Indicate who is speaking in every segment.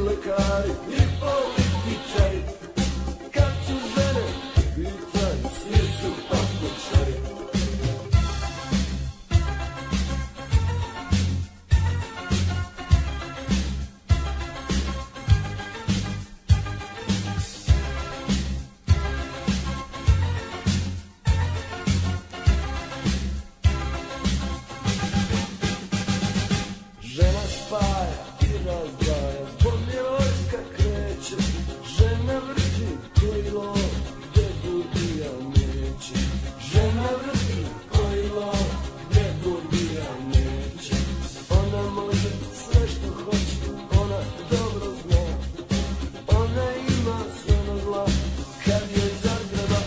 Speaker 1: političari, i političari. Kad su žene pitanju, svi su takmičari. Žena spaja i razdvaja, zbog nje vojska kreće. Žena vrti kojilo, gdje gubija neće. Žena vrti kojilo, gdje gubija neće. Ona može sve što hoće, ona dobro zna. Ona ima sve na zla, ono kad je zagrada.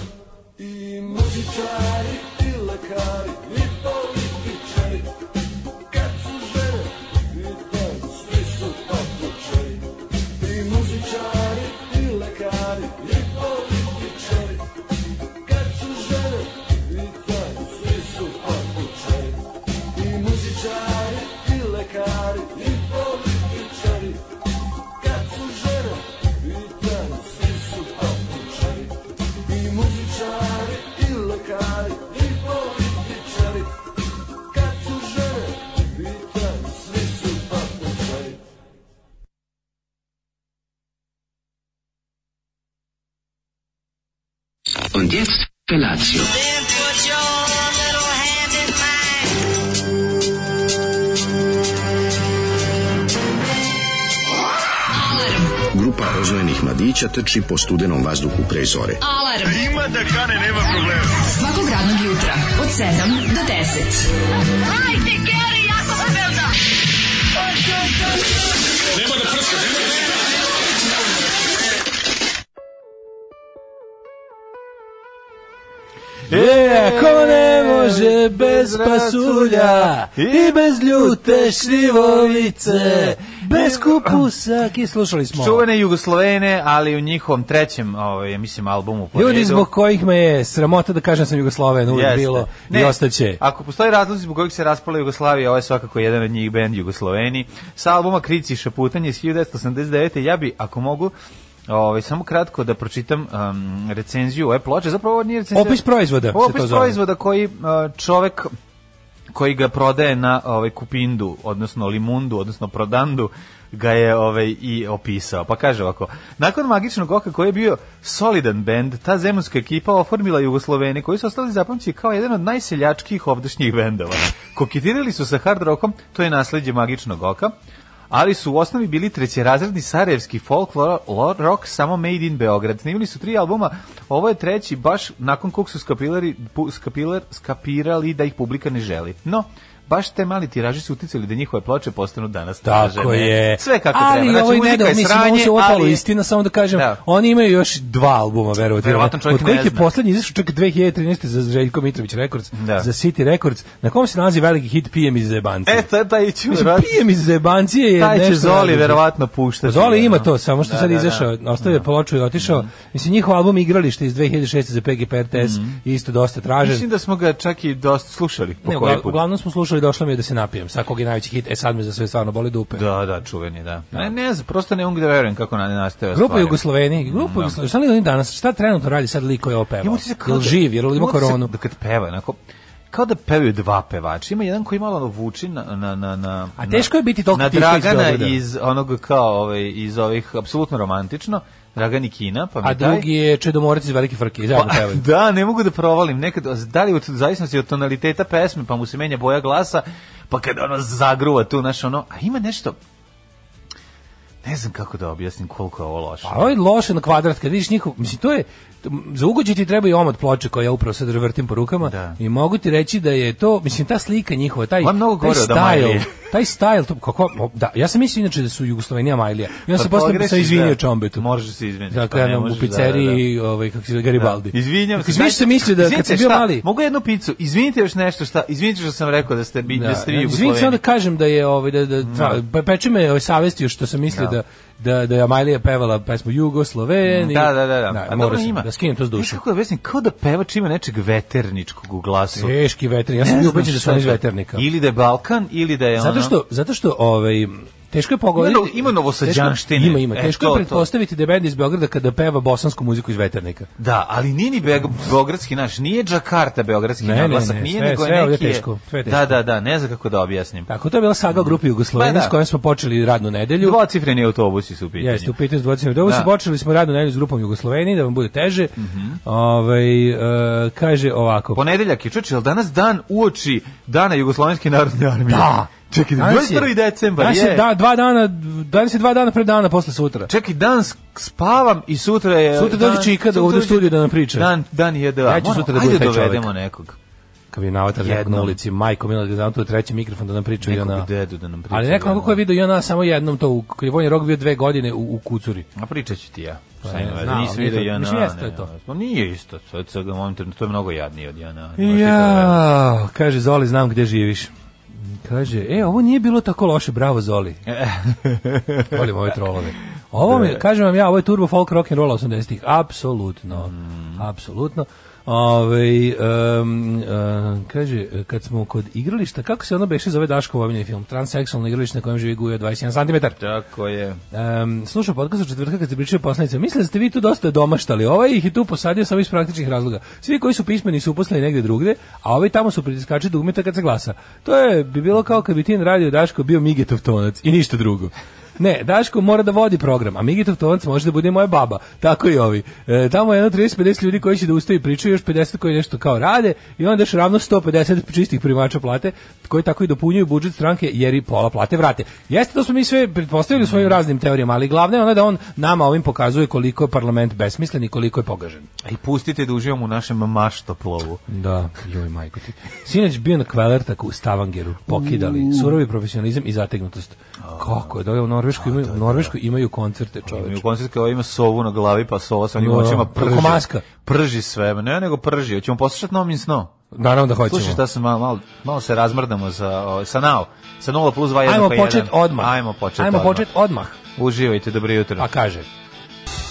Speaker 1: I muzičari, i lekari, i političari. Kad su žene, pitanju, svi su papučari. I muzičari, i lekari, i političari. Kad su žene, pitanju, svi su papučari. I muzičari, i lekari, i političari. Kad su žene, pitanju, svi su papučari. I muzičari, i lekari, i političari. Kad su žene, pitanju, svi su papučari.
Speaker 2: Und jetzt Felatio.
Speaker 3: Then put your little hand in mine.
Speaker 4: Grupa rozvojenih mladića trči po studenom vazduhu pre zore.
Speaker 5: Alarm. Ima da kane, nema problema. Svakog radnog jutra, od 7 do 10. Hajde, Geri, jako se velda.
Speaker 6: E, ko ne može bez pasulja i bez ljute šljivovice, bez kupusa, ki slušali smo.
Speaker 7: Čuvene Jugoslovene, ali u njihovom trećem, ovaj, mislim, albumu po
Speaker 6: Ljudi
Speaker 7: redu.
Speaker 6: zbog kojih me je sramota da kažem da sam Jugosloven, uvijek
Speaker 7: Jeste.
Speaker 6: bilo i
Speaker 7: Ne,
Speaker 6: ostaće.
Speaker 7: Ako postoji razlozi zbog kojih se raspala Jugoslavija, ovo je svakako jedan od njih bend Jugosloveni. Sa albuma Krici i šaputanje iz 1989. Ja bi, ako mogu, ovaj, samo kratko da pročitam um, recenziju ove ploče. Zapravo ovo nije recenzija.
Speaker 6: Opis proizvoda se to
Speaker 7: Opis
Speaker 6: zove.
Speaker 7: proizvoda koji uh, čovek koji ga prodaje na ovaj kupindu, odnosno limundu, odnosno prodandu, ga je ovaj i opisao. Pa kaže ovako: Nakon magičnog oka koji je bio solidan bend, ta zemunska ekipa oformila Jugosloveni koji su ostali zapamćeni kao jedan od najseljačkih ovdašnjih bendova. Koketirali su sa hard rockom, to je nasleđe magičnog oka, ali su u osnovi bili trećerazredni sarajevski folk lo- lo- rock samo made in Beograd. Snimili su tri albuma, ovo je treći baš nakon kog su skapilari, pu- skapilar, skapirali da ih publika ne želi. No, baš te mali tiraži su uticali da njihove ploče postanu danas
Speaker 6: Tako
Speaker 7: tražene.
Speaker 6: je.
Speaker 7: Sve kako
Speaker 6: ali
Speaker 7: treba. Znači,
Speaker 6: ovaj
Speaker 7: muzika
Speaker 6: ne da,
Speaker 7: je
Speaker 6: mislim,
Speaker 7: sranje,
Speaker 6: ovo se ovo
Speaker 7: ali
Speaker 6: polu
Speaker 7: je-
Speaker 6: istina, samo da kažem,
Speaker 7: Da.
Speaker 6: oni imaju još dva albuma, verovatno.
Speaker 7: Verovatno čovjek
Speaker 6: od kojih
Speaker 7: ne
Speaker 6: je
Speaker 7: zna.
Speaker 6: poslednji izašao čak 2013. za Željko Mitrović Records,
Speaker 7: Da.
Speaker 6: za City Records, na kom se nalazi veliki hit Pijem iz Zebancije.
Speaker 7: E, taj, taj ću,
Speaker 6: Mislim,
Speaker 7: verovatno-
Speaker 6: pijem iz zebancije je
Speaker 7: taj će
Speaker 6: nešto
Speaker 7: Zoli
Speaker 6: najluđe.
Speaker 7: verovatno puštati.
Speaker 6: Zoli ovaj ima
Speaker 7: ono.
Speaker 6: to, samo što
Speaker 7: Da,
Speaker 6: sad
Speaker 7: da, Mhm. da.
Speaker 6: izašao, ostavio je ploču i otišao. Mislim, njihov album Igralište iz 2006. za PGP RTS je isto dosta tražen.
Speaker 7: Mhm. Mislim da smo ga čak i dosta slušali. Po
Speaker 6: Ne,
Speaker 7: koji
Speaker 6: ugla-
Speaker 7: put.
Speaker 6: uglavnom smo slušali Došlo mi je da se napijem, sa kog je najveći hit, e sad me za sve stvarno boli dupe.
Speaker 7: Da, da, čuveni, da. Ne, ne znam, prosto ne mogu da verujem kako na nastaje.
Speaker 6: Grupa Jugosloveni, grupa Jugosloveni, šta li oni danas, šta trenutno radi sad liko je opeva? Jel živ, jel ima koronu?
Speaker 7: Da kad peva, onako, kao da pevaju dva pevača. Ima jedan koji malo ono vuči na... na, na, na
Speaker 6: A teško je biti toliko
Speaker 7: Na
Speaker 6: tiho iz
Speaker 7: Dragana
Speaker 6: Beograda.
Speaker 7: iz onog kao, ovaj, iz ovih, apsolutno romantično, Dragan i Kina, pa mi
Speaker 6: A
Speaker 7: taj-
Speaker 6: drugi je Čedomorac iz Velike Frke, zajedno
Speaker 7: Pa,
Speaker 6: pevaju.
Speaker 7: da, ne mogu da provalim. Nekad, da li u zavisnosti od tonaliteta pesme, pa mu se menja boja glasa, pa kad ono zagruva tu, znaš, ono, a ima nešto, ne znam kako da objasnim koliko je ovo loše.
Speaker 6: Pa ovo je loše na kvadrat, kad vidiš njihov, mislim, to je, za ugođe ti treba i omot ploče koja ja upravo sad vrtim po rukama
Speaker 7: Da.
Speaker 6: i mogu ti reći da je to, mislim, ta slika njihova, taj,
Speaker 7: Ovo je mnogo
Speaker 6: taj
Speaker 7: gore od Amajlije.
Speaker 6: style, taj style, to, kako, o, da, ja sam mislio inače da su Jugoslovenija Majlija, ja sam posle
Speaker 7: pogrešiš,
Speaker 6: sam izvinio
Speaker 7: Pa da.
Speaker 6: Čombetu.
Speaker 7: Možeš da se izviniš,
Speaker 6: Da,
Speaker 7: pa ne
Speaker 6: krenem u
Speaker 7: možeš, da,
Speaker 6: pizzeriji, ovaj, kako se zove, Garibaldi.
Speaker 7: Izvinjam
Speaker 6: Kako
Speaker 7: se.
Speaker 6: se.
Speaker 7: znači,
Speaker 6: Više sam mislio da kad
Speaker 7: Izvinite,
Speaker 6: sam bio
Speaker 7: šta?
Speaker 6: mali,
Speaker 7: Mogu jednu picu. Izvinite još nešto šta? Izvinite što sam rekao da ste bi da,
Speaker 6: Da,
Speaker 7: ste vi u
Speaker 6: izvinite, samo da kažem da je ovaj da da tra, pa peče me ovaj savest još što sam mislio da da da je Amalija pevala pesmu Jugosloveni.
Speaker 7: Da, da, da, da. A
Speaker 6: Da,
Speaker 7: dobro,
Speaker 6: mora sam
Speaker 7: ima.
Speaker 6: da skinem to s
Speaker 7: Znaš
Speaker 6: duše.
Speaker 7: Kako da objasnim, kao da pevač ima nečeg veterničkog u glasu.
Speaker 6: Teški veternik. E, Ja
Speaker 7: Ne
Speaker 6: sam bio
Speaker 7: znam
Speaker 6: ubeđen da su
Speaker 7: šta
Speaker 6: oni
Speaker 7: je
Speaker 6: iz
Speaker 7: to.
Speaker 6: veternika.
Speaker 7: Ili da je Balkan, ili da je ono...
Speaker 6: Zato što zato što ovaj Teško je pogoditi.
Speaker 7: Ima no- ima novosađanštine.
Speaker 6: Teško- Ima, ima.
Speaker 7: E,
Speaker 6: Teško
Speaker 7: to,
Speaker 6: je
Speaker 7: to.
Speaker 6: pretpostaviti da je bend iz Beograda kada peva bosansku muziku iz veternika.
Speaker 7: Da, ali nije ni Beog- beogradski naš, nije Džakarta beogradski
Speaker 6: Ne, ne,
Speaker 7: naglasak,
Speaker 6: ne,
Speaker 7: nije
Speaker 6: sve-
Speaker 7: nego je
Speaker 6: sve je ovdje
Speaker 7: neki je-
Speaker 6: teško, sve je teško.
Speaker 7: Da, da, da, ne znam kako da objasnim.
Speaker 6: Tako, to je bila saga o grupi Jugosloveni
Speaker 7: Pa da.
Speaker 6: s kojom smo počeli radnu nedelju.
Speaker 7: Dvocifreni autobusi su u pitanju.
Speaker 6: Jeste, u pitanju s dvocenim. Dobro,
Speaker 7: Da. Mhm.
Speaker 6: se počeli smo radnu nedelju s grupom Jugoslovenije, da vam bude teže. Ovaj, e, kaže ovako.
Speaker 7: Ponedeljak je čoče, ali danas dan uoči dana Jugoslovenske narodne armije.
Speaker 6: Da.
Speaker 7: Čekaj,
Speaker 6: Danas je-
Speaker 7: 21. decembar
Speaker 6: danas
Speaker 7: je.
Speaker 6: Da, dva dana, danas je dva dana pred dana posle sutra.
Speaker 7: Čekaj, dan sk- spavam i sutra je...
Speaker 6: Sutra
Speaker 7: dan-
Speaker 6: dođe Čika da
Speaker 7: sutra
Speaker 6: ovde u
Speaker 7: dođe-
Speaker 6: studiju da nam priča.
Speaker 7: Dan, dan je da...
Speaker 6: Ja ću
Speaker 7: Moramo-
Speaker 6: sutra da
Speaker 7: ajde
Speaker 6: budem taj
Speaker 7: dovedemo
Speaker 6: čovek.
Speaker 7: nekog.
Speaker 6: Kad je navatar neko na
Speaker 7: Jednom.
Speaker 6: ulici, majko mila da znam tu treći mikrofon da nam priča
Speaker 7: Nekog
Speaker 6: Jona.
Speaker 7: dedu da ono. nam priča
Speaker 6: Ali
Speaker 7: Jona.
Speaker 6: neko ko je video Jona samo jednom to, u- kad je Vojni rok bio dve godine u, u Kucuri.
Speaker 7: A pričat ću ti ja.
Speaker 6: Pa
Speaker 7: Šta
Speaker 6: ne
Speaker 7: ima veze,
Speaker 6: znam,
Speaker 7: nisam
Speaker 6: nije
Speaker 7: vidio
Speaker 6: to-
Speaker 7: Jana.
Speaker 6: mislim, jeste
Speaker 7: ne,
Speaker 6: je to.
Speaker 7: ne, Pa nije isto, sad sad ga molim te, to je mnogo jadnije od Jana.
Speaker 6: Ja, kaže Zoli, znam gde živiš. Kaže, e, ovo nije bilo tako loše, bravo Zoli. Volim ove trolove. Ovo mi, kažem vam ja, ovo je turbo folk rock and roll 80-ih. Apsolutno. Apsolutno. Ove, em, em, kaže, kad smo kod igrališta, kako se ono beše zove Daško omiljeni film? Transseksualno igralište na kojem živi Gujo 21 cm.
Speaker 7: Tako je.
Speaker 6: Um, slušao podcast od četvrtka kad ste pričali poslanice. Mislim da ste vi tu dosta domaštali. Ovaj ih je tu posadio samo iz praktičnih razloga. Svi koji su pismeni su uposleni negde drugde, a ovi tamo su pritiskači dugmeta kad se glasa. To je bi bilo kao kad bi ti na radio Daško bio Migetov tonac i ništa drugo. Ne, Daško mora da vodi program, a Migitov tonac može da bude moja baba. Tako i ovi. E, tamo je jedno 30-50 ljudi koji će da ustaju i pričaju, još 50 koji nešto kao rade i onda još ravno 150 čistih primača plate koji tako i dopunjuju budžet stranke jer i pola plate vrate. Jeste, to smo mi sve pretpostavili u svojim raznim teorijama, ali glavno je ono da on nama ovim pokazuje koliko je parlament besmislen i koliko je pogažen.
Speaker 7: I pustite da uživamo u našem maštoplovu.
Speaker 6: Da, joj majko ti. Sinoć bio na kvelertaku u Stavangeru, pokidali, surovi profesionalizam i zategnutost. Kako je, da u Norvešku imaju, u Norveškoj imaju koncerte,
Speaker 7: Mi u
Speaker 6: čoveče.
Speaker 7: koncert kao ima sovu na glavi, pa sova sa onim
Speaker 6: Da,
Speaker 7: očima prži.
Speaker 6: preko maska.
Speaker 7: Prži sve, ma ne nego prži. Hoćemo poslušati Nomin sno.
Speaker 6: Naravno da hoćemo.
Speaker 7: Slušaj šta se malo, malo, malo se razmrdamo sa, o, sa nao. Sa 0 plus 2, 1
Speaker 6: Ajmo
Speaker 7: pa 1.
Speaker 6: počet odmah.
Speaker 7: Ajmo počet
Speaker 6: Ajmo
Speaker 7: odmah.
Speaker 6: počet odmah.
Speaker 7: Uživajte, dobro jutro.
Speaker 6: Pa kaže.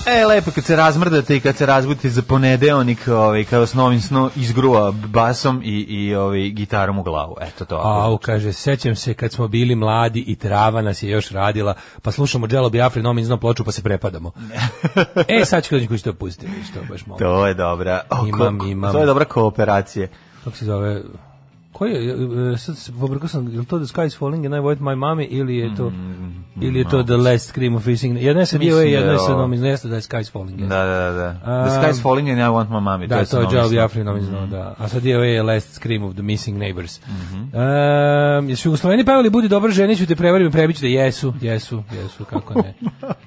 Speaker 7: E, lepo kad se razmrdate i kad se razbudite za ponedeonik, ovaj, kada s novim sno izgruva basom i, i ovaj, gitarom u glavu. Eto to.
Speaker 6: Au, kaže, sećam se kad smo bili mladi i trava nas je još radila, pa slušamo Jello Biafri, nomin zno ploču, pa se prepadamo. e, sad ću kući to pustiti, što baš mogu.
Speaker 7: To je dobra. O,
Speaker 6: Imam,
Speaker 7: ko-
Speaker 6: imam.
Speaker 7: To je dobra kooperacija.
Speaker 6: Kako se zove? Koji je, e, sad se pobrkao sam, je li to The Sky is Falling and I Void My Mommy ili je to, ili je to The Last Scream of Fishing? Jedna se bio,
Speaker 7: Mm, Mislim da je
Speaker 6: jedna se
Speaker 7: ovo.
Speaker 6: nam iznesta da je Sky is Falling. jeste.
Speaker 7: Da, da, da. The Sky's Falling and I Want My Mommy.
Speaker 6: Um, Da, to je
Speaker 7: sa Novim
Speaker 6: Joe
Speaker 7: Snom.
Speaker 6: Biafri nam iznao, da. A sad je ovaj Last Scream of the Missing Neighbors. Ehm, jesu Jugosloveni pevali Budi dobra žena, ću te prevarim i prebiću da jesu, jesu, jesu, kako ne.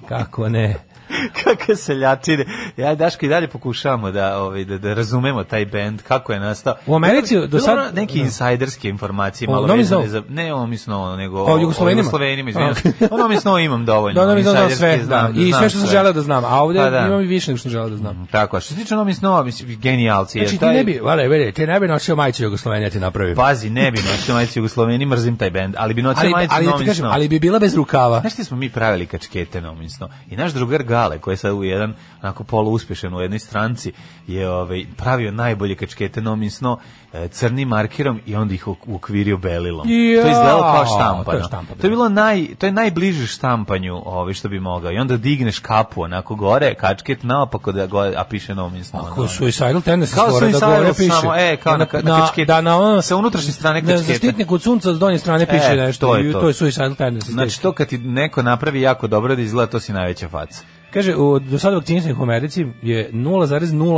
Speaker 6: kako ne.
Speaker 7: kakve seljačine. Ja i Daško i dalje pokušavamo da ovaj da, da razumemo taj bend kako je nastao.
Speaker 6: U Americi
Speaker 7: Bilo-
Speaker 6: do
Speaker 7: bilo
Speaker 6: sad-
Speaker 7: ono neke
Speaker 6: da.
Speaker 7: insajderske informacije
Speaker 6: O
Speaker 7: malo
Speaker 6: Nomi
Speaker 7: vezane
Speaker 6: Snow?
Speaker 7: za ne o misno nego
Speaker 6: O Jugoslovenima?
Speaker 7: Jugoslovenima, izvinjavam
Speaker 6: A,
Speaker 7: se. O Nomi Snow imam dovoljno.
Speaker 6: Da, da mi znam sve,
Speaker 7: insajderske
Speaker 6: da.
Speaker 7: znam,
Speaker 6: I
Speaker 7: znam
Speaker 6: sve što sam želeo da znam, a ovdje
Speaker 7: Pa da. Mm,
Speaker 6: imam i više nego što sam želeo da znam.
Speaker 7: Tako, a što se tiče Nomi Snow, mislim genijalci
Speaker 6: Znači
Speaker 7: jer
Speaker 6: ti
Speaker 7: taj
Speaker 6: ne bi, vale, vele, ti ne bi nosio majicu Jugoslovenija ti napravio.
Speaker 7: pazi, ne bi nosio majicu Jugosloveni, mrzim taj bend, ali bi nosio
Speaker 6: ali,
Speaker 7: majicu
Speaker 6: ali, da ti
Speaker 7: Nomi
Speaker 6: kažem,
Speaker 7: Snow.
Speaker 6: ali bi bila bez rukava.
Speaker 7: Pa Znaš ti smo mi pravili kačkete nomisno. I naš drugar Gale, koji je sad u jedan, onako polu uspješan u jednoj stranci, je ovaj, pravio najbolje kačkete nomisno e, crnim markirom i onda ih uk- uokvirio belilom.
Speaker 6: Ja,
Speaker 7: to je izgledalo kao
Speaker 6: to
Speaker 7: štampano.
Speaker 6: je štampa
Speaker 7: To je bilo naj, to je najbliže štampanju ovaj, što bi mogao. I onda digneš kapu onako gore, kačket naopako, da go, a piše nomisno.
Speaker 6: Ako Ono, Suicidal Tendencies
Speaker 7: Kao
Speaker 6: gore da
Speaker 7: Suicidal
Speaker 6: gore piše.
Speaker 7: samo, e, kao na- na kačketu.
Speaker 6: da, na ono,
Speaker 7: Sa unutrašnje strane
Speaker 6: na
Speaker 7: kačketa.
Speaker 6: zaštitnik od sunca s donje strane piše
Speaker 7: E,
Speaker 6: nešto.
Speaker 7: to je
Speaker 6: i
Speaker 7: to.
Speaker 6: to je Suicidal Tendencies.
Speaker 7: Znači to kad ti neko napravi jako dobro da izgleda, to si najveća faca.
Speaker 6: Kaže, u, do sada vakcinisanih u Americi je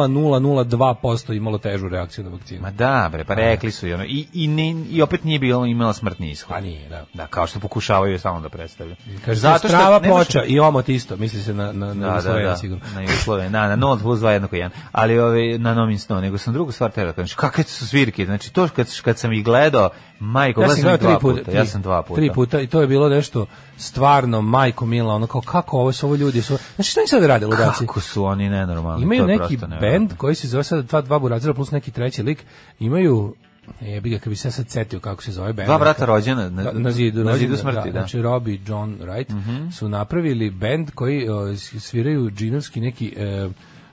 Speaker 6: 0,0002% imalo težu reakciju na vakcinu.
Speaker 7: Ma da, bre, pa rekli su i ono. I, i, ne- i opet nije bilo, imala smrtni ishod.
Speaker 6: Pa nije, da.
Speaker 7: Da, kao što pokušavaju samo da predstavljaju.
Speaker 6: Kaže, Zato što strava
Speaker 7: ne možeš-
Speaker 6: ploča i omot isto, misli se na, na, na
Speaker 7: Da, da,
Speaker 6: Jugoslavenu
Speaker 7: da,
Speaker 6: sigurno.
Speaker 7: na Jugosloveni, da, na 0 plus 2 jednako 1, ali ove, na Nomin Snow, nego sam drugu stvar teo da kažem, kakve su svirke, znači to kad, kad sam ih gledao, majko,
Speaker 6: Ja
Speaker 7: gledao
Speaker 6: sam
Speaker 7: sam
Speaker 6: gledao
Speaker 7: ih
Speaker 6: tri
Speaker 7: dva
Speaker 6: puta,
Speaker 7: puta,
Speaker 6: tri,
Speaker 7: ja sam dva puta.
Speaker 6: Tri puta i to je bilo nešto stvarno, majko mila, ono kao kako ovo su ovo ljudi, su, znači šta im sad rade ludaci?
Speaker 7: Kako su oni nenormalni,
Speaker 6: Imaju
Speaker 7: to je
Speaker 6: neki
Speaker 7: prosto nevjerojatno.
Speaker 6: bend koji se zove sada dva, dva burazira plus neki treći lik, imaju, jebi ga, kad bi se ja sad setio kako se zove bend.
Speaker 7: Dva brata rođena, na,
Speaker 6: Da, na zidu,
Speaker 7: na zidu
Speaker 6: rođendan,
Speaker 7: smrti, da. Mhm.
Speaker 6: Znači Robbie i John Wright su napravili bend koji o, s- sviraju džinovski neki e,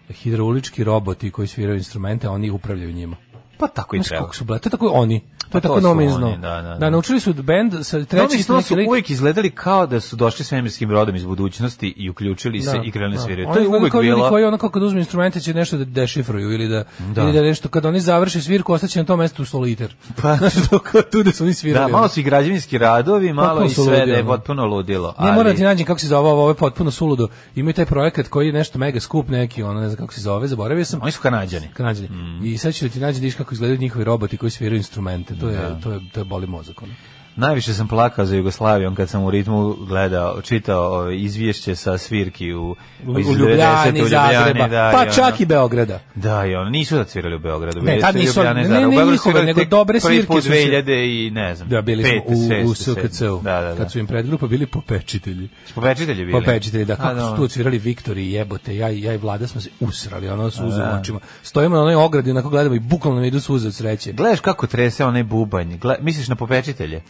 Speaker 6: hidraulički roboti koji sviraju instrumente, a oni upravljaju njima.
Speaker 7: Pa tako i
Speaker 6: Znaš
Speaker 7: treba.
Speaker 6: kako su bla, to je tako oni. To je
Speaker 7: Pa to
Speaker 6: tako
Speaker 7: su
Speaker 6: nominzno.
Speaker 7: oni, da, da, da.
Speaker 6: naučili su bend sa treći
Speaker 7: Treći
Speaker 6: Znači, su neki
Speaker 7: su
Speaker 6: lik-
Speaker 7: uvijek izgledali kao da su došli svemirskim brodom iz budućnosti i uključili se i krenuli sviraju. To je
Speaker 6: Oni
Speaker 7: uvijek
Speaker 6: kao ljudi
Speaker 7: bilo...
Speaker 6: koji ono kao kad uzmu instrumente će nešto da dešifruju ili da,
Speaker 7: Da.
Speaker 6: ili da nešto, kad oni završe svirku ostaće na tom mestu soliter.
Speaker 7: Pa-
Speaker 6: Znaš, to kao tu da su oni svirali.
Speaker 7: Da,
Speaker 6: ono.
Speaker 7: malo su i građevinski radovi, malo
Speaker 6: Potpuno
Speaker 7: i
Speaker 6: su
Speaker 7: sve
Speaker 6: ludi,
Speaker 7: da je
Speaker 6: ono.
Speaker 7: potpuno ludilo.
Speaker 6: Ne
Speaker 7: ali-
Speaker 6: moram da ti nađem kako se zove ovo, ovo je potpuno suludo. Imaju taj projekat koji je nešto mega skup neki, ono ne znam kako se zove, zaboravio sam.
Speaker 7: Oni Mm. su kanadjani.
Speaker 6: Kanadjani. I sad ću ti naći da vidiš kako izgledaju njihovi roboti koji sviraju instrumente. To je, to je, to je boli mozak. Ono.
Speaker 7: Najviše sam plakao za Jugoslavijom kad sam u ritmu gledao, čitao ove, izvješće sa svirki u,
Speaker 6: U,
Speaker 7: iz
Speaker 6: u
Speaker 7: 90-te,
Speaker 6: Ljubljani,
Speaker 7: u
Speaker 6: Zagreba,
Speaker 7: da, i
Speaker 6: pa
Speaker 7: ono.
Speaker 6: čak i Beograda.
Speaker 7: Da, i ono, nisu da cvirali u Beogradu.
Speaker 6: Ne,
Speaker 7: bili
Speaker 6: tad
Speaker 7: su
Speaker 6: nisu,
Speaker 7: Ljubljana i
Speaker 6: ne,
Speaker 7: Zagreb.
Speaker 6: ne,
Speaker 7: U Beogradu
Speaker 6: njihove,
Speaker 7: su bili
Speaker 6: nego
Speaker 7: tek
Speaker 6: dobre
Speaker 7: Prvi
Speaker 6: svirke
Speaker 7: put
Speaker 6: su se-
Speaker 7: 2000 i ne znam.
Speaker 6: Da, bili smo
Speaker 7: pete,
Speaker 6: u, u
Speaker 7: šeste, sedme.
Speaker 6: SKC-u,
Speaker 7: Da, da, da.
Speaker 6: kad su im pred grupa bili popečitelji.
Speaker 7: Popečitelji bili.
Speaker 6: Popečitelji, da,
Speaker 7: A,
Speaker 6: kako su
Speaker 7: dobro.
Speaker 6: tu odsvirali Viktori i jebote, ja, i- ja i vlada smo se usrali, ono suze u očima. Stojimo na onoj ogradi, onako gledamo i bukvalno nam idu suze od sreće.
Speaker 7: Gledaš kako trese onaj bubanj. Gle, misliš na popečitelje?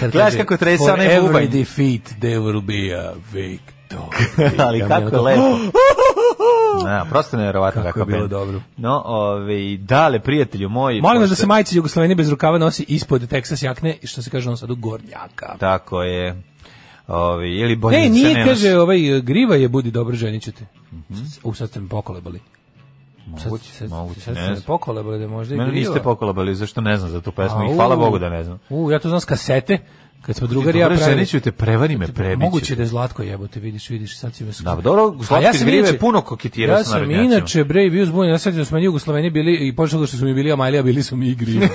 Speaker 6: Kad
Speaker 7: Gledaš
Speaker 6: kaže,
Speaker 7: kako trese
Speaker 6: "For
Speaker 7: onaj bubanj."
Speaker 6: every defeat there will be a victory. E,
Speaker 7: Ali
Speaker 6: Ja mi
Speaker 7: kako je
Speaker 6: onako,
Speaker 7: lepo. Da, prosto nevjerovatno
Speaker 6: Kako je
Speaker 7: kakva
Speaker 6: bilo
Speaker 7: band.
Speaker 6: dobro.
Speaker 7: No, ove, dale, prijatelju moji.
Speaker 6: Molim vas da
Speaker 7: pošto-
Speaker 6: se majice Jugosloveni bez rukava nosi ispod Texas jakne, što se kaže on sad u gornjaka.
Speaker 7: Tako je. Ovi, ili bolje
Speaker 6: Ne,
Speaker 7: se
Speaker 6: nije,
Speaker 7: ne Mhm.
Speaker 6: kaže, ovaj, griva je, budi dobro, ženit ću te. U, sad ste me pokolebali. Sad-
Speaker 7: Moguće,
Speaker 6: sad-
Speaker 7: moguće,
Speaker 6: sad
Speaker 7: ne
Speaker 6: ste me
Speaker 7: znam.
Speaker 6: pokolebali da je možda i
Speaker 7: Mene
Speaker 6: griva.
Speaker 7: niste pokolabali, zašto ne znam za tu pesmu i
Speaker 6: Au.
Speaker 7: hvala Bogu da ne znam.
Speaker 6: U, ja to znam s kasete, kad smo drugari ja
Speaker 7: Dobro,
Speaker 6: pravili.
Speaker 7: ženit ću te, prevari me, prebit ću
Speaker 6: Moguće
Speaker 7: te.
Speaker 6: da Pa je Zlatko jebote, vidiš, vidiš, sad si me skupo.
Speaker 7: Da, pa dobro, Zlatko iz Grive je puno koketirao
Speaker 6: ja
Speaker 7: sa
Speaker 6: sam
Speaker 7: narodnjacima.
Speaker 6: inače, bre, i bio zbunjen, ja sad da smo Jugoslovenije bili, i počelo što su mi bili Amalija, bili su mi i Griva.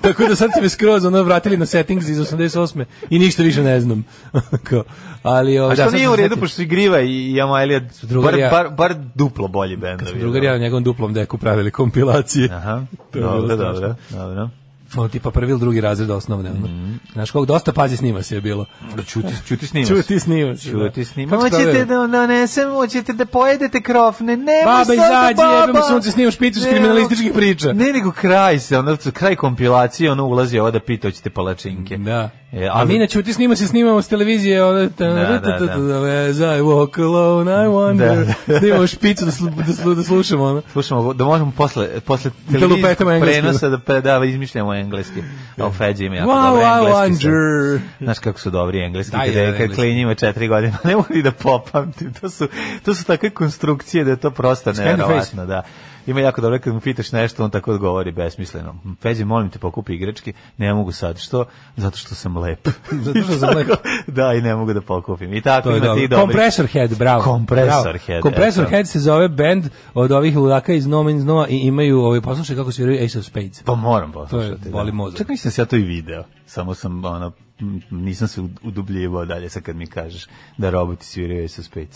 Speaker 6: Tako da sad se me skroz ono vratili na settings iz 88. i ništa više ne znam. Kao, Ali, ovaj,
Speaker 7: A Pa što
Speaker 6: da, sad
Speaker 7: nije
Speaker 6: sam
Speaker 7: u
Speaker 6: se
Speaker 7: redu,
Speaker 6: setio.
Speaker 7: pošto su i Griva i Jamailija bar,
Speaker 6: drugarija-
Speaker 7: bar, bar duplo bolji bendovi. ono.
Speaker 6: Drugari ja na njegovom duplom deku pravili kompilacije.
Speaker 7: Aha,
Speaker 6: To je bilo
Speaker 7: dobro,
Speaker 6: strašno.
Speaker 7: dobro, dobro.
Speaker 6: Ono tipa prvi ili drugi razred osnovne. ono.
Speaker 7: Mhm.
Speaker 6: Znaš koliko dosta pazi snima se je bilo.
Speaker 7: Čuti, čuti snimaš.
Speaker 6: Čuti snima se. da.
Speaker 7: Čuti snima.
Speaker 6: Kako se
Speaker 7: Hoćete
Speaker 6: pravilo?
Speaker 7: da donesem, hoćete da pojedete krofne, nemoj
Speaker 6: Baba,
Speaker 7: sada,
Speaker 6: izađi,
Speaker 7: baba.
Speaker 6: jebemo sunce, snimaš picu s
Speaker 7: Ne,
Speaker 6: kriminalističkih priča.
Speaker 7: Ne, nego kraj se, ono, kraj kompilacije, ono ulazi ovo da pita, hoćete palačinke.
Speaker 6: Da.
Speaker 7: E,
Speaker 6: A
Speaker 7: ali-
Speaker 6: mi na čuti snima se snimamo s televizije. Ono, ta,
Speaker 7: da, da.
Speaker 6: As I walk alone, I wonder.
Speaker 7: Da,
Speaker 6: Snimamo špicu da, slu- da, slu- da slušamo. Ono.
Speaker 7: Slušamo, da možemo posle, posle
Speaker 6: Da
Speaker 7: televizijskog
Speaker 6: lupetamo engleski.
Speaker 7: prenosa da, pe- da izmišljamo engleski. A u Feđi ima jako
Speaker 6: Wow,
Speaker 7: dobre
Speaker 6: I
Speaker 7: engleski. sa-
Speaker 6: wonder.
Speaker 7: Znaš kako su dobri engleski,
Speaker 6: Da,
Speaker 7: kada
Speaker 6: jedan
Speaker 7: je kad
Speaker 6: engleski.
Speaker 7: klinjima četiri godine, ne mogu ni da popamtim, to su, to su takve konstrukcije da je to prosto
Speaker 6: the face.
Speaker 7: nevjerovatno, da. Ima jako dobro, kad mu pitaš nešto, on tako odgovori besmisleno. Feđi, molim te, pokupi igračke, ne mogu sad, što? Zato što sam lep.
Speaker 6: Zato što sam lep.
Speaker 7: da, i ne mogu da pokupim. I tako
Speaker 6: To je
Speaker 7: ima tih
Speaker 6: dobro.
Speaker 7: dobrih.
Speaker 6: Compressor Head, bravo.
Speaker 7: Compressor
Speaker 6: Bravo.
Speaker 7: Head,
Speaker 6: Compressor
Speaker 7: eto.
Speaker 6: Head se zove band od ovih ludaka iz No Man's Noa i imaju, ovaj, poslušaj kako sviraju Ace of Spades.
Speaker 7: Pa moram poslušati.
Speaker 6: To je boli mozak.
Speaker 7: Čak nisam se ja to i video. Samo sam, ono, m, nisam se ud- udubljivao dalje sad kad mi kažeš da roboti sviraju sa spec.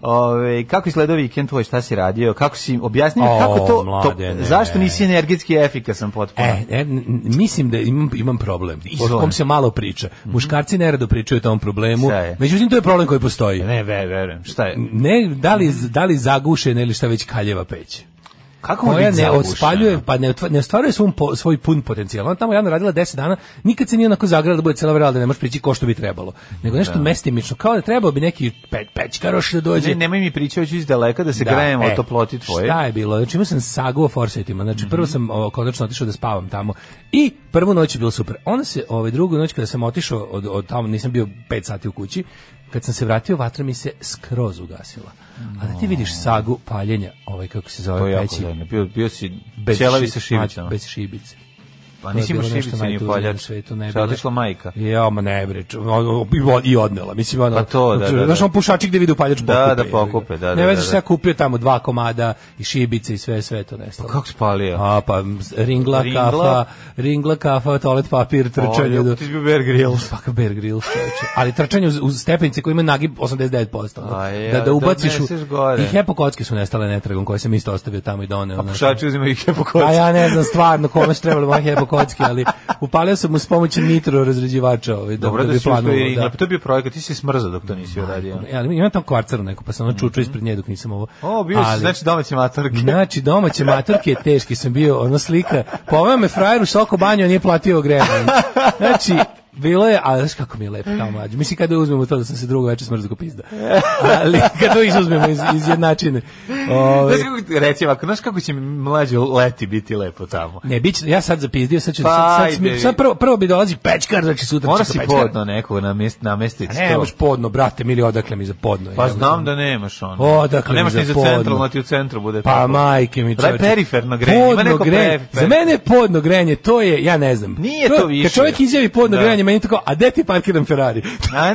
Speaker 7: Ove, kako izgledao vikend tvoj, šta si radio, kako si objasnio,
Speaker 6: O,
Speaker 7: kako to,
Speaker 6: mladene.
Speaker 7: to, zašto nisi energetski efikasan potpuno?
Speaker 6: E, e, n- n- mislim da imam, imam problem. O
Speaker 7: Izvoli. Mhm.
Speaker 6: kom se malo priča. Muškarci nerado pričaju o tom problemu.
Speaker 7: Šta je?
Speaker 6: Međutim, to je problem koji postoji.
Speaker 7: Ne, ve, verujem, šta je?
Speaker 6: Ne, da li, da li zagušena ili šta već kaljeva peć.
Speaker 7: Kako može
Speaker 6: Koja
Speaker 7: biti
Speaker 6: ne
Speaker 7: zagušena?
Speaker 6: odspaljuje, pa ne, otva- ne ostvaruje svom po- svoj pun potencijal. Ona tamo javno radila 10 dana, nikad se nije onako zagrala da bude cela vrela da ne može prići ko što bi trebalo. Nego nešto mestimično, kao da trebao bi neki pe, pećkaroš da dođe.
Speaker 7: Ne, nemoj mi pričati, hoću iz daleka da se
Speaker 6: Da,
Speaker 7: grejemo
Speaker 6: e,
Speaker 7: o toploti tvoje.
Speaker 6: Šta je bilo? Znači imao sam sagu o Forsythima. Znači prvo sam o, konačno otišao da spavam tamo i prvu noć je bilo super. Onda se ovaj drugu noć kada sam otišao od, od tamo nisam bio 5 sati u kući, kad sam se vratio vatra mi se skroz ugasila. A da ti vidiš sagu paljenja, ovaj kako se
Speaker 7: To je
Speaker 6: zove
Speaker 7: jako
Speaker 6: peći.
Speaker 7: zajedno. Bio, bio si
Speaker 6: bez
Speaker 7: ćelavi
Speaker 6: ši-
Speaker 7: sa
Speaker 6: mač-
Speaker 7: šivicama.
Speaker 6: Bez šibice.
Speaker 7: Pa
Speaker 6: To je
Speaker 7: nisi imao
Speaker 6: bilo nešto
Speaker 7: šivice ni u
Speaker 6: najtužnije na
Speaker 7: paljač.
Speaker 6: svetu, ne
Speaker 7: Šta je
Speaker 6: bile.
Speaker 7: otišla majka?
Speaker 6: Ja, ma ne bre, ču- o- o- i od- i odnela. Mislim, ono,
Speaker 7: Pa to, da, da, da.
Speaker 6: Znaš, on pušači gde vidu paljač
Speaker 7: Da,
Speaker 6: pokupe,
Speaker 7: da,
Speaker 6: jebi ga.
Speaker 7: pokupe, da, da,
Speaker 6: Ne
Speaker 7: da,
Speaker 6: veze
Speaker 7: da.
Speaker 6: što ja kupio tamo dva komada i šibice i sve, sve to nestalo.
Speaker 7: Kako spalio?
Speaker 6: A, pa m, s- ringla,
Speaker 7: Ringla.
Speaker 6: kafa, ringla, kafa, toalet papir, trčanje.
Speaker 7: O,
Speaker 6: do...
Speaker 7: Ti si bio Bear Grylls.
Speaker 6: Pa kao Bear Grylls, čoveče. Ali trčanje uz, uz stepenice koje ima nagib 89%. ono.
Speaker 7: A Pa, je,
Speaker 6: da, da
Speaker 7: da
Speaker 6: ubaciš u...
Speaker 7: uneseš gore.
Speaker 6: I hepo kocke su nestale netragom koje sam isto ostavio tamo i doneo.
Speaker 7: A
Speaker 6: ono.
Speaker 7: pušači uzimaju Pa ih po
Speaker 6: A
Speaker 7: kocki.
Speaker 6: Pa ja ne znam stvarno kome su trebali moje hepo kocke, ali upalio sam uz pomoć nitro razređivača. Ovaj, da,
Speaker 7: Dobro da,
Speaker 6: bi
Speaker 7: si uzmeo i
Speaker 6: planuo,
Speaker 7: ringla. To je bio projekat, ti si smrzao dok to nisi uradio.
Speaker 6: E, ali imam tamo kvarcaru neku, pa sam ono čučao ispred nje dok nisam ovo.
Speaker 7: Mhm. O, bio si,
Speaker 6: Ali-
Speaker 7: znači domaći matorke.
Speaker 6: Znači, domaće matorke je teški sam bio, ono slika. Poveo me frajer u Soko banju, a nije platio grejanje. Znači, Bilo je, ali znaš kako mi je lepo tamo mlađe. Mislim, kada uzmemo to da sam se drugo večer smrzao ko pizda. Ali kada to izuzmemo iz, iz jednačine. Ove,
Speaker 7: Znaš kako, reci ovako, znaš kako će mi mlađe leti biti lepo tamo?
Speaker 6: ne, bit će, ja sad zapizdio, sad ću,
Speaker 7: Pa,
Speaker 6: sad, sad,
Speaker 7: ajde.
Speaker 6: sad, sad prvo, prvo bi dolazi pečkar, znači sutra
Speaker 7: Mora
Speaker 6: čeka
Speaker 7: si
Speaker 6: pečkar.
Speaker 7: podno nekog namest, namestiti.
Speaker 6: A Ne,
Speaker 7: to.
Speaker 6: Pa nemaš podno, brate, mili, odakle mi za podno.
Speaker 7: Pa
Speaker 6: jebote.
Speaker 7: znam da nemaš ono.
Speaker 6: Odakle
Speaker 7: A nemaš
Speaker 6: mi
Speaker 7: ni
Speaker 6: za
Speaker 7: za
Speaker 6: podno?
Speaker 7: centralno, ti u centru bude
Speaker 6: Pa
Speaker 7: tako.
Speaker 6: majke mi
Speaker 7: Daj
Speaker 6: čoveče.
Speaker 7: periferno grejanje, ima neko
Speaker 6: grejanje.
Speaker 7: perifer-
Speaker 6: Za mene je podno grejanje, to je, ja ne znam.
Speaker 7: Nije to više.
Speaker 6: Kad čovjek izjavi podno
Speaker 7: Da. E.
Speaker 6: grejanje, meni je tako, a gde ti parkiram Ferrari?
Speaker 7: A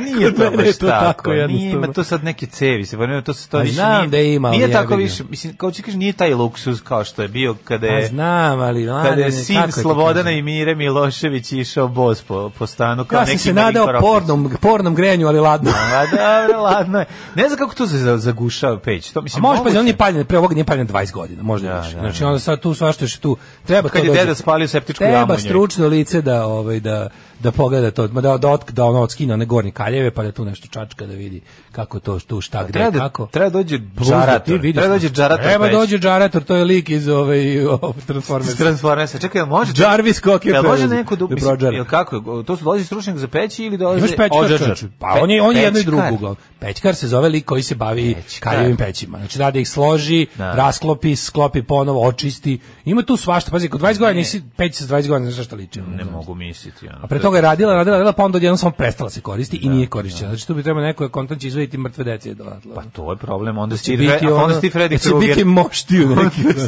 Speaker 7: nije
Speaker 6: Kod
Speaker 7: to
Speaker 6: mene
Speaker 7: baš
Speaker 6: je
Speaker 7: to tako, nije,
Speaker 6: jednostavno.
Speaker 7: ima to sad neke cevi, se ponavljaju, to se to
Speaker 6: A
Speaker 7: više
Speaker 6: znam
Speaker 7: nije,
Speaker 6: da ima, ali
Speaker 7: nije
Speaker 6: jebi
Speaker 7: tako
Speaker 6: ga. Pa
Speaker 7: više, mislim, kao ću kažem, nije taj luksuz kao što je bio kada
Speaker 6: A
Speaker 7: je,
Speaker 6: znam, ali... mlade,
Speaker 7: kada je
Speaker 6: ne,
Speaker 7: sin
Speaker 6: kako ti
Speaker 7: Slobodana
Speaker 6: kažem?
Speaker 7: i Mire Milošević išao boz po, po stanu, kao
Speaker 6: Ja sam
Speaker 7: neki
Speaker 6: se
Speaker 7: Mari
Speaker 6: nadao
Speaker 7: Koropis.
Speaker 6: pornom, pornom grejanju, ali ladno.
Speaker 7: A dobro, ladno je. Ne znam kako to se za- zagušava peć. To,
Speaker 6: A
Speaker 7: mislim,
Speaker 6: može pa on
Speaker 7: moguće.
Speaker 6: je paljen, pre ovoga nije paljen 20 godina, možda
Speaker 7: Da,
Speaker 6: da, više.
Speaker 7: da,
Speaker 6: znači onda sad tu svašta što tu treba
Speaker 7: Kad
Speaker 6: to
Speaker 7: je
Speaker 6: dođe.
Speaker 7: deda spalio septičku jamu
Speaker 6: Treba
Speaker 7: u njoj.
Speaker 6: stručno lice da ovaj da da pogleda to, ma da da otk- da ono odskine one gornje kaljeve pa da tu nešto čačka da vidi kako to tu šta gde
Speaker 7: Pa Treba da,
Speaker 6: kako.
Speaker 7: treba dođe
Speaker 6: Plus da ti
Speaker 7: džarator.
Speaker 6: vidiš
Speaker 7: Treba dođe
Speaker 6: nešto.
Speaker 7: džarator.
Speaker 6: Treba
Speaker 7: peć.
Speaker 6: dođe džarator, to je lik iz ovaj, ove Transformers.
Speaker 7: Iz Transformersa. Čekaj, jel može?
Speaker 6: Jarvis Cocker
Speaker 7: Jel može
Speaker 6: preuzeti,
Speaker 7: neko da
Speaker 6: da
Speaker 7: mislim,
Speaker 6: prođara.
Speaker 7: Jel kako? To su dolazi stručnjak za peći ili dolazi
Speaker 6: Imaš pečkar,
Speaker 7: ođađar?
Speaker 6: čoveče. Pa on je, on je jedno i drugo
Speaker 7: Pečkar.
Speaker 6: uglavnom. Pećkar se zove lik koji se bavi
Speaker 7: Pećkar.
Speaker 6: kaljevim pećima. Znači da, da ih složi,
Speaker 7: Da.
Speaker 6: rasklopi, sklopi ponovo, očisti. Ima tu svašta. Pazi, kod 20 godina nisi peć sa 20 godina, znaš šta liči. ono,
Speaker 7: Ne
Speaker 6: znaš.
Speaker 7: mogu misliti. Ono.
Speaker 6: A pre toga je radila, radila, radila, pa onda odjednom samo prestala se koristi i nije korišćena. Znači tu bi trebao neko kontant će izvediti mrtve dece dodatno.
Speaker 7: Pa to je problem. Onda si
Speaker 6: će
Speaker 7: ti,
Speaker 6: biti
Speaker 7: Fre- a onda
Speaker 6: ono-
Speaker 7: si ti
Speaker 6: da
Speaker 7: Freddy
Speaker 6: će biti
Speaker 7: Krueger.
Speaker 6: moštiju neki.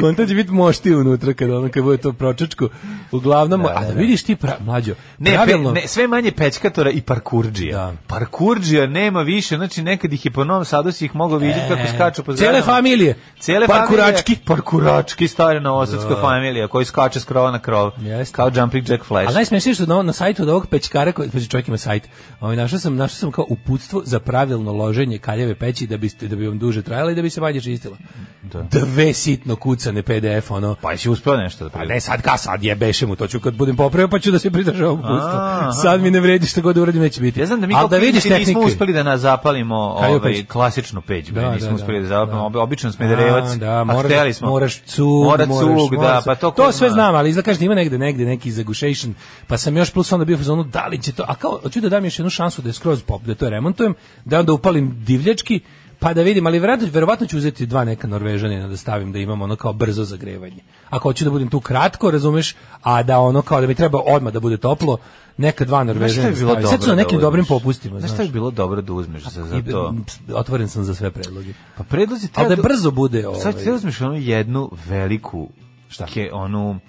Speaker 6: Konta ono- će biti moštiju unutra kad ono kad bude to pročačko. Uglavnom, a da vidiš ti pra, mlađo,
Speaker 7: Ne, pe,
Speaker 6: pravilno-
Speaker 7: ne, sve manje pečkatora i parkurdžija.
Speaker 6: Da.
Speaker 7: Parkurdžija nema više, znači nekad ih je po Novom Sadu si ih mogao vidjeti kako skaču po
Speaker 6: E, Cele
Speaker 7: zgradama.
Speaker 6: familije.
Speaker 7: Cele
Speaker 6: Parkurački.
Speaker 7: familije, parkurački stari novosadska familija koji skače s krova na krov.
Speaker 6: Jeste.
Speaker 7: Kao Jumping Jack Flash.
Speaker 6: A najsmešnije što na, na sajtu od ovog pećkara, koji pa čovjek ima sajt, ovaj, našao, sam, našao sam kao uputstvo za pravilno loženje kaljeve peći da, biste, da bi vam duže trajala i da bi se manje čistila. Dve sitno kucane PDF, ono.
Speaker 7: Pa si uspeo nešto da
Speaker 6: Pa
Speaker 7: pri-
Speaker 6: ne, sad ga sad jebeše mu, to ću kad budem popravio, pa ću da se pridržavam
Speaker 7: A,
Speaker 6: uputstva. Sad mi ne vredi što god da uradim, neće biti.
Speaker 7: Ja znam da mi
Speaker 6: Ali
Speaker 7: kao
Speaker 6: da vidiš
Speaker 7: klinci nismo
Speaker 6: tehnike.
Speaker 7: uspeli da nas zapalimo
Speaker 6: Kalju
Speaker 7: ovaj,
Speaker 6: peć.
Speaker 7: klasičnu peć, bre,
Speaker 6: Da,
Speaker 7: nismo
Speaker 6: da,
Speaker 7: uspeli da
Speaker 6: da,
Speaker 7: zapalimo,
Speaker 6: da.
Speaker 7: ob- običan smederevac,
Speaker 6: A,
Speaker 7: a,
Speaker 6: da, moraš,
Speaker 7: hteli smo.
Speaker 6: Moraš cug,
Speaker 7: mora
Speaker 6: moraš,
Speaker 7: cug,
Speaker 6: mora
Speaker 7: da,
Speaker 6: se-
Speaker 7: pa to, ko
Speaker 6: to sve
Speaker 7: zna.
Speaker 6: znam, ali izgleda kažete ima negde, negde neki zagušation, pa sam još plus onda bio u fazonu da li će to, a kao, hoću da dam još jednu šansu da je skroz pop, da to remontujem, da onda upalim divljački, pa da vidim, ali verovatno, verovatno ću uzeti dva neka Norvežanina da stavim da imam ono kao brzo zagrevanje. Ako hoću da budem tu kratko, razumeš, a da ono kao da mi treba odmah da bude toplo, neka dva
Speaker 7: Znaš šta
Speaker 6: Norvežanina.
Speaker 7: je
Speaker 6: da
Speaker 7: bilo
Speaker 6: stavim.
Speaker 7: dobro?
Speaker 6: Sad su na
Speaker 7: da
Speaker 6: nekim
Speaker 7: uzmeš?
Speaker 6: dobrim popustima,
Speaker 7: Znaš
Speaker 6: znaš.
Speaker 7: šta je bilo dobro da uzmeš za, za
Speaker 6: I,
Speaker 7: to?
Speaker 6: m, otvoren sam za sve predloge.
Speaker 7: Pa predlozi
Speaker 6: Ali da brzo bude ovaj.
Speaker 7: Sad ti uzmeš onu jednu veliku, šta? Ke, onu,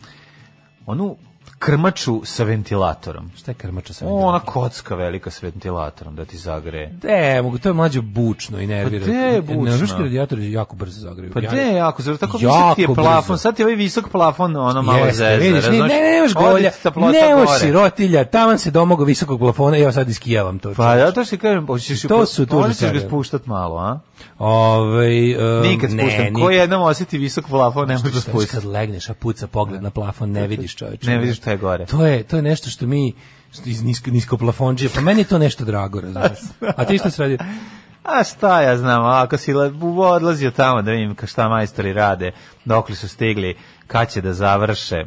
Speaker 7: onu krmaču sa ventilatorom.
Speaker 6: Šta je krmača sa
Speaker 7: O, ona kocka velika sa ventilatorom da ti zagreje.
Speaker 6: Ne, mogu, to je mlađe bučno i nervira.
Speaker 7: Pa gde je bučno?
Speaker 6: Norveški radijatori jako brzo zagreju.
Speaker 7: Pa
Speaker 6: Ja-
Speaker 7: gde je jako, zato tako
Speaker 6: Jako
Speaker 7: visok ti je plafon,
Speaker 6: brzo.
Speaker 7: sad ti je ovaj visok plafon, ono malo
Speaker 6: Jeste,
Speaker 7: zezda,
Speaker 6: vidiš, ne, ne,
Speaker 7: razumeš?
Speaker 6: ne, nemaš
Speaker 7: Odi
Speaker 6: golja,
Speaker 7: ti toplota
Speaker 6: ne
Speaker 7: gore.
Speaker 6: možeš sirotilja, taman se domogo visokog plafona i ja sad iskijavam to.
Speaker 7: Pa zato što kažem, hoćeš
Speaker 6: To su tužne
Speaker 7: morat ćeš
Speaker 6: stvari.
Speaker 7: ga spuštat malo, a?
Speaker 6: Ovaj em,
Speaker 7: Nikad
Speaker 6: ne,
Speaker 7: spuštam. Ko jednom osjeti visok plafon, ne može da
Speaker 6: Šta još
Speaker 7: spušta.
Speaker 6: kad legneš, a puca pogled na plafon, ne vidiš čoveče.
Speaker 7: Ne vidiš šta je gore.
Speaker 6: To je, to je nešto što mi što iz nisko, nisko plafonđe, pa meni je to nešto drago, razumiješ. A ti šta se radi?
Speaker 7: A šta ja znam, a ako si le- bu- odlazio tamo da vidim ka- šta majstori rade, dokle su stigli, kad će da završe,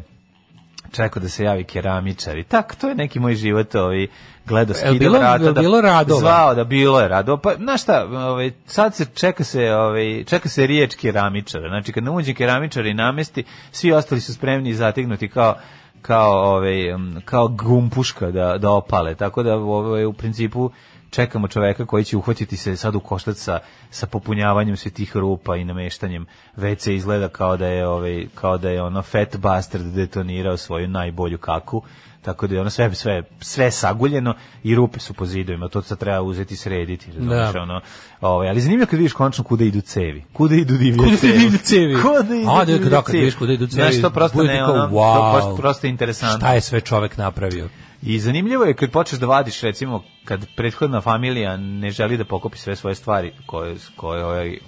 Speaker 7: čekao da se javi keramičar i tako, to je neki moj život ovi, gledao
Speaker 6: Jel
Speaker 7: skidao
Speaker 6: bilo-
Speaker 7: vrata
Speaker 6: jel bilo radova?
Speaker 7: Zvao da bilo je radova. Pa, znaš šta, ovaj, sad se čeka se, ovaj, čeka se riječ keramičara. Znači, kad nam uđe keramičar i namesti, svi ostali su spremni i zatignuti kao kao ovaj um, kao gumpuška da da opale tako da ovaj u principu čekamo čoveka koji će uhvatiti se sad u koštac sa, sa popunjavanjem svih tih rupa i nameštanjem WC izgleda kao da je ovaj kao da je ono Fat Bastard detonirao svoju najbolju kaku tako da je ono sve sve sve saguljeno i rupe su po zidovima to sad treba uzeti i srediti razumiješ
Speaker 6: Da.
Speaker 7: ono ovaj ali zanimljivo kad vidiš konačno kuda idu cevi kuda idu divlje
Speaker 6: Kuda idu
Speaker 7: cevi
Speaker 6: divlje cevi?
Speaker 7: kuda idu
Speaker 6: A, da,
Speaker 7: divlje
Speaker 6: da, kad
Speaker 7: cevi?
Speaker 6: vidiš kuda idu cevi,
Speaker 7: Znaš, to prosto
Speaker 6: bude
Speaker 7: ne
Speaker 6: kao,
Speaker 7: ono, to
Speaker 6: wow.
Speaker 7: prosto, prosto je interesantno
Speaker 6: Šta je sve čovek napravio?
Speaker 7: i zanimljivo je kad počneš da vadiš, recimo, kad prethodna familija ne želi da pokopi sve svoje stvari koje, koje, ovaj,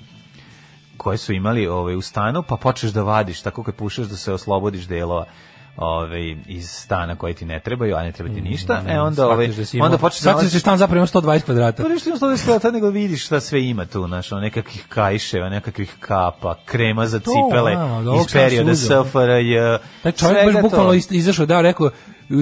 Speaker 7: koje su imali ovaj, u stanu, pa počneš da vadiš, tako kad pušaš da se oslobodiš delova ovaj, iz stana koje ti ne trebaju, a ne treba ti ništa, e onda, ovaj,
Speaker 6: Shvatiš Mm, da si imao-
Speaker 7: onda počneš da
Speaker 6: shvatiš da si stan zapravo imao 120 kvadrata.
Speaker 7: Pa nešto imaš to da nego vidiš šta sve ima tu, znaš, ono, nekakvih kajševa, nekakvih kapa, krema za cipele
Speaker 6: a, od ovog
Speaker 7: iz
Speaker 6: sam se
Speaker 7: perioda
Speaker 6: uzeo.
Speaker 7: SFRJ.
Speaker 6: Taj čovjek baš
Speaker 7: svega
Speaker 6: bukvalno
Speaker 7: to.
Speaker 6: iz- izašao da rekao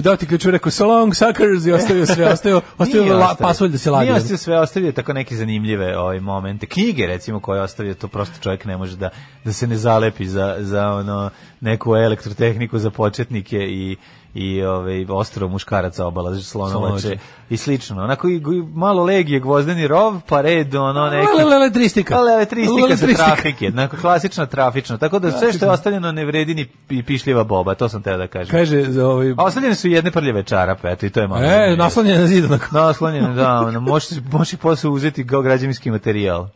Speaker 6: dao ti ključu, rekao, so long, suckers, i ostavio sve, ostavio, ostavio la, pasulj da se ladi.
Speaker 7: Nije ostavio sve, ostavio je tako neke zanimljive ovaj, momente. Knjige, recimo, koje je ostavio, to prosto čovjek ne može da, da se ne zalepi za, za ono, neku elektrotehniku za početnike i i ovaj ostrvo muškaraca obalaže slonovače
Speaker 6: Slonovače.
Speaker 7: ono i slično. Onako i, i malo legije gvozdeni rov, pa red ono neki
Speaker 6: Lele, lele, tristika.
Speaker 7: ali elektristika sa
Speaker 6: Elektristika.
Speaker 7: trafike, jednako klasična trafična. Tako da sve što je ostavljeno ne vredi ni pi- pišljiva boba, to sam teo da kažem.
Speaker 6: Kaže, za ovaj,
Speaker 7: A ostavljene su jedne prljave čarape, eto i to je malo.
Speaker 6: e, naslonjen na zid, onako.
Speaker 7: Naslonjene, da, ono, možeš, možeš ih posle uzeti kao građevinski materijal.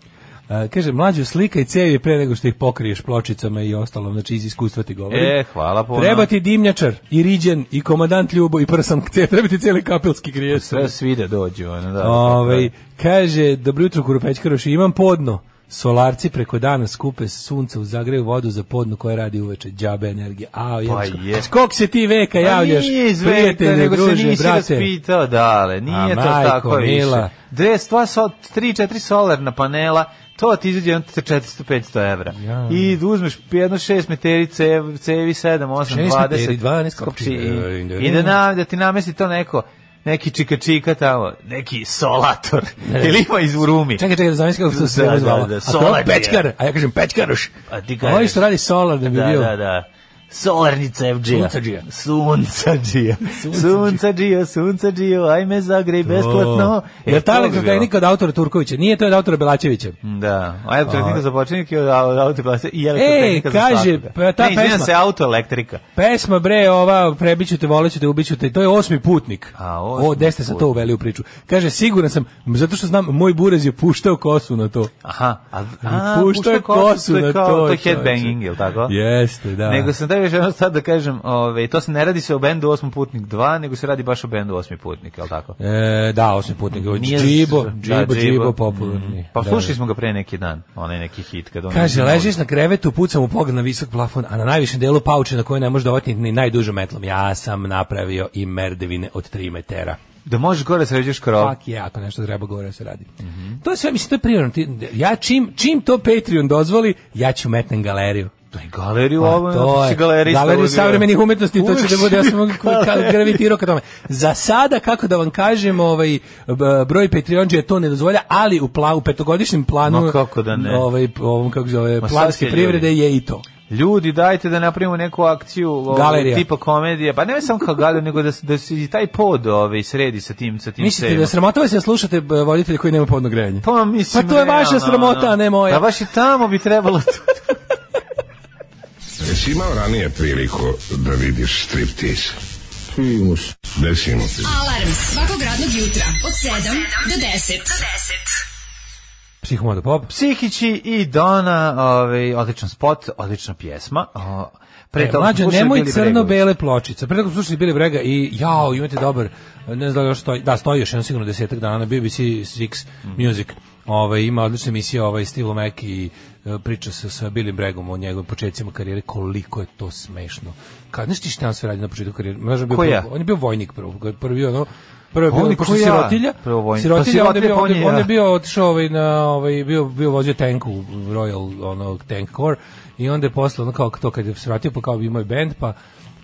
Speaker 6: A, kaže, mlađu slika i cevi pre nego što ih pokriješ pločicama i ostalom, znači iz iskustva ti govorim.
Speaker 7: E, hvala puno.
Speaker 6: Treba ti dimnjačar, i riđen, i komadant Ljubo, i prsam, kce- treba ti cijeli kapelski griješ.
Speaker 7: Sve svi da dođu, ono, da.
Speaker 6: Ove, kaže, dobro jutro Kuropećkaroši, imam podno. Solarci preko dana skupe sunce u zagreju vodu za podno koje radi uveče. Đabe energije. A,
Speaker 7: je.
Speaker 6: Skok se ti veka
Speaker 7: Pa
Speaker 6: javljaš,
Speaker 7: nije iz veka,
Speaker 6: prijatelje,
Speaker 7: nego se
Speaker 6: druže,
Speaker 7: nisi
Speaker 6: brate.
Speaker 7: raspitao, dale, nije
Speaker 6: A,
Speaker 7: to
Speaker 6: majko
Speaker 7: tako
Speaker 6: mila.
Speaker 7: više. Dve, stva, so, tri, četiri solarna panela, to ti izađe jedno 400-500 evra.
Speaker 6: Ja.
Speaker 7: I uzmeš jedno šest meteri, cev- cevi, sedam, osam,
Speaker 6: Šest meteri,
Speaker 7: dvadeset.
Speaker 6: 12
Speaker 7: skopči
Speaker 6: kopči.
Speaker 7: I, i da, na, da ti namesti to neko, neki čika čika tamo, neki solator, ili ima iz Urumi.
Speaker 6: Čekaj, čekaj, da zamislim kako se to sve
Speaker 7: Da, da,
Speaker 6: zvala.
Speaker 7: da,
Speaker 6: A to
Speaker 7: solar je.
Speaker 6: pečkar, a ja kažem pečkaroš.
Speaker 7: A ti
Speaker 6: A Ovo
Speaker 7: kažeš.
Speaker 6: što radi solar da bi
Speaker 7: da,
Speaker 6: bio.
Speaker 7: da, da. Solarnica FG-a.
Speaker 6: Suncađija.
Speaker 7: Suncađija. Suncađija, suncađija, ajme zagrej besplatno. E,
Speaker 6: O, Jer ta
Speaker 7: to bi bilo.
Speaker 6: elektrotehnika od autora Turkovića, nije to od autora Belačevića.
Speaker 7: Da, a elektrotehnika za počinjike od autoklase i
Speaker 6: E,
Speaker 7: elektrotehnika za
Speaker 6: kaže,
Speaker 7: svakoga.
Speaker 6: pa ta
Speaker 7: ne, izvinjam
Speaker 6: pesma-
Speaker 7: se, autoelektrika.
Speaker 6: Pesma bre, ova prebiću te, voleću te, ubiću te, to je osmi putnik.
Speaker 7: A, osmi
Speaker 6: o, deste sam to
Speaker 7: putnik.
Speaker 6: uveli u priču. Kaže, siguran sam, m, zato što znam, moj burez je puštao kosu na to.
Speaker 7: Aha, a,
Speaker 6: Ali pušta je kosu
Speaker 7: to je
Speaker 6: na
Speaker 7: kao,
Speaker 6: to,
Speaker 7: to je
Speaker 6: čoveče.
Speaker 7: headbanging, je li tako?
Speaker 6: Jeste, da.
Speaker 7: Pa. Nego sam tebi još jednom sad da kažem, ove, to se ne radi se o bendu Osmi putnik 2, nego se radi baš o bendu Osmi putnik, je li tako?
Speaker 6: E, da, osmi putnik.
Speaker 7: Nije-
Speaker 6: Džibo,
Speaker 7: da,
Speaker 6: džibo, džibo, popularni.
Speaker 7: Mm. Pa
Speaker 6: Da,
Speaker 7: slušali smo ga pre neki dan, onaj neki hit. Kad on
Speaker 6: Kaže, ležiš na krevetu, pucam u pogled na visok plafon, a na najvišem delu pauče na koje ne može dovati ni najdužom metlom. Ja sam napravio i merdevine od 3 metera.
Speaker 7: Da možeš gore da sređuješ krov.
Speaker 6: Fuck je, ako nešto treba gore da se radi.
Speaker 7: Mhm.
Speaker 6: To je sve, mislim, to je prirodno. Ti- Ja čim, čim to Patreon dozvoli, ja ću metnem galeriju.
Speaker 7: To je galeriju
Speaker 6: Pa,
Speaker 7: ovo, to je galerista.
Speaker 6: galeriju
Speaker 7: uzeo.
Speaker 6: savremenih umetnosti, to
Speaker 7: Uvek
Speaker 6: će da bude, ja sam
Speaker 7: si galerista.
Speaker 6: ka- gravitirao ka tome. Za sada, kako da vam kažem, ovaj, b- broj Patreonđe to ne dozvolja, ali u, pla, u petogodišnjem planu
Speaker 7: Ma kako da ne.
Speaker 6: ovaj, ovom, kako se zove,
Speaker 7: Ma
Speaker 6: planske
Speaker 7: svaki
Speaker 6: privrede je i to.
Speaker 7: Ljudi, dajte da napravimo neku akciju ovaj,
Speaker 6: Galerija.
Speaker 7: tipa komedije. Pa ne samo kao galerija, nego da, se- da se i taj pod ovaj, sredi sa tim, sa tim
Speaker 6: Mislite
Speaker 7: cevima.
Speaker 6: da sramotava se da slušate b- voditelja koji nema podno grejanje?
Speaker 7: Pa mislim...
Speaker 6: Pa to je vaša
Speaker 7: realno,
Speaker 6: sramota,
Speaker 7: ono.
Speaker 6: a ne moja.
Speaker 7: Pa baš i tamo bi trebalo to.
Speaker 8: Jesi imao ranije priliku da vidiš striptiz? Primus. Gde si imao?
Speaker 5: Alarm svakog radnog jutra od 7 do 10.
Speaker 6: Psihomodo pop.
Speaker 7: Psihići i Dona, ovaj, odličan spot, odlična pjesma. O, pre
Speaker 6: E,
Speaker 7: toga smo
Speaker 6: mlađo,
Speaker 7: slušali
Speaker 6: nemoj
Speaker 7: Billy Bregović.
Speaker 6: crno-bele pločice. Pre toga smo slušali Bili Brega i jao, imate dobar, ne znam da li još stoji, da, stoji još jedan sigurno desetak dana na BBC Six
Speaker 7: Mm.
Speaker 6: Music. Ovaj, ima odlične emisije, ovaj Steve Lomek i e, priča se sa Billy Bregom o njegovim početcima karijere, koliko je to smešno. Kad znaš ti šta on sve radi na početku karijere? Mlađo, on je bio
Speaker 7: Ko ja?
Speaker 6: prvo- on je bio vojnik prvo, prvi ono, prvo je bio,
Speaker 7: On je
Speaker 6: pošto
Speaker 7: ko
Speaker 6: je
Speaker 7: ja?
Speaker 6: sirotilja,
Speaker 7: Prvo vojnik. Pa
Speaker 6: sirotilja, onda je bio,
Speaker 7: sirotilja,
Speaker 6: onda-
Speaker 7: pa on je
Speaker 6: onda je
Speaker 7: ja.
Speaker 6: bio otišao ovaj na ovaj bio bio vozio tank u Royal onog Tank Corps i onda je posle ono kao to kad je se vratio pa kao bi moj bend pa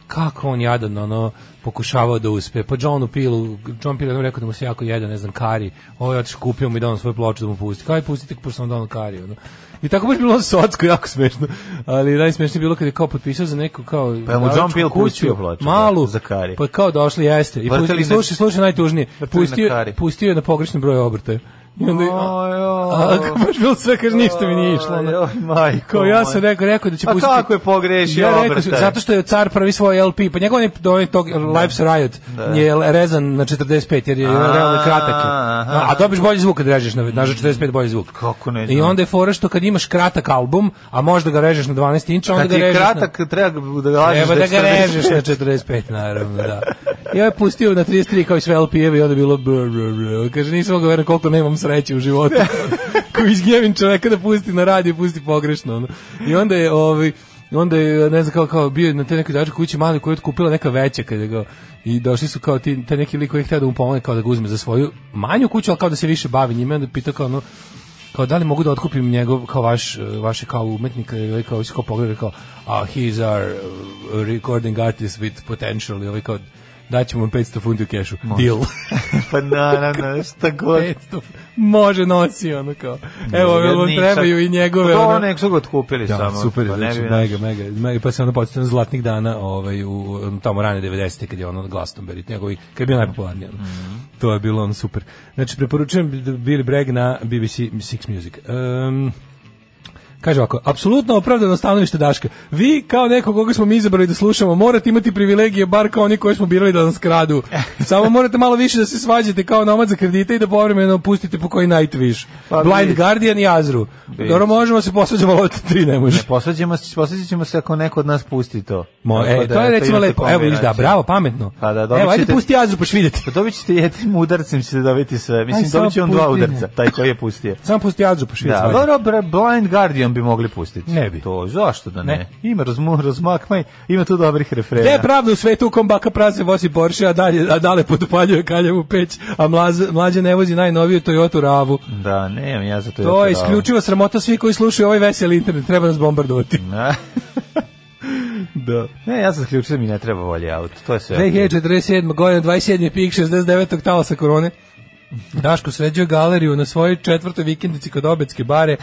Speaker 6: kako on jadan ono pokušavao da uspe. Pa Johnu Pilu, John Pilu je rekao da mu se jako jeda, ne znam, kari. Ovo je otišao, kupio mu i dao mu svoju ploču da mu pusti. Kaj pustite, pošto sam dao kari. Ono. I tako baš bilo socko, jako smešno. Ali najsmešnije je bilo kad je kao potpisao za neku kao...
Speaker 7: Pa je mu John
Speaker 6: davačku
Speaker 7: Peel
Speaker 6: kuću,
Speaker 7: pustio ploču, da,
Speaker 6: Malu,
Speaker 7: za Kari.
Speaker 6: Pa kao došli, jeste. I,
Speaker 7: Vrteli
Speaker 6: pusti, i
Speaker 7: na-
Speaker 6: slušaj, slušaj najtužnije.
Speaker 7: Vrteli na
Speaker 6: Pustio,
Speaker 7: Kari.
Speaker 6: pustio je na pogrešni broj obrtaja. I onda,
Speaker 7: Oj, oj.
Speaker 6: a, a, baš bilo sve, kaže, ništa mi nije išlo. ono.
Speaker 7: Oj, oj, majko
Speaker 6: Kao ja sam
Speaker 7: moja.
Speaker 6: rekao, rekao da će
Speaker 7: A
Speaker 6: pustiti...
Speaker 7: kako je pogrešio
Speaker 6: ja rekao,
Speaker 7: obrtaj?
Speaker 6: Zato što je car prvi svoj LP, pa njegov onaj, onaj tog Life's Riot je rezan na 45, jer je
Speaker 7: A,
Speaker 6: realno kratak. je.
Speaker 7: aha.
Speaker 6: A, a dobiš bolji zvuk kad režeš na, na 45 bolji zvuk.
Speaker 7: Kako ne
Speaker 6: I
Speaker 7: znam.
Speaker 6: onda je fora što kad imaš kratak album, a možda ga režeš na 12 inča, onda
Speaker 7: Kad
Speaker 6: ga
Speaker 7: ti je
Speaker 6: režeš na...
Speaker 7: kratak, treba da ga lažeš
Speaker 6: Treba da ga
Speaker 7: 40.
Speaker 6: režeš na 45, naravno, da. I on je pustio na 33 kao i sve LP-evi i onda je bilo... Br, br, br. Kaže, nisam mogao verovati koliko nemam sreće u životu. Ko izgnjevim čoveka da pusti na radiju, pusti pogrešno. Ono. I onda je... Ovaj, onda je, ne znam kao, kao bio je na te nekoj dačku kući mali koju je kupila neka veća kada ga i došli su kao ti, taj neki lik koji je htio da mu pomogne kao da ga uzme za svoju manju kuću, ali kao da se više bavi njime, onda je pitao kao ono, kao da li mogu da otkupim njegov kao vaš eh, vaše kao umetnika i ovaj kao "Ah, uh, isko pogleda kao a he is our eh, recording artist with potential i ovaj kao daćemo vam 500 funti u kešu. Deal.
Speaker 7: pa na, na, na, šta god.
Speaker 6: 500. Može nosi ono kao. E, Evo,
Speaker 7: Ja
Speaker 6: jel vam
Speaker 7: nisam-
Speaker 6: trebaju i njegove.
Speaker 7: Pa To
Speaker 6: ono?
Speaker 7: nek su ga otkupili
Speaker 6: Da,
Speaker 7: samo.
Speaker 6: super,
Speaker 7: pa
Speaker 6: je,
Speaker 7: ne
Speaker 6: znači,
Speaker 7: bi-
Speaker 6: mega, mega, mega, pa se onda podsjetio na zlatnih dana ovaj, u, tamo rane 90. kad je ono Glastonbury, njegovi, kad je bio najpopularniji. ono.
Speaker 7: Mhm.
Speaker 6: To je bilo ono super. Znači, preporučujem Billy Bragg na BBC Six Music. Um, Kaže ovako, apsolutno opravdano stanovište Daška. Vi, kao neko koga smo mi izabrali da slušamo, morate imati privilegije, bar kao oni koji smo birali da nas kradu. Samo morate malo više da se svađate kao nomad za kredite i da povremeno pustite po koji Nightwish.
Speaker 7: Pa
Speaker 6: Blind
Speaker 7: vidi.
Speaker 6: Guardian i Azru. Dobro, možemo se posvađamo, ali od tri ne može.
Speaker 7: Ne, Posvađamo se, posvađat ćemo se ako neko od nas pusti pa to.
Speaker 6: Mo,
Speaker 7: Tako
Speaker 6: e, to je
Speaker 7: eto,
Speaker 6: recimo
Speaker 7: imate
Speaker 6: lepo. Evo vidiš da,
Speaker 7: kombinaciju.
Speaker 6: bravo, pametno.
Speaker 7: Pa da, dobit
Speaker 6: Evo, ajde
Speaker 7: ćete-
Speaker 6: pusti Azru pa ćeš vidjeti.
Speaker 7: Pa dobit ćete jednim udarcem ćete dobiti sve. Mislim,
Speaker 6: Aj,
Speaker 7: dobit će on
Speaker 6: samo
Speaker 7: dva
Speaker 6: pusti,
Speaker 7: udarca,
Speaker 6: ne.
Speaker 7: taj koji je pustio.
Speaker 6: Samo pusti Azru pa ćeš vidjeti.
Speaker 7: Da,
Speaker 6: svađu.
Speaker 7: dobro, bre, Blind Guardian bi mogli pustiti.
Speaker 6: Ne bi.
Speaker 7: To, zašto da ne?
Speaker 6: Ne.
Speaker 7: Ima razmu, razmakmaj, ima tu dobrih refrena.
Speaker 6: Gde je pravda u svetu u kom baka prase vozi Porsche, a, dalje, a dale podupaljuje kaljavu peć, a mlaz, mlađe ne vozi najnoviju Toyota Ravu.
Speaker 7: Da, nemam ja za to.
Speaker 6: To je
Speaker 7: da-
Speaker 6: isključivo sramota svih koji slušaju ovaj veseli internet, treba nas bombardovati.
Speaker 7: Na. da. Ne, ja sam isključio da mi ne treba volje auto. To je sve.
Speaker 6: 2047. godine, 27. pik, 69. talasa korone. Daško sređuje galeriju na svojoj četvrtoj vikendici kod Obetske bare.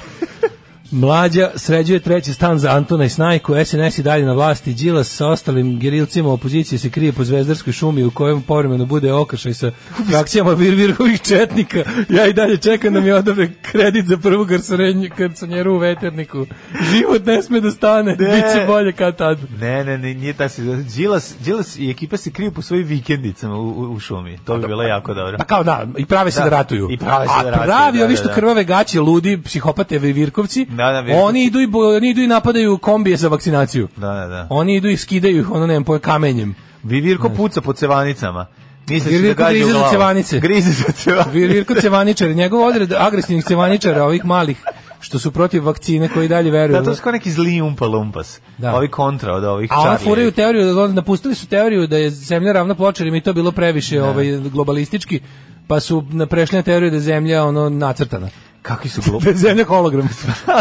Speaker 6: Mlađa sređuje treći stan za Antona i Snajku, SNS i dalje na vlasti, Đilas sa ostalim gerilcima opozicije se krije po zvezdarskoj šumi u kojem povremeno bude okršaj sa frakcijama vir virhovih četnika. Ja i dalje čekam da mi odobre kredit za prvu garsorenju- garconjeru u veterniku. Život ne sme da stane, bit će bolje kad tad.
Speaker 7: Ne, ne, ne, nije tako. Đilas, Đilas i ekipa se kriju po svojim vikendicama u, u, u šumi. To bi bilo jako dobro.
Speaker 6: Pa kao da, i prave se da,
Speaker 7: Da,
Speaker 6: ratuju.
Speaker 7: i prave se
Speaker 6: A
Speaker 7: da ratuju,
Speaker 6: pravi
Speaker 7: da,
Speaker 6: ovi
Speaker 7: da,
Speaker 6: što
Speaker 7: da.
Speaker 6: krvave gaće, ludi, psihopate, virkovci,
Speaker 7: Da, da, virkovci.
Speaker 6: oni, idu i, bo- oni idu i napadaju kombije za vakcinaciju.
Speaker 7: Da, da, da.
Speaker 6: Oni idu i skidaju ih, ono, nemam poje, kamenjem.
Speaker 7: Vi Virko puca po cevanicama. Misliš da
Speaker 6: Virko
Speaker 7: gađa
Speaker 6: grize
Speaker 7: u
Speaker 6: za
Speaker 7: glavu.
Speaker 6: cevanice.
Speaker 7: Grize za cevanice.
Speaker 6: Vir- Virko Cevaničar, njegov odred agresivnih Cevaničara, ovih malih, što su protiv vakcine, koji dalje veruju.
Speaker 7: Da, to su kao neki zli umpa lumpas.
Speaker 6: Da.
Speaker 7: Ovi kontra od ovih
Speaker 6: A oni
Speaker 7: Charlie.
Speaker 6: furaju teoriju, da- napustili su teoriju da je zemlja ravna ploča, jer im je to bilo previše ovaj, globalistički, pa su na- prešli na teoriju da je zemlja ono, nacrtana.
Speaker 7: Kakvi su glupi.
Speaker 6: Da je zemlja hologram.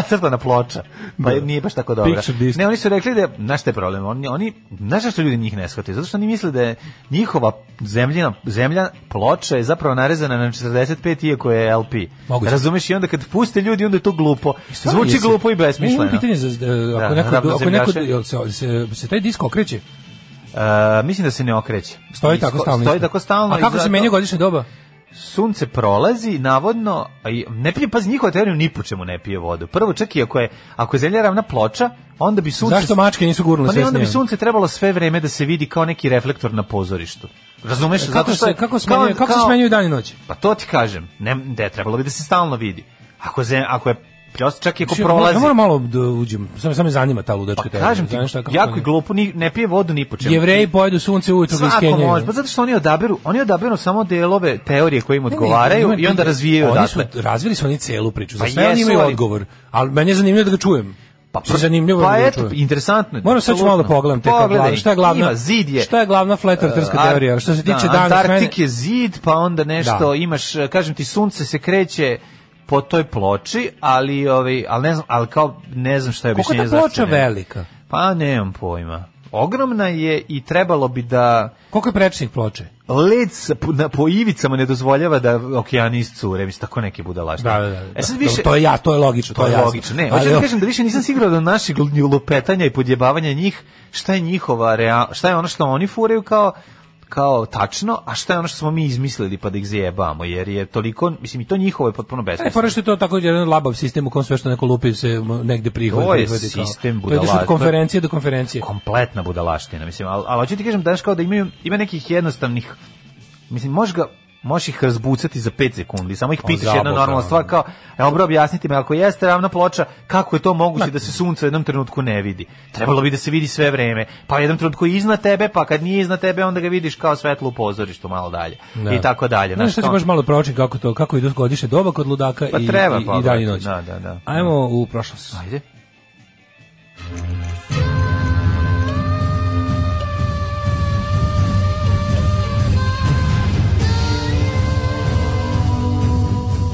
Speaker 7: crtana ploča. Pa
Speaker 6: Da.
Speaker 7: nije baš tako dobra.
Speaker 6: Picture disc.
Speaker 7: Ne, oni su rekli da, znaš šta je problem, oni, oni znaš zašto ljudi njih ne shvataju? Zato što oni misle da je njihova zemljina, zemlja ploča je zapravo narezana na 45 iako je LP.
Speaker 6: Moguće.
Speaker 7: Razumeš? I onda kad puste ljudi, onda je to glupo. Zvuči
Speaker 6: Jesi.
Speaker 7: glupo i
Speaker 6: Ne,
Speaker 7: besmisleno.
Speaker 6: Imam pitanje za e, ako
Speaker 7: Da,
Speaker 6: neko
Speaker 7: ravno
Speaker 6: ako neko
Speaker 7: zemljaše.
Speaker 6: jel se, se, se taj disk okreće.
Speaker 7: E, mislim da se ne okreće.
Speaker 6: Stoji
Speaker 7: Isko-
Speaker 6: tako stalno.
Speaker 7: Stoji
Speaker 6: isto.
Speaker 7: tako stalno.
Speaker 6: A
Speaker 7: i
Speaker 6: kako se
Speaker 7: zato
Speaker 6: menja godišnja doba?
Speaker 7: Sunce prolazi, navodno, a i- ne pije, pazi, njihova teorija ni po čemu ne pije vodu. Prvo, čak i ako je, ako je zemlja ravna ploča, onda bi sunce...
Speaker 6: Zašto mačke nisu gurnule
Speaker 7: Pa
Speaker 6: sve
Speaker 7: ne, onda bi
Speaker 6: snijegom?
Speaker 7: sunce trebalo sve vreme da se vidi kao neki reflektor na pozorištu. Razumeš?
Speaker 6: E, Kako
Speaker 7: Zato što
Speaker 6: se
Speaker 7: je,
Speaker 6: kako
Speaker 7: kao-
Speaker 6: smenjuje kako se
Speaker 7: kao-
Speaker 6: smenjuju dan i noć?
Speaker 7: Pa to ti kažem. Ne, ne, trebalo bi da se stalno vidi. Ako, zem, ako je pljos- čak i ako
Speaker 6: Znači,
Speaker 7: prolazi.
Speaker 6: Ja moram malo da uđem. Samo samo me zanima ta ludačka
Speaker 7: pa
Speaker 6: teorija.
Speaker 7: kažem ti,
Speaker 6: Znaš šta, kako
Speaker 7: jako je
Speaker 6: ne-
Speaker 7: glupo, ni, ne pije vodu ni po čemu.
Speaker 6: Jevreji pojedu sunce ujutro ga
Speaker 7: Svako
Speaker 6: iskenjaju.
Speaker 7: može, pa zato što oni odaberu, oni odaberu samo delove teorije koje im
Speaker 6: Ne, ne,
Speaker 7: odgovaraju
Speaker 6: imam
Speaker 7: i onda
Speaker 6: pitanje.
Speaker 7: razvijaju
Speaker 6: Oni
Speaker 7: odatle.
Speaker 6: su razvili su oni celu priču. Za
Speaker 7: Pa
Speaker 6: sve oni
Speaker 7: jesu,
Speaker 6: imaju
Speaker 7: ali-
Speaker 6: odgovor. Ali meni je zanimljivo da ga čujem. Pa,
Speaker 7: pr-
Speaker 6: zanimljivo
Speaker 7: pa
Speaker 6: da ga
Speaker 7: eto,
Speaker 6: čujem.
Speaker 7: interesantno je,
Speaker 6: Moram sad ću malo da
Speaker 7: apsolutno.
Speaker 6: pogledam te kao
Speaker 7: Pogledaj,
Speaker 6: glavno. Šta je glavna?
Speaker 7: ima, zid je.
Speaker 6: Šta je glavna flat eartherska
Speaker 7: Ar-
Speaker 6: teorija? Što se tiče
Speaker 7: da,
Speaker 6: dana smene-
Speaker 7: Antarktik je zid, pa onda nešto
Speaker 6: Da.
Speaker 7: imaš, kažem ti, sunce se kreće po toj ploči, ali ovaj, ali ne znam, ali kao ne znam šta je
Speaker 6: Koliko
Speaker 7: objašnjenje
Speaker 6: je ta
Speaker 7: zašto
Speaker 6: ploča
Speaker 7: ne.
Speaker 6: velika?
Speaker 7: Pa nemam pojma. Ogromna je i trebalo bi da
Speaker 6: Koliko je prečnih ploče?
Speaker 7: led sa- po, na, po ivicama ne dozvoljava da okeani iscure, mislim tako neke budalaštine. E sad više
Speaker 6: to je ja, to je logično, to,
Speaker 7: To je
Speaker 6: Pa jasno.
Speaker 7: logično. Ne,
Speaker 6: Ali,
Speaker 7: hoću da kažem da više nisam siguran da naših lupetanja i podjebavanja njih, šta je njihova real, šta je ono što oni furaju kao kao tačno, a šta je ono što smo mi izmislili pa da ih zajebamo, jer je toliko, mislim i to njihovo je potpuno
Speaker 6: Ne,
Speaker 7: besmisleno.
Speaker 6: E, fora što je to tako jedan labav sistem u kom sve što neko lupi se m, negde prihodi.
Speaker 7: To je
Speaker 6: prihodi kao-
Speaker 7: sistem
Speaker 6: To ideš
Speaker 7: budala-
Speaker 6: od konferencije do konferencije.
Speaker 7: Kompletna budalaština, mislim, ali, ali hoću ti kažem da je kao da imaju, ima nekih jednostavnih, mislim, možeš ga, možeš ih razbucati za 5 sekundi, samo ih
Speaker 6: O,
Speaker 7: pitaš jedna
Speaker 6: zaboga,
Speaker 7: normalna stvar kao, evo bro, objasnite mi, ako jeste ravna ploča, kako je to moguće da se sunce u jednom trenutku ne vidi? Trebalo bi da se vidi sve vreme, pa u jednom trenutku je iznad tebe, pa kad nije iznad tebe, onda ga vidiš kao svetlo u pozorištu malo dalje, i tako dalje.
Speaker 6: Znaš
Speaker 7: Znaš,
Speaker 6: šta ću
Speaker 7: to-
Speaker 6: baš malo pročiti kako to kako idu godišnje doba kod ludaka
Speaker 7: Pa
Speaker 6: i
Speaker 7: treba
Speaker 6: i, i
Speaker 7: pogledati,
Speaker 6: dan i noć.
Speaker 7: da, da, da.
Speaker 6: Ajmo u prošlost.
Speaker 7: Ajde.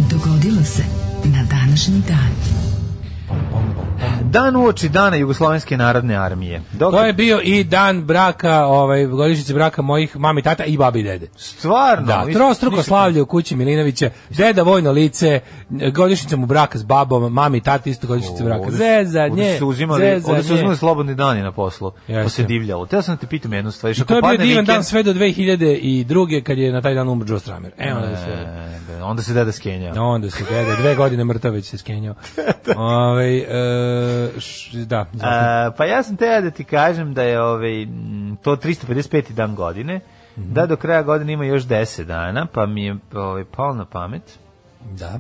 Speaker 5: Dogodilo se na današnji dan.
Speaker 7: Dan uoči dana Jugoslovenske narodne armije. Dok
Speaker 6: To je bio i dan braka, ovaj, godišnjice braka mojih mami, tata i babi i dede.
Speaker 7: Stvarno.
Speaker 6: Da,
Speaker 7: is-
Speaker 6: trostruko
Speaker 7: ništa-
Speaker 6: slavlje u kući Milinovića, deda vojno lice, godišnjica mu braka s babom, mami i tati isto godišnjica braka.
Speaker 7: Ovde-
Speaker 6: Zezanje,
Speaker 7: ovde su uzimali, ovde su
Speaker 6: zezanje.
Speaker 7: uzimali slobodni dani na poslu. Pa
Speaker 6: Jeste.
Speaker 7: se divljalo. Teo sam da te pitam jednu stvar.
Speaker 6: I to je bio divan dan sve do 2002. kad je na taj dan umro Joe Stramer. E, onda je sve.
Speaker 7: onda se deda skenja.
Speaker 6: No, onda se gleda, dve godine mrtav već se skenjao. Ovaj, e, š- da, zato.
Speaker 7: A, pa ja sam teo da ti kažem da je ovaj, m, to 355. dan godine,
Speaker 6: Mhm.
Speaker 7: da do kraja godine ima još 10 dana, pa mi je ovaj, palo na pamet.
Speaker 6: da.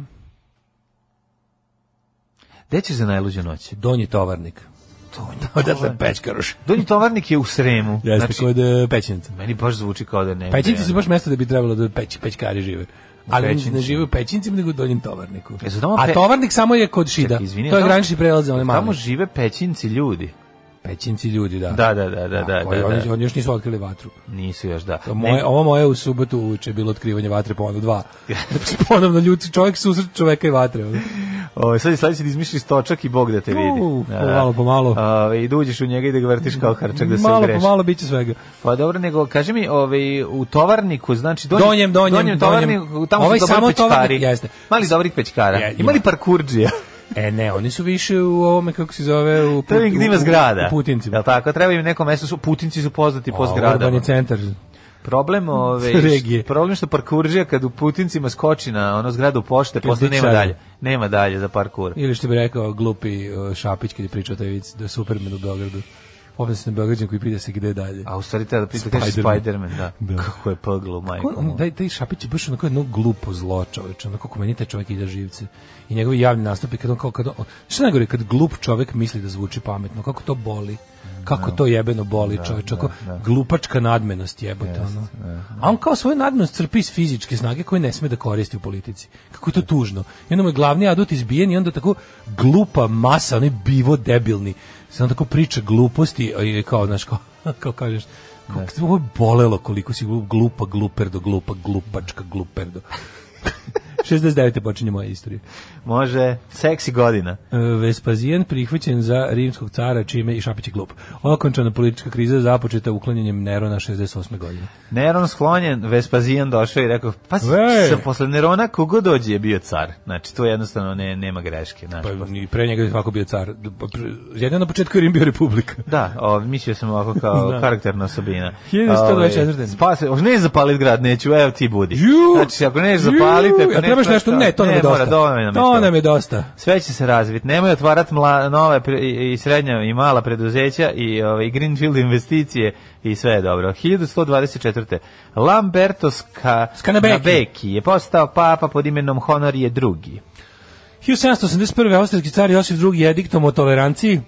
Speaker 7: Gde ćeš za najluđu noć?
Speaker 6: Donji tovarnik. Odatle pečkaroš.
Speaker 7: Donji tovarnik je u Sremu. Znači,
Speaker 6: Jeste, kod e, pećinca.
Speaker 7: meni baš zvuči kao da ne.
Speaker 6: Pećinci su baš mesto da bi trebalo da peć, pećkari žive. Ali oni ne
Speaker 7: Pećinci.
Speaker 6: žive u pećincima, nego u donjem tovarniku.
Speaker 7: E, su tamo
Speaker 6: A
Speaker 7: pe-
Speaker 6: tovarnik samo je kod Šida.
Speaker 7: Čekaj, izvini,
Speaker 6: to je
Speaker 7: tamo-
Speaker 6: granični prelaz za one male.
Speaker 7: Tamo žive pećinci ljudi.
Speaker 6: Pećinci ljudi, da.
Speaker 7: Da, da, da, da,
Speaker 6: Da,
Speaker 7: da,
Speaker 6: koji
Speaker 7: da,
Speaker 6: Oni,
Speaker 7: da.
Speaker 6: oni još nisu otkrili vatru.
Speaker 7: Nisu još, da.
Speaker 6: To Moje,
Speaker 7: Ne-
Speaker 6: ovo moje u subotu uče je bilo otkrivanje vatre ponovno dva. Znači, ponovno ljudi, čovjek susret čoveka i vatre. ono.
Speaker 7: Ovaj sad sad će da izmisliš stočak i Bog da te vidi.
Speaker 6: U,
Speaker 7: Da, da.
Speaker 6: pomalo, pomalo.
Speaker 7: Ovaj, I da uđeš u njega i da ga vrtiš kao harčak da se
Speaker 6: malo po
Speaker 7: ugreši.
Speaker 6: malo bit će svega.
Speaker 7: Pa dobro, nego kaži mi, ovaj u tovarniku, znači donjem
Speaker 6: Donjem, donjem, donjem.
Speaker 7: tovarniku, tamo
Speaker 6: Ovaj
Speaker 7: su dobri
Speaker 6: samo
Speaker 7: pećkari.
Speaker 6: tovarnik, jeste.
Speaker 7: Mali dobrih pećkara.
Speaker 6: Je,
Speaker 7: Imali
Speaker 6: ima.
Speaker 7: parkurdžija.
Speaker 6: E ne, oni su više u ovome, kako se zove, u,
Speaker 7: Treba im
Speaker 6: Put-
Speaker 7: gde ima
Speaker 6: u- u-
Speaker 7: zgrada.
Speaker 6: u Putincima.
Speaker 7: Jel ono. tako? Treba im neko mesto, su Putinci su poznati po
Speaker 6: A, Urbani
Speaker 7: zgradama.
Speaker 6: centar.
Speaker 7: Problem, ovaj,
Speaker 6: Regije.
Speaker 7: š- problem što parkurdžija kad u Putincima skoči na ono zgradu pošte, posle nema
Speaker 6: dičar.
Speaker 7: dalje. Nema dalje za parkur.
Speaker 6: Ili što bi rekao glupi e, Šapić kad je pričao taj vic da je Superman u Beogradu. Opet sam Beograđan koji pita se gde dalje.
Speaker 7: A u stvari treba da pita kaže
Speaker 6: Spiderman.
Speaker 7: Spiderman, da.
Speaker 6: Da.
Speaker 7: Kako je poglo, majko.
Speaker 6: On, on,
Speaker 7: moja.
Speaker 6: taj, taj Šapić je baš onako jedno glupo zlo čoveče, onako kako meni taj čovjek ide živce. I njegovi javni nastupi, kad on kao, kad on, šta najgore, kad glup čovjek misli da zvuči pametno, kako to boli, kako to jebeno boli čoveče, kako glupačka nadmenost jebote. ono. A on kao svoju nadmenost crpi iz fizičke snage koje ne sme da koristi u politici. Kako je to tužno. I onda mu je glavni adut izbijen i onda tako glupa masa, onaj bivo debilni, se on tako priča gluposti, a je kao, znaš, kao, kao kažeš, kako ti ovo je bolelo koliko si glup, glupa, gluperdo, glupa, glupačka, gluperdo. 69. počinje moja istorija.
Speaker 7: Može, seksi godina.
Speaker 6: E, Vespazijan prihvaćen za rimskog cara, čime i Šapić je glup. Okončana politička kriza započeta uklanjanjem Nerona 68. godine.
Speaker 7: Neron sklonjen, Vespazijan došao i rekao, pa s-
Speaker 6: Ej!
Speaker 7: sa posle Nerona kogo dođe je bio car. Znači, to jednostavno ne, nema greške. Znači,
Speaker 6: Pa, i pre njega je svako bio car. Pa, pre- Jedino na početku je Rim bio republika.
Speaker 7: Da, o, mislio sam ovako kao karakterna osobina.
Speaker 6: 1124.
Speaker 7: Ovaj, Spase, o, ne zapalit grad, neću, evo ti budi.
Speaker 6: Ju!
Speaker 7: znači, ako neš zapaliti,
Speaker 6: Ju,
Speaker 7: ako
Speaker 6: a
Speaker 7: ne-
Speaker 6: trebaš nešto? Ne, to nam je
Speaker 7: Ne, mora,
Speaker 6: dosta.
Speaker 7: dovoljno nam je
Speaker 6: To
Speaker 7: to.
Speaker 6: nam je dosta.
Speaker 7: Sve će se razviti. Nemoj otvarati mla, nove pre- i i srednja i mala preduzeća i ovaj, Greenfield investicije i sve je dobro. 1124. Lamberto Ska,
Speaker 6: Skanabeki.
Speaker 7: Nabeki je postao papa pod imenom Honorije II.
Speaker 6: 1781. austrijski car Josip II. je ediktom o toleranciji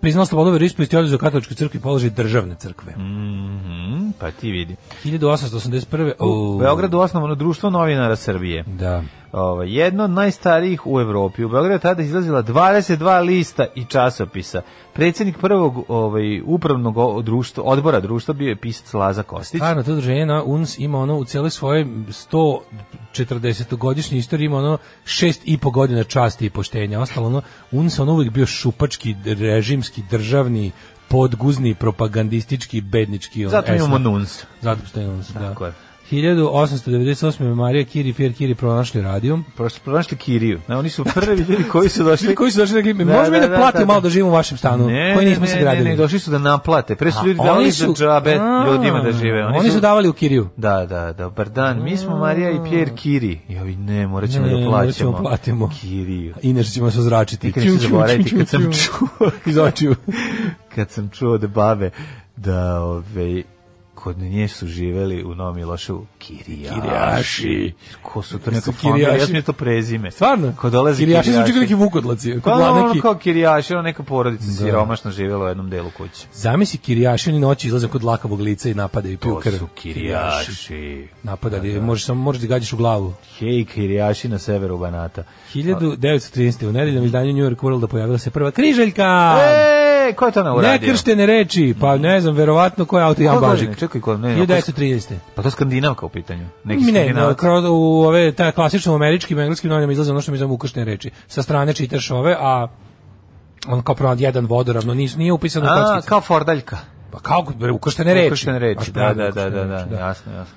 Speaker 6: priznao slobodu veroispovesti i oduzeo katoličkoj crkvi položaj državne crkve.
Speaker 7: Mhm, pa ti vidi.
Speaker 6: 1881.
Speaker 7: U
Speaker 6: U
Speaker 7: Beogradu osnovano društvo novinara Srbije.
Speaker 6: Da.
Speaker 7: Ovaj, jedno od najstarijih u Evropi. U Beogradu je tada izlazila 22 lista i časopisa. Predsjednik prvog ovaj, upravnog o- društva, odbora društva bio je pisac Laza Kostić.
Speaker 6: Stvarno, to udruženje na UNS ima ono u cijeloj svojoj 140-godišnjoj istoriji ima ono šest i po godina časti i poštenja. Ostalo ono, UNS ono uvijek bio šupački, režimski, državni, podguzni, propagandistički, bednički. On,
Speaker 7: Zato imamo
Speaker 6: esnaf.
Speaker 7: NUNS.
Speaker 6: Zato postoji UNS, da.
Speaker 7: Tako je.
Speaker 6: 1898. Marija Kiri Fjerkiri pronašli radijom.
Speaker 7: Prošli, pronašli Kiriju. Ne, oni su prvi ljudi koji su došli...
Speaker 6: koji su došli i rekli,
Speaker 7: Da,
Speaker 6: možemo i
Speaker 7: da,
Speaker 6: da
Speaker 7: da,
Speaker 6: platimo
Speaker 7: tako.
Speaker 6: malo da živimo u vašem stanu, koji nismo se
Speaker 7: ne,
Speaker 6: gradili.
Speaker 7: ne, došli su da naplate. Pre su ljudi
Speaker 6: A,
Speaker 7: davali za džabe
Speaker 6: A,
Speaker 7: ljudima da žive.
Speaker 6: Oni, su davali u Kiriju.
Speaker 7: Da, da, dobar dan. Mi smo Marija i Pierre Kiri. Jovi, ne, morat ćemo
Speaker 6: Ne,
Speaker 7: da
Speaker 6: morat ćemo
Speaker 7: plaćamo.
Speaker 6: platimo.
Speaker 7: Kiriju.
Speaker 6: Inače ćemo se ozračiti.
Speaker 7: Nikad neću
Speaker 6: Ću, ću, ću,
Speaker 7: zaboraviti kad sam
Speaker 6: ću.
Speaker 7: čuo
Speaker 6: iz očiju.
Speaker 7: kad sam čuo od babe da ove, kod nje su živeli u Novom Milošu kirijaši.
Speaker 6: Kirijaši.
Speaker 7: Ko su to
Speaker 6: Ne
Speaker 7: neko
Speaker 6: su
Speaker 7: familija?
Speaker 6: kirijaši.
Speaker 7: Ja sam je to prezime.
Speaker 6: Stvarno?
Speaker 7: Ko dolazi
Speaker 6: Kirijaši
Speaker 7: kirijaši.
Speaker 6: zvuči kao neki vukodlaci.
Speaker 7: Pa
Speaker 6: Kao
Speaker 7: ono
Speaker 6: neki...
Speaker 7: kao kirijaši, ono neka porodica siromašno živjela u jednom delu kuće.
Speaker 6: Zamisli kirijaši, oni noći izlaze kod lakavog lica i napadaju i piju
Speaker 7: To
Speaker 6: krv.
Speaker 7: su kirijaši.
Speaker 6: Napadali, možeš, samo, možeš da gađaš u glavu.
Speaker 7: Hej, kirijaši na severu Banata.
Speaker 6: 1913. u nedeljnom izdanju New York Worlda pojavila se prva križeljka!
Speaker 7: E, ko je to na uradio?
Speaker 6: Nekrštene reči, pa ne znam, verovatno ko je auto Jan
Speaker 7: Koje godine?
Speaker 6: Bažik.
Speaker 7: Čekaj, ko- ne,
Speaker 6: 1913.
Speaker 7: Pa to skandinavka u pitanju. Neki
Speaker 6: Mi ne,
Speaker 7: skandinavac.
Speaker 6: kroz, u ove ta klasično u američkim i engleskim novinama izlaze ono što mi zovemo ukrštene reči. Sa strane čitaš ove, a on kao pravo jedan vodoravno, nije, nije upisano u
Speaker 7: A,
Speaker 6: kockice.
Speaker 7: kao fordaljka.
Speaker 6: Pa kao bre, ukrštene reči.
Speaker 7: Ukrštene reči,
Speaker 6: Baš
Speaker 7: da,
Speaker 6: prave
Speaker 7: da, da,
Speaker 6: ukrštene
Speaker 7: da,
Speaker 6: reči,
Speaker 7: da, jasno, jasno.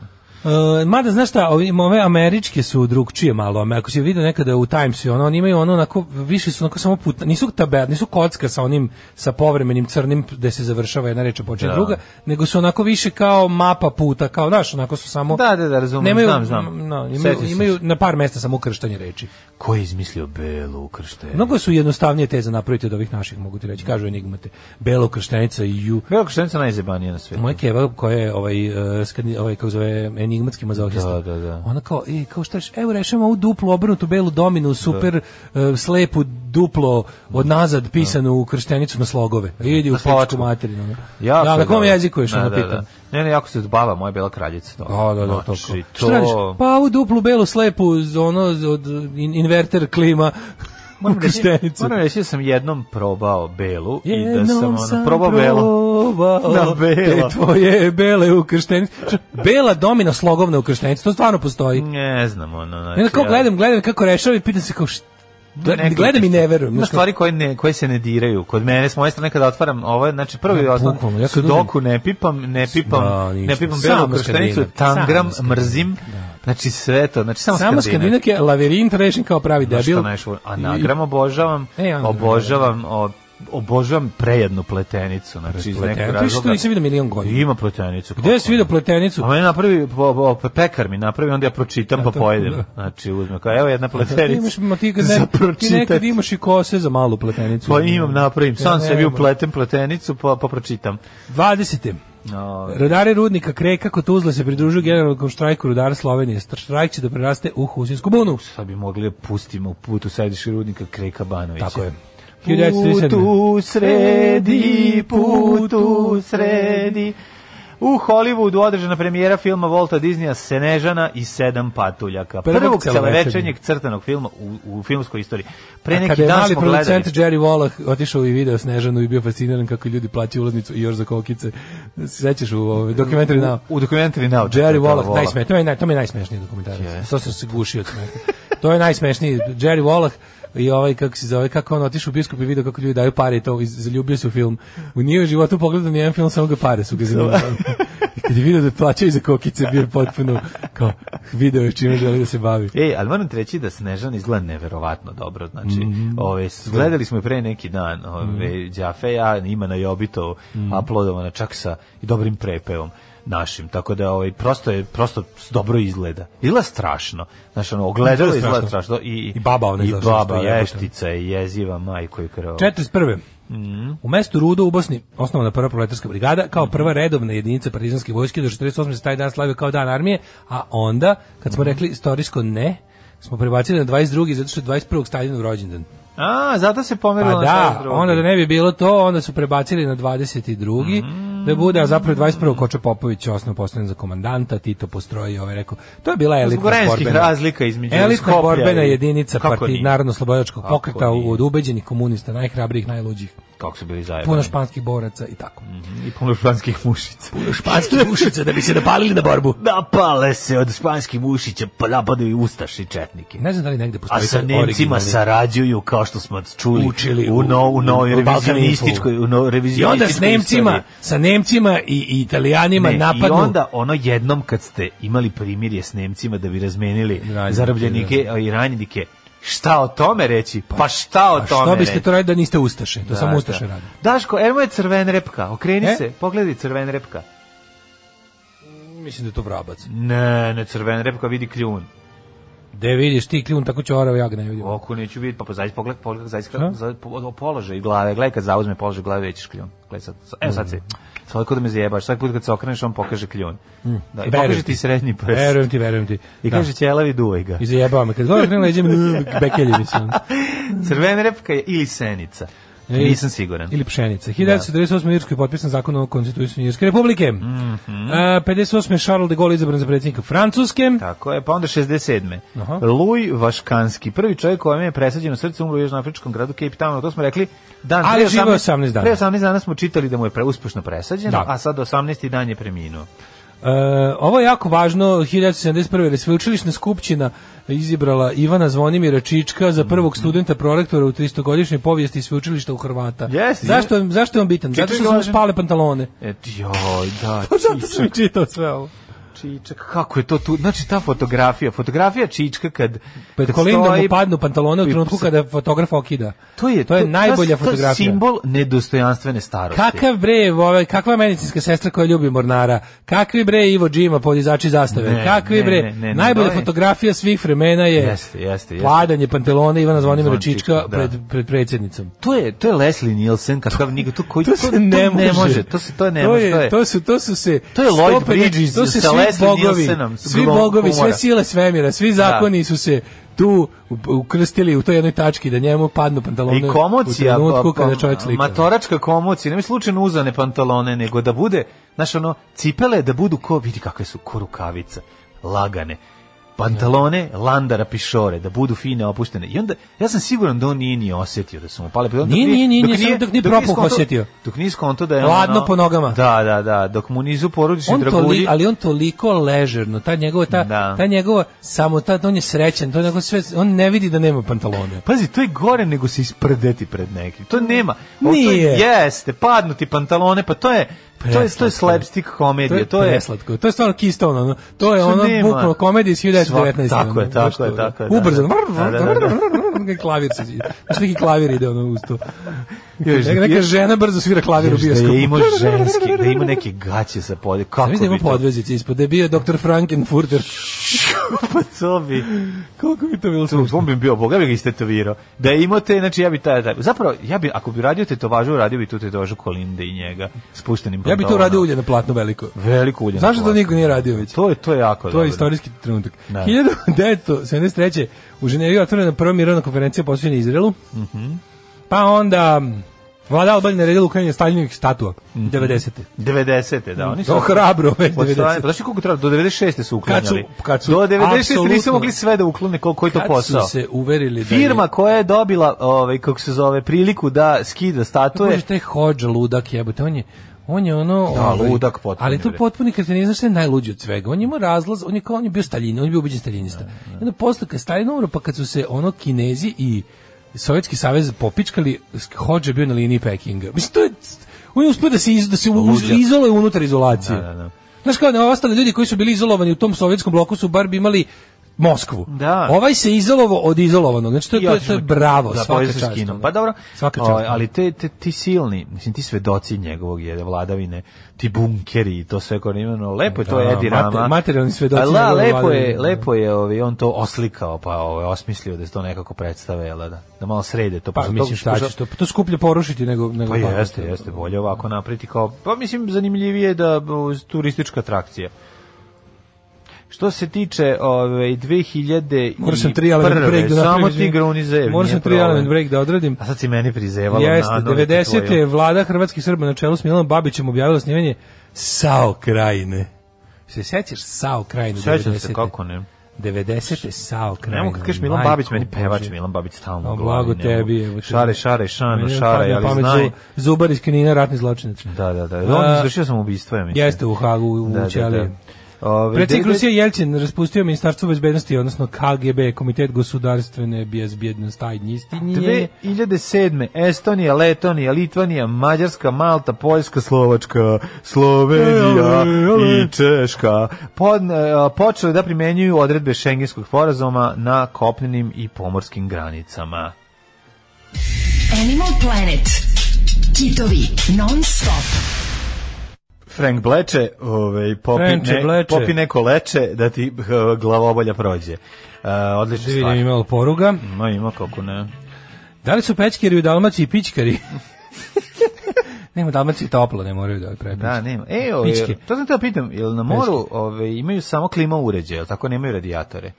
Speaker 6: E, mada, znaš šta, ovi- ove američke su drugčije malo, ame ako si vidio nekada u Timesu, ono, oni imaju ono, onako, više su onako samo puta, nisu taber, nisu kocka sa onim, sa povremenim crnim, gde se završava jedna reč, a počinje
Speaker 7: Da.
Speaker 6: druga, nego su onako više kao mapa puta, kao, znaš, onako su samo...
Speaker 7: Da, da, da, razumem,
Speaker 6: nemaju,
Speaker 7: znam, znam.
Speaker 6: No, imaju,
Speaker 7: Sjetio sam
Speaker 6: imaju
Speaker 7: se.
Speaker 6: na par mesta samo ukrštanje reči.
Speaker 7: Ko je izmislio belo ukrštenje?
Speaker 6: Mnogo su jednostavnije teze napraviti od ovih naših, mogu ti reći, kažu enigmate. Belo krštenica i ju...
Speaker 7: Belo ukrštenje je najzebanije na svijetu.
Speaker 6: Moja keva koja je ovaj, eh, skandi- ovaj kako zove, enigmatski mazohista.
Speaker 7: Da, da, da.
Speaker 6: Ona kao, e, kao šta, ćeš? evo rešavamo ovu duplu obrnutu belu dominu, super eh, slepu duplo od nazad pisanu u krštenicu na slogove. Idi u
Speaker 7: Na
Speaker 6: pičku
Speaker 7: slovačku.
Speaker 6: materinu. ono.
Speaker 7: Jako
Speaker 6: da, na
Speaker 7: je
Speaker 6: kom
Speaker 7: dobro.
Speaker 6: jeziku ješ,
Speaker 7: Da,
Speaker 6: ono
Speaker 7: da,
Speaker 6: pitam.
Speaker 7: da. Ne, ne, jako se odbava moja bela kraljica.
Speaker 6: Pa, Da, da, da, to
Speaker 7: Znači,
Speaker 6: kao.
Speaker 7: to...
Speaker 6: Šta radiš? Pa ovu duplu belu slepu z- ono z- od in- inverter klima u
Speaker 7: Moram reći,
Speaker 6: krštenicu.
Speaker 7: moram reći da sam jednom probao belu i da
Speaker 6: Jednom
Speaker 7: sam, ono, probao belo.
Speaker 6: probao
Speaker 7: Na belo.
Speaker 6: te tvoje bele ukrštenice. Bela domina slogovna ukrštenica, to stvarno postoji.
Speaker 7: Ne znam, ono, znači...
Speaker 6: I onda kao
Speaker 7: ja-
Speaker 6: gledam, gledam kako rešava i pitam se kao šta.
Speaker 7: Neko-
Speaker 6: gledam i ne verujem. ono
Speaker 7: Ima
Speaker 6: Znaš,
Speaker 7: stvari koje, ne, koje se ne diraju. Kod mene, s moje strane, kada otvaram ovo, znači prvi
Speaker 6: Da,
Speaker 7: ja, osnovno,
Speaker 6: bukvalno, ja kad
Speaker 7: sudoku ne pipam, ne pipam,
Speaker 6: Da, ništa.
Speaker 7: ne pipam
Speaker 6: Samo
Speaker 7: belu krštenicu,
Speaker 6: skandinak.
Speaker 7: tangram,
Speaker 6: Samo skandinak,
Speaker 7: mrzim, znači sve to, znači samo,
Speaker 6: Samo
Speaker 7: skandinak.
Speaker 6: Skandinak je lavirint rešen kao pravi
Speaker 7: Znaš šta
Speaker 6: debil.
Speaker 7: najšvo- Anagram obožavam,
Speaker 6: E, anagram,
Speaker 7: obožavam, o- obožavam prejednu pletenicu, znači iz nekog
Speaker 6: Pletenica, što
Speaker 7: razloga.
Speaker 6: nisam vidio milion godina.
Speaker 7: Ima pletenicu.
Speaker 6: Gde si
Speaker 7: kako ne.
Speaker 6: vidio pletenicu?
Speaker 7: A meni napravi, po, po, po- pekar mi napravi, onda ja pročitam pa
Speaker 6: to- da.
Speaker 7: pojedem. Znači uzme kao, evo jedna
Speaker 6: Ti
Speaker 7: pleterica.
Speaker 6: imaš, ma ti, kad ne-
Speaker 7: za
Speaker 6: ti nekad
Speaker 7: pročitat.
Speaker 6: imaš i kose za malu pletenicu.
Speaker 7: Pa imam, napravim, sam
Speaker 6: Ja
Speaker 7: sebi
Speaker 6: nemam.
Speaker 7: upleten pletenicu, pa, pa pročitam.
Speaker 6: 20.
Speaker 7: No,
Speaker 6: Rudari rudnika Kreka kod Tuzle se pridružuju generalnom štrajku rudara Slovenije. Str- Štrajk će da preraste u Husinsku bunu.
Speaker 7: sad bi mogli da pustimo u putu središnjeg rudnika Kreka Banovića.
Speaker 6: Tako je. 1937.
Speaker 7: Putu sredi, putu sredi. U Hollywoodu održana premijera filma Volta Disneya Senežana i sedam patuljaka.
Speaker 6: Prvog
Speaker 7: Prvog,
Speaker 6: celovečernjeg
Speaker 7: celovečernjeg crtanog filma u, u filmskoj istoriji. Pre
Speaker 6: Kada
Speaker 7: neki
Speaker 6: je
Speaker 7: dan
Speaker 6: mali
Speaker 7: smo gledali.
Speaker 6: producent Jerry Wallach otišao i video Snežanu i bio fasciniran kako ljudi plaćaju ulaznicu i još za kokice. Sećaš u ovaj dokumentari Now?
Speaker 7: U, u dokumentari Now.
Speaker 6: Jerry
Speaker 7: četvrta
Speaker 6: Wallach, najsme, to, je, naj- to mi je najsmešniji dokumentarac.
Speaker 7: Jeste.
Speaker 6: To sam se gušio od smeha. to je najsmešniji. Jerry Wallach i ovaj, kako se zove, kako on otišao u biskup i vidio kako ljudi daju pare i to, i zaljubio se u film. U nije u životu pogledao nijedan film, samo ga pare su ga zanimali. I kad je vidio da plaćaju za kokice, bio je potpuno kao video je čime želi da se bavi.
Speaker 7: Ej, E, ali moram ti reći da Snežan izgleda neverovatno dobro, znači,
Speaker 6: Mhm.
Speaker 7: ove, s- gledali smo je pre neki dan, ove, Đafe, ja, ima na Jobitovu,
Speaker 6: Mhm.
Speaker 7: uploadovana čak sa i dobrim prepevom našim, tako da ovaj, prosto je, prosto s- dobro izgleda. Izgleda strašno, znači, ono, ogledalo
Speaker 6: Izgleda
Speaker 7: izgleda
Speaker 6: strašno.
Speaker 7: strašno. I,
Speaker 6: I baba ona
Speaker 7: i
Speaker 6: izgleda strašno,
Speaker 7: baba,
Speaker 6: jebote.
Speaker 7: ještica je jeziva, majko i krvo.
Speaker 6: 41.
Speaker 7: Mhm.
Speaker 6: U mestu Rudo u Bosni osnovana prva proletarska brigada kao prva redovna jedinica partizanske vojske do 48. se taj dan slavio kao dan armije, a onda kad
Speaker 7: Mhm.
Speaker 6: smo rekli istorijsko ne, smo prebacili na 22. zato što je 21. Staljinov rođendan.
Speaker 7: A, zato se pomerilo
Speaker 6: Pa
Speaker 7: na
Speaker 6: da,
Speaker 7: taj drugi.
Speaker 6: onda da ne bi bilo to, onda su prebacili na 22.
Speaker 7: Mhm.
Speaker 6: da bude, a zapravo je 21. Koča Popović je osnovno postavljen za komandanta, Tito postroji i ovaj rekao. To je bila elitna
Speaker 7: Zbog vremenskih
Speaker 6: borbena.
Speaker 7: razlika između
Speaker 6: elitna
Speaker 7: Skoplja
Speaker 6: borbena
Speaker 7: i-
Speaker 6: jedinica
Speaker 7: Kako
Speaker 6: partij
Speaker 7: nije?
Speaker 6: narodno-slobodačkog
Speaker 7: Kako
Speaker 6: pokreta
Speaker 7: nije?
Speaker 6: od ubeđenih komunista, najhrabrijih, najluđih
Speaker 7: Kako su bili zajedno.
Speaker 6: puno španskih boraca i tako.
Speaker 7: I puno španskih mušica.
Speaker 6: Španske pušice da bi se napalili na borbu.
Speaker 7: Napale se od španskih mušića, pa napadaju ustaši četnike.
Speaker 6: Ne znam da li negde
Speaker 7: A
Speaker 6: postoji
Speaker 7: sa
Speaker 6: taj
Speaker 7: Nemcima
Speaker 6: originalni-
Speaker 7: sarađuju, kao što smo čuli,
Speaker 6: Učili
Speaker 7: u, no, u novoj
Speaker 6: u- u Balkan
Speaker 7: revizionističkoj,
Speaker 6: Info.
Speaker 7: u novoj
Speaker 6: I
Speaker 7: revizionističkoj
Speaker 6: onda s Nemcima,
Speaker 7: istoriji.
Speaker 6: sa Nemcima i, i Italijanima
Speaker 7: Ne,
Speaker 6: napadnu.
Speaker 7: I onda ono jednom kad ste imali primirje s Nemcima da bi razmenili
Speaker 6: Ranjenike,
Speaker 7: zarobljenike a i ranjenike, šta o tome reći? Pa šta o
Speaker 6: A
Speaker 7: tome
Speaker 6: što biste
Speaker 7: reći?
Speaker 6: to radili da niste Ustaše? To
Speaker 7: Da,
Speaker 6: samo Ustaše
Speaker 7: da.
Speaker 6: radi.
Speaker 7: Daško, evo je crven repka, okreni
Speaker 6: E?
Speaker 7: se, pogledaj crven repka.
Speaker 6: Mislim da je to vrabac.
Speaker 7: Ne, ne crven repka, vidi kljun.
Speaker 6: Da vidiš ti kljun tako ćorava, ja ga ne vidim.
Speaker 7: Oko neću vidjeti, pa pa zaista pogled, pogled
Speaker 6: Šta?
Speaker 7: zaista za po- o- položaj glave, gledaj kad zauzme položaj glave većeš kljun. Gledaj sad. sa- Evo
Speaker 6: Mm.
Speaker 7: sad si. Svaki put da me zajebaš, svaki put kad se okreneš on pokaže kljun.
Speaker 6: Mm.
Speaker 7: Da, i
Speaker 6: Verujem
Speaker 7: pokaže ti srednji prst.
Speaker 6: Verujem ti, verujem ti.
Speaker 7: I kaže ćelavi duvaj ga.
Speaker 6: I zajebava me. Kad govorim krenem leđem, bekelji mi se. ono.
Speaker 7: Crvena repka je ili senica.
Speaker 6: Ili-
Speaker 7: Nisam siguran.
Speaker 6: Ili pšenica. 1998. u Irskoj je potpisan zakon o konstituisanju Irske republike. Mm
Speaker 7: Mhm.
Speaker 6: -hmm. 58. je Charles de Gaulle izabran za predsjednika Francuske.
Speaker 7: Tako je, pa onda 67.
Speaker 6: Aha.
Speaker 7: Luj Vaškanski, prvi čovjek kojem je presađeno srce umro u južnoafričkom gradu Cape Townu, to smo rekli dan
Speaker 6: Ali
Speaker 7: pre
Speaker 6: živeo je 18 dana.
Speaker 7: Pre 18 dana smo čitali da mu je pre, uspešno presađeno,
Speaker 6: Da.
Speaker 7: a sad 18. dan je preminuo.
Speaker 6: E, ovo je jako važno, 1971. jer je sveučilišna skupština izibrala Ivana Zvonimira Čička za prvog studenta prorektora u 300-godišnjoj povijesti sveučilišta u Hrvata.
Speaker 7: Jeste,
Speaker 6: zašto, je, zašto je on bitan? Zato
Speaker 7: Čičak
Speaker 6: što
Speaker 7: je
Speaker 6: su mu
Speaker 7: važan.
Speaker 6: spale pantalone.
Speaker 7: E, joj, da,
Speaker 6: Pa Zato sam i čitao sve ovo.
Speaker 7: Čičak, kako je to tu? Znači ta fotografija, fotografija Čička kad
Speaker 6: Pred
Speaker 7: kad
Speaker 6: kolindom mu
Speaker 7: stoji-
Speaker 6: padnu pantalone u
Speaker 7: i
Speaker 6: trenutku
Speaker 7: psa-
Speaker 6: kada fotograf okida.
Speaker 7: to je
Speaker 6: to je najbolja
Speaker 7: to
Speaker 6: fotografija.
Speaker 7: simbol nedostojanstvene starosti.
Speaker 6: Kakav bre, ovaj, kakva medicinska sestra koja ljubi mornara? Kakvi bre Ivo Džima, podizači zastave?
Speaker 7: Ne,
Speaker 6: Kakvi
Speaker 7: ne,
Speaker 6: bre,
Speaker 7: ne, ne, ne,
Speaker 6: najbolja
Speaker 7: to je-
Speaker 6: fotografija svih vremena je
Speaker 7: Jeste, jeste, jeste.
Speaker 6: padanje pantelona Ivana Zvonimira
Speaker 7: Zvončića,
Speaker 6: Čička
Speaker 7: da.
Speaker 6: pred, pred predsjednicom.
Speaker 7: To je to je Leslie Nielsen kakav niko to koji
Speaker 6: To se ne, može.
Speaker 7: to se to ne
Speaker 6: to
Speaker 7: može. to
Speaker 6: Je, to, su, to su se...
Speaker 7: To je Lloyd
Speaker 6: stope-
Speaker 7: Bridges
Speaker 6: to se
Speaker 7: sa
Speaker 6: svi
Speaker 7: Leslie
Speaker 6: bogovi,
Speaker 7: Nielsenom, s
Speaker 6: Svi
Speaker 7: glumom
Speaker 6: bogovi, sve
Speaker 7: humora.
Speaker 6: sile svemira, svi zakoni su se tu u- ukrstili u toj jednoj tački da njemu padnu pantalone
Speaker 7: I komocija,
Speaker 6: u trenutku
Speaker 7: pa- pa-
Speaker 6: kada čovjek slika.
Speaker 7: matoračka komocija, nemoj slučajno uzane pantalone, nego da bude, znaš ono, cipele da budu ko, vidi kakve su ko rukavice, lagane. Pantalone, landara, pišore, da budu fine, opuštene. I onda, ja sam siguran da on nije ni osjetio da su mu pale. pantalone.
Speaker 6: Nije,
Speaker 7: Dok
Speaker 6: nije, nije,
Speaker 7: dok
Speaker 6: nije, samo dok nije propuh
Speaker 7: skonto-
Speaker 6: osjetio.
Speaker 7: Dok nije skonto da je on
Speaker 6: Ladno
Speaker 7: ono-
Speaker 6: po nogama.
Speaker 7: Da, da, da, dok mu nizu porodični
Speaker 6: on
Speaker 7: Znači, dragulji.
Speaker 6: toli, ali on toliko ležerno, ta njegova ta,
Speaker 7: Da.
Speaker 6: ta njegova samo ta on je srećan, to je onako sve on ne vidi da nema pantalone.
Speaker 7: Pazi, to je gore nego se isprdeti pred nekim. To nema. Ovo to
Speaker 6: Nije.
Speaker 7: je- jeste, padnuti pantalone, pa to je to je to
Speaker 6: Preslatko.
Speaker 7: je slapstick komedija,
Speaker 6: to je preslatko. To je stvarno Keystone, ono. To je
Speaker 7: Što
Speaker 6: ono
Speaker 7: nema.
Speaker 6: bukvalno komedija iz 1919.
Speaker 7: Svak- tako je,
Speaker 6: ono,
Speaker 7: tako
Speaker 6: što-
Speaker 7: je, tako je, da,
Speaker 6: Ubrzano.
Speaker 7: da. Da, da,
Speaker 6: Klavir se. Znaš neki klavir ide ono uz to.
Speaker 7: Još-
Speaker 6: Neka, neka
Speaker 7: još-
Speaker 6: žena brzo svira klavir u
Speaker 7: Znaš, da
Speaker 6: bioskopu.
Speaker 7: je imao ženski, da ima neke gaće sa polje. Kako
Speaker 6: Mislim da
Speaker 7: bi
Speaker 6: ima
Speaker 7: to?
Speaker 6: podvezice ispod, da je bio doktor Frankenfurter.
Speaker 7: Pa to bi...
Speaker 6: Koliko bi to bilo
Speaker 7: To on bi bio bog, ja bi ga istetovirao. Da je imao te, znači ja bi taj, taj. Zapravo, ja bi, ako bi radio tetovažu, radio bi tu tetovažu Kolinde i njega, spuštenim
Speaker 6: Ja bi to
Speaker 7: pantalonom.
Speaker 6: radio ulje na platno veliko.
Speaker 7: Veliko ulje. na
Speaker 6: Znaš da to
Speaker 7: platnu.
Speaker 6: niko nije radio već?
Speaker 7: To je, to je jako
Speaker 6: To
Speaker 7: dobro.
Speaker 6: je istorijski trenutak.
Speaker 7: Da.
Speaker 6: 1973. u Ženevi je otvorena prva mirovna konferencija posvećena Izraelu. Pa onda m, Vlada Albanije naredila uklanjanje Staljinjevih statua 90.
Speaker 7: 90. da, oni su...
Speaker 6: Mhm. To hrabro već
Speaker 7: Od strane,
Speaker 6: 90.
Speaker 7: znaš koliko treba? Do 96. su uklanjali.
Speaker 6: Kad su- kad su-
Speaker 7: Do 96. nisu
Speaker 6: apsolutno.
Speaker 7: mogli sve da uklone koliko je to
Speaker 6: Kad su
Speaker 7: posao.
Speaker 6: se uverili da je-
Speaker 7: Firma koja je dobila, ovaj, kako se zove, priliku da skida
Speaker 6: to je
Speaker 7: statue,
Speaker 6: taj hođa ludak jebote, on je on je ono
Speaker 7: Da, ludak potpuni,
Speaker 6: Ali to
Speaker 7: bre.
Speaker 6: potpuni kretenizam što je najluđi od svega. On je imao razlaz, on je kao on je bio staljin, on je bio ubeđen staljinista. I onda posle kad Stalin umro, pa kad su se ono Kinezi i Sovjetski savez popičkali, hođa je bio na liniji Pekinga. Mislim to je on je uspio da se iz, da se uz-
Speaker 7: Luđak.
Speaker 6: izoluje unutar izolacije.
Speaker 7: Da, da, da.
Speaker 6: Znaš kao, ne, ostali ljudi koji su bili izolovani u tom sovjetskom bloku su bar bi imali Moskvu.
Speaker 7: Da.
Speaker 6: Ovaj se izolovo od izolovanog. Znači, to, je- to, je- to je bravo,
Speaker 7: da,
Speaker 6: svaka
Speaker 7: povezao se s
Speaker 6: čast.
Speaker 7: Kinom.
Speaker 6: ono.
Speaker 7: Pa dobro,
Speaker 6: Svaka čast.
Speaker 7: ovaj, ali te, te, ti silni, mislim, ti svedoci njegovog je vladavine, ti bunkeri i to sve koje imeno, lepo je to
Speaker 6: Da,
Speaker 7: Edi
Speaker 6: mater-
Speaker 7: Rama.
Speaker 6: materijalni svedoci
Speaker 7: A la,
Speaker 6: njegove
Speaker 7: lepo je,
Speaker 6: vladavine.
Speaker 7: lepo je ovaj, on to oslikao, pa ovaj, osmislio da se to nekako predstave, jel da, da malo srede to.
Speaker 6: Pa
Speaker 7: pošto
Speaker 6: mislim šta
Speaker 7: pošto-
Speaker 6: ćeš, to, to skuplje porušiti nego... nego
Speaker 7: Pa
Speaker 6: tako.
Speaker 7: jeste, jeste, bolje ovako napriti kao, pa mislim zanimljivije da o, turistička atrakcija. Što se tiče ovaj, ove 2000
Speaker 6: Morao sam tri element break da napravim.
Speaker 7: samo ti
Speaker 6: izvini.
Speaker 7: grunizev.
Speaker 6: Morao sam tri element break da odradim.
Speaker 7: A sad si meni prizevala
Speaker 6: Jeste,
Speaker 7: na
Speaker 6: 90. je vlada Hrvatskih Srba na čelu s Milanom Babićem objavila snimanje Sao krajine. Se sećaš Sao krajine?
Speaker 7: Sećam
Speaker 6: 90-te?
Speaker 7: se kako ne.
Speaker 6: 90. Sao krajine.
Speaker 7: Nemo kad kažeš Milan Babić, meni pevač Milan Babić stalno. u glavi,
Speaker 6: blago
Speaker 7: ne
Speaker 6: tebi,
Speaker 7: mogu.
Speaker 6: evo te.
Speaker 7: Šare, šare, šano,
Speaker 6: Meni ne
Speaker 7: šare,
Speaker 6: padne na
Speaker 7: ali
Speaker 6: pamet
Speaker 7: znaj.
Speaker 6: Zu- Zubar iz Knina, ratni zločinac.
Speaker 7: Da, da, da.
Speaker 6: A,
Speaker 7: On izvršio sam ubistvo, ja mislim.
Speaker 6: Jeste u Hagu, u
Speaker 7: Da, Ovaj, da, da.
Speaker 6: Ćeliji.
Speaker 7: Ove,
Speaker 6: Predsjednik
Speaker 7: devet-
Speaker 6: Rusije Jelcin raspustio ministarstvo bezbednosti, odnosno KGB, Komitet gospodarstvene bezbjednosti, nije
Speaker 7: 2007. Estonija, Letonija, Litvanija, Mađarska, Malta, Poljska, Slovačka, Slovenija
Speaker 6: Ele, ele.
Speaker 7: i Češka pod, počele da primenjuju odredbe šengenskog sporazuma na kopnenim i pomorskim granicama.
Speaker 5: Animal Planet. Kitovi non stop.
Speaker 7: Frank Bleče, ovaj, popi,
Speaker 6: Frenče
Speaker 7: ne-
Speaker 6: Bleče.
Speaker 7: popi neko leče da ti eh, glavobolja prođe. Uh, odlična
Speaker 6: Da vidim
Speaker 7: stvar.
Speaker 6: imalo poruga.
Speaker 7: No, ima kako ne.
Speaker 6: Da li su pećkeri u Dalmaciji i pićkari? Nema u Dalmaciji toplo, ne moraju da prepiću.
Speaker 7: Da, nema. E, ovaj,
Speaker 6: Pičke.
Speaker 7: to sam teo pitam, jel na moru ovaj, imaju samo klima uređaje, jel tako nemaju radijatore?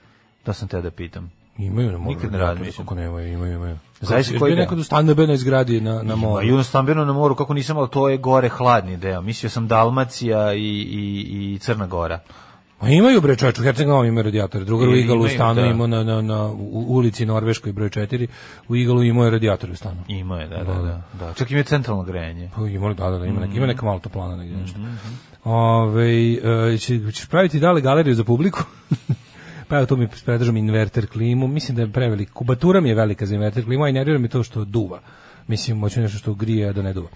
Speaker 7: To sam teo da pitam.
Speaker 6: Imaju na moru.
Speaker 7: Nikad ne
Speaker 6: da,
Speaker 7: razmišljam.
Speaker 6: Kako nemaju, imaju, imaju.
Speaker 7: Zavisi
Speaker 6: Zavisi
Speaker 7: koji
Speaker 6: koji je
Speaker 7: deo.
Speaker 6: nekad u stanobenoj zgradi na, na
Speaker 7: Ma
Speaker 6: moru.
Speaker 7: i ono stambeno na moru, kako nisam, ali to je gore hladni deo. Mislio sam Dalmacija i, i, i Crna Gora.
Speaker 6: Ma imaju bre čoveče, u Herceg Novom imaju radijator. Drugar u
Speaker 7: Ili
Speaker 6: Igalu u
Speaker 7: imaju,
Speaker 6: stanu
Speaker 7: da.
Speaker 6: imao na, na, na u ulici Norveškoj broj 4, u Igalu imao je radijator u stanu.
Speaker 7: Ima je, da, da, da. da. Čak ima centralno grejanje.
Speaker 6: Pa ima, da, da, da, ima, neka,
Speaker 7: Mhm.
Speaker 6: ima neka malta plana negdje nešto. Ove, e, će, ćeš praviti dale galeriju za publiku? pa evo, to mi predržam inverter klimu. Mislim da je prevelik. Kubatura mi je velika za inverter klimu, a i nervira mi to što duva. Mislim, moću nešto što grije, a da ne duva.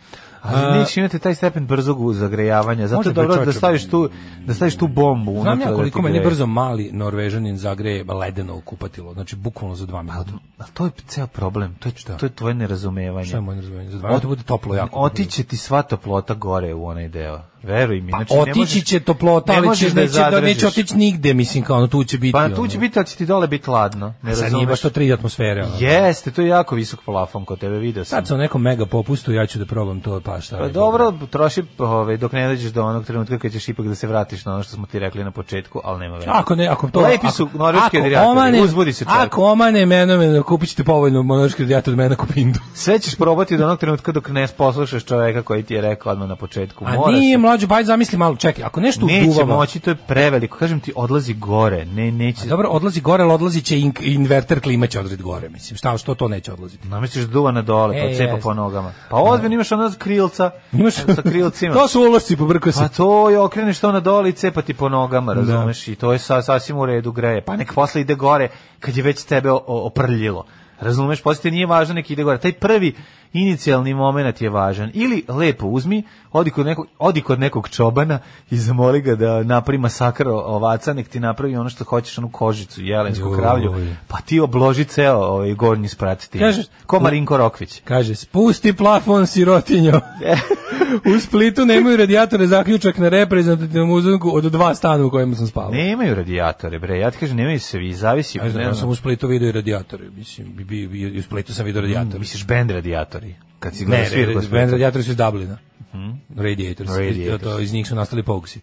Speaker 7: Ali nećeš imati taj stepen brzog zagrejavanja, zato
Speaker 6: Može
Speaker 7: je dobro
Speaker 6: bre,
Speaker 7: da
Speaker 6: čoveče.
Speaker 7: staviš tu, da staviš tu bombu unutra.
Speaker 6: Znam ja
Speaker 7: da
Speaker 6: koliko
Speaker 7: ti
Speaker 6: meni
Speaker 7: greje.
Speaker 6: brzo mali norvežanin zagreje ledeno u kupatilo. Znači, bukvalno za dva minuta.
Speaker 7: Ali to je ceo problem, to je, to je tvoje nerazumevanje.
Speaker 6: Šta je moj razumevanje? Za dva minuta bude toplo jako.
Speaker 7: Otiće Znači, ti sva toplota gore u onaj deo. Veruj mi. Znači,
Speaker 6: Pa,
Speaker 7: ne možeš-
Speaker 6: otići će toplota,
Speaker 7: ne
Speaker 6: ali će,
Speaker 7: možeš da je
Speaker 6: neće, da, neće
Speaker 7: zadržiš.
Speaker 6: otići nigde, mislim, kao ono, tu će biti.
Speaker 7: Pa tu
Speaker 6: ono.
Speaker 7: će biti, ali će ti dole biti hladno. Ne
Speaker 6: Sad nije
Speaker 7: razumeš?
Speaker 6: baš to tri atmosfere. ono.
Speaker 7: Jeste, to je jako visok plafon kod tebe, video sam.
Speaker 6: Sad sam u nekom mega popustu, ja ću da probam to, pa šta.
Speaker 7: Pa
Speaker 6: je.
Speaker 7: dobro, troši ovaj, dok ne dođeš do onog trenutka kad ćeš ipak da se vratiš na ono što smo ti rekli na početku, ali nema veze.
Speaker 6: Ako ne, ako to...
Speaker 7: Lepi
Speaker 6: ako-
Speaker 7: su
Speaker 6: ako
Speaker 7: norveški radijatori,
Speaker 6: omane-
Speaker 7: uzbudi se čovjek.
Speaker 6: Ako omane mene, mene kupit ćete povoljno norveški radijator od mene na kupindu.
Speaker 7: Sve ćeš probati do onog trenutka dok ne poslušaš čoveka koji ti je rekao odmah na početku.
Speaker 6: A
Speaker 7: Mora
Speaker 6: nije
Speaker 7: se.
Speaker 6: mlađo, baj zamisli malo, čekaj, ako nešto
Speaker 7: Neće
Speaker 6: uduvamo...
Speaker 7: moći, to je preveliko. Kažem ti, odlazi gore. Ne, neće.
Speaker 6: A Dobro, odlazi gore, ali odlazi će in- inverter klima će odrit gore, mislim. Šta, što to neće odlaziti?
Speaker 7: Namisliš da duva na dole,
Speaker 6: E,
Speaker 7: pa cepa
Speaker 6: jest.
Speaker 7: po nogama. Pa ozbiljno imaš ono krilca.
Speaker 6: Imaš...
Speaker 7: Sa krilcima.
Speaker 6: to su ulošci, pobrkao se.
Speaker 7: Pa to je okreneš to na dole i cepa ti po nogama, razumeš? I to je sa, sasvim u redu greje. Pa nek posle ide gore kad je već tebe o- o- oprljilo. Razumeš? Posle ti nije važno nek ide gore. Taj prvi inicijalni moment je važan. Ili lepo uzmi, odi kod nekog, odi kod nekog čobana i zamoli ga da napravi masakar ovaca, nek ti napravi ono što hoćeš, onu kožicu, jelensku
Speaker 6: Joj.
Speaker 7: kravlju, pa ti obloži ceo ovaj gornji sprat ti.
Speaker 6: Kažeš-
Speaker 7: Ko Marinko Rokvić.
Speaker 6: Kaže, spusti plafon sirotinjo.
Speaker 7: E.
Speaker 6: u Splitu nemaju radijatore zaključak na reprezentativnom uzunku od dva stana u kojima sam spavao.
Speaker 7: Nemaju radijatore, bre. Ja ti kažem, nemaju se vi, zavisi.
Speaker 6: Ja, znam,
Speaker 7: ne
Speaker 6: ja
Speaker 7: znam.
Speaker 6: sam u Splitu video i radijatore, mislim, bi, bi, bi, i u Splitu sam video radijatore.
Speaker 7: Misliš bend radijatori? Kad si
Speaker 6: Mm. ne,
Speaker 7: gledaš
Speaker 6: re,
Speaker 7: svira
Speaker 6: re, band radijatori su iz Dublina. Radiators.
Speaker 7: Hmm. Radiators.
Speaker 6: To, iz njih su nastali pogsi.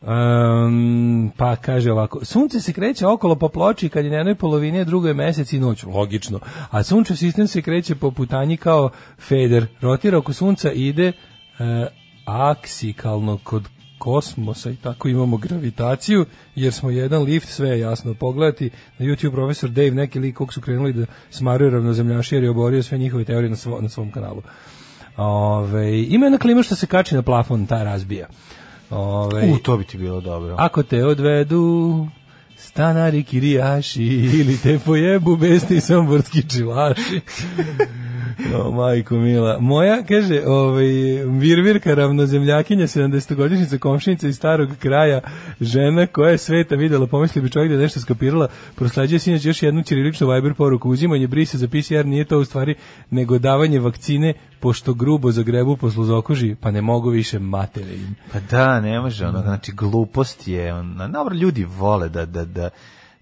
Speaker 6: Um, pa kaže ovako sunce se kreće okolo po ploči kad je na jednoj polovini a drugoj je mesec i noć logično, a sunčev sistem se kreće po putanji kao feder rotira oko sunca i ide e, aksikalno kod kosmosa i tako imamo gravitaciju jer smo jedan lift, sve je jasno pogledati na YouTube profesor Dave neki lik kog su krenuli da smaruju ravnozemljaši jer je oborio sve njihove teorije na, svo- na svom kanalu Ove, ima jedna klima što se kači na plafon ta razbija Ove,
Speaker 7: U, to bi ti bilo dobro.
Speaker 6: ako te odvedu stanari kirijaši ili te pojebu besni somborski čilaši. O, majko mila. Moja, kaže, ovaj, virvirka ravnozemljakinja, 70-godišnjica komšinica iz starog kraja, žena koja je sveta videla, pomisli bi čovjek da je nešto skapirala, proslađuje sinoć još jednu ćiriličnu Viber poruku, uzimanje brisa za PCR nije to u stvari, nego davanje vakcine, pošto grubo zagrebu po sluzokoži, pa ne mogu više matere im.
Speaker 7: Pa da, ne može
Speaker 6: Mm.
Speaker 7: ono, znači glupost je, ono, dobro, ljudi vole da, da, da,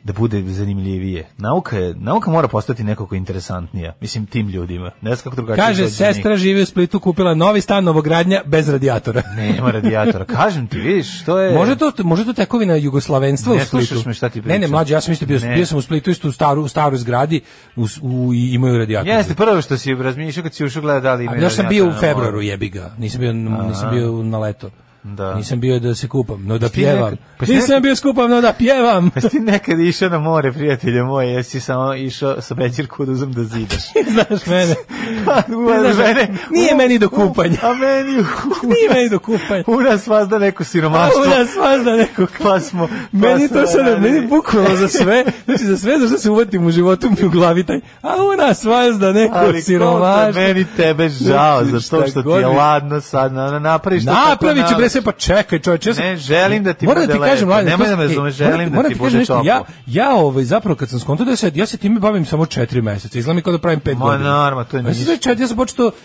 Speaker 7: da bude zanimljivije. Nauka, je, nauka mora postati nekako interesantnija, mislim, tim ljudima. Ne znam kako drugačije.
Speaker 6: Kaže,
Speaker 7: Pa dođe do njih.
Speaker 6: sestra živi u Splitu, kupila novi stan novogradnja bez radijatora.
Speaker 7: Nema radijatora. Kažem ti, vidiš, to je...
Speaker 6: Može to, može to tekovina jugoslavenstva
Speaker 7: Ne
Speaker 6: u Splitu.
Speaker 7: slušaš me šta ti
Speaker 6: Ne, ne,
Speaker 7: pričam.
Speaker 6: mlađe, ja sam isto bio,
Speaker 7: Ne.
Speaker 6: bio sam u Splitu isto u staru, u staru zgradi u, s- u, i imaju radijator.
Speaker 7: Jeste, prvo što si razmišljao kad si ušao gleda da li ima
Speaker 6: A još sam bio u
Speaker 7: radijatora na moru.
Speaker 6: februaru, jebi ga. Nisam bio, nisam bio na leto.
Speaker 7: ono. Da.
Speaker 6: Nisam bio da se kupam, no da
Speaker 7: ti nekad-
Speaker 6: pjevam.
Speaker 7: pa si
Speaker 6: Nisam
Speaker 7: nekad-
Speaker 6: bio skupam, no da pjevam.
Speaker 7: Pa si ti nekad išao na more, prijatelje moje, jesi samo išao sa večer kuduzom da zidaš.
Speaker 6: Znaš mene.
Speaker 7: U,
Speaker 6: Znaš,
Speaker 7: mene-
Speaker 6: nije
Speaker 7: u-
Speaker 6: meni do kupanja.
Speaker 7: A meni u,
Speaker 6: Nije meni do kupanja.
Speaker 7: u nas vazda neko siromaštvo.
Speaker 6: U nas vazda neko
Speaker 7: pa smo... pa
Speaker 6: Meni
Speaker 7: smo
Speaker 6: to sad,
Speaker 7: radili.
Speaker 6: meni bukvalno za sve, znači za sve za što se uvatim u životu mi u glavi taj, a ona svaz da neko
Speaker 7: Ali
Speaker 6: siromaš.
Speaker 7: siromaštvo. Meni tebe žao
Speaker 6: Znači,
Speaker 7: za to
Speaker 6: šta
Speaker 7: što ti
Speaker 6: god
Speaker 7: je
Speaker 6: bi-
Speaker 7: ladno sad, na, na, napraviš to
Speaker 6: Napravit ću
Speaker 7: kako
Speaker 6: bre
Speaker 7: nalaziš.
Speaker 6: sve, pa čekaj čovječe. ja sam-
Speaker 7: Ne, želim da ti
Speaker 6: Moram
Speaker 7: bude
Speaker 6: da ti kažem,
Speaker 7: lepo.
Speaker 6: Mladen,
Speaker 7: Nemoj
Speaker 6: to-
Speaker 7: da me
Speaker 6: e,
Speaker 7: razumeš,
Speaker 6: moram
Speaker 7: želim da
Speaker 6: moram
Speaker 7: ti bude
Speaker 6: kažem nešto,
Speaker 7: toplo.
Speaker 6: Ja, ja ovaj, zapravo kad sam skontao da se, ja se time bavim samo četiri meseca, izgleda mi kao da pravim pet
Speaker 7: Ma,
Speaker 6: godina.
Speaker 7: naravno, to je
Speaker 6: Ja sam
Speaker 7: ništa.
Speaker 6: četiri, ja sam počeo to-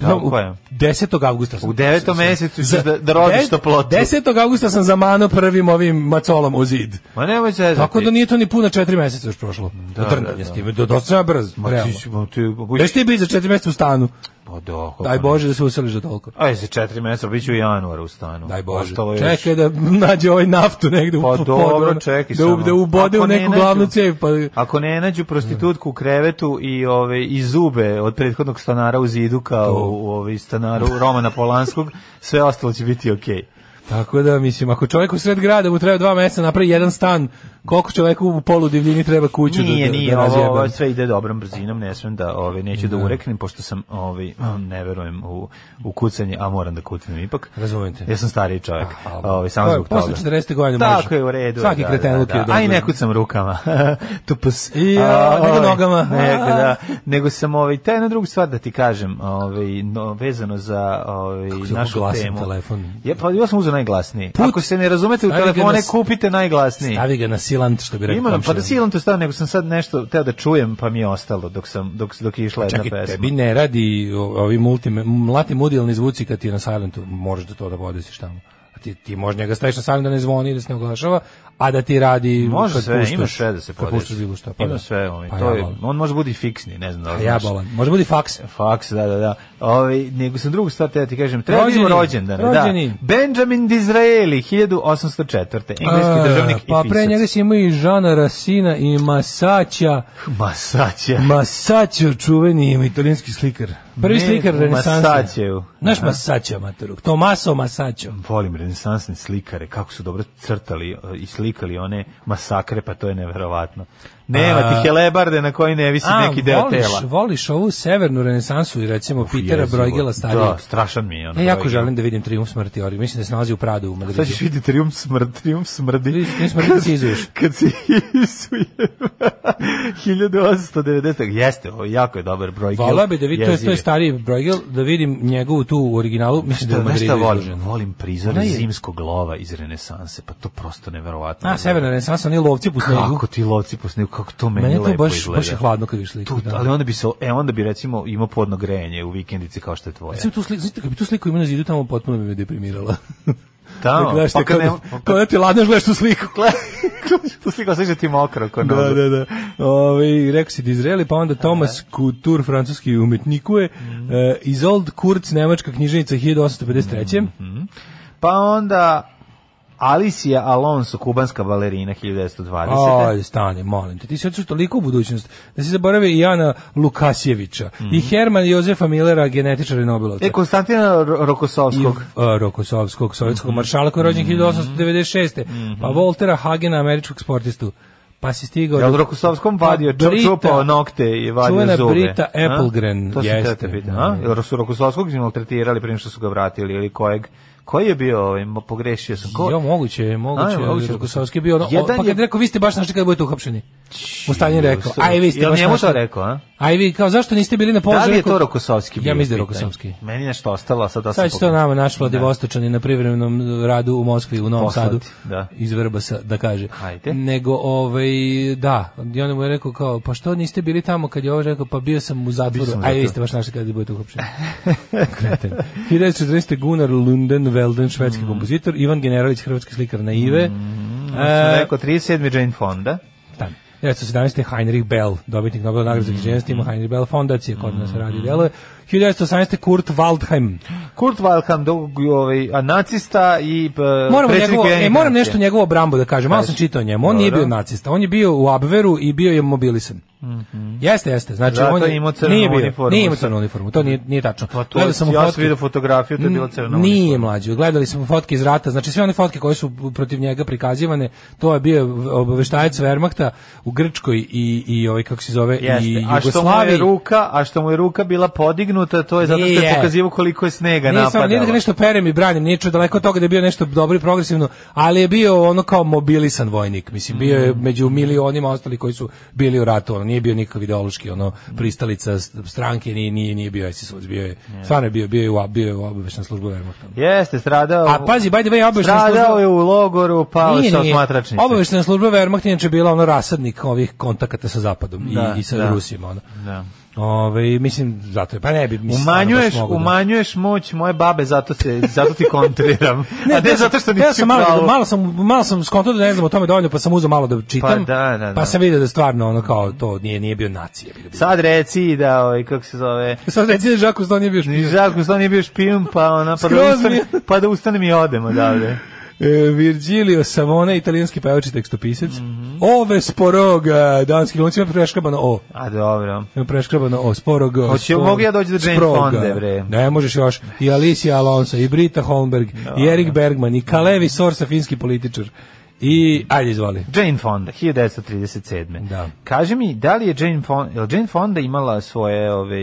Speaker 7: Tako
Speaker 6: Pa, znači, u-
Speaker 7: je.
Speaker 6: 10. augusta sam.
Speaker 7: U devetom
Speaker 6: sam-
Speaker 7: mesecu ćeš
Speaker 6: za-
Speaker 7: da- da rodiš
Speaker 6: des-
Speaker 7: toplotu.
Speaker 6: 10. augusta sam zamano prvim ovim macolom u zid.
Speaker 7: Ma nemoj se
Speaker 6: Tako da nije to ni puno četiri meseca još prošlo. Da,
Speaker 7: Znači- da, da.
Speaker 6: s time, do, dosta sam brz,
Speaker 7: Ma
Speaker 6: realno.
Speaker 7: ti, si- ma ti, ma
Speaker 6: Već ti biti za četiri meseca u stanu.
Speaker 7: Pa da, kako
Speaker 6: Daj
Speaker 7: ne.
Speaker 6: Bože da se useliš do toliko.
Speaker 7: Aj, za četiri meseca, bit ću u januaru u stanu.
Speaker 6: Daj Bože.
Speaker 7: Ostalo je još-
Speaker 6: Čekaj da nađe ovaj naftu negde u
Speaker 7: Pa
Speaker 6: po- podru,
Speaker 7: dobro,
Speaker 6: ono,
Speaker 7: čekaj
Speaker 6: da, u-
Speaker 7: samo.
Speaker 6: da ubode
Speaker 7: Ako
Speaker 6: u
Speaker 7: ne
Speaker 6: neku
Speaker 7: nađu-
Speaker 6: glavnu cev. Pa,
Speaker 7: Ako ne nađu prostitutku u krevetu i ove i zube od prethodnog stanara u zidu kao u, u ovaj stanaru Romana Polanskog, sve ostalo će biti okej.
Speaker 6: Tako da, mislim, ako čovjek u sred grada mu treba dva meseca napravi jedan stan, koliko čovjeku u polu divljini treba kuću
Speaker 7: Nije,
Speaker 6: da, da,
Speaker 7: nije,
Speaker 6: da
Speaker 7: ovo,
Speaker 6: razjebe?
Speaker 7: ovo sve ide dobrom brzinom, ne smem da, ove, neću da ureknem, pošto sam, ove, ne verujem u, u kucanje, a moram da kucnem ipak.
Speaker 6: Razumijem te.
Speaker 7: Ja sam stariji čovjek,
Speaker 6: hvala.
Speaker 7: ove, Ovaj, samo
Speaker 6: To je
Speaker 7: zbog toga.
Speaker 6: Pa, posle 40. godine može.
Speaker 7: Tako je, u redu. je,
Speaker 6: Svaki
Speaker 7: da,
Speaker 6: kreten
Speaker 7: da,
Speaker 6: luk je
Speaker 7: da.
Speaker 6: dobro.
Speaker 7: A i ne kucam rukama. Tupus.
Speaker 6: I, a, nego
Speaker 7: ove,
Speaker 6: nogama.
Speaker 7: Nego, da. Nego sam, ovaj, ove, taj na drugu stvar da ti kažem, ove, no, vezano za ove,
Speaker 6: si
Speaker 7: našu
Speaker 6: ovako glasan
Speaker 7: temu.
Speaker 6: telefon?
Speaker 7: Ja, pa ja sam uzeo najglasniji.
Speaker 6: Put.
Speaker 7: Ako se ne razumete u
Speaker 6: Stavi ga na
Speaker 7: telefone,
Speaker 6: s-
Speaker 7: kupite najglasniji.
Speaker 6: Stavi ga na silant, što bi rekao.
Speaker 7: Ima nam, pa
Speaker 6: komšija.
Speaker 7: da silom to stavio, nego sam sad nešto teo da čujem, pa mi je ostalo dok, sam, dok, dok je išla jedna
Speaker 6: Pa Čekaj,
Speaker 7: pesma.
Speaker 6: tebi ne radi o- ovi multi, mlati mudijalni zvuci kad ti je na silentu, možeš da to da podesiš tamo. A ti, ti možeš njega staviš na silent da ne zvoni, da se ne oglašava, a da ti radi
Speaker 7: Može
Speaker 6: kad
Speaker 7: sve,
Speaker 6: puštaš,
Speaker 7: ima sve da se
Speaker 6: kad
Speaker 7: podesi.
Speaker 6: puštaš bilo šta.
Speaker 7: Ima
Speaker 6: da.
Speaker 7: sve, ovaj,
Speaker 6: Pa
Speaker 7: to
Speaker 6: ja
Speaker 7: je,
Speaker 6: volim.
Speaker 7: on može biti fiksni, ne znam da
Speaker 6: Pa
Speaker 7: li
Speaker 6: ja
Speaker 7: znaš.
Speaker 6: bolan. Može budi faks.
Speaker 7: Faks, da, da, da. Ovi, nego sam drugu stvar teo ti kažem. Treba
Speaker 6: Rođeni,
Speaker 7: vidimo rođendan.
Speaker 6: rođeni.
Speaker 7: Da. Benjamin Disraeli, 1804. Engleski
Speaker 6: A,
Speaker 7: državnik i
Speaker 6: pa
Speaker 7: pisac.
Speaker 6: pre njega si imao i Žana Rasina i Masaća.
Speaker 7: Masaća.
Speaker 6: Masaća, čuveni italijanski slikar. Prvi
Speaker 7: Ne,
Speaker 6: slikar renesanse.
Speaker 7: Masaccio.
Speaker 6: Naš
Speaker 7: Aha.
Speaker 6: Masaća, materuk. Tomaso Masaćo.
Speaker 7: Volim renesansne slikare, kako su dobro crtali e, i slikali one masakre, pa to je neverovatno. Nema
Speaker 6: A-
Speaker 7: ti helebarde na koji ne visi neki deo
Speaker 6: voliš,
Speaker 7: tela.
Speaker 6: Voliš ovu severnu renesansu i recimo Pitera
Speaker 7: Jezivo.
Speaker 6: Brojgela starijeg.
Speaker 7: Da, strašan mi je ono on.
Speaker 6: ja E, jako želim da vidim Triumf smrti Ori. Mislim da se nalazi u Pradu u Madridu.
Speaker 7: Sad ćeš vidjeti triumf smrdi, triumf smrdi.
Speaker 6: Triumf smrdi kad se izuješ.
Speaker 7: Kad se izuješ. 1890. Jeste, ovo jako je dobar broj.
Speaker 6: Volao bi da vidim, to je, to je stariji Brojgel, da vidim njegovu tu u originalu. Mislim da je u
Speaker 7: Znaš šta
Speaker 6: Madridu
Speaker 7: volim?
Speaker 6: izložena.
Speaker 7: Volim prizor
Speaker 6: Ona je-
Speaker 7: zimskog lova iz renesanse, pa to prosto neverovatno.
Speaker 6: A, severna renesansa, oni lovci po snegu.
Speaker 7: Kako ti loci po snegu, kako to meni,
Speaker 6: Meni je to
Speaker 7: lepo
Speaker 6: baš-
Speaker 7: izgleda.
Speaker 6: baš je hladno kad vidiš sliku,
Speaker 7: Tu,
Speaker 6: da.
Speaker 7: Ali onda bi, se, e, onda bi recimo imao podno grejanje u vikendici kao što je tvoje.
Speaker 6: Recimo tu sliku, znači, kad bi tu sliku imao na zidu, tamo potpuno bi me deprimirala.
Speaker 7: Tamo,
Speaker 6: Da gledaš
Speaker 7: pa
Speaker 6: te
Speaker 7: kad
Speaker 6: kao,
Speaker 7: ne-
Speaker 6: da- kao da ti ladneš gledaš tu sliku.
Speaker 7: tu slika sliže ti mokro ko
Speaker 6: Da,
Speaker 7: nogu.
Speaker 6: da, da. Ove, rekao si Dizreli, pa onda Thomas Couture, francuski umetnikuje,
Speaker 7: Mhm.
Speaker 6: e, Isolde Kurz, nemačka knjiženica
Speaker 7: Mhm,
Speaker 6: 1853.
Speaker 7: Pa onda Alicia Alonso, kubanska balerina 1920.
Speaker 6: Pa, Aj, stani, molim te, ti si otišao toliko u budućnost, da si zaboravio i Jana Lukasjevića, i Herman Jozefa Millera, genetičara i Nobelovca.
Speaker 7: Mhm. E, Konstantina Ro-
Speaker 6: i
Speaker 7: Rokosovskog.
Speaker 6: a, Rokosovskog, sovjetskog
Speaker 7: Mhm.
Speaker 6: maršala koji je rođen 1896. Pa Voltera Hagena, američkog sportistu. Pa si stigao...
Speaker 7: Jel
Speaker 6: do-
Speaker 7: Rokosovskom vadio, čo-
Speaker 6: Brita-
Speaker 7: čupao nokte i vadio
Speaker 6: čuvena
Speaker 7: zube?
Speaker 6: Brita
Speaker 7: A?
Speaker 6: Applegren,
Speaker 7: To sam
Speaker 6: jeste,
Speaker 7: teo te pitan.
Speaker 6: da.
Speaker 7: A? Jel su Rokosovskog maltretirali prije što su ga vratili ili kojeg? Koji je bio, ovaj, mo- pogrešio sam. Ko?
Speaker 6: Jo, moguće, je, moguće.
Speaker 7: A,
Speaker 6: je,
Speaker 7: moguće.
Speaker 6: Rokosovski je bio ono,
Speaker 7: Jedan
Speaker 6: o, pa kad
Speaker 7: je-
Speaker 6: je rekao, vi ste baš našli kada budete uhapšeni. Mustan je rekao, aj vi ste
Speaker 7: Jel
Speaker 6: baš
Speaker 7: njemu to
Speaker 6: našli.
Speaker 7: rekao, a?
Speaker 6: Aj vi, kao zašto niste bili na položaju?
Speaker 7: Da li je to
Speaker 6: Rekao,
Speaker 7: Rokosovski bio?
Speaker 6: Ja mislim da je
Speaker 7: pitanje?
Speaker 6: Rokosovski.
Speaker 7: Meni nešto ostalo, sad da Pa sam
Speaker 6: Sad će to
Speaker 7: pogrešio.
Speaker 6: nama naš Vladivostočani na privremenom radu u Moskvi, u Novom
Speaker 7: Poslati,
Speaker 6: Sadu,
Speaker 7: da.
Speaker 6: iz Vrbasa, da kaže.
Speaker 7: Hajde.
Speaker 6: Nego, ovaj, da, i onda mu je rekao kao, pa što niste bili tamo kad je ovo rekao, pa bio sam u zatvoru,
Speaker 7: sam u
Speaker 6: aj vi
Speaker 7: zatvoru.
Speaker 6: ste baš našli kada budete uhapšeni. Kreten. 1914. Gunnar Lunden Velden,
Speaker 7: Mm.
Speaker 6: švedski kompozitor, Ivan Generalić, hrvatski slikar na Ive,
Speaker 7: Sam
Speaker 6: E,
Speaker 7: Rekao 37. Jane Fonda.
Speaker 6: Tan. 1917. Heinrich Bell, dobitnik Nobelove nagrade za
Speaker 7: Mm.
Speaker 6: književnost, ima Heinrich Bell fondacije, kod nas radi i deluje. 1918. Kurt Waldheim.
Speaker 7: Kurt Valkam, ovaj, a nacista i e,
Speaker 6: Moram,
Speaker 7: predsjednik
Speaker 6: njegovo, e,
Speaker 7: Ujedinjenih
Speaker 6: moram
Speaker 7: nacija.
Speaker 6: nešto njegovu obrambu da kažem, malo sam čitao o njemu, on nije
Speaker 7: Dobro.
Speaker 6: bio nacista, on je bio u Abveru i bio je mobilisan. Jeste, jeste, znači
Speaker 7: Zato
Speaker 6: on je,
Speaker 7: je Mhm. imao crnu
Speaker 6: nije bio,
Speaker 7: uniformu.
Speaker 6: Nije imao crnu uniformu, to nije, nije tačno.
Speaker 7: Pa to,
Speaker 6: Gledao sam mu
Speaker 7: ja
Speaker 6: fotke.
Speaker 7: sam vidio fotografiju, to je bila crna
Speaker 6: Nije
Speaker 7: uniforma.
Speaker 6: mlađo, gledali smo fotke iz rata, znači sve one fotke koje su protiv njega prikazivane, to je bio obaveštajac Wehrmachta u Grčkoj i, i ovaj, kako se zove, i
Speaker 7: Jeste. A što mu je
Speaker 6: Jugoslaviji.
Speaker 7: ruka, a što mu je ruka bila podignuta, to je zato što je
Speaker 6: Nije.
Speaker 7: pokazivo koliko je snega
Speaker 6: Nije
Speaker 7: napadalo.
Speaker 6: samo, nije da ga nešto perem i branim, nije čuo daleko od toga da je bio nešto dobro i progresivno, ali je bio ono kao mobilisan vojnik, mislim, bio je
Speaker 7: Mhm.
Speaker 6: među milionima ostali koji su bili u ratu, ono, nije bio nikakav ideološki, ono, pristalica s- stranke, nije, nije, nije bio SS, bio je, stvarno je bio, bio je u, bio je u obaveštenoj službi Wehrmachta.
Speaker 7: Jeste, stradao.
Speaker 6: A pazi, by the way, obavešna
Speaker 7: Stradao
Speaker 6: služba-
Speaker 7: je u logoru, pao je sa osmatračnice.
Speaker 6: Obaveštajna služba Wehrmacht inače je bila ono rasadnik ovih kontakata sa Zapadom i-
Speaker 7: Da,
Speaker 6: i, sa
Speaker 7: da.
Speaker 6: Rusima. Ono.
Speaker 7: Da.
Speaker 6: Ove, mislim, zato je, pa ne bi... Mislim, stvarno baš
Speaker 7: Umanjuješ,
Speaker 6: mogu da-
Speaker 7: umanjuješ moć moje babe, zato, se, zato ti kontriram.
Speaker 6: Ne,
Speaker 7: a Pa ne
Speaker 6: teo sam-
Speaker 7: zato što
Speaker 6: teo
Speaker 7: nisi
Speaker 6: sam malo,
Speaker 7: pravo.
Speaker 6: malo sam malo sam skonto da ne znam o tome dovoljno, pa sam uzeo malo da čitam.
Speaker 7: Pa da, da, da.
Speaker 6: Pa sam video da stvarno ono kao to nije nije bio nacije. Bio, bio.
Speaker 7: Sad reci da, ovaj, kako se zove,
Speaker 6: Sad reci da Žakus to nije bio špijun.
Speaker 7: Žalko što on nije bio špijun, pa, ona, pa, da
Speaker 6: Skroz
Speaker 7: ustane,
Speaker 6: mi
Speaker 7: pa da ustanem i odem odavde. Mhm.
Speaker 6: E, Virgilio Savona, italijanski pevač i tekstopisac. Mm Ove sporog, danski glumci ima preškrabano O.
Speaker 7: A dobro.
Speaker 6: Ima preškrabano O, sporog.
Speaker 7: Hoće-
Speaker 6: sporog,
Speaker 7: mogu ja doći do Jane
Speaker 6: sproga.
Speaker 7: Fonda, bre?
Speaker 6: Ne možeš još. I Alicia Alonso, i Brita Holmberg, i Erik Bergman, i Kalevi Sorsa, finski političar. I, ajde, izvoli.
Speaker 7: Jane Fonda, 1937.
Speaker 6: Da.
Speaker 7: Kaži mi, da li je Jane Fonda, je li Jane Fonda imala svoje ove,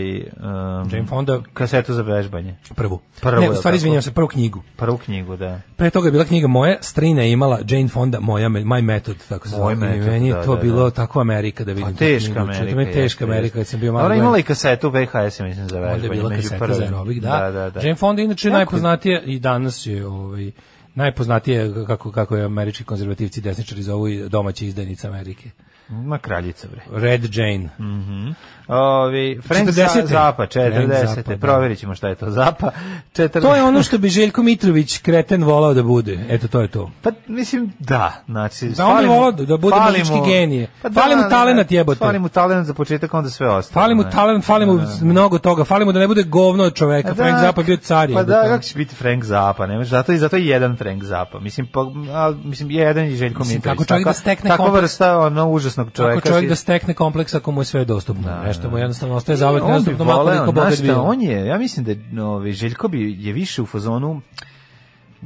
Speaker 7: um,
Speaker 6: Jane Fonda,
Speaker 7: kasetu za vežbanje?
Speaker 6: prvu.
Speaker 7: Prvu,
Speaker 6: ne,
Speaker 7: je
Speaker 6: u
Speaker 7: li
Speaker 6: stvari,
Speaker 7: tako?
Speaker 6: izvinjam se, prvu knjigu.
Speaker 7: Prvu knjigu, da.
Speaker 6: Pre toga je bila knjiga moja, Strina je imala Jane Fonda, moja, me- My Method, tako se
Speaker 7: Moj
Speaker 6: zove. I
Speaker 7: Method,
Speaker 6: Meni je
Speaker 7: da,
Speaker 6: to
Speaker 7: da,
Speaker 6: bilo
Speaker 7: da.
Speaker 6: tako Amerika da
Speaker 7: Pa
Speaker 6: vidim. tu knjigu.
Speaker 7: teška
Speaker 6: Čujem,
Speaker 7: Amerika.
Speaker 6: To mi je teška
Speaker 7: jeste,
Speaker 6: Amerika kad
Speaker 7: jeste.
Speaker 6: sam bio malo.
Speaker 7: Ona je
Speaker 6: gledam.
Speaker 7: imala i kasetu VHS, mislim, za vežbanje.
Speaker 6: Onda je bila
Speaker 7: među
Speaker 6: kaseta
Speaker 7: prvim.
Speaker 6: za aerobik, da.
Speaker 7: Da, da, da.
Speaker 6: Jane Fonda je inače
Speaker 7: Kako je?
Speaker 6: najpoznatija i danas je ovaj, najpoznatije kako, kako je američki konzervativci i desničari zovu i domaća izdanica Amerike.
Speaker 7: Ma kraljica, bre.
Speaker 6: Red Jane.
Speaker 7: Mhm. Ovi, Frank
Speaker 6: 40..
Speaker 7: Za- Zappa,
Speaker 6: Frank
Speaker 7: 40.
Speaker 6: Zappa, da.
Speaker 7: Proverit ćemo šta je to Zappa. 40.
Speaker 6: To je ono što bi Željko Mitrović kreten volao da bude. Eto, to je to.
Speaker 7: Pa mislim da, znači Pa
Speaker 6: Da on
Speaker 7: fali mu-
Speaker 6: je volao da bude
Speaker 7: fali
Speaker 6: muzički
Speaker 7: mu-
Speaker 6: genije. Fali mu talenat, jebote.
Speaker 7: Fali mu talenat za početak, onda sve ostalo.
Speaker 6: Fali mu
Speaker 7: ne.
Speaker 6: talent, fali mu mnogo toga, fali mu da ne bude govno od čoveka.
Speaker 7: Pa
Speaker 6: Frank
Speaker 7: da,
Speaker 6: Zappa je bio car.
Speaker 7: Pa
Speaker 6: jebote.
Speaker 7: da, kako će biti Frank Zappa, nemaš, zato, i- zato i jedan Frank Zappa. Mislim, pa, a, mislim jedan je Željko
Speaker 6: Mislim,
Speaker 7: Mitrović.
Speaker 6: kako čovjek da stekne
Speaker 7: Tako
Speaker 6: kompleks-
Speaker 7: vrsta ono, užasnog čoveka.
Speaker 6: Kako čovjek
Speaker 7: si-
Speaker 6: da stekne kompleks ako mu je sve dostupno. Nešto mu jednostavno ostaje zavet
Speaker 7: on bi
Speaker 6: nedostupno, ma
Speaker 7: voleo,
Speaker 6: koliko
Speaker 7: znaš
Speaker 6: bogat
Speaker 7: šta,
Speaker 6: bio.
Speaker 7: on je, ja mislim da je, ovaj, Željko bi je više u fazonu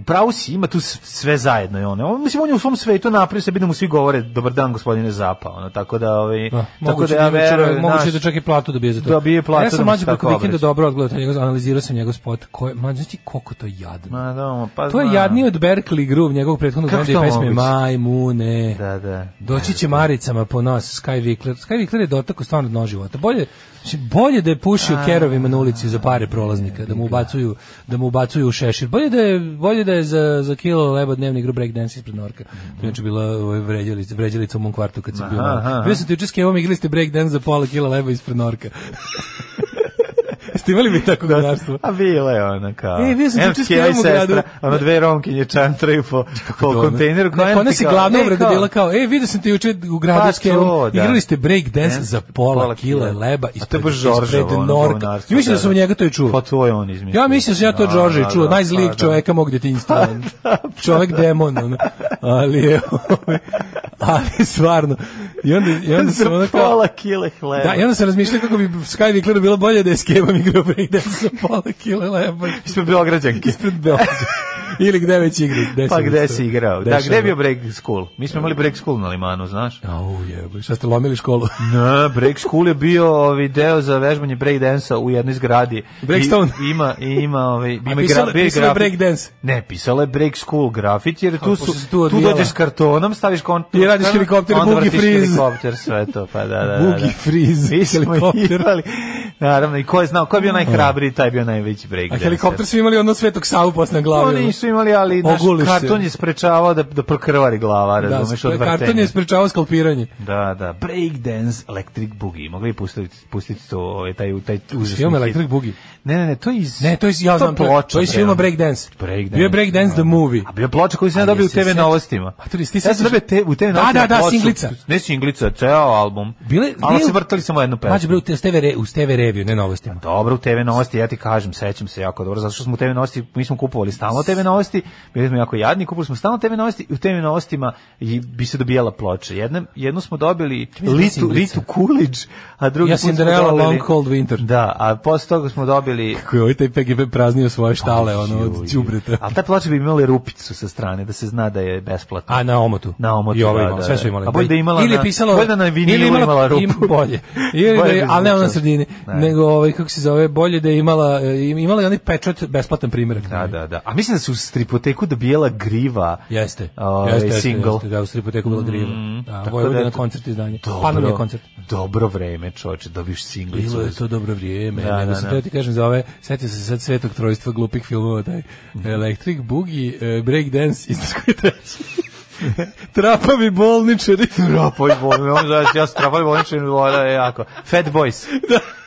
Speaker 7: Pravo si, ima tu s- sve zajedno i ono. On, mislim, on je u svom svetu napravio sebi da mu svi govore dobar dan gospodine Zapa, ono, tako da, ovaj,
Speaker 6: Da,
Speaker 7: tako
Speaker 6: moguće
Speaker 7: da
Speaker 6: da,
Speaker 7: ja
Speaker 6: ima čovjek-
Speaker 7: verujem,
Speaker 6: moguće
Speaker 7: znaš,
Speaker 6: da čak i platu dobije za to.
Speaker 7: Dobije platu
Speaker 6: Ja
Speaker 7: da
Speaker 6: sam
Speaker 7: mu se
Speaker 6: mlađe
Speaker 7: tako
Speaker 6: preko vikenda
Speaker 7: obraća.
Speaker 6: dobro odgledao taj njegov, analizirao sam njegov spot. Ko je, mlađe, znaš ti koliko to je jadno.
Speaker 7: Ma, da, pa,
Speaker 6: to je
Speaker 7: znam.
Speaker 6: jadnije od Berkeley Groove, njegovog prethodnog
Speaker 7: Kako
Speaker 6: benda i
Speaker 7: to
Speaker 6: pesme
Speaker 7: moguće?
Speaker 6: Majmune.
Speaker 7: Da, da.
Speaker 6: Doći će maricama po nas Sky Vikler. Sky Vikler je dotakao stvarno dno života. Bolje, znači, bolje da je pušio kerovima na ulici za pare prolaznika, da mu ubacuju, da mu ubacuju u šešir. Bolje da je, bolje da je za, za kilo leba dnevni igru breakdance ispred Norka. To je inače bila ovaj, vređalica, vređalica u mom kvartu kad sam bio
Speaker 7: Mhm. Aha,
Speaker 6: malo.
Speaker 7: aha.
Speaker 6: Bio sam ti učeski, evo mi igrali ste breakdance za pola kila leba ispred Norka. Ste imali mi tako gledarstvo?
Speaker 7: A bila je ona kao.
Speaker 6: E, bio sam
Speaker 7: Evo,
Speaker 6: juče s
Speaker 7: Keva i
Speaker 6: Kevom u gradu.
Speaker 7: sestra, Ono dve romkinje čantraju po, po kontejneru. koja
Speaker 6: Kod nas
Speaker 7: ti
Speaker 6: je
Speaker 7: kao,
Speaker 6: glavna
Speaker 7: e,
Speaker 6: uvreda
Speaker 7: kao,
Speaker 6: bila kao, e, vidio sam te juče u gradu
Speaker 7: Pa
Speaker 6: s Kevom,
Speaker 7: to, da.
Speaker 6: igrali ste break dance
Speaker 7: Ne?
Speaker 6: za pola, kile leba
Speaker 7: A to je
Speaker 6: ispred,
Speaker 7: baš Žorževo.
Speaker 6: ispred
Speaker 7: ono,
Speaker 6: Norka.
Speaker 7: govnarstvo,
Speaker 6: I mislim da sam njega to i čuo.
Speaker 7: Pa to je on izmislio.
Speaker 6: Ja mislim da sam ja to
Speaker 7: Da,
Speaker 6: Đorđe
Speaker 7: da,
Speaker 6: čuo,
Speaker 7: da,
Speaker 6: najzlijeg
Speaker 7: pa da.
Speaker 6: čoveka mog djetinjstva. ono. Čovek demon, ono. Ali je, ovaj, ali stvarno. I onda, i onda
Speaker 7: Za
Speaker 6: sam ono kao,
Speaker 7: pola kile hleba.
Speaker 6: Da, i onda sam razmišljao kako bi Sky Vikleru bilo bolje da je s Kevom igrao breakdance za pola kile leba
Speaker 7: Ispred Beograđanke.
Speaker 6: ispred Beograda. Ili gde već igra. Gde
Speaker 7: Pa
Speaker 6: se
Speaker 7: gde
Speaker 6: već to
Speaker 7: si igrao? Da,
Speaker 6: dešava.
Speaker 7: gde je bio break school? Mi smo imali break school na limanu, znaš?
Speaker 6: Au jebe, šta ste lomili školu?
Speaker 7: Ne, break school je bio ovaj deo za vežbanje break dansa u jednoj zgradi.
Speaker 6: Breakstone.
Speaker 7: I, ima i ima ovaj ima
Speaker 6: pisalo-
Speaker 7: gra, bio je
Speaker 6: pisalo je
Speaker 7: grafit.
Speaker 6: break dance.
Speaker 7: Ne, pisalo je break school grafit jer tu
Speaker 6: pošto
Speaker 7: su
Speaker 6: se tu
Speaker 7: tu,
Speaker 6: odvijala.
Speaker 7: dođeš s kartonom, staviš kont
Speaker 6: I radiš helikopter,
Speaker 7: onda
Speaker 6: boogie
Speaker 7: vratiš
Speaker 6: freeze.
Speaker 7: helikopter, sve to, pa da, da, da.
Speaker 6: Boogie freeze,
Speaker 7: Mi smo
Speaker 6: helikopter.
Speaker 7: igrali, Naravno, i ko je znao, ko je bio najhrabriji, taj je bio najveći break
Speaker 6: A helikopter su imali ono svetog savu pas na glavi.
Speaker 7: Oni
Speaker 6: ono.
Speaker 7: nisu imali, ali naš
Speaker 6: Oguliš se.
Speaker 7: karton je sprečavao da, da prokrvari glava,
Speaker 6: Da,
Speaker 7: razumeš,
Speaker 6: to
Speaker 7: od
Speaker 6: je karton
Speaker 7: vrtenja.
Speaker 6: je sprečavao skalpiranje.
Speaker 7: Da, da, Breakdance Electric Boogie. Mogli bi pustiti, pustiti to, ovaj, taj, taj užasni
Speaker 6: Film
Speaker 7: hit.
Speaker 6: Electric Boogie.
Speaker 7: Ne, ne, ne, to je iz...
Speaker 6: Ne, to je ja znam, to,
Speaker 7: ploča,
Speaker 6: to je iz
Speaker 7: bre,
Speaker 6: filma
Speaker 7: ono.
Speaker 6: Breakdance.
Speaker 7: Breakdance.
Speaker 6: Bio je Breakdance the movie.
Speaker 7: A bio je ploča koju sam ja
Speaker 6: Ali
Speaker 7: dobio u
Speaker 6: jesi se
Speaker 7: TV
Speaker 6: sećaš?
Speaker 7: novostima.
Speaker 6: A to jesi, ti
Speaker 7: ja sam
Speaker 6: sećaš?
Speaker 7: dobio te, u TV
Speaker 6: Da,
Speaker 7: novostima
Speaker 6: da, da,
Speaker 7: ploču.
Speaker 6: singlica.
Speaker 7: Ne singlica, ceo album.
Speaker 6: Bile-
Speaker 7: ali
Speaker 6: bile-
Speaker 7: se vrtali samo jednu pesmu.
Speaker 6: Mađe bre u te- s TV, re, u TV reviju, ne novostima.
Speaker 7: Dobro, u TV novosti, ja ti kažem, sećam se jako dobro, zato što smo u TV novosti, mi smo kupovali stalno TV novosti, bili smo jako jadni, kupovali smo stalno TV novosti i u TV novostima i bi se dobijala ploča. Jedne, jednu smo dobili
Speaker 6: mislim da je
Speaker 7: Litu,
Speaker 6: singlica.
Speaker 7: Ritu Coolidge, a drugi
Speaker 6: Ja,
Speaker 7: put smo
Speaker 6: Cinderella,
Speaker 7: dobili-
Speaker 6: Long Cold Winter.
Speaker 7: Da, a posle toga smo dobili...
Speaker 6: Koji je ovaj taj PGP praznio svoje štale, ono, od ćubreta.
Speaker 7: Ali ta ploča bi imala rupicu sa strane, da se zna da je besplatna.
Speaker 6: A na omotu.
Speaker 7: Na omotu,
Speaker 6: I ovo
Speaker 7: da,
Speaker 6: imala,
Speaker 7: da,
Speaker 6: sve
Speaker 7: da.
Speaker 6: su imali.
Speaker 7: A bolje da je imala
Speaker 6: ili je
Speaker 7: na-
Speaker 6: pisalo,
Speaker 7: bolje da na vinilu
Speaker 6: ili je
Speaker 7: imala rupu.
Speaker 6: im- bolje. Ili
Speaker 7: Bolje
Speaker 6: da je,
Speaker 7: bi
Speaker 6: ali ne ona na
Speaker 7: zvučalo.
Speaker 6: sredini,
Speaker 7: Ne.
Speaker 6: nego ovaj, kako se zove, bolje da je imala, e, imala je onaj pečat, besplatan primjerak.
Speaker 7: Da, da, da. A mislim da su u stripoteku dobijela griva.
Speaker 6: Jeste.
Speaker 7: ovaj,
Speaker 6: jeste, jeste,
Speaker 7: single.
Speaker 6: Jeste, da, u Stripoteku bilo grivo. Mm. Da,
Speaker 7: tako
Speaker 6: Vojvodina
Speaker 7: da, eto,
Speaker 6: koncert izdanje. Panom je koncert.
Speaker 7: Dobro vreme, čoveče, dobiš singlicu.
Speaker 6: Bilo je to dobro vrijeme.
Speaker 7: Da,
Speaker 6: nego
Speaker 7: da,
Speaker 6: sam
Speaker 7: da.
Speaker 6: teo ti kažem za ove, setio sam se sad svetog trojstva glupih filmova, taj Electric Boogie, e, Breakdance i tako je treći. Trapavi bolničari.
Speaker 7: Trapoj bolničar, ja, ja sam trapoj bolničar, voda je jako. Fat Boys.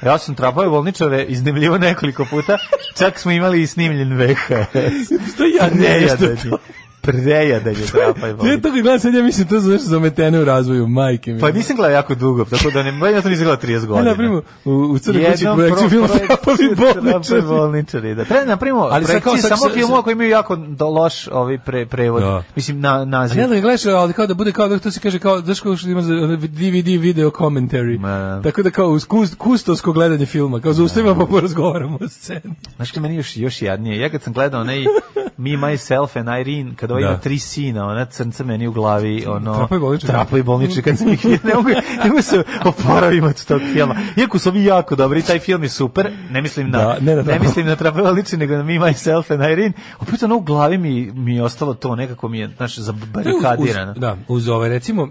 Speaker 7: Ja sam trapoj bolničare iznemljivo nekoliko puta, čak smo imali i snimljen VHS.
Speaker 6: Što ja
Speaker 7: Ne,
Speaker 6: ne,
Speaker 7: ja
Speaker 6: što
Speaker 7: da
Speaker 6: to.
Speaker 7: prdeja da je trapaj.
Speaker 6: Ja to gledam, sad ja mislim, to su nešto zametene u razvoju, majke mi.
Speaker 7: Pa nisam gledao jako dugo, tako da ne, pa, ja to nisam gledao 30
Speaker 6: Ja,
Speaker 7: godina.
Speaker 6: napravimo, u, u crnoj kući
Speaker 7: Jednom
Speaker 6: projekciju
Speaker 7: pro-
Speaker 6: film
Speaker 7: projekt-
Speaker 6: Trapovi
Speaker 7: Trapovi
Speaker 6: bolničari.
Speaker 7: bolničari, da. Treba da napravimo
Speaker 6: Ali sad
Speaker 7: projekcije
Speaker 6: kao sad-
Speaker 7: samo
Speaker 6: sad-
Speaker 7: filmova koji imaju jako do- loš ovaj pre, prevod.
Speaker 6: Da.
Speaker 7: Mislim, na, naziv.
Speaker 6: Ne da ga gledaš, ali kao da bude kao da to se kaže kao znaš kao što ima za ono DVD video commentary.
Speaker 7: Ma, da.
Speaker 6: Tako da kao uz kust, kustovsko gledanje filma, kao zaustavimo pa porazgovaramo o sceni.
Speaker 7: Znaš što je meni još, još jadnije? Ja kad sam gledao onaj Me, Myself and Irene, kada ovaj
Speaker 6: Da.
Speaker 7: ima tri sina, ona crnca meni u glavi, ono...
Speaker 6: Trapovi bolničari.
Speaker 7: Trapovi bolničari, kad sam ih vidio, ne mogu, ne mogu se oporavim od tog filma. Iako su ovi jako dobri, taj film je super, ne mislim na...
Speaker 6: Da, ne na
Speaker 7: ne
Speaker 6: Trapovi.
Speaker 7: mislim na Trapovi bolničari, nego na Me, Myself and Irene. Opet ono u glavi mi, mi je ostalo to, nekako mi je, znaš,
Speaker 6: To je uz- uz-
Speaker 7: zabarikadirano.
Speaker 6: Da, uz ove recimo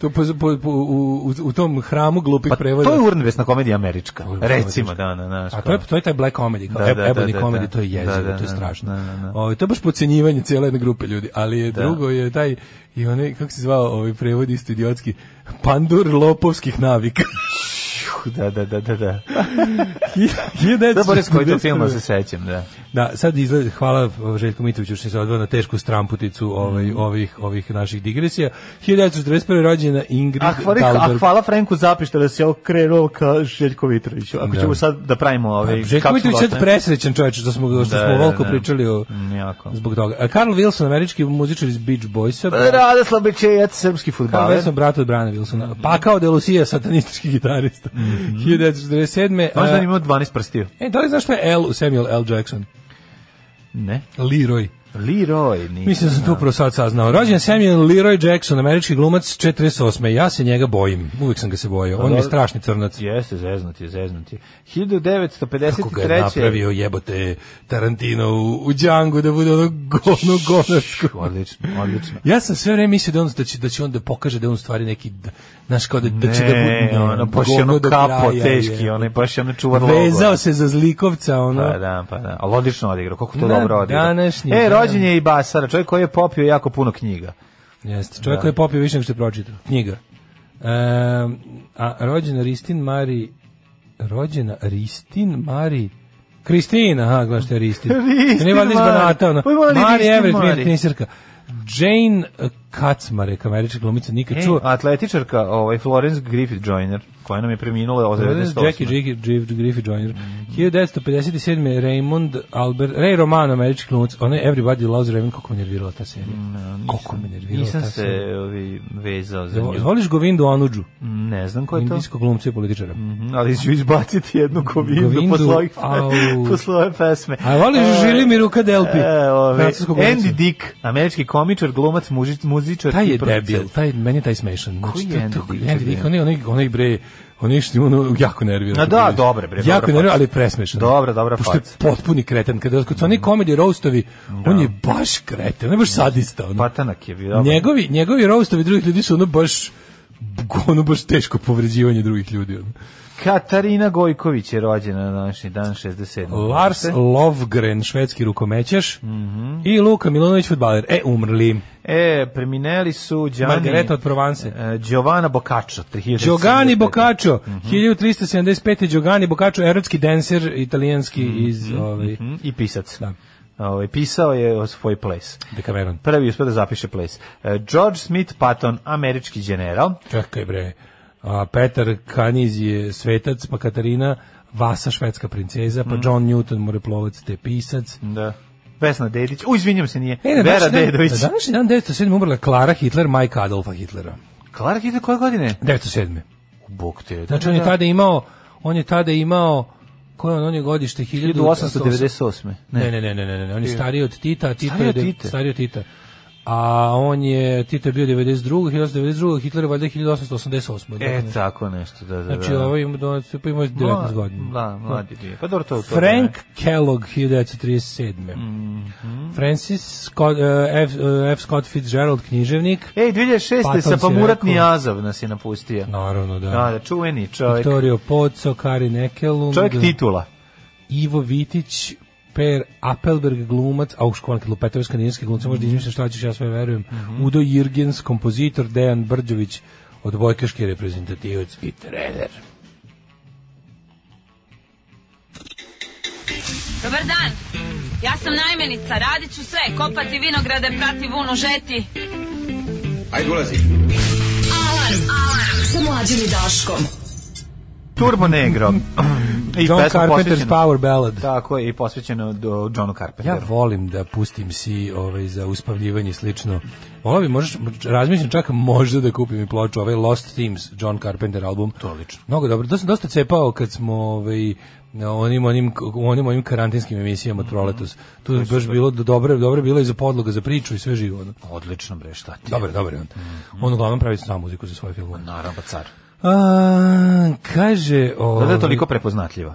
Speaker 6: to po, po, po, u, u, u tom hramu glupih
Speaker 7: Pa
Speaker 6: prevoda.
Speaker 7: to je urnebesna komedija američka,
Speaker 6: Urnebesna
Speaker 7: recimo,
Speaker 6: komedija.
Speaker 7: da, da, da.
Speaker 6: A to je, to je taj black comedy, kao
Speaker 7: Da,
Speaker 6: da,
Speaker 7: da, da, da,
Speaker 6: comedy,
Speaker 7: da.
Speaker 6: to je jezivo,
Speaker 7: Da, da,
Speaker 6: to je
Speaker 7: da,
Speaker 6: strašno.
Speaker 7: da, da, da.
Speaker 6: Ovaj, to je baš podcenjivanje cijele jedne grupe ljudi, ali je drugo je taj, i onaj, kako se zvao ovaj prevod isto idiotski, pandur lopovskih navika.
Speaker 7: Da, da, da, da, da. Da, Boris, koji to
Speaker 6: 1941.
Speaker 7: filma se sećam, da.
Speaker 6: Da, sad izgleda, hvala Željko Mitroviću što se odveo na tešku stramputicu ovaj,
Speaker 7: Mhm.
Speaker 6: ovih, ovih naših digresija. 1941. rođena Ingrid
Speaker 7: A hvala, a
Speaker 6: Dahlberg.
Speaker 7: hvala Franku Zapišta da se okrenuo ka Željko Mitroviću. Ako
Speaker 6: Da.
Speaker 7: ćemo sad da pravimo ovaj ove...
Speaker 6: Željko Mitrović je sad presrećan čovječ što smo, što
Speaker 7: Da,
Speaker 6: smo
Speaker 7: da,
Speaker 6: volko
Speaker 7: da.
Speaker 6: pričali o,
Speaker 7: Mm, jako. E,
Speaker 6: zbog toga. A Carl Wilson, američki muzičar iz Beach Boysa.
Speaker 7: Radoslav Bečejac, srpski
Speaker 6: Carl
Speaker 7: futbaler.
Speaker 6: Wilson, brat od Brana Wilsona. Pa kao De Lucia, satanistički gitarista.
Speaker 7: Mhm.
Speaker 6: 1947.
Speaker 7: Možda
Speaker 6: a-
Speaker 7: je imao 12 prstiju.
Speaker 6: E, da li znaš što je L u Samuel L. Jackson?
Speaker 7: Ne.
Speaker 6: Leroy.
Speaker 7: Leroy. Nije.
Speaker 6: Mislim da sam to upravo sad saznao. Rođen je Samuel Leroy Jackson, američki glumac 48. Ja se njega bojim. Uvijek sam ga se bojio. On mi je
Speaker 7: dobro.
Speaker 6: strašni crnac.
Speaker 7: Jeste, zeznut je, zeznut je.
Speaker 6: Kako ga je
Speaker 7: 1953.
Speaker 6: napravio jebote Tarantino u, u Django da bude ono gono gonarsko.
Speaker 7: Odlično, odlično.
Speaker 6: Ja sam sve vreme mislio da on da će da će on da pokaže da je on u stvari neki d- znaš kao da, da će da
Speaker 7: Ne,
Speaker 6: bude
Speaker 7: ono, baš je
Speaker 6: govno
Speaker 7: ono
Speaker 6: do
Speaker 7: kapo,
Speaker 6: kraja,
Speaker 7: teški,
Speaker 6: je.
Speaker 7: ono je baš je ono čuvar logo.
Speaker 6: Vezao se za zlikovca, ono.
Speaker 7: Pa da, pa da. Ali odlično odigrao, koliko to
Speaker 6: Na
Speaker 7: dobro odigrao.
Speaker 6: današnji
Speaker 7: E,
Speaker 6: dan.
Speaker 7: rođen je i Basara, čovjek koji je popio jako puno knjiga.
Speaker 6: Jeste, čovjek koji je popio više nego što je pročitao. Knjiga. Ehm, a rođena Ristin Mari rođena Ristin Mari Kristina, aha, gledaš što je Ristin.
Speaker 7: Ristin
Speaker 6: Ne valjda iz
Speaker 7: Mari.
Speaker 6: Banata, ono.
Speaker 7: Pa ima li
Speaker 6: Mari
Speaker 7: Ristin
Speaker 6: Everett,
Speaker 7: Mari?
Speaker 6: Mir Knisirka. Jane Kacmarek, američka glumica, nikad
Speaker 7: E,
Speaker 6: čuo.
Speaker 7: atletičarka, ovaj Florence Griffith Joyner, koja nam je preminula od
Speaker 6: Jackie
Speaker 7: 98.
Speaker 6: Jackie Jackie Griffith Joyner. 1957. Raymond Albert, Ray Romano, američki glumac. Ona je Everybody Loves Raymond, kako me nervirala ta serija. Kako me nervirala
Speaker 7: Nisam
Speaker 6: ta
Speaker 7: se
Speaker 6: serija.
Speaker 7: ovi, vezao za
Speaker 6: Vo-
Speaker 7: nju.
Speaker 6: Voliš Govindu Anuđu?
Speaker 7: Ne znam ko je to,
Speaker 6: Indijskog glumca i političara.
Speaker 7: Mhm, ali ću izbaciti jednu kovindu
Speaker 6: Kovindu,
Speaker 7: posle ovih-
Speaker 6: au.
Speaker 7: posle ove pesme.
Speaker 6: A voliš
Speaker 7: E,
Speaker 6: Žilimiru Kadelpi?
Speaker 7: e, ovi,
Speaker 6: francuskog glumca.
Speaker 7: Andy Dick, američki komičar, glumac, muži- muzičar.
Speaker 6: Taj
Speaker 7: i
Speaker 6: je
Speaker 7: producent.
Speaker 6: debil, taj, meni je taj smešan. Znači,
Speaker 7: Koji
Speaker 6: to-
Speaker 7: je
Speaker 6: to-
Speaker 7: Andy Dick?
Speaker 6: Andy Dick, onaj, onaj, onaj bre, onaj što ono jako nervira.
Speaker 7: A da, dobre, bre, dobra
Speaker 6: Jako nervira,
Speaker 7: faca.
Speaker 6: ali presmešan.
Speaker 7: Dobra, dobra Mm.
Speaker 6: Pošto je
Speaker 7: faca.
Speaker 6: potpuni kreten. Kada kad su oni comedy roastovi, on je baš kreten, on je baš sadista. Ono.
Speaker 7: Patanak je bio. dobar.
Speaker 6: Njegovi, njegovi roastovi drugih ljudi su ono baš ono baš teško povređivanje drugih ljudi. Ono.
Speaker 7: Katarina Gojković je rođena na današnji dan 67.
Speaker 6: Lars Lovgren, švedski rukomećaš,
Speaker 7: Mhm.
Speaker 6: i Luka Milonović, futbaler. E, umrli.
Speaker 7: E, premineli su Gianni...
Speaker 6: Margareta od Provanse.
Speaker 7: E, Giovanna Boccaccio. 3075.
Speaker 6: Giovanni Boccaccio,
Speaker 7: Mhm.
Speaker 6: 1375. Giovanni Boccaccio, erotski denser italijanski iz ovaj,
Speaker 7: Mhm, I pisac.
Speaker 6: Da.
Speaker 7: Ovaj, pisao je o svoj place.
Speaker 6: Decameron.
Speaker 7: Prvi uspio da zapiše place. E, George Smith Patton, američki general.
Speaker 6: Čekaj bre, a, Petar Kaniz je svetac, pa Katarina Vasa, švedska princeza,
Speaker 7: Mhm.
Speaker 6: pa John Newton, moreplovac, te pisac.
Speaker 7: Da. Vesna Dedić. U, izvinjam se, nije.
Speaker 6: E, na
Speaker 7: Vera
Speaker 6: današnji dan-
Speaker 7: Dedović.
Speaker 6: Na današnji dan 907. umrla Klara Hitler, majka Adolfa Hitlera.
Speaker 7: Klara Hitler, koje godine?
Speaker 6: 907.
Speaker 7: Bog te.
Speaker 6: Znači on je tada imao, on je tada imao, koje on, on je godište?
Speaker 7: 1898.
Speaker 6: Ne, ne, ne, ne, ne, ne, on je stariji od Tita, a Tito
Speaker 7: Stariji
Speaker 6: je
Speaker 7: od
Speaker 6: de-
Speaker 7: Tite.
Speaker 6: stariji od Tita. A on je Tito je bio 92. 1992. Hitler je valjda 1888.
Speaker 7: E,
Speaker 6: Dakle,
Speaker 7: tako nešto, da, da, da.
Speaker 6: znači ovaj ima do pa ima 19 godina.
Speaker 7: Da, mladi bio. Pa dobro to. to
Speaker 6: Frank Kellogg 1937.
Speaker 7: Mhm.
Speaker 6: Francis Scott, eh, F, eh, F. Scott Fitzgerald književnik.
Speaker 7: Ej, 2006.
Speaker 6: Patton
Speaker 7: sa
Speaker 6: si
Speaker 7: Pamuratni
Speaker 6: rekao.
Speaker 7: Azov nas je napustio.
Speaker 6: Naravno da.
Speaker 7: Da, da, čuveni čovjek.
Speaker 6: Vittorio Pozzo, Karin Ekelund.
Speaker 7: Čovjek titula.
Speaker 6: Ivo Vitić, Per Appelberg glumac, a u školan kad lupetao skandinavski glumci, možda izmišljam šta ćeš, ja sve verujem.
Speaker 7: Mhm.
Speaker 6: Udo Jirgens, kompozitor, Dejan Brđović, odbojkaški reprezentativac i trener.
Speaker 5: Dobar dan.
Speaker 3: Ja sam najmenica, radit ću sve, kopati vinograde, prati vunu, žeti.
Speaker 4: Ajde, ulazi.
Speaker 5: Alarm. Alarm. Sa mlađom i Daškom.
Speaker 7: Turbo Negro. I
Speaker 6: John
Speaker 7: pesma
Speaker 6: Carpenter's
Speaker 7: posvećena-
Speaker 6: Power Ballad.
Speaker 7: Tako je, i posvećeno do Johnu Carpenteru.
Speaker 6: Ja volim da pustim si ovaj, za uspavljivanje i slično. Volao bi, možeš, razmišljam čak možda da kupim i ploču, ovaj Lost Themes, John Carpenter album. To lično. Mnogo dobro. To sam dosta cepao kad smo ovaj, na onim, onim, u onim, onim karantinskim emisijama od
Speaker 7: Mhm.
Speaker 6: proletos. Tu je baš bilo do- dobro, dobro je bilo i za podloga, za priču i sve živo. Ono.
Speaker 7: Odlično bre, šta ti?
Speaker 6: Dobar, dobar je on.
Speaker 7: Mhm.
Speaker 6: On uglavnom pravi sam muziku za svoje filmove.
Speaker 7: Naravno, pa car.
Speaker 6: A, kaže...
Speaker 7: Da da je
Speaker 6: ovaj,
Speaker 7: toliko prepoznatljiva.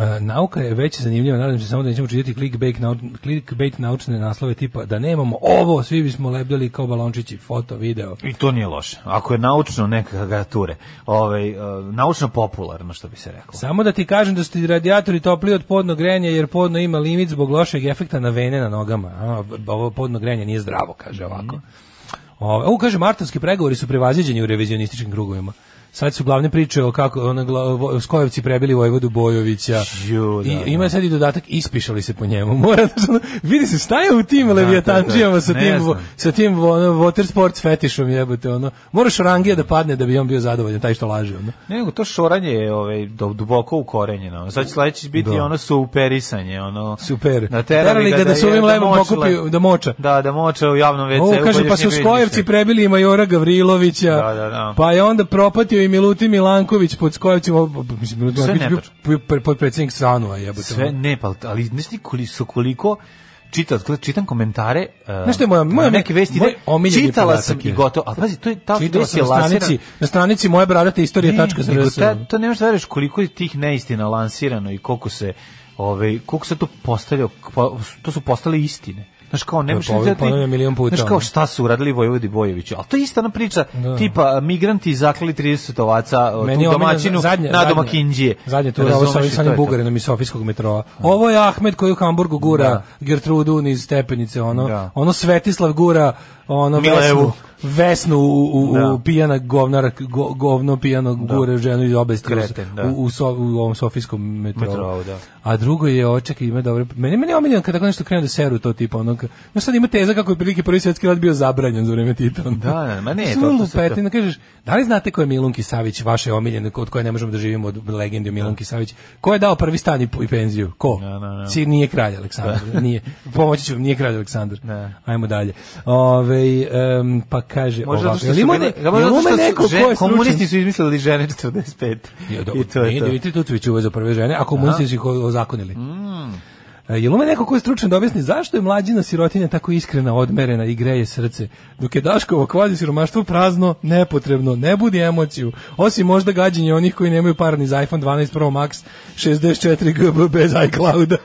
Speaker 6: E, nauka je već zanimljiva, nadam se samo da nećemo čitati clickbait, nau, clickbait naučne naslove tipa da nemamo ovo, svi bismo lebdeli kao balončići, foto, video.
Speaker 7: I to nije loše. Ako je naučno nekakve ture, ovaj, e, naučno popularno, što bi se reklo.
Speaker 6: Samo da ti kažem da su ti radijatori topliji od podnog grenja jer podno ima limit zbog lošeg efekta na vene na nogama. A, ovo podno grenje nije zdravo, kaže ovako. O, u, kaže, martovski pregovori su prevaziđeni u revizionističkim krugovima. Sad su glavne priče o kako ona gla- vo- Skojevci prebili Vojvodu Bojovića.
Speaker 7: Ju, da,
Speaker 6: I,
Speaker 7: da.
Speaker 6: ima sad i dodatak ispišali se po njemu. Mora da se- vidi se šta je u tim levijatančijama sa
Speaker 7: Ne
Speaker 6: tim vo-
Speaker 7: znam.
Speaker 6: sa tim ono, water sports fetišom jebote ono. Moraš rangija da padne da bi on bio zadovoljan taj što laže ono.
Speaker 7: Ne, nego to šoranje je ovaj, do, duboko ukorenjeno. Sad će sledeći biti
Speaker 6: Da.
Speaker 7: ono superisanje. Ono,
Speaker 6: Super.
Speaker 7: Da
Speaker 6: Terali ga da
Speaker 7: je-
Speaker 6: suvim lebom
Speaker 7: moči
Speaker 6: pokupi-
Speaker 7: le-
Speaker 6: da moča.
Speaker 7: Da, da moča u javnom WC-u.
Speaker 6: Ovo kaže,
Speaker 7: bolje
Speaker 6: pa
Speaker 7: još
Speaker 6: su
Speaker 7: nije bio
Speaker 6: Skojevci
Speaker 7: izmišljen.
Speaker 6: prebili i Majora Gavrilovića,
Speaker 7: Da, da, da.
Speaker 6: pa je onda propatio i Milutin Milanković pod Skojevcima, o, b- mislim, Milutin
Speaker 7: Sve
Speaker 6: Milanković
Speaker 7: netačno.
Speaker 6: bio pre- podpredsjednik Sanua, jebote. ono.
Speaker 7: Sve, ne, pa, ali znaš ti koli, su koliko čita, čitam komentare uh,
Speaker 6: Znaš šta je moja- moja-
Speaker 7: neke vesti,
Speaker 6: moj
Speaker 7: ne,
Speaker 6: omiljeni
Speaker 7: čitala sam
Speaker 6: podatak
Speaker 7: i
Speaker 6: je.
Speaker 7: gotovo, ali pazi, to je ta
Speaker 6: Čitao
Speaker 7: vest
Speaker 6: sam
Speaker 7: je
Speaker 6: na stranici,
Speaker 7: lansirana-
Speaker 6: na stranici moje bradate istorije tačka ono.
Speaker 7: Ne, nego
Speaker 6: srs.
Speaker 7: ta, to nemaš da veriš koliko je tih neistina lansirano i koliko se ovaj koliko se to postavljao po- to su postale istine. Znaš kao ne možeš
Speaker 6: povi-
Speaker 7: da ti-
Speaker 6: ponavljam milion puta,
Speaker 7: Znaš kao
Speaker 6: ono.
Speaker 7: šta su uradili Vojvodi Bojeviću. Al to je ista ona priča tipa migranti zaklali 30 ovaca o,
Speaker 6: Meni
Speaker 7: tu
Speaker 6: je omiljena
Speaker 7: domaćinu
Speaker 6: zadnja-
Speaker 7: na
Speaker 6: zadnja-
Speaker 7: domakinđije.
Speaker 6: Zadnje to je ovo
Speaker 7: Razumeš
Speaker 6: sa
Speaker 7: i
Speaker 6: ovim
Speaker 7: to
Speaker 6: sanim
Speaker 7: je to.
Speaker 6: Bugarinom iz Sofijskog metroa. Ovo je Ahmed koji u Hamburgu gura
Speaker 7: Da.
Speaker 6: Gertrudu niz stepenice, ono,
Speaker 7: Da.
Speaker 6: ono Svetislav gura ono
Speaker 7: Milevu.
Speaker 6: Vesnu, Vesnu u, u,
Speaker 7: Da.
Speaker 6: u pijana govnara, go- govno pijano gura ženu iz obesti
Speaker 7: Kreten, da.
Speaker 6: u, u, so, u ovom Sofijskom metrou.
Speaker 7: Metrou, da.
Speaker 6: A drugo je oček ima dobre... Meni, meni je omiljeno kada tako nešto krenu da seru to tipa onog... No sad ima teza kako je prilike prvi svjetski rat bio zabranjen za vreme Tita. ono.
Speaker 7: Da, da, ma ne,
Speaker 6: Mislim,
Speaker 7: to- to
Speaker 6: ono
Speaker 7: se- to-
Speaker 6: lupetina, da kažeš, da li znate ko je Milunki Savić, vaše omiljene, od koje ne možemo da živimo od legende o Milunki Savić? Ko je dao prvi stan i, i penziju? Ko?
Speaker 7: Da, da, da.
Speaker 6: Si- nije kralj Aleksandar. nije. Pomoći ću vam, nije kralj Aleksandar.
Speaker 7: Da.
Speaker 6: Ajmo dalje. Ove, em, pa kaže
Speaker 7: Možda zato
Speaker 6: ovako,
Speaker 7: što
Speaker 6: jel
Speaker 7: su
Speaker 6: ima
Speaker 7: bile-
Speaker 6: ne-
Speaker 7: ja, možda
Speaker 6: jel
Speaker 7: zato
Speaker 6: ima
Speaker 7: što su
Speaker 6: neko ko
Speaker 7: žen-
Speaker 6: je stručan?
Speaker 7: komunisti su izmislili žene 45.
Speaker 6: Ja, da,
Speaker 7: I to je
Speaker 6: nije
Speaker 7: to.
Speaker 6: Dimitri Tucović uvezao prve žene, a komunisti su ih o- ozakonili.
Speaker 7: Mm.
Speaker 6: E, Jel ume neko ko je stručan da objasni zašto je mlađina sirotinja tako iskrena, odmerena i greje srce, dok je Daškovo kvazi siromaštvo prazno, nepotrebno, ne budi emociju, osim možda gađenje onih koji nemaju par ni za iPhone 12 Pro Max 64 GB bez iClouda.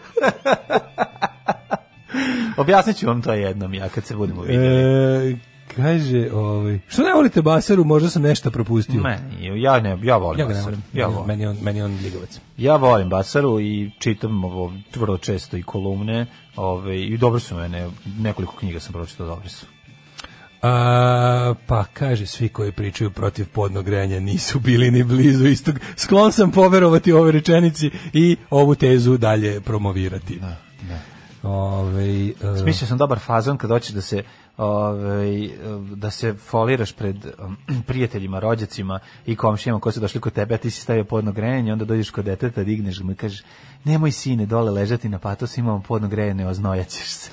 Speaker 7: Objasnit ću vam to jednom ja kad se budemo vidjeli.
Speaker 6: E, kaže, ovaj, što ne volite Baseru, možda sam nešto propustio.
Speaker 7: Meni, ja ne, ja volim
Speaker 6: Ja ga ne
Speaker 7: Basaru.
Speaker 6: volim.
Speaker 7: Ja volim.
Speaker 6: Meni je on, meni je on ljigovac.
Speaker 7: Ja volim Basaru i čitam ovo vrlo često i kolumne, ove, i dobro su mene, nekoliko knjiga sam pročitao, dobro su.
Speaker 6: A, pa kaže, svi koji pričaju protiv podnog grenja nisu bili ni blizu istog. Sklon sam poverovati ove rečenici i ovu tezu dalje promovirati. Da,
Speaker 7: Smislio sam dobar fazon kad hoćeš da se ovaj, da se foliraš pred um, prijateljima, rođacima i komšijama koji su došli kod tebe, a ti si stavio podno grejanje, onda dođeš kod deteta, digneš ga mu i kažeš nemoj sine dole ležati na patos, imamo podno grejanje, oznojaćeš se.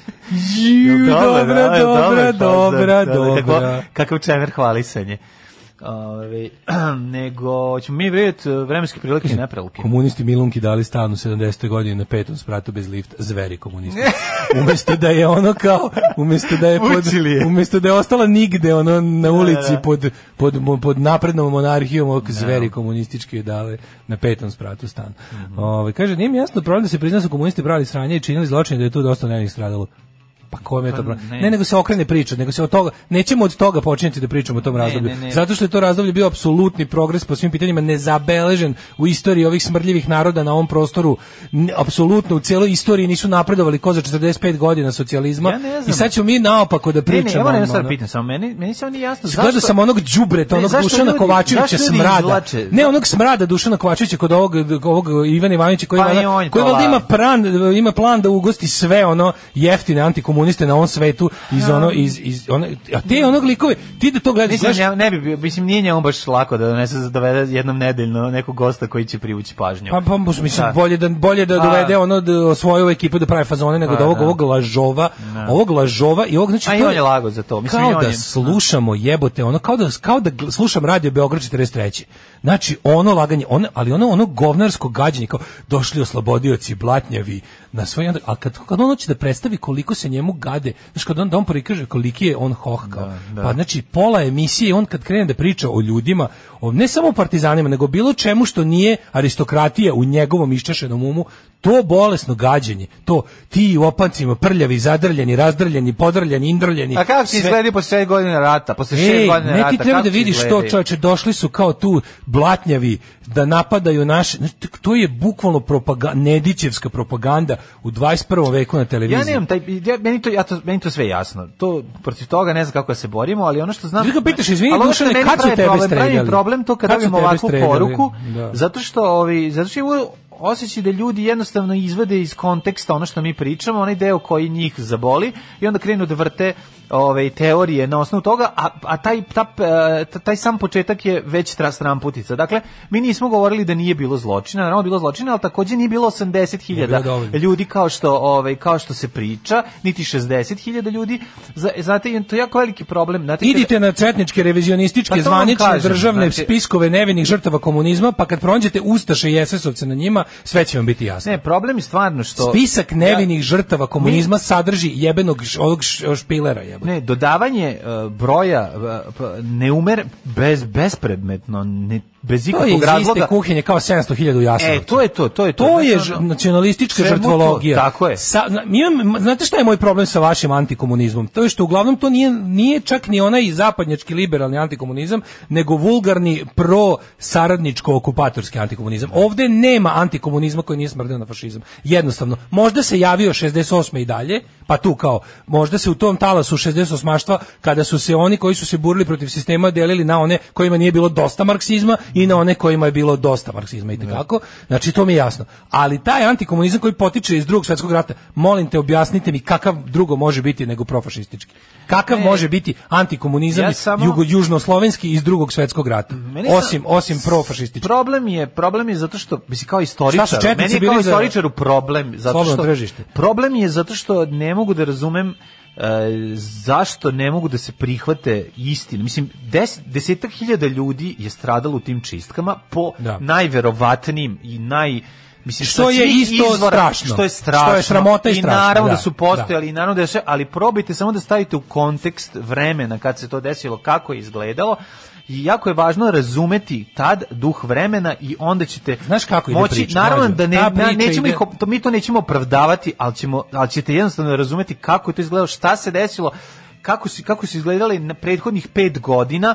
Speaker 6: Ju, dobra,
Speaker 7: da,
Speaker 6: dobra,
Speaker 7: dobar fazon,
Speaker 6: dobra,
Speaker 7: da, da, kako-
Speaker 6: dobra.
Speaker 7: Kakav čemer hvalisanje. Ove, nego ćemo mi vidjeti vremenske
Speaker 6: E,
Speaker 7: prilike i neprelike.
Speaker 6: Komunisti Milunki dali stan u 70. godini na petom spratu bez lifta, zveri komunisti. Umesto da je ono kao, umesto da je pod,
Speaker 7: Mučili je.
Speaker 6: umesto da je ostala nigde ono na ulici
Speaker 7: da.
Speaker 6: pod, pod, mo- pod naprednom monarhijom, ovog zveri komunistički je dale na petom spratu stan.
Speaker 7: Mhm.
Speaker 6: Ovaj, kaže, nije mi jasno problem da se prizna da su komunisti brali sranje i činili zločine da je tu dosta nenih stradalo. Pa kome je to
Speaker 7: Pa
Speaker 6: problem?
Speaker 7: ne.
Speaker 6: Ne. nego se okrene priča, nego se od toga, nećemo od toga počinjati da pričamo o tom razdoblju.
Speaker 7: ne, ne.
Speaker 6: Zato što je to razdoblje bio apsolutni progres po svim pitanjima, nezabeležen u istoriji ovih smrdljivih naroda na ovom prostoru. N- apsolutno u celoj istoriji nisu napredovali ko za 45 godina socijalizma.
Speaker 7: Ja ne znam.
Speaker 6: I sad ćemo mi naopako da
Speaker 7: Ne, ne,
Speaker 6: pričamo.
Speaker 7: evo ne,
Speaker 6: ono,
Speaker 7: sad
Speaker 6: ono.
Speaker 7: pitam samo meni, meni se oni jasno
Speaker 6: Gledao sam ono onog đubreta,
Speaker 7: Ne,
Speaker 6: onog
Speaker 7: zašto
Speaker 6: Dušana
Speaker 7: ljudi- zašto
Speaker 6: Kovačevića
Speaker 7: ljudi
Speaker 6: smrada.
Speaker 7: izvlače?
Speaker 6: Ne, onog smrada Dušana Kovačevića kod ovog, ovog Ivana Ivanovića koji,
Speaker 7: Pa i
Speaker 6: valjda-
Speaker 7: on je
Speaker 6: koji valjda
Speaker 7: pala.
Speaker 6: ima, plan, ima plan da ugosti sve ono jeftine antikomuniste na ovom svetu iz ono, iz, iz, ono, a te onog likove, ti da to gledaš,
Speaker 7: Mislim,
Speaker 6: znaš,
Speaker 7: ne, ne bi, bio- mislim, nije njemu baš lako da donese za dovede jednom nedeljno nekog gosta koji će privući pažnju.
Speaker 6: Pa, pa mus- mislim,
Speaker 7: Da.
Speaker 6: bolje da, bolje da
Speaker 7: A. Pa
Speaker 6: dovede ono da svoju ekipu da pravi fazone nego da ovog,
Speaker 7: da.
Speaker 6: ovog lažova, ovog lažova i ovog, znači,
Speaker 7: A i
Speaker 6: to
Speaker 7: on je lago za to. Mislim, i
Speaker 6: kao
Speaker 7: on
Speaker 6: da
Speaker 7: je-
Speaker 6: slušamo jebote, ono kao da kao da gl- slušam radio Beograd 43. Znači ono laganje, ono, ali ono ono govnarsko gađenje kao došli oslobodioci blatnjavi na svoj onda- a kad kad on hoće da predstavi koliko se njemu gade, znači kad on da on prikaže koliki je on hohkao. Pa znači pola emisije on kad krene da priča o ljudima, o ne samo o partizanima, nego bilo čemu što nije aristokratija u njegovom iščešenom umu, to bolesno gađenje, to ti u opancima prljavi, zadrljeni, razdrljeni, podrljeni, indrljeni,
Speaker 7: A kako ti
Speaker 6: sve-
Speaker 7: izgledi posle 6 godina rata? Posle 6
Speaker 6: Ej,
Speaker 7: godina
Speaker 6: ne
Speaker 7: rata,
Speaker 6: ti treba
Speaker 7: kako
Speaker 6: da
Speaker 7: ti
Speaker 6: vidiš to,
Speaker 7: izgledaju?
Speaker 6: čoveče, došli su kao tu blatnjavi da napadaju naše, znači, to je bukvalno propaganda, Nedićevska propaganda u 21. veku na televiziji.
Speaker 7: Ja nemam taj, ja, meni, to, ja to, meni to sve jasno. To, protiv toga ne znam kako da se borimo, ali ono što znam...
Speaker 6: Ti ga pitaš, izvini,
Speaker 7: Ali ono što
Speaker 6: Dušane,
Speaker 7: meni
Speaker 6: kad su
Speaker 7: pravi
Speaker 6: tebe
Speaker 7: problem, pravi mi
Speaker 6: streljali?
Speaker 7: problem to kad
Speaker 6: Kad su
Speaker 7: dobijem
Speaker 6: tebe
Speaker 7: ovakvu
Speaker 6: streljali?
Speaker 7: poruku,
Speaker 6: Da.
Speaker 7: zato što, ovi, zato što imaju osjećaj da ljudi jednostavno izvade iz konteksta ono što mi pričamo, onaj deo koji njih zaboli i onda krenu da vrte ove teorije na osnovu toga, a, a taj, ta, e, ta- taj sam početak je već tra- stramputica. Dakle, mi nismo govorili da nije bilo zločina, naravno bilo zločina, ali takođe nije bilo 80.000
Speaker 6: Nije bilo dovoljno.
Speaker 7: ljudi kao što ovaj kao što se priča, niti 60.000 ljudi. Za- Znate, i to je jako veliki problem. Znate, kad-
Speaker 6: Idite na četničke, revizionističke,
Speaker 7: Pa to vam
Speaker 6: zvanične,
Speaker 7: kažem,
Speaker 6: državne
Speaker 7: znači-
Speaker 6: spiskove nevinih žrtava komunizma, pa kad pronađete Ustaše i SS-ovce na njima, sve će vam biti jasno.
Speaker 7: Ne, problem je stvarno što
Speaker 6: Spisak nevinih žrtava komunizma sadrži jebenog š- ovog š- špilera, jebote.
Speaker 7: Ne, dodavanje e, broja e, p- neumer bez bespredmetno, ne,
Speaker 6: To je iz
Speaker 7: bez ikakvog
Speaker 6: iste
Speaker 7: razloga.
Speaker 6: kuhinje kao 700.000 u
Speaker 7: E,
Speaker 6: Jasenovcu.
Speaker 7: to je to, to je to.
Speaker 6: To
Speaker 7: Znači,
Speaker 6: je
Speaker 7: ono-
Speaker 6: ž- nacionalistička
Speaker 7: Čemu to?
Speaker 6: žrtvologija.
Speaker 7: Tako je.
Speaker 6: Sa, zna- mi imam- ma- znate šta je moj problem sa vašim antikomunizmom? To je što uglavnom to nije, nije čak ni onaj zapadnjački liberalni antikomunizam, nego vulgarni pro-saradničko-okupatorski antikomunizam. Ovde nema antikomunizma koji nije smrdeo na fašizam. Jednostavno. Možda se javio 68. i dalje, pa tu kao, možda se u tom talasu 68-maštva, kada su se oni koji su se burili protiv sistema delili na one kojima nije bilo dosta marksizma i na one kojima je bilo dosta marksizma i tako. Znači to mi je jasno. Ali taj antikomunizam koji potiče iz drugog svetskog rata, molim te objasnite mi kakav drugo može biti nego profašistički. Kakav može biti antikomunizam
Speaker 7: ja samo-
Speaker 6: jugo južnoslovenski iz drugog svetskog rata?
Speaker 7: Meni sam-
Speaker 6: Osim osim profašistički.
Speaker 7: Problem je, problem je zato što mislim kao istoričar,
Speaker 6: Šta su četnici
Speaker 7: meni je
Speaker 6: bili
Speaker 7: kao
Speaker 6: za-
Speaker 7: istoričaru problem zato
Speaker 6: Slobodno
Speaker 7: što
Speaker 6: tržište.
Speaker 7: problem je zato što ne mogu da razumem e, zašto ne mogu da se prihvate istine. Mislim, des, desetak hiljada ljudi je stradalo u tim čistkama po
Speaker 6: Da.
Speaker 7: najverovatnijim i naj... Mislim,
Speaker 6: Što
Speaker 7: sa
Speaker 6: je
Speaker 7: svih
Speaker 6: isto strašno.
Speaker 7: Što je strašno.
Speaker 6: Što je sramota i strašno,
Speaker 7: naravno da,
Speaker 6: da,
Speaker 7: su postojali, i naravno da je sve, ali probajte samo da stavite u kontekst vremena kad se to desilo, kako je izgledalo. I jako je važno razumeti tad duh vremena i onda ćete
Speaker 6: Znaš kako ide
Speaker 7: moći,
Speaker 6: priča,
Speaker 7: naravno
Speaker 6: mlađo?
Speaker 7: da ne,
Speaker 6: Ta
Speaker 7: na-
Speaker 6: priča
Speaker 7: nećemo
Speaker 6: ide-
Speaker 7: ih op- to, mi to nećemo opravdavati, ali, ćemo, ali ćete jednostavno razumeti kako je to izgledalo, šta se desilo, kako su, kako su izgledali na prethodnih pet godina,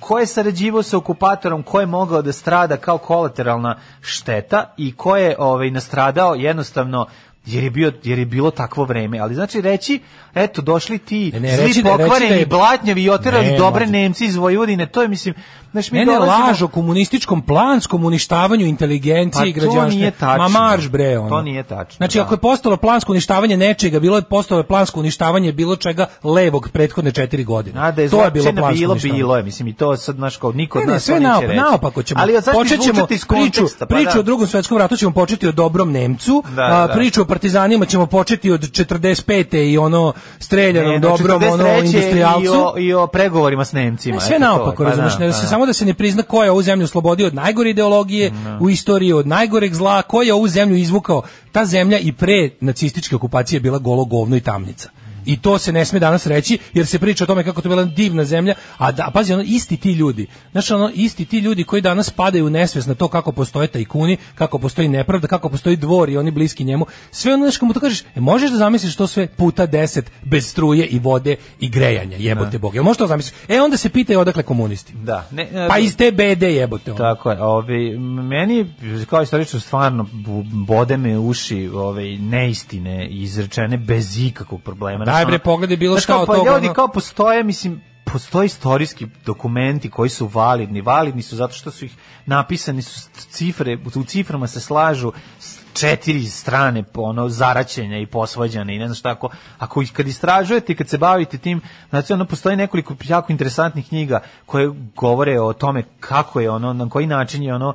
Speaker 7: ko je sarađivao sa okupatorom, ko je mogao da strada kao kolateralna šteta i ko je ovaj, nastradao jednostavno jer je, bio, jer je bilo takvo vreme. Ali znači reći, eto, došli ti
Speaker 6: Ne, ne,
Speaker 7: zli
Speaker 6: reći da- reći da
Speaker 7: pokvareni,
Speaker 6: je-
Speaker 7: blatnjavi i oterali
Speaker 6: Ne,
Speaker 7: dobre
Speaker 6: mlađe.
Speaker 7: Nemci iz Vojvodine, to je, mislim, znaš, mi
Speaker 6: Ne, ne,
Speaker 7: dolazimo-
Speaker 6: laž o komunističkom planskom uništavanju inteligencije
Speaker 7: Pa
Speaker 6: i
Speaker 7: to
Speaker 6: građanstva.
Speaker 7: nije tačno.
Speaker 6: Ma marš bre, ono.
Speaker 7: To nije tačno,
Speaker 6: Znači,
Speaker 7: da.
Speaker 6: ako je postalo plansko uništavanje nečega, bilo je postalo plansko uništavanje bilo čega levog prethodne četiri godine.
Speaker 7: A da je
Speaker 6: to je bilo
Speaker 7: zločina
Speaker 6: plansko
Speaker 7: bilo,
Speaker 6: uništavanje.
Speaker 7: bilo je, mislim, i to sad, znaš, kao niko od
Speaker 6: Ne, ne,
Speaker 7: nas
Speaker 6: sve
Speaker 7: to neće
Speaker 6: naop,
Speaker 7: reći.
Speaker 6: naopako ćemo.
Speaker 7: Ali zašto
Speaker 6: Počet ćemo
Speaker 7: izvučete iz konteksta? Pa
Speaker 6: priču, priču
Speaker 7: da.
Speaker 6: o drugom svetskom ratu ćemo početi o dobrom Nemcu,
Speaker 7: Da,
Speaker 6: a,
Speaker 7: da.
Speaker 6: priču o partizanima ćemo početi od 45. i ono streljanom
Speaker 7: Ne, znači,
Speaker 6: dobrom ono
Speaker 7: 43.
Speaker 6: industrijalcu.
Speaker 7: I o, I o pregovorima s Nemcima.
Speaker 6: Ne, sve
Speaker 7: eto to je,
Speaker 6: naopako,
Speaker 7: pa
Speaker 6: razumeš,
Speaker 7: da,
Speaker 6: ne, da
Speaker 7: pa
Speaker 6: se
Speaker 7: da.
Speaker 6: samo da se ne prizna ko je ovu zemlju oslobodio od najgore ideologije u istoriji, od najgoreg zla, ko je ovu zemlju izvukao. Ta zemlja i pre nacističke okupacije je bila golo govno i tamnica. I to se ne sme danas reći, jer se priča o tome kako to je bila divna zemlja, a da, pazi, ono, isti ti ljudi, znaš, ono, isti ti ljudi koji danas padaju u nesvest na to kako postoje tajkuni, kako postoji nepravda, kako postoji dvor i oni bliski njemu, sve ono, znaš, mu to kažeš, e, možeš da zamisliš to sve puta deset, bez struje i vode i grejanja, jebote Bog, jel možeš to zamisliti? E, onda se pitaju odakle komunisti.
Speaker 7: Da, ne, ne,
Speaker 6: Pa iz te bede jebote. Ono.
Speaker 7: Tako je, ovi, meni, kao istorično, stvarno bu- bode me uši ove, neistine izrečene bez ikakvog problema.
Speaker 6: Daj,
Speaker 7: Znaš,
Speaker 6: bre,
Speaker 7: ono-
Speaker 6: pogledaj bilo
Speaker 7: Znaš,
Speaker 6: šta
Speaker 7: kao,
Speaker 6: od
Speaker 7: pa
Speaker 6: toga,
Speaker 7: Ljudi,
Speaker 6: ono-
Speaker 7: kao postoje, mislim, postoje istorijski dokumenti koji su validni. Validni su zato što su ih napisani su s- cifre, u ciframa se slažu s- četiri strane po ono zaraćenja i posvađane i ne znam šta ako ako ih kad istražujete i kad se bavite tim znači ono postoji nekoliko jako interesantnih knjiga koje govore o tome kako je ono na koji način je ono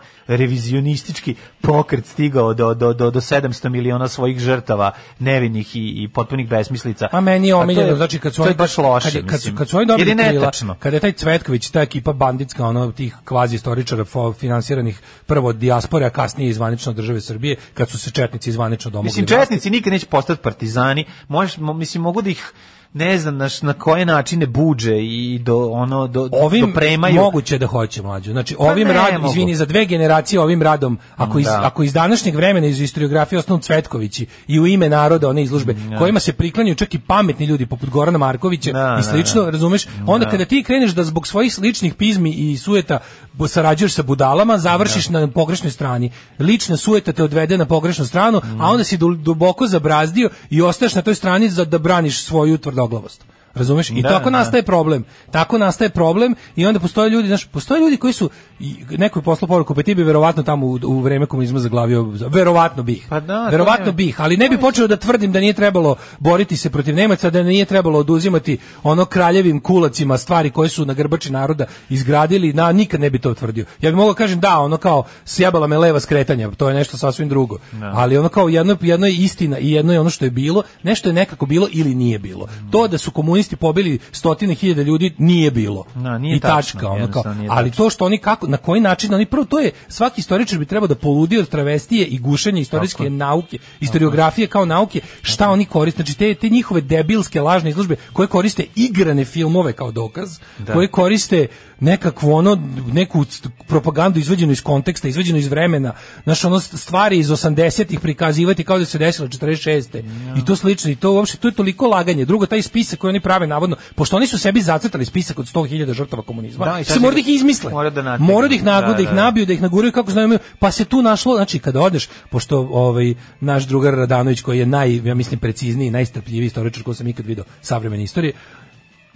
Speaker 7: revizionistički pokret stigao do do do do 700 miliona svojih žrtava nevinih i i potpunih besmislica
Speaker 6: A meni je
Speaker 7: Pa to
Speaker 6: omiljeno, znači kad su
Speaker 7: to
Speaker 6: oni
Speaker 7: je baš loše,
Speaker 6: kad, je- kad, su-
Speaker 7: mislim.
Speaker 6: kad su oni dobili
Speaker 7: Jer je
Speaker 6: krila,
Speaker 7: netačno.
Speaker 6: kada je taj Cvetković, ta ekipa banditska, ono tih kvazi istoričara fo- finansiranih prvo od dijaspore, a kasnije iz zvanično od države Srbije, kad su se četnici zvanično domogli.
Speaker 7: Mislim,
Speaker 6: vlasti.
Speaker 7: četnici nikad neće postati partizani. Možeš, mo- mislim, mogu da ih ne znam naš, na koje načine buđe i do ono do
Speaker 6: Ovim
Speaker 7: dopremaju.
Speaker 6: moguće da hoće mlađu. Znači
Speaker 7: Pa
Speaker 6: ovim
Speaker 7: ne
Speaker 6: radom,
Speaker 7: mogu.
Speaker 6: izvini, za dve generacije ovim radom, ako iz,
Speaker 7: Da.
Speaker 6: ako iz današnjeg vremena iz istoriografije osnovno Cvetkovići i u ime naroda one izložbe kojima se priklanjaju čak i pametni ljudi poput Gorana Markovića
Speaker 7: Da,
Speaker 6: i
Speaker 7: da,
Speaker 6: slično,
Speaker 7: da.
Speaker 6: razumeš? Onda kada ti kreneš da zbog svojih ličnih pizmi i sujeta bo- sarađuješ sa budalama, završiš na pogrešnoj strani. Lična sujeta te odvede na pogrešnu stranu,
Speaker 7: Mm.
Speaker 6: a onda si du- duboko zabrazdio i ostaješ na toj strani za da braniš svoju tvrdoglavost. Razumeš? I
Speaker 7: Da,
Speaker 6: tako
Speaker 7: da.
Speaker 6: nastaje problem. Tako nastaje problem i onda postoje ljudi, znaš, postoje ljudi koji su i neko je poslao poruku, pa ti bi verovatno tamo u, u vreme komunizma zaglavio, verovatno bih.
Speaker 7: Pa da, to
Speaker 6: verovatno
Speaker 7: je-
Speaker 6: bih, ali ne bi počeo da tvrdim da nije trebalo boriti se protiv Nemaca, da nije trebalo oduzimati ono kraljevim kulacima stvari koje su na grbači naroda izgradili, na nikad ne bi to tvrdio. Ja bih mogao kažem da, ono kao sjebala me leva skretanja, to je nešto sasvim drugo. Ali ono kao jedno jedno je istina i jedno je ono što je bilo, nešto je nekako bilo ili nije bilo. To da su komunisti pobili stotine hiljada ljudi nije bilo.
Speaker 7: Da, nije
Speaker 6: I
Speaker 7: tačno,
Speaker 6: tačka, ono kao.
Speaker 7: jednostavno nije
Speaker 6: Ali to što oni kako na koji način oni prvo to je svaki istoričar bi trebao da poludi od travestije i gušenja istorijske nauke, istoriografije kao nauke, šta oni koriste, znači te te njihove debilske lažne izložbe koje koriste igrane filmove kao dokaz, koje koriste nekakvu ono neku st- propagandu izvađenu iz konteksta, izvađenu iz vremena, znaš ono stvari iz 80-ih prikazivati kao da se desilo 46. I to slično i to uopšte to je toliko laganje. Drugo taj spisak koji oni prave navodno, pošto oni su sebi zacrtali spisak od 100.000 žrtava komunizma,
Speaker 7: Da, i
Speaker 6: da, se
Speaker 7: sad si-
Speaker 6: mora da ih izmisle.
Speaker 7: Mora da nategnu.
Speaker 6: Mora da ih nagu,
Speaker 7: Da,
Speaker 6: da, ih
Speaker 7: da, da.
Speaker 6: nabiju, da ih naguraju kako znaju. imaju. Pa se tu našlo, znači kada odeš, pošto ovaj naš drugar Radanović koji je naj, ja mislim precizniji, najstrpljiviji istoričar koji sam ikad video savremene istorije,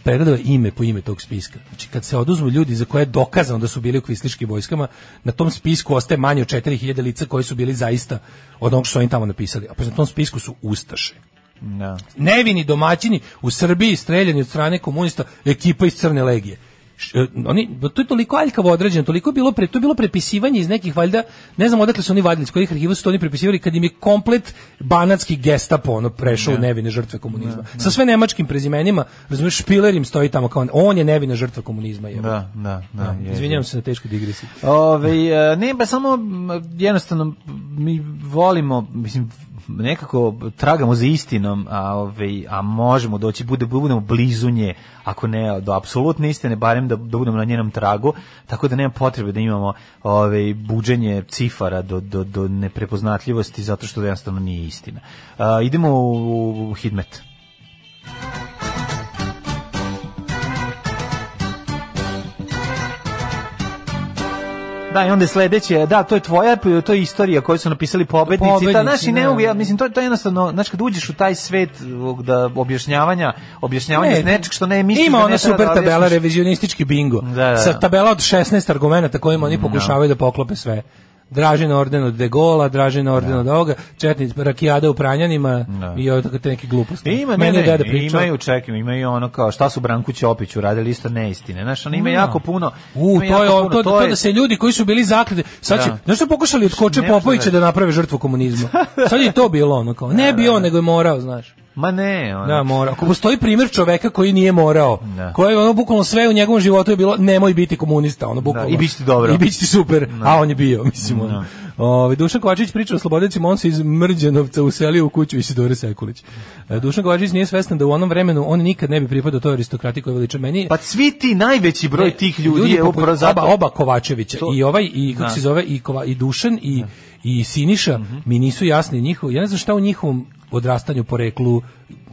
Speaker 6: pregledao je ime po ime tog spiska. Znači, kad se oduzmu ljudi za koje je dokazano da su bili u kvisliškim vojskama, na tom spisku ostaje manje od 4000 lica koji su bili zaista od onog što su oni tamo napisali. A pa na tom spisku su Ustaše
Speaker 7: Da.
Speaker 6: nevini domaćini u Srbiji streljani od strane komunista ekipa iz Crne legije. Š- e, oni to je toliko aljkavo određeno, toliko je bilo pre, to je bilo prepisivanje iz nekih valjda, ne znam odakle su oni vadili, iz kojih arhiva su to oni prepisivali kad im je komplet banatski gestapo ono prešao u nevine žrtve komunizma. Sa sve nemačkim prezimenima, razumiješ, Špiler im stoji tamo kao on, on je nevina žrtva komunizma, je.
Speaker 7: Da, da, da. je.
Speaker 6: Izvinjavam se na teškoj digresiji.
Speaker 7: Ove, e, ne, pa samo m, jednostavno mi volimo, mislim, nekako tragamo za istinom, a, ove, a možemo doći, bude, budemo blizu nje, ako ne do apsolutne istine, barem da, da budemo na njenom tragu, tako da nema potrebe da imamo ove, buđenje cifara do, do, do neprepoznatljivosti, zato što jednostavno nije istina. A, idemo u, u Hidmet. Da, i onda je sledeće, da, to je tvoja, pa to je istorija koju su napisali pobednici, pobednici ta,
Speaker 6: Pobednici,
Speaker 7: znaš, i ne
Speaker 6: da.
Speaker 7: mogu, ja, mislim, to, to je jednostavno, znaš, kad uđeš u taj svet ovog da objašnjavanja, objašnjavanja ne, nečeg što ne misliš
Speaker 6: Ima
Speaker 7: da
Speaker 6: ona
Speaker 7: ne treba
Speaker 6: super
Speaker 7: da
Speaker 6: tabela
Speaker 7: objasniš.
Speaker 6: revizionistički bingo.
Speaker 7: Da, da, da.
Speaker 6: Sa tabela od 16 argumenata kojima oni pokušavaju da poklope sve. Dražen orden od De Gola, Dražen orden od ovoga, Četnic rakijada u Pranjanima i ovo tako te neke gluposti.
Speaker 7: Ima, ne,
Speaker 6: Meni je
Speaker 7: ne,
Speaker 6: deda pričao.
Speaker 7: imaju, čekaj, imaju ono kao šta su Branku Ćopiću radili isto neistine. Znaš, ono ima
Speaker 6: Da.
Speaker 7: jako puno.
Speaker 6: U,
Speaker 7: ima
Speaker 6: to je,
Speaker 7: jako
Speaker 6: to,
Speaker 7: puno,
Speaker 6: to, da se ljudi koji su bili zaključeni, sad će,
Speaker 7: Da.
Speaker 6: znaš što pokušali od Koče
Speaker 7: Nemaš da
Speaker 6: Popovića da
Speaker 7: veruješ.
Speaker 6: naprave žrtvu komunizma? Sad je i to bilo ono kao, ne bi on, nego je morao, znaš.
Speaker 7: Ma ne, ono.
Speaker 6: Da, mora. Ako postoji primjer čoveka koji nije morao,
Speaker 7: Da.
Speaker 6: koji je ono bukvalno sve u njegovom životu je bilo nemoj biti komunista, ono bukvalno.
Speaker 7: i bit će ti dobro.
Speaker 6: I bit će ti super, a on je bio, mislim. ono. Ovaj Dušan Kovačić priča o slobodnici Monsi iz Mrđanovca uselio u kuću Isidore Sekulić. E, Dušan Kovačić nije svestan da u onom vremenu on nikad ne bi pripadao toj aristokrati koja veliča meni.
Speaker 7: Pa svi ti najveći broj tih ljudi, je
Speaker 6: poput
Speaker 7: upravo zato.
Speaker 6: oba, oba Kovačevića
Speaker 7: To-
Speaker 6: i ovaj i kako
Speaker 7: Da. Mhm.
Speaker 6: se zove i Kova, i Dušan i i Siniša mi nisu jasni njihov ja ne znam šta u njihovom odrastanju poreklu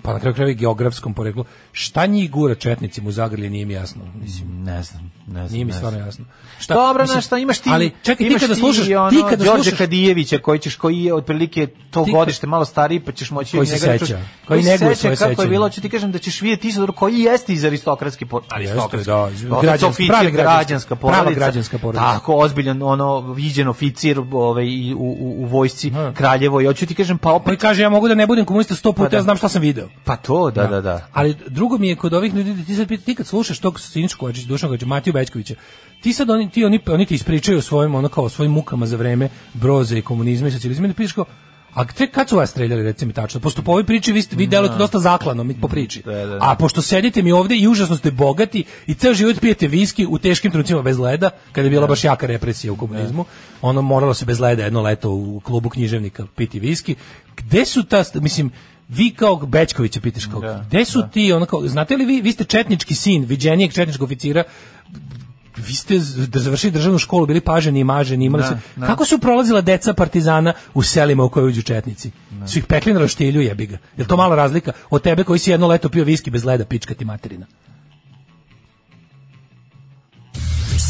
Speaker 6: pa na kraju krajeva i geografskom poreklu šta njih gura četnicima u Zagrlje nije mi jasno mislim
Speaker 7: Ne znam, ne znam.
Speaker 6: Nije mi
Speaker 7: ne znam.
Speaker 6: stvarno jasno. Šta,
Speaker 7: Dobro,
Speaker 6: mislim,
Speaker 7: znaš šta, imaš ti,
Speaker 6: Ali čekaj, ti
Speaker 7: imaš
Speaker 6: kada slušaš,
Speaker 7: ono,
Speaker 6: ti kada
Speaker 7: Đorđe
Speaker 6: slušaš,
Speaker 7: Kadijevića koji ćeš koji je otprilike to
Speaker 6: Ti kad-
Speaker 7: godište malo stariji, pa ćeš moći
Speaker 6: Koji
Speaker 7: od
Speaker 6: se
Speaker 7: njega da čuš-
Speaker 6: seća,
Speaker 7: koji
Speaker 6: koji
Speaker 7: se
Speaker 6: neguje
Speaker 7: seća
Speaker 6: svoje
Speaker 7: kako je
Speaker 6: sećanje.
Speaker 7: bilo, ću ti kažem da ćeš vidjeti Isidor koji jeste iz aristokratske porodice,
Speaker 6: Jeste,
Speaker 7: aristokratske.
Speaker 6: da, iz- građanske, prave građanske,
Speaker 7: građanska
Speaker 6: prava
Speaker 7: porodica.
Speaker 6: građanska porodica.
Speaker 7: Tako ozbiljan ono viđen oficir ovaj i u, u, u vojsci kraljevoj. Hoću ti kažem pa
Speaker 6: koji
Speaker 7: opet
Speaker 6: kaže ja mogu da ne budem komunista 100 puta,
Speaker 7: da.
Speaker 6: ja znam šta sam video.
Speaker 7: pa to, da, da, da.
Speaker 6: Ali drugo mi je kod ovih ljudi, ti sad pita- ti kad slušaš tog Sinišu Kovačića, Dušana Kovačića, Matiju Bećkovića, ti sad oni, ti, oni, oni ti ispričaju o svojim, ono kao, o svojim mukama za vreme broze i komunizma i socijalizma i ti pitaš kao, a te kad su vas streljali, recimo tačno? Pošto po ovoj priči vi, ste, vi delujete dosta zaklano mi po priči.
Speaker 7: Da, da.
Speaker 6: A pošto sedite mi ovde i užasno ste bogati i ceo život pijete viski u teškim trenucima bez leda, kada je bila baš jaka represija u komunizmu, ono moralo se bez leda jedno leto u klubu književnika piti viski. Gde su ta, st- mislim, vi kao Bečkovića pitaš kao,
Speaker 7: Da,
Speaker 6: gde su ti, ono kao, znate li vi, vi ste četnički sin, viđenijeg četničkog oficira, vi ste z- da završili državnu školu, bili paženi i maženi, imali
Speaker 7: Da,
Speaker 6: su...
Speaker 7: da.
Speaker 6: Kako su prolazila deca partizana u selima u koje uđu četnici? Su ih pekli na roštilju, jebi ga. Je to mala razlika od tebe koji si jedno leto pio viski bez leda, pička ti materina?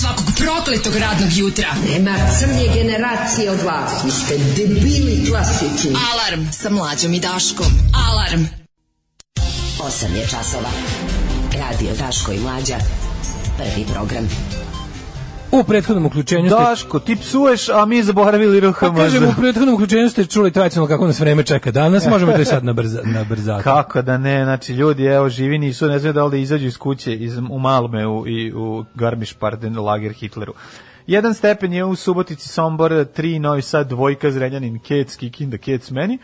Speaker 5: Svakog prokletog radnog jutra.
Speaker 9: Nema crnje generacije od vas. Vi ste debili klasični.
Speaker 5: Alarm sa mlađom i Daškom. Alarm.
Speaker 9: 8 je časova. Radio Daško i Mlađa. Prvi program.
Speaker 6: U prethodnom uključenju ste...
Speaker 7: Daško, ti psuješ, a mi zaboravili
Speaker 6: Pa
Speaker 7: RHMZ.
Speaker 6: kažem, u prethodnom uključenju ste čuli tradicionalno kako nas vreme čeka danas, možemo to i sad nabrza, nabrzati.
Speaker 7: Kako da ne, znači ljudi, evo, živi nisu, ne znaju da li da izađu iz kuće, iz, u Malme u, i u Garmisch-Parten lager Hitleru. Jedan stepen je u Subotici, Sombor, tri, Novi Sad, dvojka, Zrenjanin, Kec, Kikinda, Kec, meni.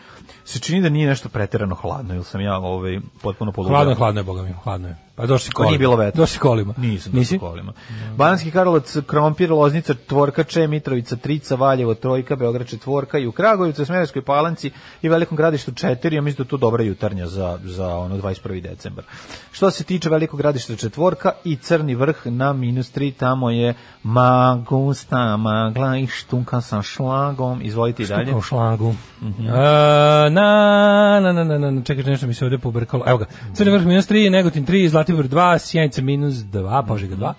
Speaker 7: Se čini da nije nešto preterano hladno, ili sam ja ovaj, potpuno poludeo.
Speaker 6: Hladno je, hladno je, boga mi, hladno je. Pa došli si
Speaker 7: Pa
Speaker 6: kolima.
Speaker 7: Nije bilo vetra.
Speaker 6: Došli si kolima.
Speaker 7: Nisam
Speaker 6: Nisi?
Speaker 7: došao kolima. Bananski Karlovac, Krompir, Loznica, Tvorkače, Mitrovica, Trica, Valjevo, Trojka, Beograd, Četvorka i u Kragujevcu, Smederskoj Palanci i Velikom gradištu 4. Ja mislim da je to dobra jutarnja za, za ono 21. decembar. Što se tiče Velikog gradišta Četvorka i Crni vrh na minus 3, tamo je Magusta, Magla i Štunka sa šlagom. Izvolite i dalje.
Speaker 6: Štuka u šlagu. E, na, na, na, na, na, na, čekaj, nešto mi se ovdje pobrkalo. Evo ga. Crni vrh minus 3, Negotin 3, Zlatibor 2, Sjenica minus 2, Požega 2,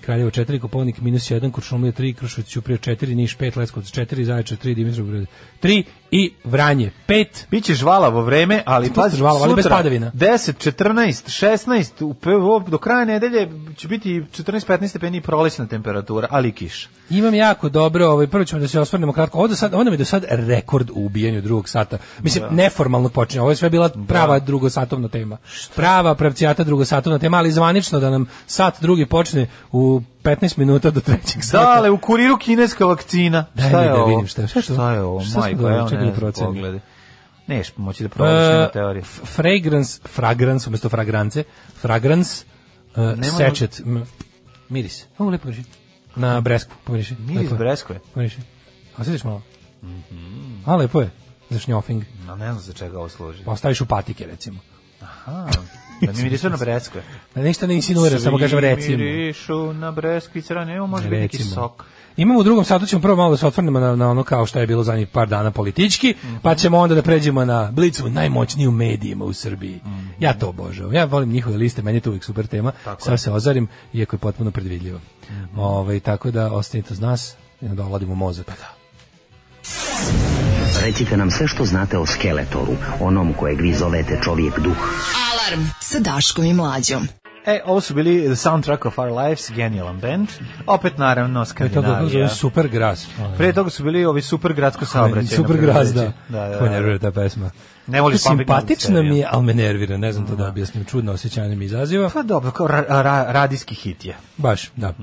Speaker 6: Kraljevo 4, Koponik minus 1, Kočumlija 3, Krušovic Ćuprija 4, Niš 5, Leskovac 4, Zaječar 3, Dimitrovgrad 3 i Vranje 5.
Speaker 7: Biće žvalavo vreme, ali
Speaker 6: Što
Speaker 7: pazi,
Speaker 6: žvalavo, ali bez
Speaker 7: sutra
Speaker 6: padavina?
Speaker 7: 10, 14, 16, u PVO, do kraja nedelje će biti 14-15 stepeni i prolećna temperatura, ali i kiša.
Speaker 6: Imam jako dobro, ovaj prvo ćemo da se osvrnemo kratko. Ovo do sad, ovo nam je do sad rekord u ubijanju drugog sata. Mislim neformalno počinje. Ovo je sve bila prava drugosatovna tema. Prava pravcijata drugosatovna tema, ali zvanično da nam sat drugi počne u 15 minuta do trećeg sata.
Speaker 7: Dale, u kuriru kineska vakcina.
Speaker 6: Daj
Speaker 7: šta
Speaker 6: mi
Speaker 7: je
Speaker 6: da
Speaker 7: ovo?
Speaker 6: vidim šta je- šta je to?
Speaker 7: Šta je ovo?
Speaker 6: Šta smo
Speaker 7: Majko,
Speaker 6: dobili?
Speaker 7: evo
Speaker 6: Čekaj da
Speaker 7: ne,
Speaker 6: procenim.
Speaker 7: pogledaj. Neš moći da provališ na
Speaker 6: E,
Speaker 7: teoriju.
Speaker 6: f- fragrance, fragrance, umjesto fragrance, fragrance, uh,
Speaker 7: Nema-
Speaker 6: sečet, m- miris. Ovo lepo miriši. Na breskvu, pomiriši.
Speaker 7: Miris
Speaker 6: Lepo je.
Speaker 7: breskve.
Speaker 6: Pomiriši. A sjetiš malo? A lepo je, za šnjofing.
Speaker 7: No, ne znam za čega ovo služi.
Speaker 6: Pa Ostaviš u patike, recimo.
Speaker 7: Aha, da mi mirišu na breskve.
Speaker 6: Da Pa ništa ne insinuira, samo kažem
Speaker 7: Svi
Speaker 6: recimo.
Speaker 7: Mirišu na breskvice, ne, ovo može biti neki
Speaker 6: Recimo.
Speaker 7: sok.
Speaker 6: Imamo u drugom satu ćemo prvo malo da se otvorimo na, na ono kao što je bilo zadnjih par dana politički, pa ćemo onda da pređemo na blicu najmoćniju medijima u Srbiji. Ja to obožavam. Ja volim njihove liste, meni je to uvijek super tema. Sad se ozarim, iako je potpuno predvidljivo. Ovaj, tako da ostanite uz nas i onda ovladimo mozak.
Speaker 7: Pa
Speaker 6: E,
Speaker 2: Recite nam sve što znate o Skeletoru, onom kojeg vi zovete čovjek duh.
Speaker 5: Alarm sa Daškom i Mlađom.
Speaker 7: E, ovo su bili The Soundtrack of Our Lives, genijalan band. Opet, naravno,
Speaker 6: To je to kako zove
Speaker 7: Skandinavija.
Speaker 6: super gras.
Speaker 7: Pre toga su bili ovi super gradsko saobraćaj.
Speaker 6: Super gras, da.
Speaker 7: Da, da,
Speaker 6: Ko
Speaker 7: da.
Speaker 6: nervira ta pesma.
Speaker 7: Ne voliš Public Enemy
Speaker 6: Simpatična
Speaker 7: seriju.
Speaker 6: mi je, ali me nervira. Ne znam to da objasnim. Čudno osjećanje mi izaziva.
Speaker 7: Pa dobro, kao ra, ra, radijski hit je.
Speaker 6: Baš, da.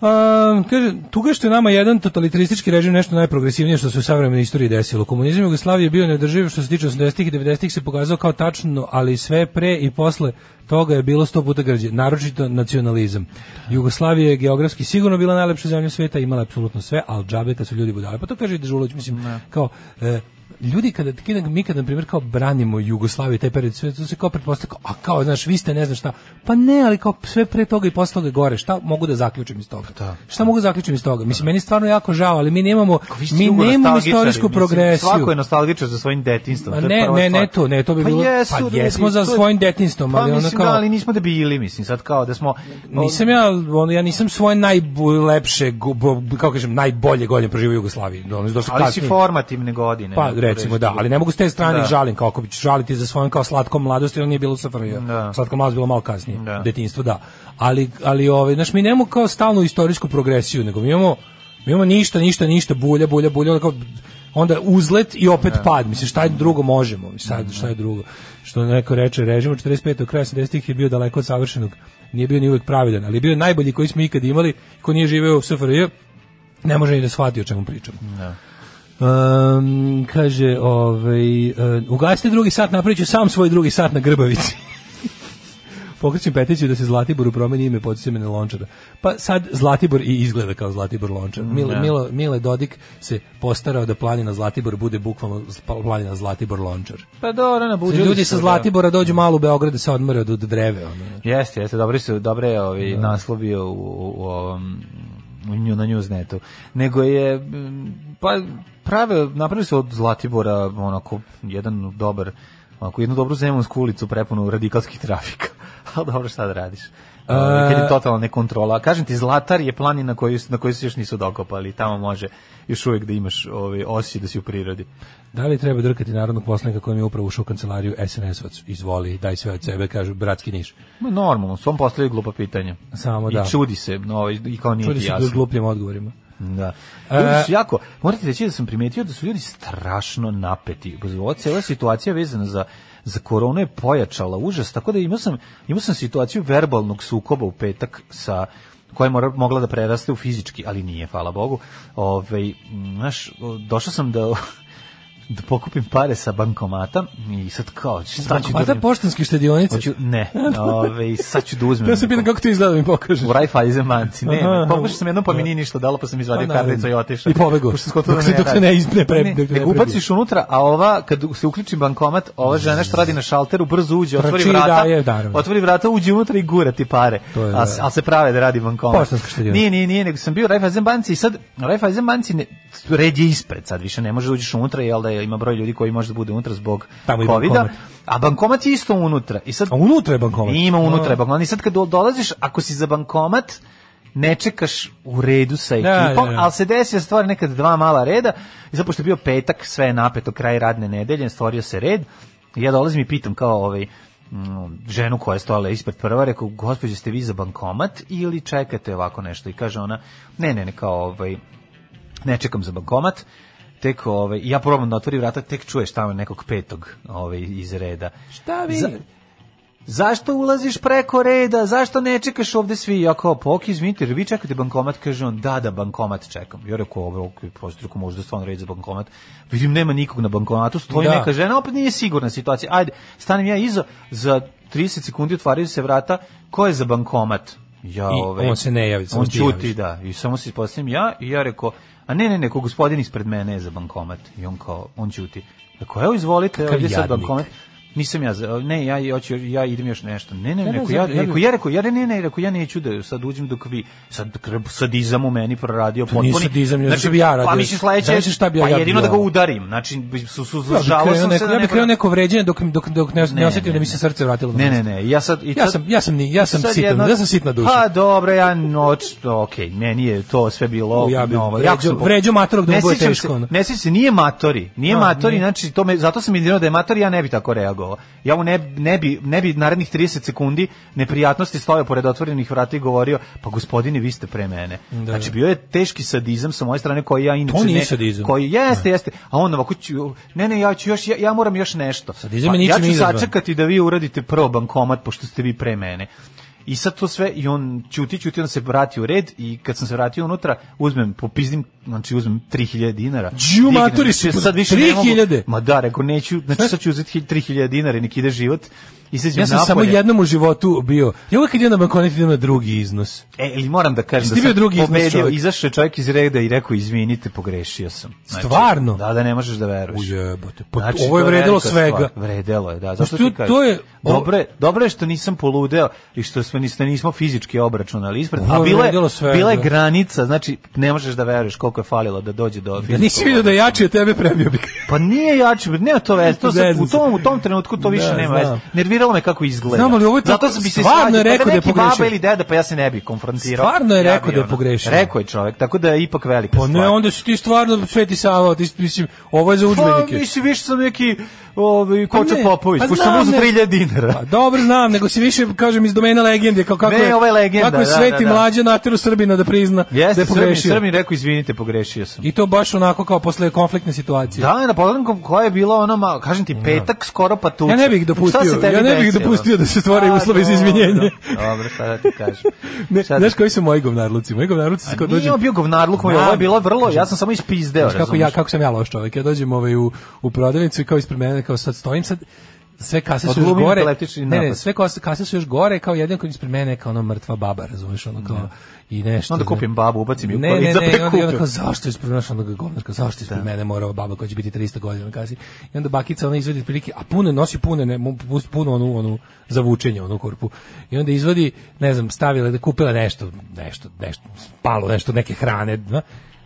Speaker 6: A, kaže, tuga je što je nama jedan totalitaristički režim nešto najprogresivnije što se u savremenoj istoriji desilo. Komunizam Jugoslavije je bio neodrživ što se tiče 80-ih i 90-ih se pokazao kao tačno, ali sve pre i posle toga je bilo sto puta građe, naročito nacionalizam. Jugoslavija je geografski sigurno bila najlepša zemlja sveta, imala je apsolutno sve, ali džabe kad su ljudi budale. Pa to kaže i Dežulović, mislim, kao, e, ljudi kada kada mi kada na primjer kao branimo Jugoslaviju taj period sve to se kao pretpostavlja kao, a kao znaš vi ste ne znam šta pa ne ali kao sve pre toga i posle toga je gore šta mogu da zaključim iz toga šta mogu da zaključim iz toga mislim meni je stvarno jako žao ali mi nemamo
Speaker 7: Ako vi ste
Speaker 6: mi
Speaker 7: jugo
Speaker 6: nemamo
Speaker 7: nostalgičari,
Speaker 6: istorijsku
Speaker 7: mislim,
Speaker 6: progresiju
Speaker 7: Svako je nostalgičar za svojim detinstvom.
Speaker 6: Ma ne, ne, ne to, ne, to bi bilo- pa jesmo za svojim detinjstvom, ali ono
Speaker 7: pa mislim,
Speaker 6: kao-
Speaker 7: Da, ali nismo debili, mislim, sad kao da smo...
Speaker 6: Nisam ja, ono, ja nisam svoje najlepše, gu- bo- kako kažem, najbolje godine proživio u Jugoslaviji. Ono, došlo
Speaker 7: Ali si
Speaker 6: kasnije.
Speaker 7: formativne godine.
Speaker 6: Pa
Speaker 7: mogu
Speaker 6: recimo
Speaker 7: reći.
Speaker 6: da, ali ne mogu s te strane
Speaker 7: Da.
Speaker 6: da. žalim kao ako bi žaliti za svojom kao slatkom mladosti, on nije bilo sa FRJ.
Speaker 7: Da.
Speaker 6: Slatko mladost bilo malo kasnije.
Speaker 7: Da.
Speaker 6: Da. Detinjstvo da. Ali ali ovaj znaš mi nemamo kao stalnu istorijsku progresiju, nego mi imamo mi imamo ništa, ništa, ništa, bulja, bulja, bulja, onda kao onda uzlet i opet pad. Mislim šta je drugo možemo? Mislim, Sad šta je drugo? Što neko reče, režim od 45. kraja 70-ih je bio daleko od savršenog. Nije bio ni uvek pravedan, ali je bio najbolji koji smo ikad imali, ko nije živeo u SFRJ, ne može ni da shvati o čemu pričamo. Um, kaže, ovaj, uh, ugasite drugi sat, napravit ću sam svoj drugi sat na Grbavici. Pokrećem petiću da se Zlatiboru promeni ime pod sjemene Lončara. Pa sad Zlatibor i izgleda kao Zlatibor Lončar.
Speaker 7: Mm,
Speaker 6: Mile, Milo, Mile Dodik se postarao da planina Zlatibor bude bukvalno z- pa- planina Zlatibor Lončar.
Speaker 7: Pa dobro, ne buđu.
Speaker 6: Ljudi sa Zlatibora dođu malo u Beograd da se odmore od, od dreve. Ono.
Speaker 7: Jeste, jeste, dobri su, dobre ovi naslov bio u, u, u ovom u nju, na Newsnetu. Nego je mm, pa prave napravili su od Zlatibora onako jedan dobar onako jednu dobru zemunsku ulicu prepunu radikalskih trafika. Al dobro šta da radiš?
Speaker 6: E,
Speaker 7: Ovaj, Kad je totalna nekontrola. Kažem ti, Zlatar je planina koju, s- na koju se još nisu dokopali. Tamo može još uvijek da imaš ovaj, osjećaj da si u prirodi.
Speaker 6: Da li treba drkati narodnog poslanika kojem je upravo ušao u kancelariju SNS-ovac? Izvoli, daj sve od sebe, kažu, bratski niš.
Speaker 7: Ma, normalno, svom postavljaju glupa pitanja.
Speaker 6: Samo
Speaker 7: I
Speaker 6: da.
Speaker 7: čudi se, no, ovaj, i kao nije
Speaker 6: Čudi
Speaker 7: ti
Speaker 6: se
Speaker 7: jasno.
Speaker 6: glupljim odgovorima.
Speaker 7: Da.
Speaker 6: E,
Speaker 7: Ljudi su jako, morate reći da sam primetio da su ljudi strašno napeti. Ovo cijela situacija vezana za za koronu je pojačala užas, tako da imao sam, imao sam situaciju verbalnog sukoba u petak sa koja je mora- mogla da preraste u fizički, ali nije, hvala Bogu. Ove, znaš, o, došao sam da da pokupim pare sa bankomata i sad kao, šta ću da
Speaker 6: Bankomata
Speaker 7: uradim?
Speaker 6: poštanske štedionice.
Speaker 7: Hoću, ne, ove, sad ću da uzmem.
Speaker 6: Ja se pitam kako to izgleda, da mi pokažeš.
Speaker 7: U Raiffeisen banci, ne,
Speaker 6: Aha.
Speaker 7: ne. Pokušao sam jednom, pa mi nije ništa dalo, pa sam
Speaker 6: Pa,
Speaker 7: izvadio
Speaker 6: naravno.
Speaker 7: karticu i otišao.
Speaker 6: I pobegao.
Speaker 7: Pošto sam skontao
Speaker 6: Dok
Speaker 7: da
Speaker 6: se- dok se ne iz- ne pre-
Speaker 7: Ne,
Speaker 6: dok ne
Speaker 7: nego
Speaker 6: prebije.
Speaker 7: ubaciš unutra, a ova, kad se uključi bankomat, ova žena što radi na šalteru, brzo uđe, otvori
Speaker 6: Trči i
Speaker 7: vrata,
Speaker 6: daje, naravno.
Speaker 7: otvori vrata, uđe unutra i gura ti pare.
Speaker 6: To je,
Speaker 7: A,
Speaker 6: da.
Speaker 7: ali se prave da radi bankomat.
Speaker 6: Poštanska štedionica.
Speaker 7: Nije, nije, nije, nego sam bio u Raiffeisen banci i sad Raiffeisen banci ne, red je ispred, sad više ne može da uđeš unutra, jel da ima broj ljudi koji može da bude unutra zbog
Speaker 6: Tamo i
Speaker 7: COVID-a.
Speaker 6: bankomat.
Speaker 7: A bankomat je isto unutra. I sad
Speaker 6: A unutra je bankomat.
Speaker 7: ima unutra je bankomat. I sad kad do- dolaziš, ako si za bankomat, ne čekaš u redu sa ekipom,
Speaker 6: da, da.
Speaker 7: ali se desio stvar nekad dva mala reda. I sad pošto je bio petak, sve je napeto, kraj radne nedelje, stvorio se red. I ja dolazim i pitam kao ovaj, mm, ženu koja je stojala ispred prva, rekao, gospođo, ste vi za bankomat ili čekate ovako nešto? I kaže ona, ne, ne, ne, kao ovaj, ne čekam za bankomat, tek ovaj, ja probam da otvorim vrata, tek čuješ tamo nekog petog ovaj, iz reda.
Speaker 6: Šta vi?
Speaker 7: Za- zašto ulaziš preko reda, zašto ne čekaš ovde svi? Ja kao, pa ok, izvinite, jer vi čekate bankomat? Kaže on, da, da, bankomat čekam. Ja rekao, ovo, ok, prosto rekao, možda stvarno red za bankomat. Vidim, nema nikog na bankomatu, stoji
Speaker 6: Da.
Speaker 7: neka žena, opet nije sigurna situacija. Ajde, stanem ja iza, za 30 sekundi otvaraju se vrata, ko je za bankomat? Ja,
Speaker 6: I
Speaker 7: ovaj,
Speaker 6: on se ne javi, samo
Speaker 7: on
Speaker 6: ti javiš.
Speaker 7: ćuti, da, i samo se ispostavim ja i ja rekao, a ne, ne, ne, ko gospodin ispred mene je za bankomat. I on kao, on ćuti. Rekao, evo izvolite,
Speaker 6: Kakav
Speaker 7: ovdje je sad
Speaker 6: jadnik.
Speaker 7: bankomat. Nisam ja, za- ne, ja i hoću, ja idem još nešto. Ne, ne,
Speaker 6: ne,
Speaker 7: rekao, ja,
Speaker 6: znam, ja
Speaker 7: rekao,
Speaker 6: bi-
Speaker 7: ja rekao, ja ne, ne, ne, rekao, ja neću da sad uđem dok vi, sad kre- sadizam u meni proradio potpuni.
Speaker 6: nije sadizam, ja što bi ja
Speaker 7: Pa
Speaker 6: radio.
Speaker 7: mislim sledeće,
Speaker 6: Znaš šta bi ja-
Speaker 7: pa
Speaker 6: ja bi
Speaker 7: jedino da
Speaker 6: bio-
Speaker 7: ga udarim, znači, su, su,
Speaker 6: Ja bih
Speaker 7: žalao
Speaker 6: krenuo
Speaker 7: sam se
Speaker 6: neko,
Speaker 7: da
Speaker 6: ja
Speaker 7: ne
Speaker 6: bih krenuo
Speaker 7: moram-
Speaker 6: neko vređenje dok, dok, dok ne, ne,
Speaker 7: ne,
Speaker 6: osetim da mi se
Speaker 7: ne.
Speaker 6: srce vratilo. na
Speaker 7: Ne, ne,
Speaker 6: mesto.
Speaker 7: ne, ja sad... I
Speaker 6: Ja
Speaker 7: sad-
Speaker 6: sam, ja sam, ni- ja sam
Speaker 7: sad
Speaker 6: sitan,
Speaker 7: jedno-
Speaker 6: ja sam sitna duša.
Speaker 7: Pa dobro, ja noć, okej, meni je to sve bilo...
Speaker 6: U, ja bi
Speaker 7: novo,
Speaker 6: vređao-
Speaker 7: jako sam-
Speaker 6: vređao matorog da mu
Speaker 7: Ne
Speaker 6: bude
Speaker 7: sjećam
Speaker 6: teško,
Speaker 7: se-
Speaker 6: ono.
Speaker 7: Ne sjećam se, nije matori, nije
Speaker 6: A,
Speaker 7: matori,
Speaker 6: nije.
Speaker 7: znači to me, zato sam jedino da je matori, ja ne bi tako reagovao. Ja mu ne, ne, bi, ne bi narednih 30 sekundi neprijatnosti stojao pored otvorenih vrata i govorio, pa gospodine, vi ste pre mene. Znači bio je teški sadizam sa moje strane koji ja inače
Speaker 6: nije
Speaker 7: ne-
Speaker 6: sadizam.
Speaker 7: Koji, jeste, jeste, a on ovako, ću- ne, ne, ja, ću još, ja, ja moram još nešto.
Speaker 6: Sadizam je
Speaker 7: Pa, ja
Speaker 6: ničim
Speaker 7: ću
Speaker 6: izazvan.
Speaker 7: sačekati da vi uradite prvo bankomat, pošto ste vi pre mene. I sad to sve, i on ćuti, ćuti, on se vrati u red i kad sam se vratio unutra, uzmem, popizdim, znači uzmem 3000 dinara.
Speaker 6: Đu,
Speaker 7: Nikad ne-
Speaker 6: maturi su,
Speaker 7: sad više ne mogu-
Speaker 6: 3000?
Speaker 7: Ma da, rekao, neću, znači sad ću uzeti 3000 dinara i nek ide život. I sad ću
Speaker 6: Ja sam samo
Speaker 7: napolje.
Speaker 6: jednom u životu bio. Ja uvek kad idem na bankonet idem na drugi iznos.
Speaker 7: E, ili moram da kažem
Speaker 6: Jesi
Speaker 7: da
Speaker 6: ti bio
Speaker 7: sam
Speaker 6: drugi iznos
Speaker 7: pobedio,
Speaker 6: čovjek?
Speaker 7: izašao je čovjek iz reda i rekao, izvinite, pogrešio sam. Znači,
Speaker 6: Stvarno?
Speaker 7: Da, da, ne možeš da veruješ.
Speaker 6: Ujebote, pa
Speaker 7: Znači,
Speaker 6: ovo je
Speaker 7: to
Speaker 6: vredelo
Speaker 7: velika
Speaker 6: svega.
Speaker 7: stvar. Vredelo je, da. Zašto
Speaker 6: Znači, to-
Speaker 7: ti kažem?
Speaker 6: to je-
Speaker 7: Dobre, dobro je što nisam poludeo i što smo nismo, nismo fizički obračunali ispred.
Speaker 6: Ovo
Speaker 7: A
Speaker 6: je
Speaker 7: bila je,
Speaker 6: vredelo svega.
Speaker 7: bila je granica, znači ne možeš da veruješ koliko je falilo da dođe do
Speaker 6: Ja
Speaker 7: fizičkog
Speaker 6: nisi vidio da je jači od tebe premio bih.
Speaker 7: Pa nije jači, nema to veze. To se,
Speaker 6: Zezam
Speaker 7: u,
Speaker 6: se.
Speaker 7: tom, u tom trenutku to više
Speaker 6: Da,
Speaker 7: nema
Speaker 6: znam.
Speaker 7: veze. Nerviralo me kako izgleda.
Speaker 6: Znam, ali ovo je
Speaker 7: Zato
Speaker 6: tako-
Speaker 7: sam bi se
Speaker 6: stvarno je
Speaker 7: svađao,
Speaker 6: rekao da je
Speaker 7: neki baba
Speaker 6: pogrešio.
Speaker 7: ili deda, pa ja se ne bi konfrontirao.
Speaker 6: Stvarno je
Speaker 7: Ja bi
Speaker 6: rekao da je
Speaker 7: ono-
Speaker 6: pogrešio.
Speaker 7: Rekao je čovjek, tako da je ipak velika
Speaker 6: Pa
Speaker 7: stvar.
Speaker 6: ne, onda si ti stvarno Sveti Sava, ti si- mislim, ovo je za
Speaker 7: Pa,
Speaker 6: udžbenike.
Speaker 7: mislim, više sam neki ovaj,
Speaker 6: Pa
Speaker 7: Koča
Speaker 6: ne,
Speaker 7: Popović,
Speaker 6: pa
Speaker 7: pošto sam
Speaker 6: znam,
Speaker 7: uzao
Speaker 6: ne.
Speaker 7: 3000 dinara.
Speaker 6: Pa dobro znam, nego si više, kažem, iz domena legende, kao kako
Speaker 7: Ne,
Speaker 6: je,
Speaker 7: ovo je legenda,
Speaker 6: kako je
Speaker 7: da,
Speaker 6: Sveti
Speaker 7: da, da.
Speaker 6: mlađe nateru Srbina da prizna da
Speaker 7: Jeste,
Speaker 6: je
Speaker 7: Srbin,
Speaker 6: pogrešio.
Speaker 7: Srbin rekao, izvinite, pogrešio sam.
Speaker 6: I to baš onako kao posle konfliktne situacije.
Speaker 7: Da, na pogledankom koja je bila ono, malo, kažem ti, petak skoro pa tuča.
Speaker 6: Ja ne bih dopustio-
Speaker 7: Šta se tebi
Speaker 6: ja ne bih
Speaker 7: desilo?
Speaker 6: dopustio da se stvore
Speaker 7: A,
Speaker 6: uslovi za
Speaker 7: dobro,
Speaker 6: izvinjenje.
Speaker 7: Dobro, šta da ti kažem.
Speaker 6: Ne,
Speaker 7: Šta da
Speaker 6: znaš koji su moji govnarluci? Moji govnarluci su kao
Speaker 7: Nije
Speaker 6: dođem...
Speaker 7: on bio govnarluk moj,
Speaker 6: Znam.
Speaker 7: ovo je bilo vrlo, ja sam samo ispizdeo,
Speaker 6: Znaš kako ja
Speaker 7: razumiješ?
Speaker 6: kako sam ja loš čovjek. Ja dođem ovaj u u prodavnicu i kao ispred mene kao sad stojim sad sve kase su još
Speaker 7: Odglumim
Speaker 6: gore.
Speaker 7: epileptični
Speaker 6: Ne, ne,
Speaker 7: napad.
Speaker 6: sve kase, kase su još gore, kao jedan koji ispred mene je kao ona mrtva baba, razumeš, ono kao i nešto.
Speaker 7: Onda
Speaker 6: ne.
Speaker 7: kupim babu, ubacim ju u
Speaker 6: Ne, ne,
Speaker 7: kolica,
Speaker 6: ne, i
Speaker 7: pa
Speaker 6: onda, i onda
Speaker 7: kupim.
Speaker 6: kao, zašto je ispred naša onoga govnarka, zašto je ispred mene morao baba koja će biti 300 godina na kasi. I onda bakica ona izvadi prilike, a puno nosi puno, ne, mu- pus- puno onu, onu zavučenje, onu korpu. I onda izvadi, ne znam, stavila da kupila nešto, nešto, nešto, palo nešto, neke hrane, da.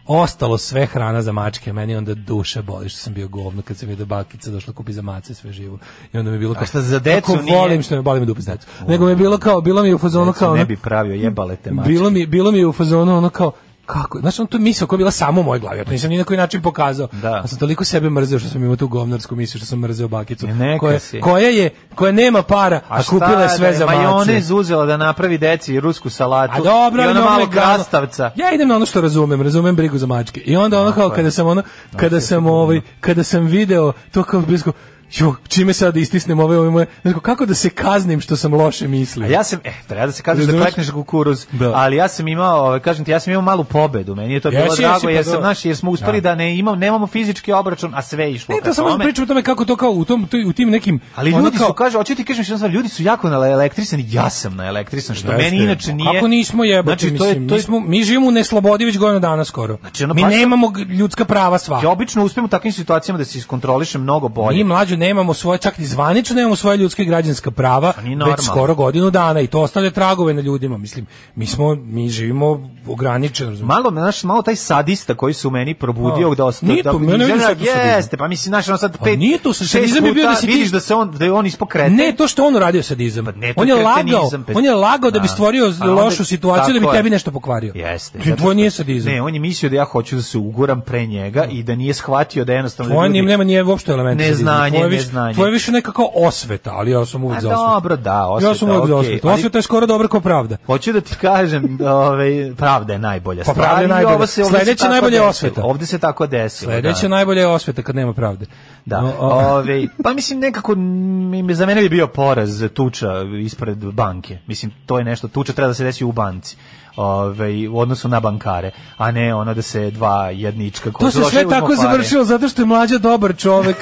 Speaker 6: Ostalo sve hrana za mačke, meni onda duše boli što sam bio govno kad sam vidio da bakica došla kupi za mace sve živo. I onda mi je bilo kao,
Speaker 7: šta za decu
Speaker 6: kako
Speaker 7: nije?
Speaker 6: volim što me boli me dupe za decu. Nego mi je bilo kao, bilo mi je u fazonu kao,
Speaker 7: Ne
Speaker 6: ono,
Speaker 7: bi pravio jebale te mačke.
Speaker 6: bilo mi, bilo mi je u fazonu ono kao, kako, znaš, on to misao koja je bila samo u mojoj glavi, ja to nisam ni na koji način pokazao.
Speaker 7: Da.
Speaker 6: A sam toliko sebe mrzeo što sam imao tu govnarsku misiju, što sam mrzeo bakicu.
Speaker 7: Ne, E, neka
Speaker 6: koja,
Speaker 7: si.
Speaker 6: koja je, koja nema para, a,
Speaker 7: šta
Speaker 6: kupila je sve
Speaker 7: da
Speaker 6: za mace.
Speaker 7: Majonez uzela da napravi deci rusku salatu
Speaker 6: A dobro,
Speaker 7: i
Speaker 6: ali
Speaker 7: ona
Speaker 6: ono
Speaker 7: malo
Speaker 6: je glavno.
Speaker 7: krastavca.
Speaker 6: Ja idem na ono što razumem, razumem brigu za mačke. I onda ono kao
Speaker 7: je.
Speaker 6: kada sam ono, kada sam ovaj, kada sam video to kao blisko, jo, čime sad istisnem ove, ove moje, znaš, kako da se kaznim što sam loše mislio.
Speaker 7: A ja sam, eh, treba da se kažeš da
Speaker 6: Razumeš?
Speaker 7: klekneš kukuruz,
Speaker 6: Da.
Speaker 7: ali ja sam imao, ovaj, kažem ti, ja sam imao malu pobedu, meni je to bilo
Speaker 6: Jesi, jesi,
Speaker 7: drago,
Speaker 6: pa
Speaker 7: jer
Speaker 6: dobro.
Speaker 7: sam, znaš, jer smo uspeli da, ne imam, nemamo fizički obračun, a sve je išlo
Speaker 6: Ne,
Speaker 7: ka
Speaker 6: E, to samo
Speaker 7: tome.
Speaker 6: pričam o tome kako to kao u tom u tim nekim
Speaker 7: Ali
Speaker 6: ono
Speaker 7: ljudi
Speaker 6: kao-
Speaker 7: su, kaže, hoću ti kažem što stvar, ljudi su jako na elektrisan, ja sam na elektrisan, što
Speaker 6: Jeste.
Speaker 7: Pa meni inače nije...
Speaker 6: Kako nismo jebati,
Speaker 7: Znači, to
Speaker 6: mislim,
Speaker 7: je, to je,
Speaker 6: mi, smo, mi živimo u neslobodi već godinu dana skoro.
Speaker 7: Znači, ono
Speaker 6: mi
Speaker 7: baš-
Speaker 6: nemamo g- ljudska prava sva.
Speaker 7: ja obično uspijem u takvim situacijama da se iskontrolišem mnogo bolje.
Speaker 6: Mi mlađu nemamo svoje, čak ni zvanično nemamo svoje ljudske i građanska prava,
Speaker 7: nije
Speaker 6: već
Speaker 7: Pa normalno.
Speaker 6: skoro godinu dana i to ostavlja tragove na ljudima. Mislim, mi smo, mi živimo ograničeno, razumiješ?
Speaker 7: Malo, znaš, malo taj sadista koji se u meni probudio
Speaker 6: A,
Speaker 7: da ostao.
Speaker 6: nije to,
Speaker 7: da,
Speaker 6: mene vidiš sad u sadizmu.
Speaker 7: Jeste, pa mislim, znaš, ono sad
Speaker 6: Pa
Speaker 7: pet,
Speaker 6: nije to,
Speaker 7: šest
Speaker 6: sadizam je bio
Speaker 7: puta
Speaker 6: da si ti-
Speaker 7: Vidiš da, se on, da je on ispokreten.
Speaker 6: Ne, to što on uradio sadizam.
Speaker 7: e, Pa ne, to
Speaker 6: on je
Speaker 7: je
Speaker 6: lagao,
Speaker 7: kretenizam, pe-
Speaker 6: on je lagao da bi
Speaker 7: Da.
Speaker 6: stvorio
Speaker 7: A onda-
Speaker 6: lošu situaciju da bi
Speaker 7: tako je.
Speaker 6: tebi nešto pokvario.
Speaker 7: Jeste.
Speaker 6: Ti,
Speaker 7: zato
Speaker 6: To
Speaker 7: što-
Speaker 6: nije sadizam.
Speaker 7: Ne, on je mislio da ja hoću da se uguram pre njega i da nije shvatio da jednostavno
Speaker 6: Tvoje
Speaker 7: ljudi...
Speaker 6: nije, nema nije uopšte elementa.
Speaker 7: Neznanje,
Speaker 6: sadizma. Tvoje više-
Speaker 7: neznanje.
Speaker 6: Tvoje je više nekako osveta, ali ja sam uvek
Speaker 7: A
Speaker 6: za osvetu.
Speaker 7: dobro, da, osveta,
Speaker 6: Ja sam uvek za
Speaker 7: okej,
Speaker 6: osvetu.
Speaker 7: ali- Pa
Speaker 6: Osveta je skoro dobra kao pravda.
Speaker 7: Hoću da ti kažem, da, ovaj, pravda je najbolja
Speaker 6: Pa
Speaker 7: stvar.
Speaker 6: pravda je
Speaker 7: i
Speaker 6: najbolja.
Speaker 7: ovo se- ovde se
Speaker 6: Sledeće
Speaker 7: tako
Speaker 6: najbolje je
Speaker 7: desilo.
Speaker 6: osveta.
Speaker 7: Ovde se tako desilo.
Speaker 6: Sledeća
Speaker 7: da.
Speaker 6: najbolja je osveta kad nema pravde.
Speaker 7: Da.
Speaker 6: No, o-
Speaker 7: Ove, pa mislim nekako mm, za mene bi bio poraz tuča ispred banke. Mislim to je nešto tuča treba da se desi u banci. Ove, u odnosu na bankare, a ne ono da se dva jednička
Speaker 6: to se
Speaker 7: zlože
Speaker 6: sve
Speaker 7: uzmu
Speaker 6: tako
Speaker 7: pare.
Speaker 6: završilo zato što je mlađa dobar čovek.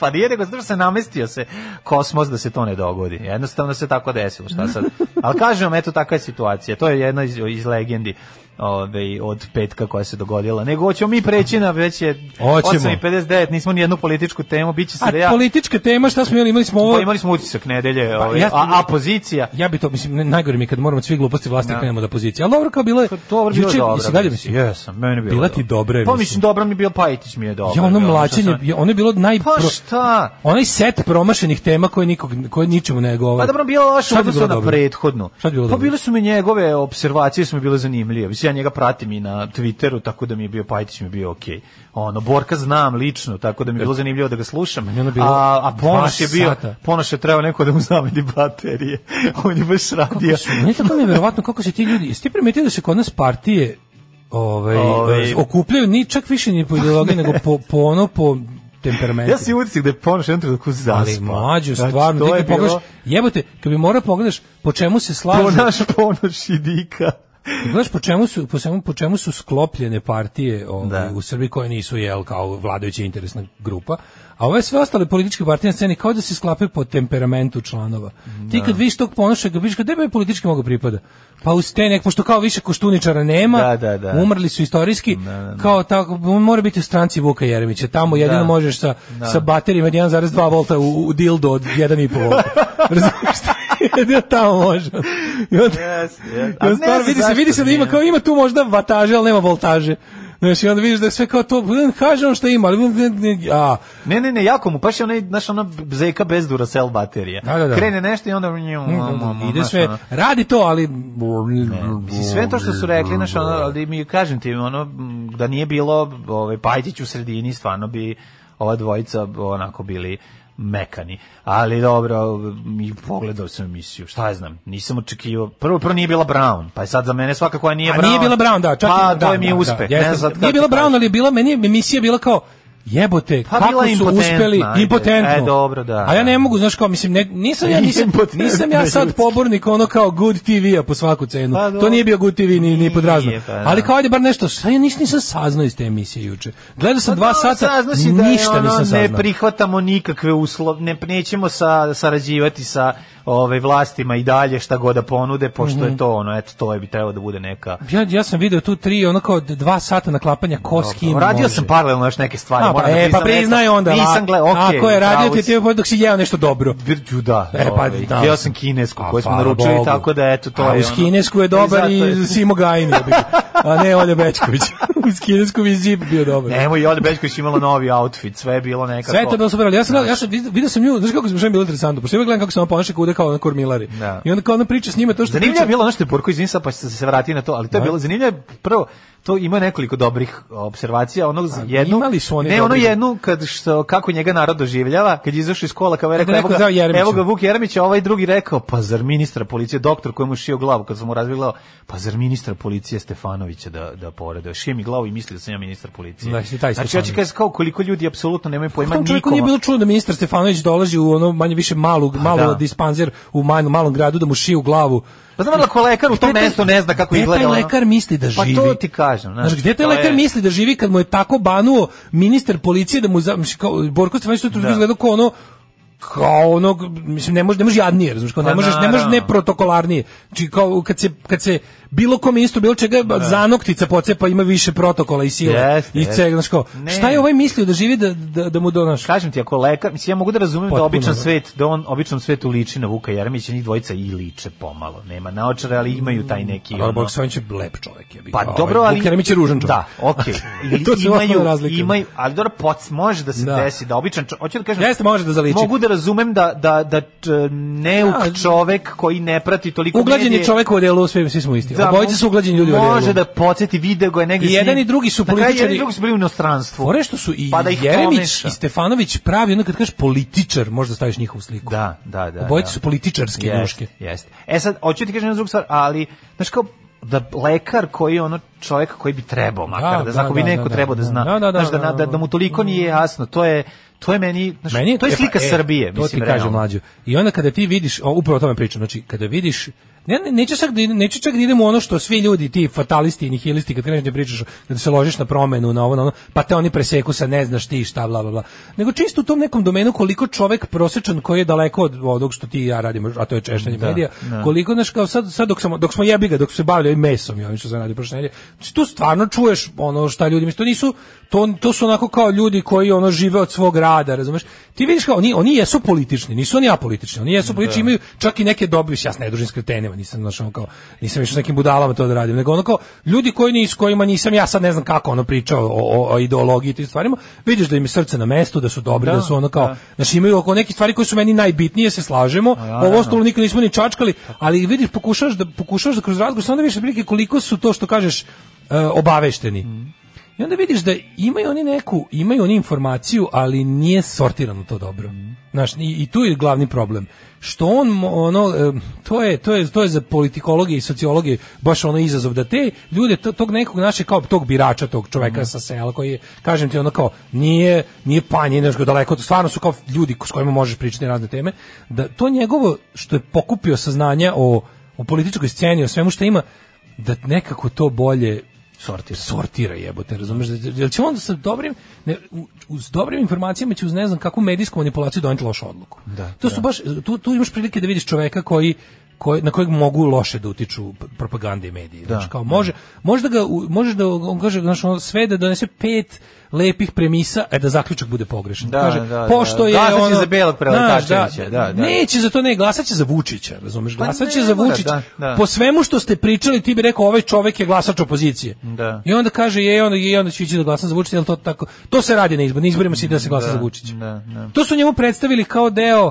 Speaker 7: Pa nije nego zato što se namestio se kosmos da se to ne dogodi. Jednostavno se tako desilo, šta sad. Ali kažem vam, eto takva je situacija. To je jedna iz, iz legendi ove, od petka koja se dogodila. Nego hoćemo mi preći na već je
Speaker 6: Hoćemo.
Speaker 7: 8.59, nismo ni jednu političku temu, bit će se
Speaker 6: A
Speaker 7: da ja...
Speaker 6: politička tema, šta smo imali? Imali smo ovo...
Speaker 7: Pa imali smo utisak nedelje, ovaj,
Speaker 6: Pa ja-
Speaker 7: a, a pozicija.
Speaker 6: Ja bi to, mislim, ne- najgore mi je kad moramo od svih gluposti vlasti da. krenemo da pozicije. Ali Pa dobro, kao bilo je...
Speaker 7: To dobro bilo
Speaker 6: juče-
Speaker 7: dobro.
Speaker 6: jesi dalje mislim?
Speaker 7: Jesam, meni je bilo.
Speaker 6: Bila ti dobra je,
Speaker 7: Pa
Speaker 6: mislim.
Speaker 7: mislim, dobro mi je bio Pajtić mi je dobro.
Speaker 6: Ja ono
Speaker 7: bilo,
Speaker 6: mlačenje,
Speaker 7: što sam-
Speaker 6: ja, ono je bilo naj...
Speaker 7: Pa
Speaker 6: pro-
Speaker 7: šta?
Speaker 6: Onaj set promašenih tema koje, nikog, koje ničemu ne govore.
Speaker 7: Pa dobro bilo loše
Speaker 6: Šta ti
Speaker 7: u
Speaker 6: je
Speaker 7: odnosu
Speaker 6: bilo
Speaker 7: na
Speaker 6: dobro?
Speaker 7: prethodnu.
Speaker 6: Šta ti je bilo
Speaker 7: pa
Speaker 6: dobro?
Speaker 7: bile su mi njegove observacije su mi bile zanimljive. Mislim ja njega pratim i na Twitteru, tako da mi je bio Pajtić mi je bio okej. Ono Borka znam lično, tako da mi je bilo zanimljivo da ga slušam.
Speaker 6: E, Meni je ono bilo
Speaker 7: a a Ponoš
Speaker 6: dva
Speaker 7: je bio,
Speaker 6: sata.
Speaker 7: Ponoš je trebao neko da mu zameni baterije. On je baš radio.
Speaker 6: Ne tako neverovatno kako se ti ljudi, jesi ti primetio da se kod nas partije ovaj,
Speaker 7: Ovaj.
Speaker 6: eh, okupljaju ni čak više ni po ideologiji nego po, po ono po temperament.
Speaker 7: Ja si utisak da je ponoš jednom trenutku zaspao.
Speaker 6: ali mlađo,
Speaker 7: Znači,
Speaker 6: stvarno,
Speaker 7: to
Speaker 6: ti
Speaker 7: je
Speaker 6: kad pogledaš,
Speaker 7: bilo
Speaker 6: jebote, kad bi morao pogledaš po čemu se slažu,
Speaker 7: ponaš ponoš i dika.
Speaker 6: Znaš po čemu su po svemu po čemu su sklopljene partije ovaj,
Speaker 7: Da.
Speaker 6: u Srbiji koje nisu jel kao vladajuća interesna grupa, a ove sve ostale političke partije na sceni kao da se sklapaju po temperamentu članova. Ti kad vidiš tog ponoša, kad vidiš kad tebe politički mogu pripada. Pa uz te nek, pošto kao više koštuničara nema,
Speaker 7: Da, da, da.
Speaker 6: umrli su istorijski, kao tako, mora biti u stranci Vuka Jeremića, tamo jedino
Speaker 7: Da.
Speaker 6: možeš sa, sa baterijima od 1,2 volta u, u dildo od 1,5 volta. Razumiješ šta? Jedino tamo može. I onda,
Speaker 7: Yes, yes.
Speaker 6: i onda stvarno vidi se, vidi se da ima kao ima tu možda vataže, ali nema voltaže. Znaš, i onda vidiš da je sve kao to, mm, kaže on što ima, ali... mm, A,
Speaker 7: Ne, ne, ne, jako mu, paš je onaj, znaš, ono, ona zeka bez duracell baterija.
Speaker 6: Da, da, da.
Speaker 7: Krene nešto i onda...
Speaker 6: ide
Speaker 7: znaš,
Speaker 6: sve,
Speaker 7: ono.
Speaker 6: radi to, ali...
Speaker 7: Mislim, sve to što su rekli, znaš, ono, ali mi kažem ti, ono, m, da nije bilo ovaj, Pajtić u sredini, stvarno bi ova dvojica onako bili mekani. Ali dobro, mi pogledao sam emisiju, šta ja znam, nisam očekivao. Prvo, prvo nije bila Brown, pa je sad za mene svaka koja nije
Speaker 6: A
Speaker 7: Brown.
Speaker 6: Pa nije bila Brown, da, čak i-
Speaker 7: pa,
Speaker 6: da,
Speaker 7: to je mi
Speaker 6: da,
Speaker 7: je uspeh.
Speaker 6: da,
Speaker 7: ne
Speaker 6: jeste.
Speaker 7: znam sad
Speaker 6: nije
Speaker 7: kako
Speaker 6: bila
Speaker 7: ti
Speaker 6: Brown,
Speaker 7: kažem.
Speaker 6: ali je bila, meni je emisija bila kao, jebote,
Speaker 7: Pa
Speaker 6: kako
Speaker 7: bila je
Speaker 6: su
Speaker 7: impotentna,
Speaker 6: uspeli,
Speaker 7: ajde.
Speaker 6: impotentno.
Speaker 7: E, dobro, da.
Speaker 6: A ja ne mogu, znaš kao, mislim, ne, nisam, ja, nisam,
Speaker 7: Impotentna,
Speaker 6: nisam ja sad
Speaker 7: ljudski.
Speaker 6: pobornik ono kao good TV-a po svaku cenu.
Speaker 7: Pa,
Speaker 6: to
Speaker 7: dobro.
Speaker 6: nije bio good TV ni, ni podrazno.
Speaker 7: Nije, pa, da.
Speaker 6: ali kao, ajde bar nešto, šta ja ništa nisam saznao iz te emisije juče. Gledao sam dva
Speaker 7: Pa,
Speaker 6: sata,
Speaker 7: saznao si da je
Speaker 6: ništa
Speaker 7: ono,
Speaker 6: nisam
Speaker 7: Ne
Speaker 6: saznao.
Speaker 7: prihvatamo nikakve uslov, ne nećemo sa sarađivati sa ovaj vlastima i dalje šta god da ponude, pošto
Speaker 6: Mhm.
Speaker 7: je to ono, eto to je bi trebalo da bude neka.
Speaker 6: Ja, ja sam video tu tri, ono kao dva sata naklapanja ko s kim
Speaker 7: Radio
Speaker 6: može.
Speaker 7: sam paralelno još neke stvari.
Speaker 6: A, pa,
Speaker 7: moram da
Speaker 6: e, pa
Speaker 7: priznam,
Speaker 6: priznaj
Speaker 7: eto,
Speaker 6: onda. la-
Speaker 7: Nisam gledao, okej.
Speaker 6: Ako je radio
Speaker 7: pravo
Speaker 6: ti
Speaker 7: si.
Speaker 6: ti je dok si jeo nešto dobro.
Speaker 7: Birđu, da.
Speaker 6: E, pa,
Speaker 7: ovaj,
Speaker 6: da.
Speaker 7: jeo sam kinesku
Speaker 6: A,
Speaker 7: koju smo
Speaker 6: hvala
Speaker 7: naručili,
Speaker 6: Bogu.
Speaker 7: tako da eto to
Speaker 6: A
Speaker 7: je
Speaker 6: uz
Speaker 7: ono.
Speaker 6: kinesku je dobar
Speaker 7: zato je-
Speaker 6: i Simo Gajin, jebi ga. a ne Olja Bečković. uz kinesku mi je Zip bio dobar.
Speaker 7: Nemoj, i Olja Bećković imala novi outfit, sve je bilo nekako.
Speaker 6: Sve je to bilo super, ali ja sam, gledao- ja sam vid- vidio sam nju, znaš kako smo bilo interesantno, pošto ja gledam kako se ona ponaša kude kao na kormilari.
Speaker 7: Da.
Speaker 6: I onda kao ona priča s njima to što
Speaker 7: Zanimljivo
Speaker 6: priča.
Speaker 7: je bilo ono što je Burko izvinio, sad pa ćete se vratiti na to, ali to je
Speaker 6: Da.
Speaker 7: bilo zanimljivo je prvo to ima nekoliko dobrih observacija, onog za jednu.
Speaker 6: imali su oni
Speaker 7: ne, ono
Speaker 6: dobrih.
Speaker 7: jednu kad što kako njega narod doživljava, kad je izašao iz škola, kao je rekao,
Speaker 6: je
Speaker 7: evo
Speaker 6: neko zvao
Speaker 7: ga,
Speaker 6: Jeremića."
Speaker 7: evo ga Vuk Jeremić, a ovaj drugi rekao, pa zar ministra policije, doktor kojemu je šio glavu kad sam mu razbio glavu, pa zar ministra policije Stefanovića da da porede, šio mi glavu i mislio da sam ja ministar policije.
Speaker 6: Znači, taj
Speaker 7: znači ja
Speaker 6: Stefanović.
Speaker 7: ću kažem kao koliko ljudi apsolutno nemaju pojma
Speaker 6: Tom čovjeku
Speaker 7: nikoma. Pa
Speaker 6: nije bilo čudo da ministar Stefanović dolazi u ono manje više malu, malo
Speaker 7: da.
Speaker 6: dispanzer u malom, malom gradu da mu šiju glavu.
Speaker 7: Pa znam ali ako lekar u tom mestu ne zna kako
Speaker 6: Gde
Speaker 7: izgleda. ono-
Speaker 6: taj lekar misli da živi?
Speaker 7: Pa to ti kažem.
Speaker 6: Znaš, gde taj
Speaker 7: to
Speaker 6: lekar
Speaker 7: je-
Speaker 6: misli da živi kad mu je tako banuo ministar policije da mu za, mislim, kao, Borko Stefanović sutra da. izgleda kao ono kao onog, mislim, ne može, ne može jadnije, razumiješ, kao ne
Speaker 7: Pa
Speaker 6: možeš, ne možeš
Speaker 7: naravno.
Speaker 6: neprotokolarnije. Znači, kao kad se, kad se bilo kom isto, bilo čega, zanoktica pocepa, ima više protokola i sile. I
Speaker 7: Jeste, jeste.
Speaker 6: cega, znaš, kao,
Speaker 7: Ne.
Speaker 6: šta je ovaj mislio da živi da, da, da mu donaš?
Speaker 7: Kažem ti, ako lekar, mislim, ja mogu da razumem
Speaker 6: Potpuno,
Speaker 7: da običan
Speaker 6: da.
Speaker 7: svet, da on običnom svetu liči na Vuka Jeremića, njih dvojica i liče pomalo. Nema naočara, ali imaju taj neki...
Speaker 6: Ali
Speaker 7: ono-
Speaker 6: ovaj Borko Stefanović je lep čovjek, je.
Speaker 7: Pa dobro, ali...
Speaker 6: Jeremić je ružan čovjek.
Speaker 7: Da, okej. I-
Speaker 6: To su osnovne
Speaker 7: imaju,
Speaker 6: razlike.
Speaker 7: imaju, ali dobro, poc, može da se
Speaker 6: Da.
Speaker 7: desi, da običan čovjek... Hoću da kažem...
Speaker 6: Jeste, može da zaliči.
Speaker 7: Mogu da razumem da, da, da č- neuk
Speaker 6: Da.
Speaker 7: čovek koji ne prati toliko
Speaker 6: Uglađen je
Speaker 7: medije-
Speaker 6: čovjek u odelu, svi, svi smo isti.
Speaker 7: Da,
Speaker 6: Obojica su uglađeni ljudi u odelu.
Speaker 7: Može da podsjeti video ga je negdje.
Speaker 6: I
Speaker 7: s njim.
Speaker 6: jedan i drugi su
Speaker 7: Na kraju Jedan
Speaker 6: političari-
Speaker 7: i drugi su bili u inostranstvu.
Speaker 6: Fore što su i
Speaker 7: Pa da ih
Speaker 6: Jeremić
Speaker 7: pomeša.
Speaker 6: i Stefanović pravi, onda kad kažeš političar, možda staviš njihovu sliku.
Speaker 7: Da, da, da.
Speaker 6: Obojice
Speaker 7: da.
Speaker 6: su političarske
Speaker 7: Jeste,
Speaker 6: muške.
Speaker 7: Jeste. E sad, hoću ti kažem jednu drugu stvar, ali, znaš kao, da lekar koji je ono čovjek koji bi trebao makar da,
Speaker 6: da,
Speaker 7: zna, ako bi
Speaker 6: da,
Speaker 7: neko
Speaker 6: da,
Speaker 7: trebao da
Speaker 6: da.
Speaker 7: zna
Speaker 6: Da, da, da,
Speaker 7: znaš, da,
Speaker 6: da, Mm.
Speaker 7: da, da mu toliko nije jasno to je to je meni, znaš,
Speaker 6: Meni
Speaker 7: to je
Speaker 6: e,
Speaker 7: slika
Speaker 6: pa, e,
Speaker 7: Srbije
Speaker 6: to
Speaker 7: mislim
Speaker 6: ti kaže
Speaker 7: realno.
Speaker 6: mlađo. I onda kada ti vidiš, o, upravo o tome pričam, znači kada vidiš Ne, ne, neću, sad, da idem- neću čak da idem u ono što svi ljudi, ti fatalisti i nihilisti, kad kreneš da pričaš, kada se ložiš na promenu, na ovo, na ono, pa te oni preseku sa ne znaš ti šta, bla, bla, bla. Nego čisto u tom nekom domenu koliko čovek prosečan koji je daleko od onog što ti i ja radimo, a to je češljanje medija, koliko, znaš, kao sad, sad dok, sam, dok smo jebi ga, dok su se bavili ovim mesom i ovim što sam radio prošle nedelje, znači, tu stvarno čuješ ono šta ljudi misle, to nisu, to, to su onako kao ljudi koji ono žive od svog rada, razumeš? Ti vidiš kao, oni, oni jesu politični, nisu oni apolitični, oni jesu politični, imaju čak i neke dobi, ja se ne družim s kretenima, nisam, znaš, ono kao, nisam išao s nekim budalama to da radim, nego ono kao, ljudi koji nisu, kojima nisam, ja sad ne znam kako ono pričao o, o, o ideologiji i tim stvarima, vidiš da im je srce na mestu, da su dobri, da, su ono kao, znaš, imaju oko neki stvari koje su meni najbitnije, se slažemo, ovo ostalo nikad nismo ni čačkali, ali vidiš, pokušaš da, pokušaš da kroz razgovor, samo da vidiš otprilike koliko su to što kažeš, e, obavešteni. I I onda vidiš da imaju oni neku, imaju oni informaciju, ali nije sortirano to dobro. Znaš, i, i tu je glavni problem. Što on, mo- ono, em, to je, to je, to je za politikologe i sociologe baš ono izazov, da te ljude, to- tog nekog našeg, kao tog birača, tog čoveka sa sela, koji je, kažem ti, ono kao, nije, nije panje, znaš, kao daleko, stvarno su kao ljudi s kojima možeš pričati na razne teme, da to njegovo, što je pokupio saznanja o, o političkoj sceni, o svemu što ima, da nekako to bolje sortira. Sortira jebote, razumeš? Da- Jel će on sa dobrim, ne, u- uz dobrim informacijama će uz ne znam kakvu medijsku manipulaciju doneti lošu odluku. Da, to su baš, tu, tu imaš prilike da vidiš čoveka koji, koji- na kojeg mogu loše da utiču p- propaganda i mediji. znaš, kao može, možda ga, u- možeš da on kaže, znaš, ono, sve da donese pet lepih premisa, a da zaključak bude pogrešan.
Speaker 7: Da,
Speaker 6: kaže,
Speaker 7: da, da.
Speaker 6: pošto je
Speaker 7: Glasaće
Speaker 6: ono,
Speaker 7: za Belog Preletačevića,
Speaker 6: znaš,
Speaker 7: da, da.
Speaker 6: Neće za to, ne, glasaće za Vučića, razumeš?
Speaker 7: Pa
Speaker 6: Glasaće
Speaker 7: ne
Speaker 6: za
Speaker 7: mora,
Speaker 6: Vučića.
Speaker 7: da, da.
Speaker 6: Po svemu što ste pričali, ti bi rekao ovaj čovek je glasač opozicije.
Speaker 7: Da.
Speaker 6: I onda kaže je, onda je, onda će ići da glasa za Vučića, jel to tako. To se radi na izborima, na izborima se ide da se glasa za Vučića.
Speaker 7: da, da.
Speaker 6: To su njemu predstavili kao deo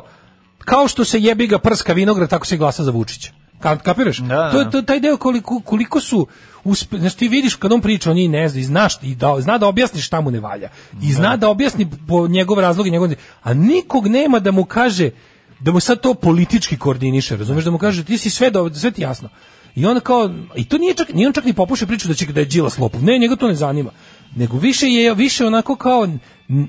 Speaker 6: kao što se jebi ga prska vinograd, tako se i glasa za Vučića. Ka, kapiraš?
Speaker 7: Da,
Speaker 6: To,
Speaker 7: da.
Speaker 6: to, taj deo koliko, koliko su uspe, znaš, ti vidiš kad on priča, on i ne zna, i znaš, i da, zna da objasni šta mu ne valja. I zna da objasni po njegov razlog i njegov... A nikog nema da mu kaže, da mu sad to politički koordiniše, razumeš, da mu kaže, ti si sve, do, sve ti jasno. I on kao, i to nije čak, nije on čak ni popušio priču da će da je Đilas lopov. Ne, njega to ne zanima. Nego više je, više onako kao n-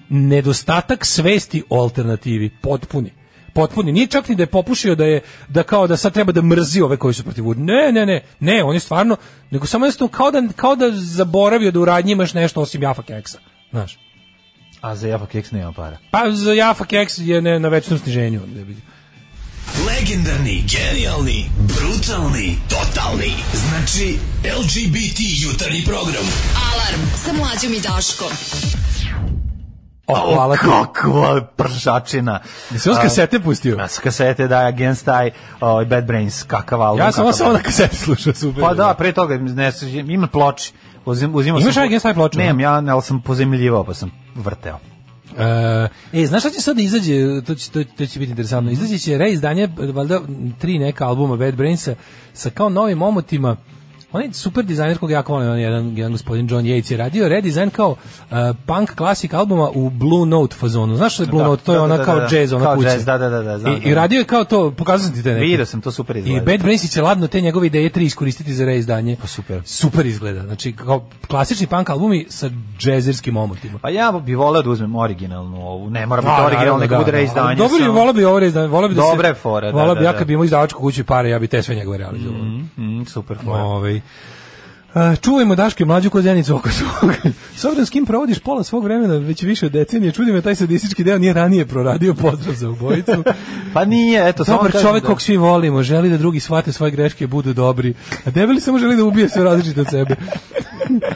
Speaker 6: nedostatak svesti o alternativi, potpuni potpuni. Nije čak ni da je popušio da je da kao da sad treba da mrzi ove koji su protiv Vučića. Ne, ne, ne. Ne, on je stvarno nego samo jednostavno kao da kao da zaboravio da u radnji imaš nešto osim Jafa Keksa. Znaš.
Speaker 7: A za Jaffa Keks nema para.
Speaker 6: Pa za Jafa Keks je ne, na večnom sniženju. ne bi-
Speaker 10: Legendarni, genijalni, brutalni, totalni. Znači, LGBT jutarnji program.
Speaker 5: Alarm sa mlađom i Daškom.
Speaker 6: O, hvala ti.
Speaker 7: Kakva pršačina.
Speaker 6: Jesi on s kasete pustio?
Speaker 7: A, S kasete, da, Against I, ovaj, Bad Brains, kakav album.
Speaker 6: Ja sam ovo
Speaker 7: kakav-
Speaker 6: samo na kaseti slušao, super.
Speaker 7: Pa da, pre toga ne, ima ploči. Uzim, uzimao
Speaker 6: Imaš
Speaker 7: sam-
Speaker 6: Against I ploču?
Speaker 7: Nemam, ja, ali sam pozemljivao, pa sam vrteo.
Speaker 6: E, znaš šta će sad da izađe, to će, to, to će biti interesantno,
Speaker 7: Mhm.
Speaker 6: izađe će reizdanje, valjda, tri neka albuma Bad Brainsa sa kao novim omotima, on je super dizajner kog ja jako volim, on je jedan, jedan gospodin John Yates je radio redizajn kao uh, punk klasik albuma u Blue Note fazonu. Znaš što je Blue
Speaker 7: Da,
Speaker 6: Note? To je
Speaker 7: da,
Speaker 6: ona
Speaker 7: da, da,
Speaker 6: kao
Speaker 7: da.
Speaker 6: jazz, ona
Speaker 7: Kao
Speaker 6: kuća.
Speaker 7: jazz, da, da, da, da, znam,
Speaker 6: I,
Speaker 7: da.
Speaker 6: I radio je kao to, pokazao sam ti te neke.
Speaker 7: Vidio sam, to super
Speaker 6: I
Speaker 7: izgleda.
Speaker 6: Bad Brains će ladno te njegove ideje tri iskoristiti za reizdanje. Pa
Speaker 7: super.
Speaker 6: Super izgleda. Znači, kao klasični punk albumi sa džezerskim omotima.
Speaker 7: Pa ja bi voleo da uzem originalnu ovu, ne mora biti
Speaker 6: Da,
Speaker 7: originalna,
Speaker 6: naravno,
Speaker 7: neka
Speaker 6: da,
Speaker 7: bude
Speaker 6: da.
Speaker 7: reizdanje.
Speaker 6: Dobro bi
Speaker 7: samo.
Speaker 6: volao bi ovo reizdanje, volao bi da
Speaker 7: Dobra je
Speaker 6: se
Speaker 7: fora, da,
Speaker 6: volao
Speaker 7: da,
Speaker 6: bi ja
Speaker 7: da.
Speaker 6: kad bi imao izdavačku kuću i pare, ja bi te sve njegove realizovao.
Speaker 7: Mm, super fora.
Speaker 6: Ovaj. E, Čuvajmo Daške mlađu ko zjenicu oko svog. S obzirom s kim provodiš pola svog vremena već više od decenije, čudi me taj sadistički deo nije ranije proradio pozdrav za obojicu.
Speaker 7: Pa nije, eto, samo
Speaker 6: Dobar
Speaker 7: kažem
Speaker 6: čovjek
Speaker 7: da-
Speaker 6: kog svi volimo, želi da drugi shvate svoje greške i budu dobri, a debeli samo želi da ubije sve različite od sebe.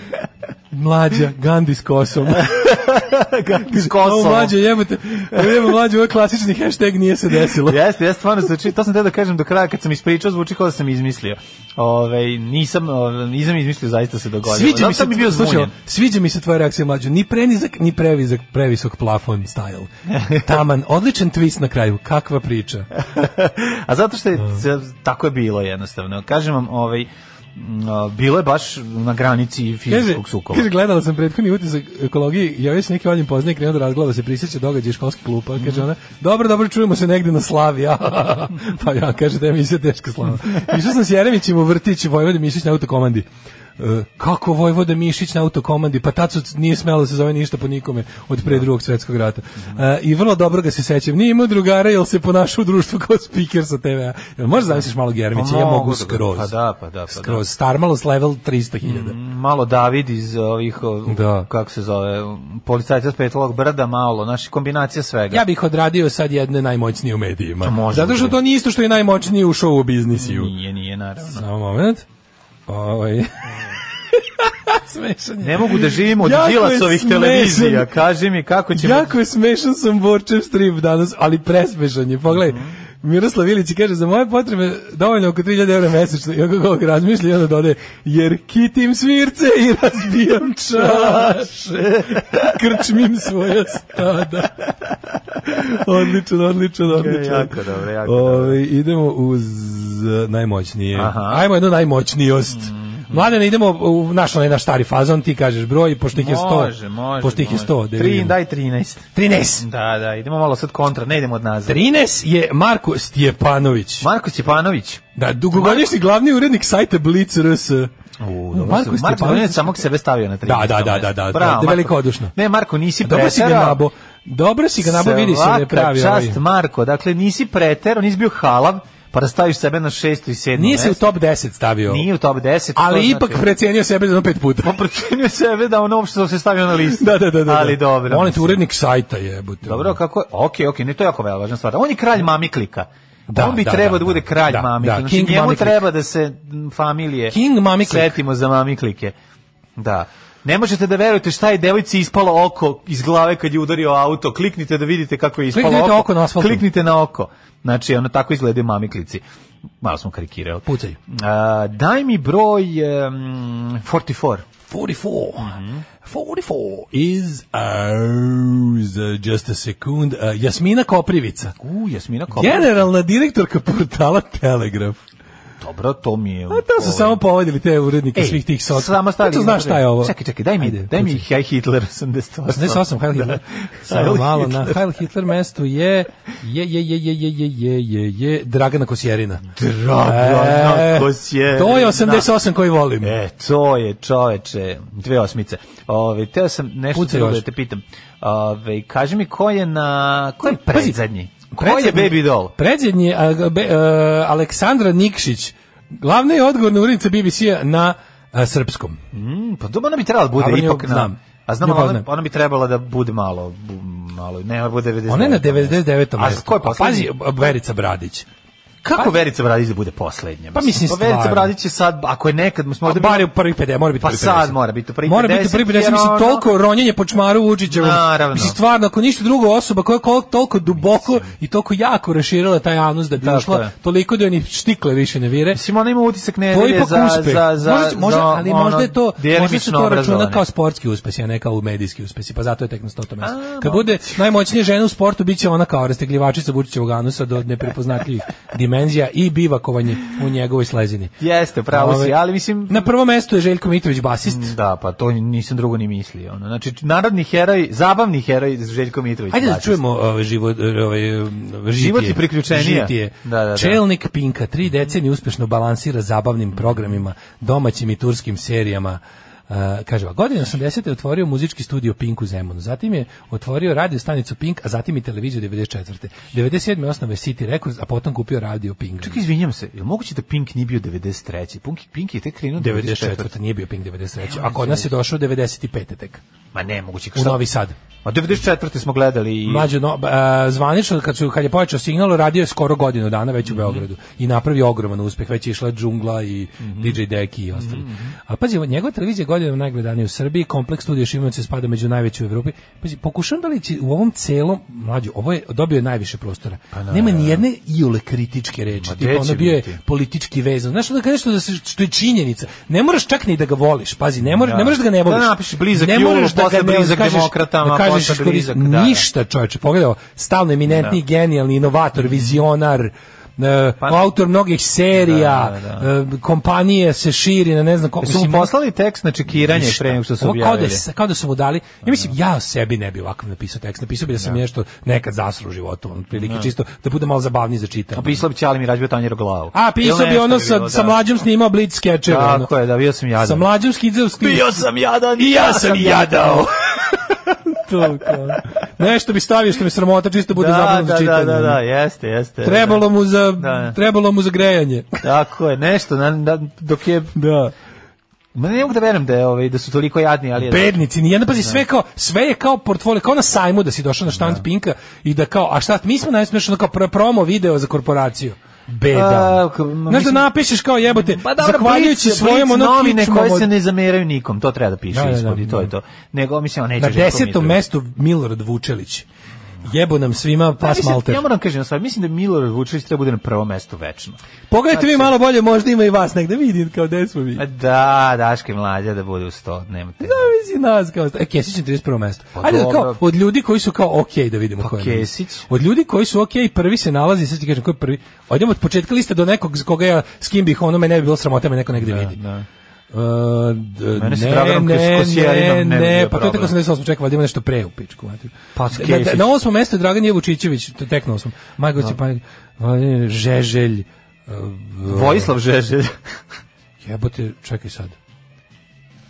Speaker 6: Mlađa, Gandhi s kosom.
Speaker 7: S E, kosom.
Speaker 6: Ovo mlađe, jebote, jebote mlađe, ovo je klasični hashtag nije se desilo.
Speaker 7: Jeste, jeste, stvarno zvuči, to sam te da kažem do kraja, kad sam ispričao, zvuči kao da sam izmislio. Ove, nisam, ove, nisam izmislio, zaista se dogodilo.
Speaker 6: Sviđa mi se,
Speaker 7: Zato mi bio
Speaker 6: slušaj,
Speaker 7: zbunjen.
Speaker 6: sviđa mi se tvoja reakcija mlađe, ni prenizak, ni previzak, previsok plafon style. Taman, odličan twist na kraju, kakva priča.
Speaker 7: A zato što je, tako je bilo jednostavno. Kažem vam, ovaj, m, a, bilo je baš na granici fizičkog sukoba.
Speaker 6: kaže, gledala sam prethodni utisak ekologiji, javio se neki valjim poznaje, krenuo da razgleda se prisjeća događaja iz školskih klupa,
Speaker 7: Mhm.
Speaker 6: kaže ona, dobro, dobro, čujemo se negde na slavi, a, pa ja, kaže, da je emisija teška slava. Išao sam s Jeremićem u vrtić, Vojvode Mišić na autokomandi. E, kako Vojvoda Mišić na autokomandi, pa tad su, nije smelo da se zove ništa po nikome od pre drugog svetskog rata.
Speaker 7: Mhm.
Speaker 6: E, I vrlo dobro ga se sećam, nije imao drugara, jel se ponašao u društvu kao speaker sa TV-a. Jel Možeš zamisliš malog Jeremića,
Speaker 7: Pa
Speaker 6: ja
Speaker 7: mogu
Speaker 6: mogu
Speaker 7: da ga-
Speaker 6: skroz.
Speaker 7: pa da, pa da, Mhm. pa da.
Speaker 6: Skroz, Starmalos level 300.000.
Speaker 7: malo David iz ovih, o,
Speaker 6: Da.
Speaker 7: kako se zove, policajca s petlog brda, malo, naši kombinacija svega.
Speaker 6: Ja bih odradio sad jedne najmoćnije u medijima.
Speaker 7: Može
Speaker 6: Zato što
Speaker 7: biti. Mm.
Speaker 6: to nije isto što je najmoćniji u show u biznisiju.
Speaker 7: Nije, nije, naravno.
Speaker 6: Samo moment. Ovaj. Smešan je.
Speaker 7: Ne mogu da živimo od
Speaker 6: Jako je
Speaker 7: Đilasovih
Speaker 6: smešan.
Speaker 7: televizija. Kaži mi kako ćemo...
Speaker 6: Jako je smešan sam Borčev strip danas, ali presmešan je. Pogledaj,
Speaker 7: Mhm.
Speaker 6: Miroslav Ilić kaže, za moje potrebe dovoljno oko 3000 eura mesečno. I oko kog razmišlja, i onda dode, jer kitim svirce i razbijam čaše. Krčmim svoja stada. odličan, odličan, odličan.
Speaker 7: jako dobro, jako
Speaker 6: Ovaj, idemo uz e, najmoćnije.
Speaker 7: Aha. Mhm.
Speaker 6: Ajmo jedno najmoćnijost. Mladene, idemo u naš, onaj naš stari fazon, ti kažeš broj, pošto ih je 100.
Speaker 7: Može, može.
Speaker 6: Pošto ih je
Speaker 7: može.
Speaker 6: 100. da
Speaker 7: Tri,
Speaker 6: vidimo.
Speaker 7: daj 13.
Speaker 6: 13.
Speaker 7: Da, da, idemo malo sad kontra, ne idemo od nazad.
Speaker 6: 13 je Marko Stjepanović.
Speaker 7: Marko Stjepanović.
Speaker 6: Da, dugogodišnji glavni urednik sajta Blitz RS.
Speaker 7: U,
Speaker 6: dobro su-
Speaker 7: Marko Stjepanović.
Speaker 6: Marko
Speaker 7: Marko
Speaker 6: Stjepanović
Speaker 7: je samog sebe stavio na 13.
Speaker 6: Da, da, da, da, da,
Speaker 7: Bravo,
Speaker 6: da,
Speaker 7: Marko.
Speaker 6: velikodušno.
Speaker 7: Ne, Marko, nisi
Speaker 6: Dobro si ga
Speaker 7: preterao.
Speaker 6: nabo. Dobro si ga nabo, vidi se da je
Speaker 7: Svaka
Speaker 6: pravi. ovaj.
Speaker 7: čast, Marko, dakle, nisi preterao, nisi bio halav, pa da staviš sebe na šesto i sedmo
Speaker 6: Nije se u
Speaker 7: mesto.
Speaker 6: top 10 stavio.
Speaker 7: Nije u top 10. to
Speaker 6: ali
Speaker 7: znači-
Speaker 6: ipak precenio sebe za jedno pet puta.
Speaker 7: On procenio sebe da on uopšte da se stavio na listu.
Speaker 6: da, da, da, da.
Speaker 7: Ali dobro.
Speaker 6: On je
Speaker 7: mislim.
Speaker 6: tu urednik sajta, jebote.
Speaker 7: Dobro, kako je? Okej, okej, ne to je jako vela- važna stvar. On je kralj mamiklika.
Speaker 6: Da,
Speaker 7: on bi
Speaker 6: da, da,
Speaker 7: trebao da, bude
Speaker 6: da.
Speaker 7: kralj
Speaker 6: Da,
Speaker 7: mamiklika.
Speaker 6: da,
Speaker 7: znači,
Speaker 6: King
Speaker 7: njemu
Speaker 6: Mamiklik.
Speaker 7: treba da se m, familije
Speaker 6: King Mamiklik.
Speaker 7: setimo za mamiklike. Da. Ne možete da verujete šta je devojci ispalo oko iz glave kad je udario auto. Kliknite da vidite kako je ispalo
Speaker 6: Kliknite oko na asfaltu.
Speaker 7: Kliknite na oko. Znači, ono tako izgledaju mamiklici. Malo smo karikirali.
Speaker 6: Pucaj.
Speaker 7: A, daj mi broj em, 44.
Speaker 6: 44. 44 is
Speaker 7: uh,
Speaker 6: ours. Just a second. Uh, Jasmina Koprivica.
Speaker 7: U, Jasmina Kopa.
Speaker 6: Generalna direktorka portala Telegraf.
Speaker 7: Dobro, to mi je...
Speaker 6: A Pa to su
Speaker 7: ovaj,
Speaker 6: samo povadili te urednike
Speaker 7: Ej,
Speaker 6: svih tih soc.
Speaker 7: Samo stavili.
Speaker 6: Eto, znaš šta je ovo?
Speaker 7: Čekaj, čekaj, daj mi,
Speaker 6: Ajde,
Speaker 7: daj mi
Speaker 6: pucaj.
Speaker 7: Heil Hitler 88.
Speaker 6: 88 Heil Hitler. Samo
Speaker 7: Heil
Speaker 6: malo na
Speaker 7: Hitler.
Speaker 6: Heil Hitler mestu je je je je je je je je je je Dragana Kosjerina.
Speaker 7: Dragana Kosjerina.
Speaker 6: E, To je 88 koji volim.
Speaker 7: E, to je čoveče, dve osmice. Ove, teo sam nešto
Speaker 6: Pucaj
Speaker 7: drugo
Speaker 6: još.
Speaker 7: da te pitam. Ove, kaži mi ko je na... Ko je
Speaker 6: Pazi,
Speaker 7: predzadnji? Ko je Baby Doll?
Speaker 6: Predzadnji a, ga- be, a, Aleksandra Nikšić. Glavna je odgovorna urednica BBC-a na a, srpskom.
Speaker 7: Mm, pa dobro, ona bi trebala da bude
Speaker 6: Dobro, nju
Speaker 7: ipak na...
Speaker 6: znam.
Speaker 7: A znam,
Speaker 6: Nju
Speaker 7: ali ona,
Speaker 6: poznajem.
Speaker 7: ona bi trebala da bude malo, bu- malo, ne, bude 99.
Speaker 6: Ona je na 99.
Speaker 7: A ko je
Speaker 6: Pazi,
Speaker 7: poslednji?
Speaker 6: Verica Bradić.
Speaker 7: Kako Verica Bradić da bude poslednja?
Speaker 6: Pa mislim,
Speaker 7: pa Verica
Speaker 6: stvarno.
Speaker 7: Bradić je sad, ako je nekad, mislim, možda
Speaker 6: Možda
Speaker 7: bi-
Speaker 6: bar je u prvi 50, mora biti
Speaker 7: Pa
Speaker 6: prvi 50.
Speaker 7: sad mora biti u prvi
Speaker 6: Mora
Speaker 7: 50,
Speaker 6: biti u prvi 50,
Speaker 7: jer ono-
Speaker 6: mislim, toliko ronjenje po čmaru Vučićevom.
Speaker 7: Naravno.
Speaker 6: Mislim, stvarno, ako ništa drugo osoba koja je kol- toliko duboko i toliko jako raširila taj anus da bi
Speaker 7: Tako
Speaker 6: ušla,
Speaker 7: je.
Speaker 6: toliko da joj ni štikle više ne vire.
Speaker 7: Mislim, ona ima utisak
Speaker 6: To je
Speaker 7: nedelje
Speaker 6: ipak
Speaker 7: za,
Speaker 6: uspeh.
Speaker 7: za, za,
Speaker 6: možda, možda,
Speaker 7: za,
Speaker 6: ali
Speaker 7: ono,
Speaker 6: možda je to, možda se
Speaker 7: djelimično
Speaker 6: to računa
Speaker 7: obrazovane.
Speaker 6: kao sportski uspesi, a ne kao medijski uspesi, pa zato je tek na stotom mestu. Kad bude najmoćnija žena u sportu, bit će ona kao rastegljivačica Vučićevog anusa do neprepoznatljivih dimenzija i bivakovanje u njegovoj slezini.
Speaker 7: Jeste, pravo si,
Speaker 6: Ove,
Speaker 7: ali mislim...
Speaker 6: Na prvom mestu je Željko Mitrović, basist.
Speaker 7: Da, pa to nisam drugo ni mislio. Ono. Znači, narodni heroj, zabavni heroj Željko Mitrović.
Speaker 6: Ajde da
Speaker 7: Bačis.
Speaker 6: čujemo ovaj život ovaj žitije.
Speaker 7: Život i priključenija.
Speaker 6: Žitije.
Speaker 7: Da, da, da.
Speaker 6: Čelnik Pinka tri decenije uspešno balansira zabavnim programima, domaćim i turskim serijama. Uh, kaže, ovako, godine 80. je otvorio muzički studio Pink u Zemunu, zatim je otvorio radio stanicu Pink, a zatim i televiziju 94. 97. osnove City Records, a potom kupio radio Pink.
Speaker 7: Čekaj, izvinjam se, je li moguće da Pink nije bio 93. Pink, Pink je tek krenuo 94.
Speaker 6: 94. nije bio Pink 93. A kod nas je došao 95. tek,
Speaker 7: Ma ne, moguće.
Speaker 6: u Novi Sad.
Speaker 7: Ma 94. smo gledali i...
Speaker 6: Mlađe, no, e, zvanično, kad, su, kad je počeo signal, radio je skoro godinu dana već u
Speaker 7: Mhm.
Speaker 6: Beogradu i napravio ogroman uspeh, već je išla džungla i
Speaker 7: Mhm.
Speaker 6: DJ Deki i ostali. A pazi, ovo, njegova televizija je godinama najgledanija u Srbiji, kompleks studija Šimunac spada među najveće u Evropi. Pazi, pokušam da li će u ovom celom, mlađe, ovo je dobio je najviše prostora. Nema ni jedne iole kritičke reči.
Speaker 7: Pa Ma,
Speaker 6: Tipa,
Speaker 7: gde
Speaker 6: ono
Speaker 7: će
Speaker 6: bio je
Speaker 7: biti?
Speaker 6: politički vezan. Znaš, onda kažeš što, da se, što je činjenica. Ne moraš čak ni da ga voliš, pazi, ne, moraš,
Speaker 7: Da.
Speaker 6: ne moraš da ga ne
Speaker 7: Da
Speaker 6: voliš.
Speaker 7: napiši blizak
Speaker 6: ne
Speaker 7: Julu,
Speaker 6: moraš da
Speaker 7: posle
Speaker 6: ga ne
Speaker 7: blizak
Speaker 6: kažeš-
Speaker 7: demokratama,
Speaker 6: da kažeš koristi-
Speaker 7: posle blizak, da, da.
Speaker 6: ništa čoveče, pogledaj ovo, stalno eminentni, genijalni,
Speaker 7: Mhm.
Speaker 6: inovator, vizionar, e, autor mnogih serija,
Speaker 7: Pa- Da,
Speaker 6: e, kompanije se širi na ne znam koliko.
Speaker 7: Su mu poslali tekst na čekiranje
Speaker 6: ništa.
Speaker 7: pre nego što su
Speaker 6: Ovo Kao da,
Speaker 7: objavili.
Speaker 6: s- kao da su mu dali, ja mislim, ja o sebi ne bi ovako napisao tekst, napisao bi da sam nešto nekad zasru u životu, on prilike čisto da bude malo zabavniji za čitanje.
Speaker 7: A pisao Pa bi Ćali mi rađio tanjero glavu.
Speaker 6: A,
Speaker 7: Ili
Speaker 6: pisao bi
Speaker 7: nešto
Speaker 6: ono
Speaker 7: bilo,
Speaker 6: sa,
Speaker 7: da.
Speaker 6: sa mlađom snimao blitz skečeve. ono.
Speaker 7: Tako je, da bio sam jadan.
Speaker 6: Sa mlađom skidzevskim.
Speaker 7: Bio sam jadan i ja sam jadao.
Speaker 6: To, kao. Nešto bi stavio što mi sramota, čisto bude
Speaker 7: Da,
Speaker 6: zabavno
Speaker 7: da,
Speaker 6: za
Speaker 7: da,
Speaker 6: čitanje. ono.
Speaker 7: da, da, jeste, jeste.
Speaker 6: Trebalo mu za,
Speaker 7: E, da.
Speaker 6: trebalo mu za grejanje.
Speaker 7: Tako je, nešto, na, na, dok je...
Speaker 6: Da.
Speaker 7: Ma ne mogu da verujem da, je, ovaj, da su toliko jadni, ali... je-
Speaker 6: Bednici, nijedna, pazi, sve, kao, sve je kao portfolio, kao na sajmu da si došao na štand Pinka i da kao, a šta, mi smo najsmešno ono kao pro- promo video za korporaciju. Beda.
Speaker 7: A, k- m,
Speaker 6: Znaš da
Speaker 7: mislim-
Speaker 6: napišeš kao jebote,
Speaker 7: Pa dobro,
Speaker 6: zahvaljujući
Speaker 7: Blitz-
Speaker 6: svojom
Speaker 7: Blitz
Speaker 6: ono
Speaker 7: novine koje
Speaker 6: kičmom
Speaker 7: se ne zameraju nikom, to treba da piše
Speaker 6: Da, da, da,
Speaker 7: ispod i to
Speaker 6: da.
Speaker 7: je to. Nego, mislim, on neće
Speaker 6: na
Speaker 7: Željko
Speaker 6: desetom
Speaker 7: Mitrović.
Speaker 6: mestu Milorad Vučelić. Jebo nam svima
Speaker 7: Pa,
Speaker 6: pas
Speaker 7: mislim,
Speaker 6: malter.
Speaker 7: Ja moram kažem, stvar, mislim da Milorad Vučević treba bude na prvom mestu večno.
Speaker 6: Pogledajte vi malo bolje, možda ima i vas negde vidim kao gde smo mi.
Speaker 7: A Pa Da, Daška i mlađa da bude u sto, nema te.
Speaker 6: Zavisi nas kao. E, Kesić je 31. mesto.
Speaker 7: Pa
Speaker 6: Ajde da
Speaker 7: dobro.
Speaker 6: kao od ljudi koji su kao ok da vidimo
Speaker 7: Pa
Speaker 6: ko je. na listi.
Speaker 7: Kesić.
Speaker 6: Od ljudi koji su ok prvi se nalazi, sad ti kažem ko je prvi. Ajdemo od početka liste do nekog s koga ja s kim bih ono me ne bi bilo sramota da me neko negde vidi.
Speaker 7: da.
Speaker 6: Uh, d-
Speaker 7: Mene sa
Speaker 6: ne,
Speaker 7: Draganom
Speaker 6: ne, ne,
Speaker 7: Kosijarinom ne bi
Speaker 6: ne,
Speaker 7: bio
Speaker 6: pa to je tek
Speaker 7: problem.
Speaker 6: 88, čekaj, valjda ima nešto pre u pičku. znate.
Speaker 7: Pa,
Speaker 6: na,
Speaker 7: Skefis.
Speaker 6: na osmom mestu je Dragan Jevučićević, to je tek na osmom. Majko Cipanik, Vladimir Žeželj, uh,
Speaker 7: Vojislav Žeželj.
Speaker 6: Jebote, čekaj sad.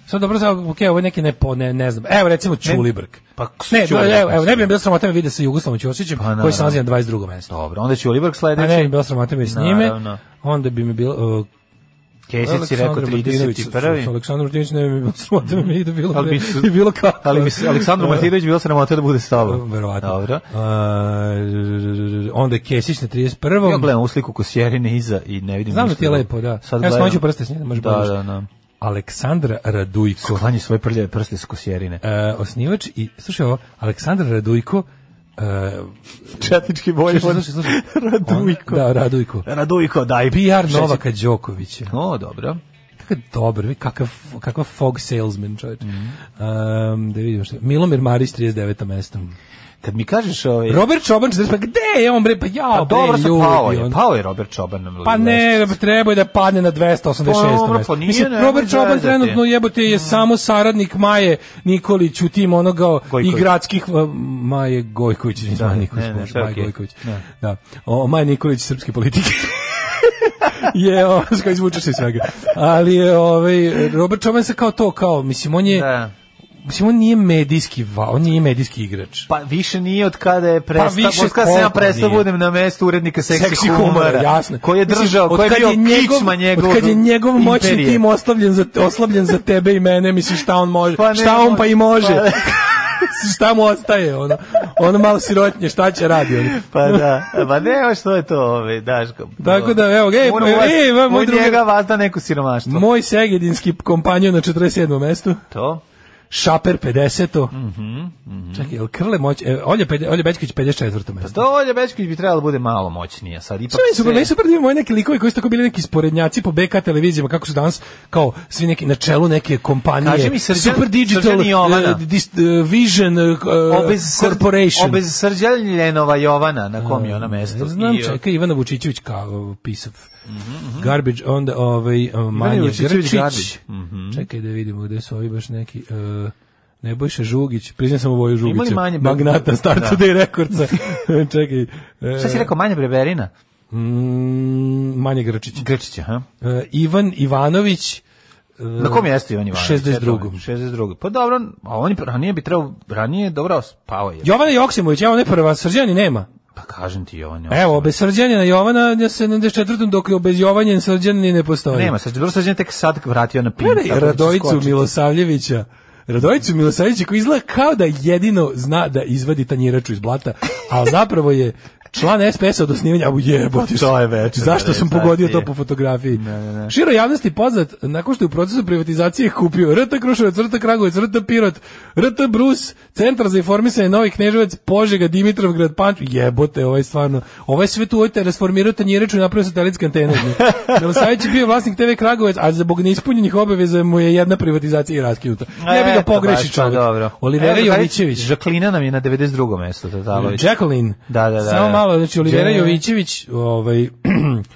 Speaker 6: Sad dobro znam, ok, ovo je neki ne, po, ne, ne znam. Evo recimo Čulibrk.
Speaker 7: pa,
Speaker 6: ne,
Speaker 7: Ćulibrk,
Speaker 6: evo, evo, ne bi
Speaker 7: mislim.
Speaker 6: mi bilo sramota da me vide sa Jugoslavom Ćosićem,
Speaker 7: Pa naravno.
Speaker 6: koji se nalazi na 22. mesto.
Speaker 7: Dobro, onda će Oliver
Speaker 6: A
Speaker 7: sledeći.
Speaker 6: Pa ne bi mi bilo sramota da me s njime,
Speaker 7: Naravno.
Speaker 6: onda bi mi bilo... Uh,
Speaker 7: Kesić je rekao
Speaker 6: Aleksandar Martinović, s- s
Speaker 7: 31.
Speaker 6: Aleksandar Martinović ne bi mi bilo sramota da me ide bilo,
Speaker 7: Ali
Speaker 6: ali
Speaker 7: bi
Speaker 6: bi,
Speaker 7: su-
Speaker 6: i bilo kako.
Speaker 7: Ali bi se Aleksandru
Speaker 6: Uh,
Speaker 7: Martinović bilo sramota da bude s tobom.
Speaker 6: Verovatno.
Speaker 7: Dobro.
Speaker 6: Uh, onda je Kesić na 31.
Speaker 7: Ja gledam u sliku Kosjerine iza i ne vidim
Speaker 6: Znam da
Speaker 7: ništa
Speaker 6: ti je
Speaker 7: drugo.
Speaker 6: lepo, da.
Speaker 7: Sad
Speaker 6: Evo,
Speaker 7: gledam.
Speaker 6: smanjit ću prste s njim, da možeš
Speaker 7: da,
Speaker 6: bolje.
Speaker 7: da, da.
Speaker 6: Aleksandra Radujko.
Speaker 7: Sklanji svoje prljave prste s Kosjerine.
Speaker 6: e, osnivač i slušaj ovo, Aleksandar Radujko e,
Speaker 7: Četnički bolje.
Speaker 6: slušaj, slušaj, slušaj.
Speaker 7: Radujko.
Speaker 6: On- da, Radujko.
Speaker 7: Radujko, daj.
Speaker 6: PR
Speaker 7: Šećer.
Speaker 6: Novaka Đokovića.
Speaker 7: O, dobro.
Speaker 6: Kakav dobar, vi kakav, kakav fog salesman čovječ. Em, da vidimo što. Milomir Marić 39. mestom.
Speaker 7: Kad mi kažeš ovaj...
Speaker 6: Robert Čoban 40. Pa gde je on bre? Pa ja,
Speaker 7: Pa dobro, sad
Speaker 6: ljudi. ono.
Speaker 7: pao je,
Speaker 6: on-
Speaker 7: pao je Robert Čoban. na
Speaker 6: Pa ne,
Speaker 7: listu.
Speaker 6: treba je da padne na 286.
Speaker 7: Pa dobro,
Speaker 6: mesto.
Speaker 7: pa nije,
Speaker 6: Mislim,
Speaker 7: ne,
Speaker 6: Robert
Speaker 7: ne Mm.
Speaker 6: Čoban
Speaker 7: zezati.
Speaker 6: trenutno jebote je samo saradnik Maje Nikolić u tim onoga
Speaker 7: Gojković.
Speaker 6: i gradskih uh, Maje Gojković, ne
Speaker 7: Da,
Speaker 6: znam Nikolić,
Speaker 7: ne, ne,
Speaker 6: Bože,
Speaker 7: sve
Speaker 6: Maje
Speaker 7: okej.
Speaker 6: Gojković.
Speaker 7: Da.
Speaker 6: Da. O, Maje Nikolić srpske politike. je, on se kao izvuče se iz svega. Ali je, ovaj, Robert Čoban se kao to, kao, mislim, on je,
Speaker 7: Da.
Speaker 6: mislim, on nije medijski, va- on nije medijski igrač.
Speaker 7: Pa više nije od kada je prestao,
Speaker 6: Pa više
Speaker 7: od kada sam ja
Speaker 6: koliko
Speaker 7: prestao
Speaker 6: nije.
Speaker 7: budem na mestu urednika seksi,
Speaker 6: seksi
Speaker 7: humora,
Speaker 6: humora, jasno.
Speaker 7: koji je
Speaker 6: Mislim,
Speaker 7: držao,
Speaker 6: od
Speaker 7: koji je
Speaker 6: kad
Speaker 7: bio
Speaker 6: njegov-
Speaker 7: kičma njegovog
Speaker 6: Od kad je njegov moćni
Speaker 7: imperije.
Speaker 6: tim oslabljen za, oslabljen za tebe i mene, misliš šta on može,
Speaker 7: Pa ne
Speaker 6: šta on pa i
Speaker 7: može.
Speaker 6: može.
Speaker 7: Pa ne.
Speaker 6: šta mu ostaje, ono, ono malo sirotnje, šta će radi, ono.
Speaker 7: Pa da, pa ne, ovo što je to, ove, Daško.
Speaker 6: Tako da, evo ga, ej,
Speaker 7: Moram
Speaker 6: pa,
Speaker 7: vas-
Speaker 6: ej, va, moj
Speaker 7: od
Speaker 6: drugar.
Speaker 7: njega vas da neko siromaštvo.
Speaker 6: Moj segedinski kompanjon na 47. mestu,
Speaker 7: to?
Speaker 6: Šaper 50. Mhm. Čekaj, jel Krle moć, e, Olje, Pede- Olje Bećković 54. mesto.
Speaker 7: To Olja Bečković bi trebalo da bude malo moćnija sad. Ipak
Speaker 6: Sve meni super,
Speaker 7: se-
Speaker 6: meni super da imamo neki likovi koji su tako bili neki sporednjaci po BK televizijama, kako su danas kao svi neki na čelu neke kompanije.
Speaker 7: Kaži mi, Srđan-
Speaker 6: super Digital,
Speaker 7: Srđan i Jovana.
Speaker 6: eh, dis- eh, Vision eh,
Speaker 7: Obez Sr-
Speaker 6: Corporation.
Speaker 7: Obez Srđanljenova Jovana, na kom je ona mesto.
Speaker 6: Ne znam,
Speaker 7: I,
Speaker 6: čekaj, Ivana Vučićević kao eh, pisav. Garbage, onda ovaj, eh, Manja
Speaker 7: Vučićević
Speaker 6: Grčić. Mhm.
Speaker 7: Garbage. Mhm.
Speaker 6: Čekaj da vidimo gde su ovi baš neki... eh, Nebojša Žugić, priznam sam Voju
Speaker 7: li
Speaker 6: Žugića,
Speaker 7: manje-
Speaker 6: magnata Star
Speaker 7: Da.
Speaker 6: Today Recordsa. Čekaj. eh,
Speaker 7: Šta si rekao, Manja Breberina?
Speaker 6: mm, Manja Grčić.
Speaker 7: Grčića, ha?
Speaker 6: E, Ivan Ivanović e,
Speaker 7: Na kom mjestu je on Ivanović?
Speaker 6: 62..
Speaker 7: 62. Pa dobro, a on je ranije bi trebao, ranije, dobro, spao je.
Speaker 6: Jovana Joksimović, evo ne prva, Srđani nema.
Speaker 7: Pa kažem ti, Jovan. Jovan.
Speaker 6: Evo, bez Srđana Jovana na 74. dok je bez Jovanja Srđan ni ne postoji.
Speaker 7: Nema, sad dobro Srđan je tek sad vratio na pin.
Speaker 6: Gledaj Radojicu Milosavljevića. Radojicu Milosavljevića koji izgleda kao da jedino zna da izvadi tanjiraču iz blata, a zapravo je član SPS-a od osnivanja, u jebote.
Speaker 7: Pa To je večer,
Speaker 6: Zašto sam
Speaker 7: realizacije.
Speaker 6: pogodio to po fotografiji? Širo javnosti poznat nakon što je u procesu privatizacije kupio RT Kruševac, RT Kragujevac, RT Pirot, RT Brus, Centar za informisanje Novi Kneževac, Požega, Dimitrovgrad, Panč, jebote, ovaj stvarno, ovaj sve tu ojte rasformirao tanjiraču i napravio satelitske antene. Milosavljević je bio vlasnik TV Kragujevac, a zbog neispunjenih obaveza mu je jedna privatizacija i raskinuta. Ne bi ga
Speaker 7: Eto,
Speaker 6: pogreši
Speaker 7: baš, pa
Speaker 6: čovjek.
Speaker 7: Dobro.
Speaker 6: Olivera
Speaker 7: Evo,
Speaker 6: Jovićević.
Speaker 7: Žaklina nam je na 92. mesto, Tatalović.
Speaker 6: Jacqueline.
Speaker 7: Da, da, da,
Speaker 6: Samo
Speaker 7: da.
Speaker 6: malo, znači Olivera
Speaker 7: Je-
Speaker 6: Jovićević, ovaj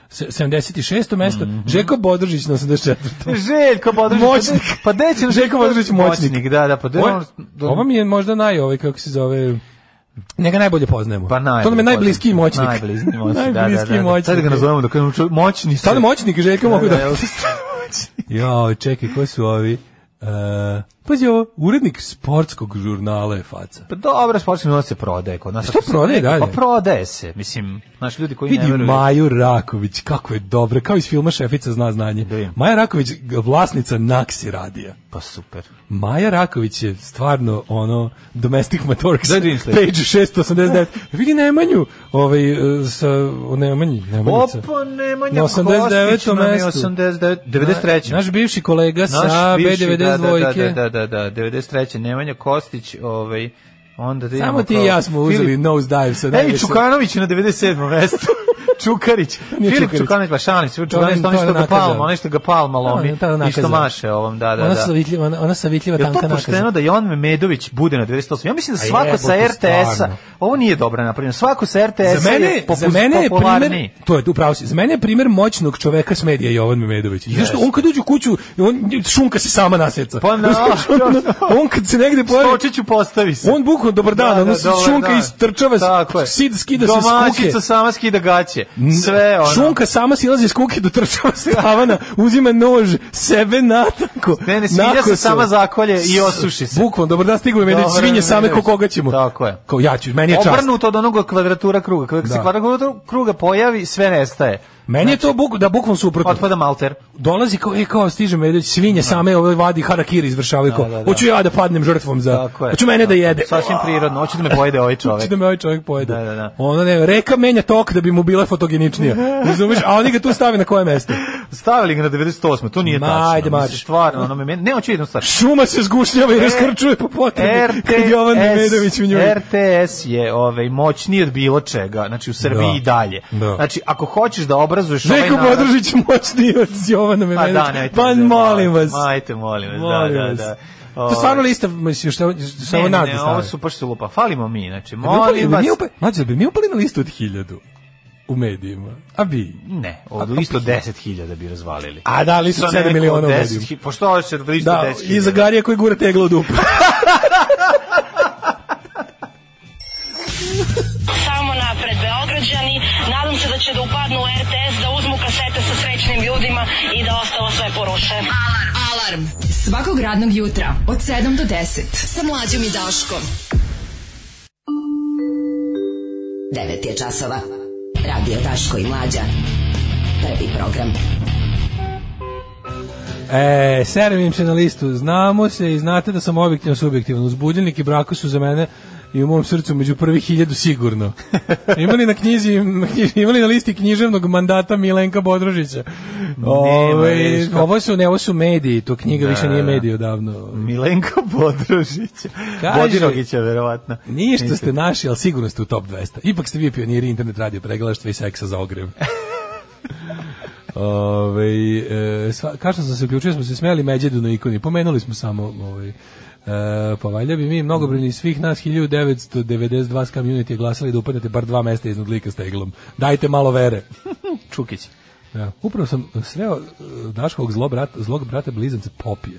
Speaker 6: se- 76. mesto,
Speaker 7: Mhm.
Speaker 6: Žeko Bodržić na 84.
Speaker 7: Pa Željko Bodržić.
Speaker 6: Moćnik.
Speaker 7: Pa gde će
Speaker 6: Željko Bodržić moćnik.
Speaker 7: Da, da, pa gde
Speaker 6: Ovo,
Speaker 7: on- da-
Speaker 6: ovo mi je možda naj, ovaj kako se zove Njega najbolje poznajemo.
Speaker 7: Pa naj.
Speaker 6: to nam je najbliskiji moćnik.
Speaker 7: Najbliskiji moćnik, da, da,
Speaker 6: najbliskiji
Speaker 7: da.
Speaker 6: moćnik.
Speaker 7: Sad ga nazovemo da kažemo čo- moćni. ste.
Speaker 6: Sad moćnik Željko mogu da.
Speaker 7: evo.
Speaker 6: Jo, čekaj, ko su ovi? Uh, pazi ovo, urednik sportskog žurnala je faca.
Speaker 7: Pa dobro, sportski novac se prodaje kod nas.
Speaker 6: Što
Speaker 7: Ako se
Speaker 6: prodaje
Speaker 7: neka-
Speaker 6: dalje?
Speaker 7: Pa prodaje se, mislim, znaš, ljudi koji ne
Speaker 6: Vidi
Speaker 7: veruju.
Speaker 6: Maju Raković, kako je dobra, kao iz filma Šefica zna znanje.
Speaker 7: Da.
Speaker 6: Maja Raković, g- vlasnica Naksi radija.
Speaker 7: Pa super.
Speaker 6: Maja Raković je stvarno ono domestic matorks
Speaker 7: Daj da vidim sledeće.
Speaker 6: page 689 vidi Nemanju ovaj e, sa o Nemanji Nemanjica
Speaker 7: Opa, Pa Nemanja
Speaker 6: Na 89.
Speaker 7: Kostić nam je
Speaker 6: mestu.
Speaker 7: 89, 93.
Speaker 6: naš bivši kolega sa
Speaker 7: bivši,
Speaker 6: B92
Speaker 7: da, da,
Speaker 6: dvojke.
Speaker 7: da, da, da, da, 93. Nemanja Kostić, ovaj, onda da
Speaker 6: samo
Speaker 7: idemo
Speaker 6: ti
Speaker 7: kao-
Speaker 6: i ja smo uzeli
Speaker 7: Filip-
Speaker 6: nose dive sa
Speaker 7: Ej,
Speaker 6: najviše-
Speaker 7: Čukanović je na 97. mestu. Čukarić.
Speaker 6: Nije
Speaker 7: Filip
Speaker 6: Čukarić.
Speaker 7: Čukanović, ba šalim se.
Speaker 6: To
Speaker 7: Čukanović,
Speaker 6: ne-
Speaker 7: onaj
Speaker 6: to je
Speaker 7: što ga
Speaker 6: nakaza.
Speaker 7: palma, onaj što ga palma lomi.
Speaker 6: Ona- ta nakaza.
Speaker 7: I što maše ovom, da, da,
Speaker 6: ona
Speaker 7: da.
Speaker 6: savitljiva ona, ona savitljiva
Speaker 7: Je li
Speaker 6: Pa tanka
Speaker 7: to
Speaker 6: nakaza
Speaker 7: pošteno da Jovan Medović bude na 98? Ja mislim da
Speaker 6: A
Speaker 7: svako sa
Speaker 6: jebote,
Speaker 7: RTS-a
Speaker 6: stvarno.
Speaker 7: Ovo nije dobro napravljeno. Svako sa RTS
Speaker 6: za mene,
Speaker 7: E, je popus,
Speaker 6: za mene je
Speaker 7: popularniji.
Speaker 6: primer, to je upravo si, za mene je primer moćnog čoveka s medija Jovan Memedović. Yes. Zašto on kad uđe u kuću, on šunka se sama naseca.
Speaker 7: Pa na-
Speaker 6: Uspeš, on, on kad se negde pojavi,
Speaker 7: Stočiću postavi se.
Speaker 6: on bukvalno dobar dan, da,
Speaker 7: dobar
Speaker 6: šunka
Speaker 7: dan.
Speaker 6: istrčava, s-
Speaker 7: Tako je.
Speaker 6: sid skida se s kuke.
Speaker 7: Domaćica sama skida gaće. Sve ono.
Speaker 6: Šunka sama silazi iz kuke, dotrčava s tavana, uzima nož, sebe natako.
Speaker 7: Ne, ne, svinja se
Speaker 6: nakoso.
Speaker 7: sama zakolje i osuši se.
Speaker 6: Bukvalno, dobar dan, stiglo je meni,
Speaker 7: Dobar
Speaker 6: svinje
Speaker 7: dan,
Speaker 6: same ko
Speaker 7: Medović.
Speaker 6: koga ćemo.
Speaker 7: Tako je.
Speaker 6: Kao ja ću, meni je čast.
Speaker 7: Obrnuto od onog kvadratura kruga. Kada se
Speaker 6: Da.
Speaker 7: kvadratura kruga pojavi, sve nestaje.
Speaker 6: Meni je
Speaker 7: znači.
Speaker 6: to buk, da bukvalno suprotno.
Speaker 7: Otpada malter.
Speaker 6: Dolazi kao, e, kao, stiže Medeć, svinje same ove vadi harakiri izvršavaju, kao,
Speaker 7: Da, da, da.
Speaker 6: hoću ja da padnem žrtvom za,
Speaker 7: Tako je.
Speaker 6: hoću mene da jede.
Speaker 7: Sasvim prirodno. Hoće da me pojede ovaj
Speaker 6: Hoće
Speaker 7: čovek.
Speaker 6: da me ovaj čovjek pojede.
Speaker 7: Da, da, da.
Speaker 6: Ono ne, reka menja tok da bi mu bila fotogeničnija. Razumeš? A oni ga tu stave na koje mesto?
Speaker 7: Stavili ga na 98. To nije
Speaker 6: Ma,
Speaker 7: tačno.
Speaker 6: ajde,
Speaker 7: Mislim,
Speaker 6: Marić.
Speaker 7: Stvarno, ono me... meni- Ne, hoću jednu stvar.
Speaker 6: Šuma se zgušnjava
Speaker 7: E,
Speaker 6: i raskrčuje po potrebi. Kad Jovan Medović u njoj.
Speaker 7: RTS je ovaj moćniji od bilo čega, znači u Srbiji
Speaker 6: Da.
Speaker 7: i dalje.
Speaker 6: Da.
Speaker 7: Znači ako hoćeš da obrazuješ ovaj
Speaker 6: Željko
Speaker 7: narod-
Speaker 6: Bodrožić moćniji od Jovana
Speaker 7: Pa
Speaker 6: Memedovića.
Speaker 7: da, nemojte.
Speaker 6: Pa
Speaker 7: me zajebavati.
Speaker 6: molim vas.
Speaker 7: Majte, molim vas.
Speaker 6: Molim
Speaker 7: da, da,
Speaker 6: vas.
Speaker 7: da. Ovaj,
Speaker 6: To je stvarno lista, mislim, što, što ovo
Speaker 7: ne,
Speaker 6: nas
Speaker 7: ne,
Speaker 6: da
Speaker 7: ne,
Speaker 6: stave.
Speaker 7: ovo su baš se lupa. Falimo mi, znači,
Speaker 6: Da bi upali-
Speaker 7: molim
Speaker 6: da
Speaker 7: vas.
Speaker 6: bi Pa mi upali- Mlađe, da bi mi upali na listu od hiljadu u medijima? A bi?
Speaker 7: Ne, od listo 10.000 bi razvalili.
Speaker 6: A da, listu od 7 miliona u medijima.
Speaker 7: Pošto ovo će listo
Speaker 6: Da,
Speaker 7: 10.000.
Speaker 6: i za Garija koji gura teglo u dupu.
Speaker 3: Samo napred Beograđani, nadam se da će da upadnu u RTS, da uzmu kasete sa srećnim ljudima i da ostalo sve poruše.
Speaker 5: Alarm. Alarm. Svakog radnog jutra od 7 do 10.
Speaker 9: Sa mlađom i Daškom. 9 je časova. Radio Daško i Mlađa. Prvi program.
Speaker 6: E, servim se na listu. Znamo se i znate da sam objektivno subjektivan. Uzbudljenik i brako su za mene i u mom srcu među prvih hiljadu sigurno. Imali na knjizi, na knjiži- imali na listi književnog mandata Milenka Bodrožića. Ove,
Speaker 7: vidiš kako-
Speaker 6: ovo su, ne, ovo su mediji, to knjiga više nije mediji odavno.
Speaker 7: Milenko Bodrožića.
Speaker 6: Kaže-
Speaker 7: Bodirogića, verovatno.
Speaker 6: Nije što
Speaker 7: Niste.
Speaker 6: ste naši, ali sigurno ste u top 200. Ipak ste vi pioniri internet radio pregledaštva i seksa za ogrev. Ove, e, sva, kažem sam se uključio, smo se smeli Međedu na ikoni, pomenuli smo samo ovaj, e, pa valjda bi mi mnogobrojni svih nas 1992 s community glasali da upadnete bar dva mesta iznad lika s teglom. Dajte malo vere.
Speaker 7: Čukić.
Speaker 6: Ja. Upravo sam sreo e, Daškovog zlo brat, zlog brata blizanca Popije.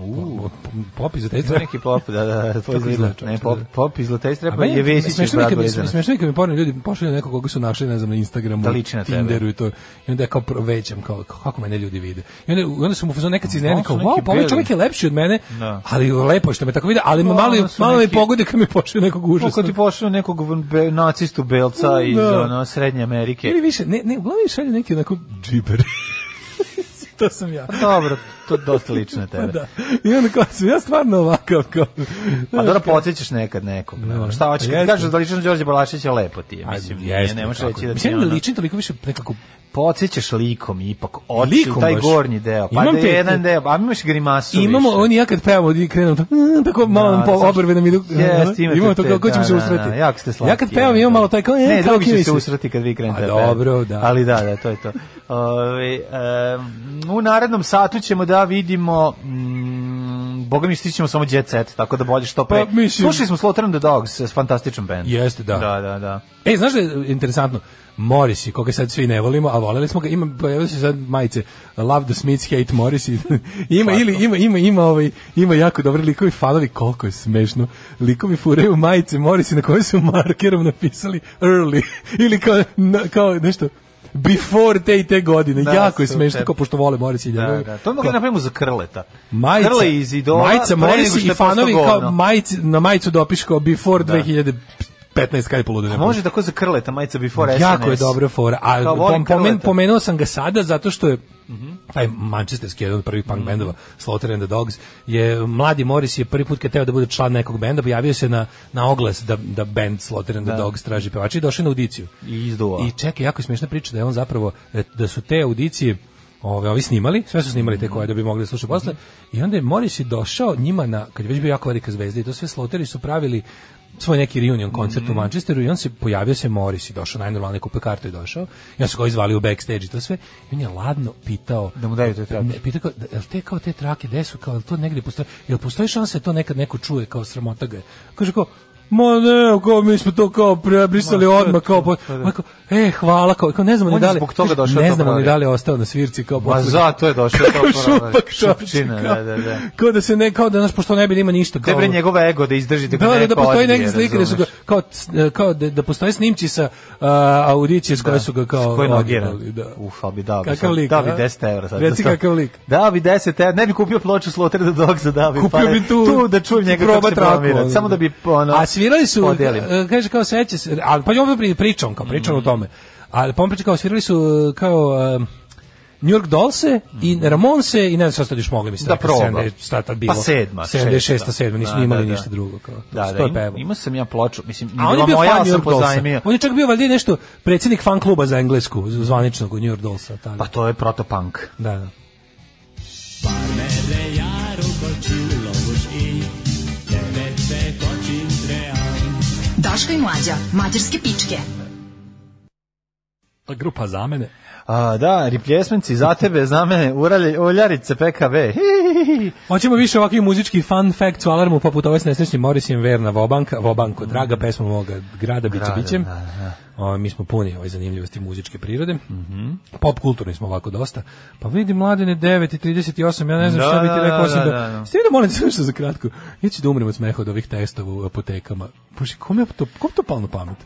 Speaker 6: Uh. Popi za taj
Speaker 7: To je neki pop, da, da, da, to
Speaker 6: Kako
Speaker 7: izgleda.
Speaker 6: izgleda,
Speaker 7: Ne,
Speaker 6: čovječe,
Speaker 7: pop,
Speaker 6: da.
Speaker 7: pop iz
Speaker 6: A
Speaker 7: Letestrepa
Speaker 6: meni
Speaker 7: Pa je Vesić iz
Speaker 6: smešno mi je kad mi-
Speaker 7: Bradblizana.
Speaker 6: Smešno mi je kad mi porno ljudi pošalju nekog koga su našli, ne znam, na Instagramu,
Speaker 7: Da liči na tebe.
Speaker 6: Tinderu i to. I onda ja kao pro- većam, kao, kako mene ljudi vide. I onda, i onda sam u fazonu nekad se
Speaker 7: Malo
Speaker 6: iznenadim,
Speaker 7: su
Speaker 6: kao,
Speaker 7: neki
Speaker 6: wow, pa ovaj
Speaker 7: beli."
Speaker 6: čovjek je lepši od mene,
Speaker 7: Da.
Speaker 6: ali lepo je što me tako vide, ali
Speaker 7: Malo
Speaker 6: malo,
Speaker 7: su
Speaker 6: malo mi
Speaker 7: neki-
Speaker 6: pogode kad mi pošalju nekog
Speaker 7: Kako
Speaker 6: užasnog.
Speaker 7: ti pošao nekog be, nacistu belca iz
Speaker 6: Mm, Da.
Speaker 7: ono, Srednje Amerike?
Speaker 6: Ili više, ne, ne, uglavnom mi šalju neki onako džiber. to sam ja.
Speaker 7: Dobro, to dosta lično na tebe.
Speaker 6: Da. I onda kao, sam ja stvarno ovakav, kao...
Speaker 7: Pa dobro, podsjećaš nekad nekog. No, šta hoćeš, kad
Speaker 6: Jeste.
Speaker 7: kažeš da lično Đorđe Balašića lepo ti je, mislim,
Speaker 6: Ajde,
Speaker 7: nije,
Speaker 6: jeste,
Speaker 7: ne možeš
Speaker 6: kako
Speaker 7: reći
Speaker 6: je.
Speaker 7: da ti je
Speaker 6: Mislim da
Speaker 7: ono...
Speaker 6: ličim toliko više nekako
Speaker 7: Podsjećaš likom ipak, oči,
Speaker 6: Likom
Speaker 7: taj
Speaker 6: baš.
Speaker 7: gornji deo, pa
Speaker 6: Imam
Speaker 7: da je
Speaker 6: te-
Speaker 7: jedan deo, a imaš grimasu
Speaker 6: Imamo,
Speaker 7: više.
Speaker 6: on i ja kad pevamo i krenemo tako, mm, tako malo
Speaker 7: Da,
Speaker 6: nam po,
Speaker 7: da, znaš.
Speaker 6: obrve nam idu. ono,
Speaker 7: Jeste, imate
Speaker 6: imamo to
Speaker 7: te-
Speaker 6: kao, ko ćemo
Speaker 7: da,
Speaker 6: se
Speaker 7: da,
Speaker 6: usreti.
Speaker 7: da, jako ste slatki. ono.
Speaker 6: Ja kad pevam imam malo taj kao, e,
Speaker 7: ne,
Speaker 6: kao
Speaker 7: drugi će se
Speaker 6: kinesni.
Speaker 7: usreti kad vi krenete.
Speaker 6: A
Speaker 7: da pevate.
Speaker 6: Pa dobro, da.
Speaker 7: Ali da, da, to je to. Ove, em, u narednom satu ćemo da vidimo mm, Boga mi stićemo samo Jet Set, tako da bolje što pre.
Speaker 6: Pa, mislim-
Speaker 7: Slušali smo Slaughter and the Dogs s fantastičan band.
Speaker 6: Jeste, da.
Speaker 7: Da, da, da.
Speaker 6: E, znaš da je interesantno? Morrissey, koga sad svi ne volimo, a voleli smo ga, ima, pojavili su sad majice Love the Smiths, Hate Morrissey. ima, ili, ima, ima, ima, ovaj, ima jako dobri likovi fanovi, koliko je smešno. Likovi furaju majice Morrissey na kojoj su markerom napisali early, ili kao, na- kao nešto before te i te godine.
Speaker 7: Da,
Speaker 6: jako je
Speaker 7: super.
Speaker 6: smešno, kao pošto vole Morrissey.
Speaker 7: Da,
Speaker 6: njegove-
Speaker 7: da. To mogu
Speaker 6: kao-
Speaker 7: da napravimo za Krleta.
Speaker 6: Majica,
Speaker 7: Krle iz idola.
Speaker 6: majica
Speaker 7: pre nego što
Speaker 6: Morrissey
Speaker 7: je
Speaker 6: i fanovi
Speaker 7: postao
Speaker 6: kao
Speaker 7: govno.
Speaker 6: majici, na majicu dopiš kao before 2015 kaj polude. ne
Speaker 7: Može tako za Krleta, majica Before SNS.
Speaker 6: Jako je dobra fora. A
Speaker 7: Kao volim
Speaker 6: pom- pomen,
Speaker 7: Krleta.
Speaker 6: pomenuo sam ga sada zato što je taj manchesterski jedan od prvih
Speaker 7: Mhm.
Speaker 6: punk bendova Slaughter and the Dogs je mladi Morris je prvi put kad teo da bude član nekog benda pojavio se na, na oglas da, da band Slaughter and the Dogs traži pevača i došao na audiciju
Speaker 7: I izduva.
Speaker 6: i čekaj, jako je smiješna priča da je on zapravo, e, da su te audicije ove, ovi snimali, sve su snimali te koje da bi mogli da slušaju posle, i onda je Morris i došao njima na, kad je već bio jako velika zvezda i to sve sloteri su pravili svoj neki reunion koncert
Speaker 7: Mhm.
Speaker 6: u Manchesteru i on se pojavio se Morris i došao najnormalnije kupe kartu i došao i on su ga izvali u backstage i to sve i on je ladno pitao
Speaker 7: Da mu daju te trake.
Speaker 6: Ne, pitao kao, da- jel te kao te trake, gde su, kao, jel to negdje postoji, jel postoji šansa da to nekad neko čuje, kao sramota ga je. Kaže kao, ma ne, kao mi smo to kao prebrisali
Speaker 7: Ma, to je
Speaker 6: odmah, kao,
Speaker 7: to,
Speaker 6: po,
Speaker 7: pa da.
Speaker 6: Ma, kao, e, hvala, kao, kao ne znamo
Speaker 7: On
Speaker 6: ni
Speaker 7: je
Speaker 6: da li,
Speaker 7: zbog toga
Speaker 6: znaš,
Speaker 7: došao
Speaker 6: ne
Speaker 7: do
Speaker 6: znamo ni
Speaker 7: prodaje.
Speaker 6: da li je ostao na svirci, kao,
Speaker 7: Ma
Speaker 6: posle-
Speaker 7: zato je došao Pa to
Speaker 6: kao
Speaker 7: šupak,
Speaker 6: šupak,
Speaker 7: šupčina,
Speaker 6: kao,
Speaker 7: da, da, da.
Speaker 6: kao da se ne, kao da, znaš, pošto ne bi da ima ništa,
Speaker 7: Gde
Speaker 6: kao,
Speaker 7: bre njegovo ego da izdržite
Speaker 6: Da, da, da postoji negde slike da su ga, kao, c- kao da, da postoje snimci sa uh, audicije s koje su ga kao...
Speaker 7: Koji nogira?
Speaker 6: odgledali, Da.
Speaker 7: Uf, ali bi dao bi
Speaker 6: Kakav
Speaker 7: sad,
Speaker 6: lik,
Speaker 7: dao bi
Speaker 6: a?
Speaker 7: 10 evra sad.
Speaker 6: Reci
Speaker 7: za to.
Speaker 6: kakav lik.
Speaker 7: Dao bi 10 evra, ne bi kupio ploču Slaughter the Dogs, dao bi
Speaker 6: Kupio
Speaker 7: pare
Speaker 6: bi tu,
Speaker 7: da čujem njega
Speaker 6: proba
Speaker 7: kako se
Speaker 6: traku,
Speaker 7: promira.
Speaker 6: ono.
Speaker 7: Samo da bi, ono,
Speaker 6: A svirali su,
Speaker 7: podelim.
Speaker 6: e, kaže kao seće se, ali pa on pri pričom, kao pričam o tome. Ali pa on priča kao svirali su e, kao e, New York Dolls-e i Ramonse i ne znam šta ste još mogli misliti.
Speaker 7: Mhm. Da proba.
Speaker 6: Šta tad bilo?
Speaker 7: Pa sedma,
Speaker 6: 76.
Speaker 7: šesta.
Speaker 6: 7. nisu
Speaker 7: Da,
Speaker 6: imali
Speaker 7: da, da.
Speaker 6: ništa drugo. Kao.
Speaker 7: Da,
Speaker 6: To
Speaker 7: da,
Speaker 6: je
Speaker 7: im,
Speaker 6: pevao.
Speaker 7: imao sam ja ploču, mislim,
Speaker 6: A on je
Speaker 7: bila
Speaker 6: bio
Speaker 7: moja,
Speaker 6: fan
Speaker 7: ali
Speaker 6: New
Speaker 7: sam
Speaker 6: York Dollsa.
Speaker 7: pozajmio.
Speaker 6: On je čak bio valjda i nešto predsjednik fan kluba za englesku, zvaničnog u New York Dollsa. tada.
Speaker 7: Pa to je protopunk.
Speaker 6: Da, da.
Speaker 5: Daško i mlađa, mađarske pičke.
Speaker 6: A Grupa za mene.
Speaker 7: A, da, repljesmenci za tebe, za mene, uralje, uljarice, PKB. Hi, hi, hi, hi.
Speaker 6: Hoćemo više ovakvih muzičkih fun facts u alarmu, poput ove s nesrećnim Morisijem Verna Vobanka, Vobanko, draga pesma moga grada, biće bićem. O, mi smo puni ove zanimljivosti muzičke prirode. Pop kulturni smo ovako dosta. Pa vidi mladene 9 i 38, ja ne znam
Speaker 7: Da,
Speaker 6: šta bi
Speaker 7: da,
Speaker 6: ti rekao
Speaker 7: da,
Speaker 6: osim da...
Speaker 7: da,
Speaker 6: da,
Speaker 7: da.
Speaker 6: Ste vi da molim te nešto za kratko? Ja ću da umrem od smeha od ovih testova u apotekama. Bože, kom je to, kom to palo na pamet?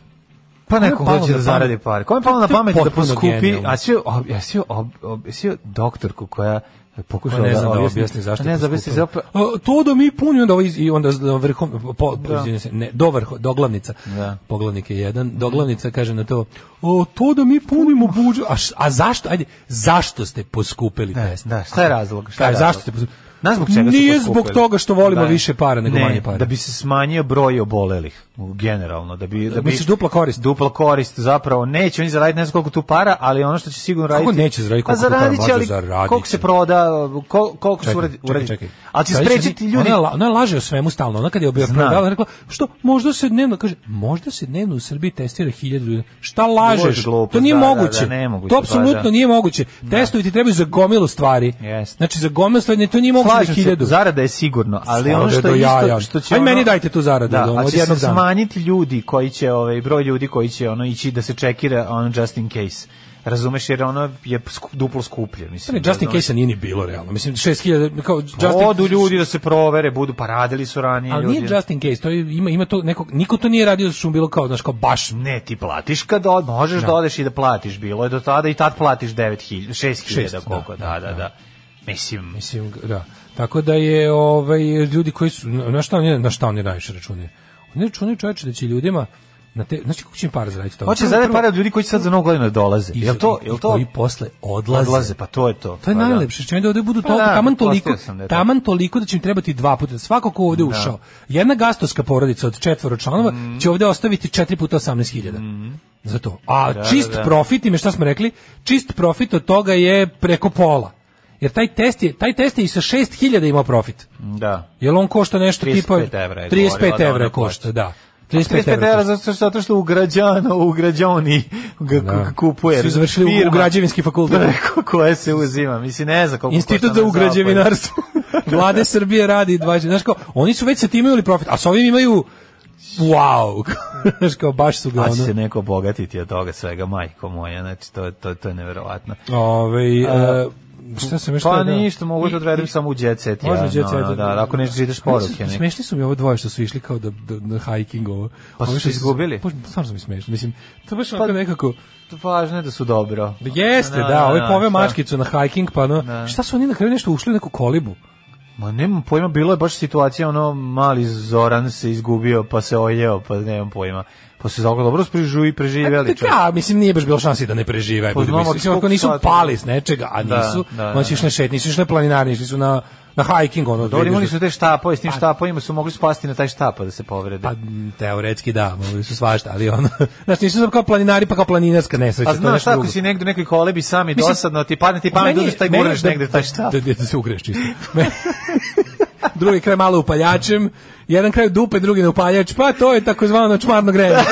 Speaker 7: Pa
Speaker 6: Kome
Speaker 7: neko
Speaker 6: palo
Speaker 7: hoće
Speaker 6: na
Speaker 7: da zaradi
Speaker 6: pamet?
Speaker 7: pare. Kome je palo
Speaker 6: To-
Speaker 7: na
Speaker 6: to je
Speaker 7: pamet da
Speaker 6: potpuno
Speaker 7: poskupi,
Speaker 6: genijalno.
Speaker 7: a si joj ob, ja si joj ob, ob, jesi joj doktorku koja je pokušala
Speaker 6: Pa ne znam da
Speaker 7: objasni-
Speaker 6: objasni zašto.
Speaker 7: Ne
Speaker 6: je
Speaker 7: znam da
Speaker 6: poskupilo. A, To da mi puni onda ovo iz- i onda vrhom po,
Speaker 7: Da.
Speaker 6: izvinjam se, ne, do vrho, doglavnica.
Speaker 7: Da. Mhm.
Speaker 6: Poglavnik je jedan, doglavnica kaže na to: "O, to da mi punimo budžet, a, š- a zašto? Ajde, zašto ste poskupili
Speaker 7: Da,
Speaker 6: test?"
Speaker 7: da, šta je razlog? Šta
Speaker 6: Šta
Speaker 7: je
Speaker 6: je,
Speaker 7: razlog?
Speaker 6: zašto ste poskupili?
Speaker 7: Znaš zbog čega su
Speaker 6: Nije
Speaker 7: poskupili?
Speaker 6: zbog toga što volimo
Speaker 7: Da.
Speaker 6: više para nego
Speaker 7: Ne,
Speaker 6: manje para.
Speaker 7: Da bi se smanjio broj obolelih u- generalno, da bi da bi
Speaker 6: Misliš dupla korist?
Speaker 7: Dupla korist zapravo neće oni zaraditi ne znam koliko tu para, ali ono što će sigurno raditi.
Speaker 6: neće zaraditi
Speaker 7: Pa
Speaker 6: koliko tu para?
Speaker 7: zaradit će,
Speaker 6: Može
Speaker 7: ali
Speaker 6: zaradit
Speaker 7: koliko se
Speaker 6: će.
Speaker 7: proda, kol- koliko se uradi,
Speaker 6: čekaj,
Speaker 7: uradi.
Speaker 6: čekaj.
Speaker 7: Ali će
Speaker 6: Sad više
Speaker 7: sprečiti
Speaker 6: ni-
Speaker 7: ljudi.
Speaker 6: Ona, je la- ona je laže o svemu stalno. Ona kad je
Speaker 7: Znam.
Speaker 6: objavila, ona je rekla, što možda se dnevno, kaže, možda se dnevno u Srbiji testira hiljadu ljudi. Šta lažeš?
Speaker 7: glupost,
Speaker 6: to nije
Speaker 7: da, da,
Speaker 6: moguće.
Speaker 7: da, nemoguće,
Speaker 6: to
Speaker 7: pa
Speaker 6: apsolutno
Speaker 7: da.
Speaker 6: nije moguće. Testovi ti trebaju za gomilu stvari.
Speaker 7: Jeste.
Speaker 6: Znači, za gomilu stvari, ne, to nije moguće
Speaker 7: Slažem
Speaker 6: da
Speaker 7: se,
Speaker 6: hiljadu.
Speaker 7: zarada je sigurno, ali ono
Speaker 6: Zarada
Speaker 7: što
Speaker 6: do
Speaker 7: je isto
Speaker 6: jaja.
Speaker 7: što će
Speaker 6: Aj,
Speaker 7: ono-
Speaker 6: meni dajte tu zaradu,
Speaker 7: da,
Speaker 6: ono,
Speaker 7: ali
Speaker 6: od
Speaker 7: će se
Speaker 6: jednog dana.
Speaker 7: smanjiti ljudi koji će ovaj broj ljudi koji će ono ići da se čekira on just in case. Razumeš jer ono je sku- duplo skuplje, mislim.
Speaker 6: Ne, Justin
Speaker 7: razumeš?
Speaker 6: Case nije ni bilo realno. Mislim 6000 kao Justin
Speaker 7: Odu ljudi da se provere, budu pa radili su ranije
Speaker 6: Ali
Speaker 7: ljudi.
Speaker 6: nije Justin Case, to je, ima ima to nekog niko to nije radio što mu bilo kao znaš kao baš
Speaker 7: Ne, ti platiš kad od, možeš da odeš i da platiš, bilo je do tada i tad platiš 9000, 6000
Speaker 6: Šest,
Speaker 7: koliko,
Speaker 6: da,
Speaker 7: da, da,
Speaker 6: da,
Speaker 7: da. Mislim,
Speaker 6: Mislim, da. Tako da je ovaj ljudi koji su na šta oni na šta oni najviše računaju. Oni računaju čoveče da će ljudima na te znači kako će im par zaraditi to.
Speaker 7: hoće zadati pare od ljudi koji će sad za novu godinu da dolaze. Jel to, jel to?
Speaker 6: koji posle odlaze.
Speaker 7: Odlaze, pa to je to.
Speaker 6: To je
Speaker 7: Pa da.
Speaker 6: najlepše, što im da ovde budu
Speaker 7: Pa
Speaker 6: toliko,
Speaker 7: da,
Speaker 6: taman
Speaker 7: pretpostavio
Speaker 6: toliko,
Speaker 7: sam da je to.
Speaker 6: taman toliko da će im trebati dva puta. Svako ko ovde ušao, jedna gastovska porodica od četvoro članova
Speaker 7: Mhm.
Speaker 6: će ovde ostaviti četiri puta 18.000. Za to. A čist
Speaker 7: da, da.
Speaker 6: profit, ime šta smo rekli, čist profit od toga je preko pola. Jer taj test je, taj test je i sa 6.000 imao profit.
Speaker 7: Da.
Speaker 6: Jel on košta nešto
Speaker 7: 35
Speaker 6: tipa
Speaker 7: evra je
Speaker 6: 35
Speaker 7: govorila da
Speaker 6: evra
Speaker 7: ona
Speaker 6: košta,
Speaker 7: košta.
Speaker 6: da.
Speaker 7: 35 evra zato što, zato što u građano, u građani ga
Speaker 6: Da.
Speaker 7: ga kupuje.
Speaker 6: Svi završili u- u
Speaker 7: firma
Speaker 6: građevinski fakultet.
Speaker 7: preko koje se uzima. Mislim, ne znam koliko
Speaker 6: Institut
Speaker 7: košta ono
Speaker 6: za
Speaker 7: na zapadu.
Speaker 6: ugrađevinarstvo. Vlade Srbije radi 20. Znaš kao, oni su već sa time imali profit, a sa ovim imaju wow. Znaš kao, baš su ga
Speaker 7: A će se
Speaker 6: ono...
Speaker 7: neko obogatiti od toga svega, majko moja, znači to, to, to je neverovatno.
Speaker 6: Ove, Ovaj, e, šta sam još
Speaker 7: Pa
Speaker 6: teo da-
Speaker 7: ništa, mogu
Speaker 6: I-
Speaker 7: da odvedem
Speaker 6: i-
Speaker 7: samo u jet set.
Speaker 6: Možda
Speaker 7: ja,
Speaker 6: u jet
Speaker 7: no,
Speaker 6: set,
Speaker 7: no, da, ako ne čitaš poruke.
Speaker 6: Smešni-
Speaker 7: ne.
Speaker 6: Smešni su mi ovo dvoje što su išli kao da, da, na hiking ovo.
Speaker 7: Pa su
Speaker 6: Ovi što
Speaker 7: se izgubili? Pa-
Speaker 6: Pa, Stvarno su mi smešni. Mislim, to baš onako nekako...
Speaker 7: Važno je da su dobro.
Speaker 6: Da Jeste, da, ovaj poveo mačkicu na hiking, pa no,
Speaker 7: Da.
Speaker 6: šta su oni na kraju nešto ušli u neku kolibu?
Speaker 7: Ma nemam pojma, bilo je baš situacija, ono, mali Zoran se izgubio, pa se ojeo, pa nemam pojma. Pa se zapravo dobro sprižu i preživjeli.
Speaker 6: Da, da, mislim nije baš bilo šansi da ne prežive.
Speaker 7: Pa
Speaker 6: Pa,
Speaker 7: znamo
Speaker 6: mislim,
Speaker 7: od
Speaker 6: ako
Speaker 7: koliko
Speaker 6: nisu
Speaker 7: sati.
Speaker 6: pali s nečega, a
Speaker 7: Da,
Speaker 6: nisu,
Speaker 7: da, da,
Speaker 6: oni su išli na šetnje, nisu išli na planinarnje, išli su na, na hiking, ono,
Speaker 7: Dobro,
Speaker 6: vidiš
Speaker 7: imali
Speaker 6: da-
Speaker 7: su te štapove, s tim štapovima su mogli spasti na taj štapa da se povrede.
Speaker 6: Pa, teoretski da, mogli su svašta, ali ono, znači nisu samo kao planinari, pa kao planinarska nesreća,
Speaker 7: A
Speaker 6: to je
Speaker 7: znaš,
Speaker 6: nešto
Speaker 7: tako
Speaker 6: drugo.
Speaker 7: si negdje u nekoj kolebi sam i
Speaker 6: Mislim,
Speaker 7: dosadno, ti padne ti pamet,
Speaker 6: Meni je-
Speaker 7: uzmeš taj
Speaker 6: meni je
Speaker 7: guraš
Speaker 6: da-
Speaker 7: negde taj štap.
Speaker 6: Da, da, da se ugreš čisto. Me- drugi kraj malo upaljačem, jedan kraj u dupe, drugi na upaljač, pa to je takozvano čmarno grejanje.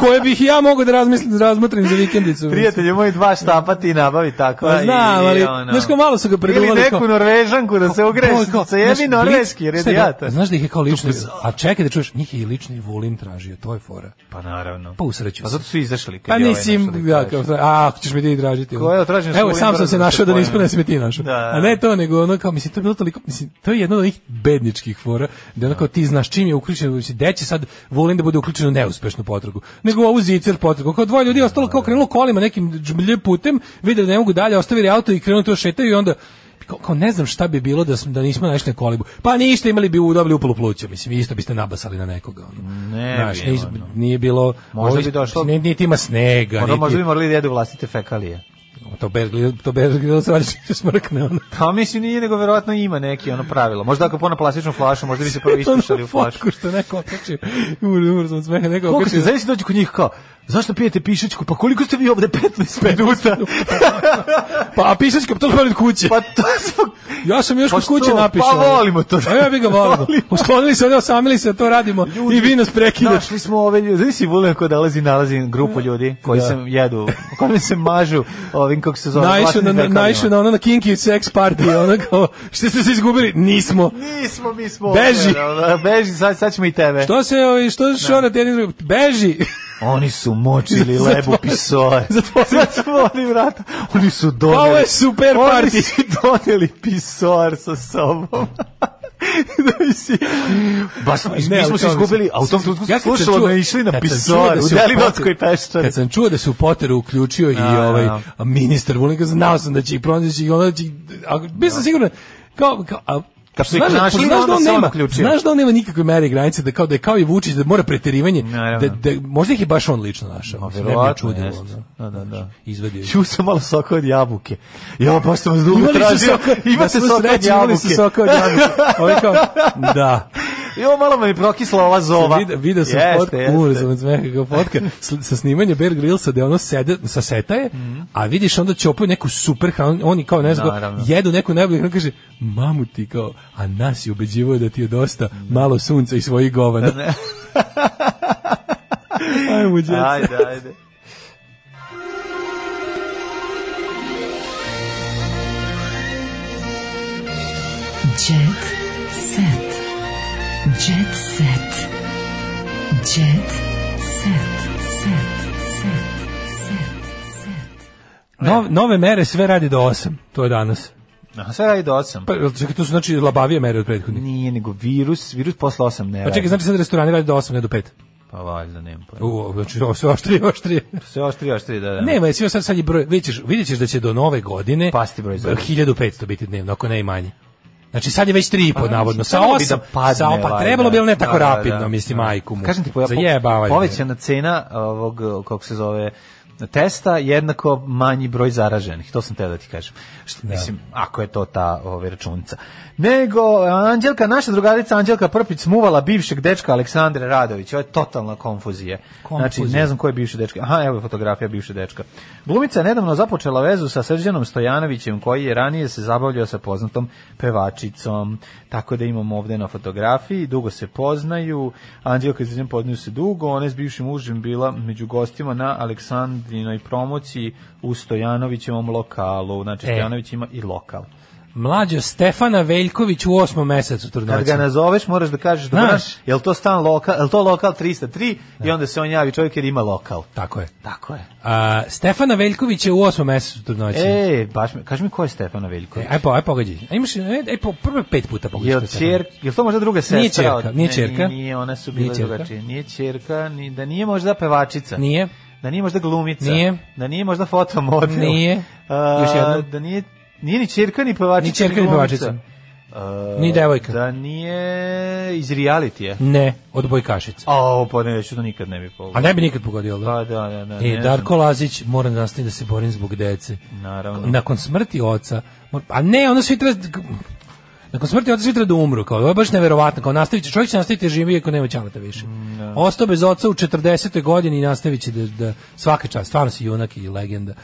Speaker 6: koje bih i ja mogao da razmislim, razmotrim za vikendicu.
Speaker 7: Prijatelji moji, dva štapa ti nabavi tako. ono.
Speaker 6: Pa znam, ali, znaš kao malo su ga
Speaker 7: Ili
Speaker 6: preduvali,
Speaker 7: neku
Speaker 6: kao-
Speaker 7: norvežanku da se ugreš,
Speaker 6: Ovo je kao,
Speaker 7: sa jebi
Speaker 6: znaš,
Speaker 7: norvežki
Speaker 6: Blitz- šta je
Speaker 7: radijator.
Speaker 6: bilo? Znaš da ih je kao lični, a čekaj da čuješ, njih je i lični Vulin tražio, to je fora.
Speaker 7: Pa naravno.
Speaker 6: Pa usreću
Speaker 7: Pa
Speaker 6: se.
Speaker 7: zato su izašli. kad
Speaker 6: Pa
Speaker 7: je ovaj
Speaker 6: nisi,
Speaker 7: našao da
Speaker 6: ja,
Speaker 7: kaže.
Speaker 6: kao, a, ako ćeš me ti tražiti. ono.
Speaker 7: Ko je, tražim
Speaker 6: Evo,
Speaker 7: svoj
Speaker 6: sam sam
Speaker 7: brzo
Speaker 6: se
Speaker 7: da
Speaker 6: našao
Speaker 7: se
Speaker 6: da ne ispane da
Speaker 7: pojavim.
Speaker 6: si me ti našao.
Speaker 7: Da, da,
Speaker 6: A ne to, nego ono kao, mislim, to je bilo toliko, mislim, to je jedno od onih bedničkih fora, da onako ti znaš čim je uključen, mislim, gde će sad volim da bude uključen u neuspešnu potragu, nego ovu zicer potragu. Kao dvoje ljudi je ostalo kao krenulo kolima nekim džmlje putem, videli da ne mogu dalje, ostavili auto i krenuli to šetaju i onda kao, kao ne znam šta bi bilo da smo da nismo našli na kolibu. Pa ništa imali bi u dobili upalu pluća, mislim, isto biste nabasali na nekoga. Ono.
Speaker 7: Ne
Speaker 6: Znaš,
Speaker 7: bi,
Speaker 6: nis-
Speaker 7: ono.
Speaker 6: nije bilo
Speaker 7: Možda bi
Speaker 6: ovi-
Speaker 7: došlo-
Speaker 6: ni- niti ima snega,
Speaker 7: Možda,
Speaker 6: niti
Speaker 7: Ono, možda bi morali da jedu vlastite fekalije.
Speaker 6: to bear grill, to bear grill se valjda čim se smrkne ono.
Speaker 7: Pa mislim nije, nego verovatno ima neki ono pravilo. Možda ako pona plastičnu flašu, možda bi se prvo ispušali u flašu.
Speaker 6: Ono fotku što neko okači. Umro, umro sam od smeha, neko
Speaker 7: Koliko
Speaker 6: okači.
Speaker 7: ste, znači dođu kod njih kao, zašto pijete pišećku? Pa koliko ste vi ovde 15 minuta?
Speaker 6: Pa, a pisaš kao to smo od kuće.
Speaker 7: pa to smo...
Speaker 6: Ja sam još
Speaker 7: Pa
Speaker 6: kod kuće
Speaker 7: što?
Speaker 6: napisao.
Speaker 7: Pa volimo to.
Speaker 6: A ja bi ga volimo.
Speaker 7: Volimo.
Speaker 6: Usklonili se, ono, osamili se, to radimo. I vi nas prekidaš.
Speaker 7: Našli smo ove ljudi, znači si Vulin ko dolazi, nalazi grupu ljudi koji se jedu, koji se mažu ovim, kako se zove,
Speaker 6: Naišao
Speaker 7: vlastnim
Speaker 6: na, na,
Speaker 7: fekalima.
Speaker 6: naišao na ono na kinky sex party, ono kao, što ste se izgubili? Nismo.
Speaker 7: Nismo, mi smo...
Speaker 6: Beži.
Speaker 7: ovde, ono, Beži, sad, sad ćemo i tebe.
Speaker 6: To se, ovi, što šorate jedni drugi? Beži!
Speaker 7: Oni su močili lebu pisoje.
Speaker 6: Zatvorili.
Speaker 7: Zatvorili vrata. Oni su doneli.
Speaker 6: Pa ovo je super
Speaker 7: Oni
Speaker 6: party!
Speaker 7: su doneli pisoar sa sobom. da mi si... Baš smo,
Speaker 6: Ne,
Speaker 7: mi
Speaker 6: ali
Speaker 7: smo se
Speaker 6: kao
Speaker 7: izgubili,
Speaker 6: mislim,
Speaker 7: a u tom trenutku
Speaker 6: ja kad sam
Speaker 7: slušalo
Speaker 6: čuo-
Speaker 7: da išli na
Speaker 6: kad sam
Speaker 7: pisoar
Speaker 6: čuo
Speaker 7: u
Speaker 6: se
Speaker 7: Deliblatskoj
Speaker 6: Potteru-
Speaker 7: peščari.
Speaker 6: Kad sam čuo da se u Potteru uključio i
Speaker 7: A,
Speaker 6: ovaj
Speaker 7: da.
Speaker 6: a, ministar Vulin, znao sam da će ih pronaći i onda će ih- a, bio sam siguran kao, kao a,
Speaker 7: Kad su ih
Speaker 6: znaš, da-
Speaker 7: našli,
Speaker 6: znaš da
Speaker 7: onda
Speaker 6: on
Speaker 7: se on
Speaker 6: nema,
Speaker 7: uključio.
Speaker 6: znaš da on nema nikakve mere i granice, da kao da je kao i Vučić, da mora preterivanje,
Speaker 7: Naravno.
Speaker 6: da, da, možda ih je baš on lično našao.
Speaker 7: Ma,
Speaker 6: mislim, ne bi me
Speaker 7: verovatno,
Speaker 6: čudilo,
Speaker 7: jeste.
Speaker 6: ono.
Speaker 7: Da, da, da.
Speaker 6: Izvadio ih.
Speaker 7: Čuo sam malo soka od jabuke. Ja, baš sam vas dugo
Speaker 6: Imali su
Speaker 7: tražio.
Speaker 6: soka, da
Speaker 7: Imate
Speaker 6: smo
Speaker 7: soka od
Speaker 6: sreći, imali su
Speaker 7: jabuke.
Speaker 6: soka od jabuke. Ovo je kao, da.
Speaker 7: I ovo malo mi prokisla ova zova.
Speaker 6: Video, video sam
Speaker 7: Jeste,
Speaker 6: fotku,
Speaker 7: jeste.
Speaker 6: umro sam od smeha kao fotka, s- sa snimanja Bear Grillsa gde ono sede, sa seta je,
Speaker 7: Mhm.
Speaker 6: a vidiš onda čopaju neku super hranu, oni kao ne znam, kao,
Speaker 7: Naravno.
Speaker 6: jedu neku najbolju hranu, kaže, mamu ti kao, a nas je ubeđivao da ti je dosta malo sunca i svojih govana. Ajmo, djeca.
Speaker 7: Ajde, ajde.
Speaker 5: Jet set. Jet set. Jet set. Set. Set. Set. Set.
Speaker 6: Nov- nove mere sve radi do 8, to je danas.
Speaker 7: Aha, sve radi do 8.
Speaker 6: Pa, jel čekaj, to su znači labavije mere od prethodnih.
Speaker 7: Nije, nego virus, virus posle 8 ne
Speaker 6: Pa
Speaker 7: radi.
Speaker 6: čekaj, znači sad restorani radi do 8, ne do 5.
Speaker 7: Pa valjda, nema pojma.
Speaker 6: U, znači, ovo sve oštrije, oštrije.
Speaker 7: Sve oštrije, oštrije, da, da.
Speaker 6: Nema, jesi sad sad je broj, vidjet ćeš, vidjet ćeš da će do nove godine
Speaker 7: Pasti broj zaraženih.
Speaker 6: 1500 biti dnevno, ako ne i manje. Znači sad je već 3,5
Speaker 7: Pa,
Speaker 6: navodno,
Speaker 7: mislim,
Speaker 6: sa
Speaker 7: trebalo bi
Speaker 6: 8,
Speaker 7: da padne,
Speaker 6: sa, pa
Speaker 7: valjda.
Speaker 6: trebalo bi ali ne tako
Speaker 7: Da, da,
Speaker 6: rapidno,
Speaker 7: da.
Speaker 6: mislim, majku mu.
Speaker 7: Kažem ti, po, po,
Speaker 6: Zajebavaj me.
Speaker 7: povećana cena ovog, kako se zove, testa jednako manji broj zaraženih, to sam teo da ti kažem. Što, Mislim, ako je to ta ove, računica. Nego, Anđelka, naša drugarica Anđelka Prpić smuvala bivšeg dečka Aleksandre Radovića, ovo je totalna konfuzija. Znači,
Speaker 6: Konfuzija.
Speaker 7: ne znam ko je bivši dečka. Aha, evo je fotografija bivše dečka. Glumica je nedavno započela vezu sa Srđanom Stojanovićem, koji je ranije se zabavljao sa poznatom pevačicom. Tako da imamo ovde na fotografiji, dugo se poznaju, Anđelka i Srđan poznaju se dugo, ona je s bivšim mužem bila među gostima na Aleksandrinoj promociji u Stojanovićevom lokalu.
Speaker 6: E.
Speaker 7: Znači, Stojanović ima i lokal.
Speaker 6: Mlađo Stefana Veljković u osmom mesecu trudnoće.
Speaker 7: Kad ga nazoveš, moraš da kažeš,
Speaker 6: Znaš.
Speaker 7: dobro, jel to stan lokal, jel to lokal 303? I onda se on javi čovjek jer ima lokal.
Speaker 6: Tako je.
Speaker 7: Tako je.
Speaker 6: A, Stefana Veljković je u osmom mesecu trudnoće.
Speaker 7: E, baš mi, kaži mi ko je Stefana Veljković?
Speaker 6: E, aj, po, aj pogađi. Aj, imaš, aj, aj po, prvo je pet puta pogađi.
Speaker 7: Je
Speaker 6: što
Speaker 7: li
Speaker 6: je Stefana.
Speaker 7: čer, je li to možda druga sestra?
Speaker 6: Nije ćerka,
Speaker 7: od-
Speaker 6: nije
Speaker 7: ne,
Speaker 6: ćerka.
Speaker 7: Nije, nije, one su bile
Speaker 6: Nije ćerka.
Speaker 7: drugačije. Nije ćerka, ni, da nije možda pevačica.
Speaker 6: Nije.
Speaker 7: Da nije možda glumica.
Speaker 6: Nije.
Speaker 7: Da nije možda fotomodel.
Speaker 6: Nije.
Speaker 7: A,
Speaker 6: Još jednom.
Speaker 7: Da nije, nije ni ćerka, ni pevačica,
Speaker 6: Ni ćerka, ni
Speaker 7: glumica.
Speaker 6: pevačica.
Speaker 7: A,
Speaker 6: Ni devojka.
Speaker 7: Da nije iz realitija.
Speaker 6: Ne, od Bojkašica.
Speaker 7: A, ovo pa neću, to nikad ne bi
Speaker 6: A
Speaker 7: pogledao.
Speaker 6: ne bi nikad pogodio, da?
Speaker 7: Pa Da, da, da. da ne
Speaker 6: E,
Speaker 7: znam.
Speaker 6: Darko Lazić mora da nastavi da se borim zbog dece.
Speaker 7: Naravno.
Speaker 6: Nakon smrti oca, mor- a ne, ono svi treba Nakon smrti oca svi treba da umru, kao, ovo je baš neverovatno, kao nastavit će, čovjek će nastaviti da živi ako nema ćalata više.
Speaker 7: Mm,
Speaker 6: Ostao bez oca u 40. godini i nastavit će da, da
Speaker 7: Mhm.
Speaker 6: svaka čast, stvarno si junak i legenda.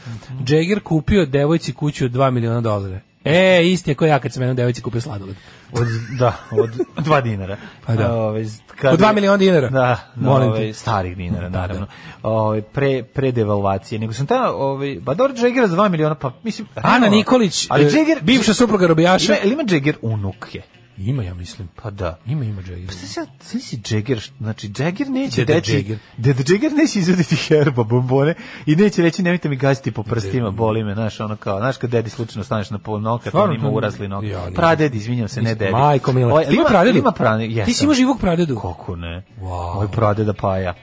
Speaker 6: Jagger kupio devojci kuću od 2 miliona dolara. E, isti je ko ja kad sam jednom devojci kupio sladoled.
Speaker 7: Od, da, od dva dinara.
Speaker 6: Pa da.
Speaker 7: Ove, kad
Speaker 6: Od dva
Speaker 7: je-
Speaker 6: miliona dinara.
Speaker 7: Da,
Speaker 6: Molim
Speaker 7: Molim ove,
Speaker 6: te.
Speaker 7: starih dinara, naravno. Ove, pre, pre devalvacije. Nego sam tamo, ove, ba dobro, Džegera za dva miliona, pa mislim...
Speaker 6: Ana
Speaker 7: realno.
Speaker 6: Nikolić,
Speaker 7: ali
Speaker 6: e,
Speaker 7: Džeger,
Speaker 6: bivša supruga robijaša.
Speaker 7: Ima, ili ima Džeger unuke?
Speaker 6: Ima, ja mislim.
Speaker 7: Pa da.
Speaker 6: Ima, ima Jager.
Speaker 7: Pa Sad si Jagger, znači Jagger neće
Speaker 6: Deda
Speaker 7: reći,
Speaker 6: Jagger.
Speaker 7: Deda Jagger neće izvaditi herba bombone i neće reći nemojte mi gaziti po prstima, boli me, znaš, ono kao, znaš kad dedi slučajno staneš na pol nokat, on
Speaker 6: Stvarno,
Speaker 7: ima
Speaker 6: to-
Speaker 7: urasli nokat.
Speaker 6: Ja, nisam.
Speaker 7: pradedi, izvinjam se, ne dedi.
Speaker 6: Majko mila.
Speaker 7: Oj,
Speaker 6: Ti ima pradedu?
Speaker 7: Ima pradedu, jesam.
Speaker 6: Ti si imao živog pradedu?
Speaker 7: Kako ne?
Speaker 6: Wow.
Speaker 7: Ovo je pradeda paja.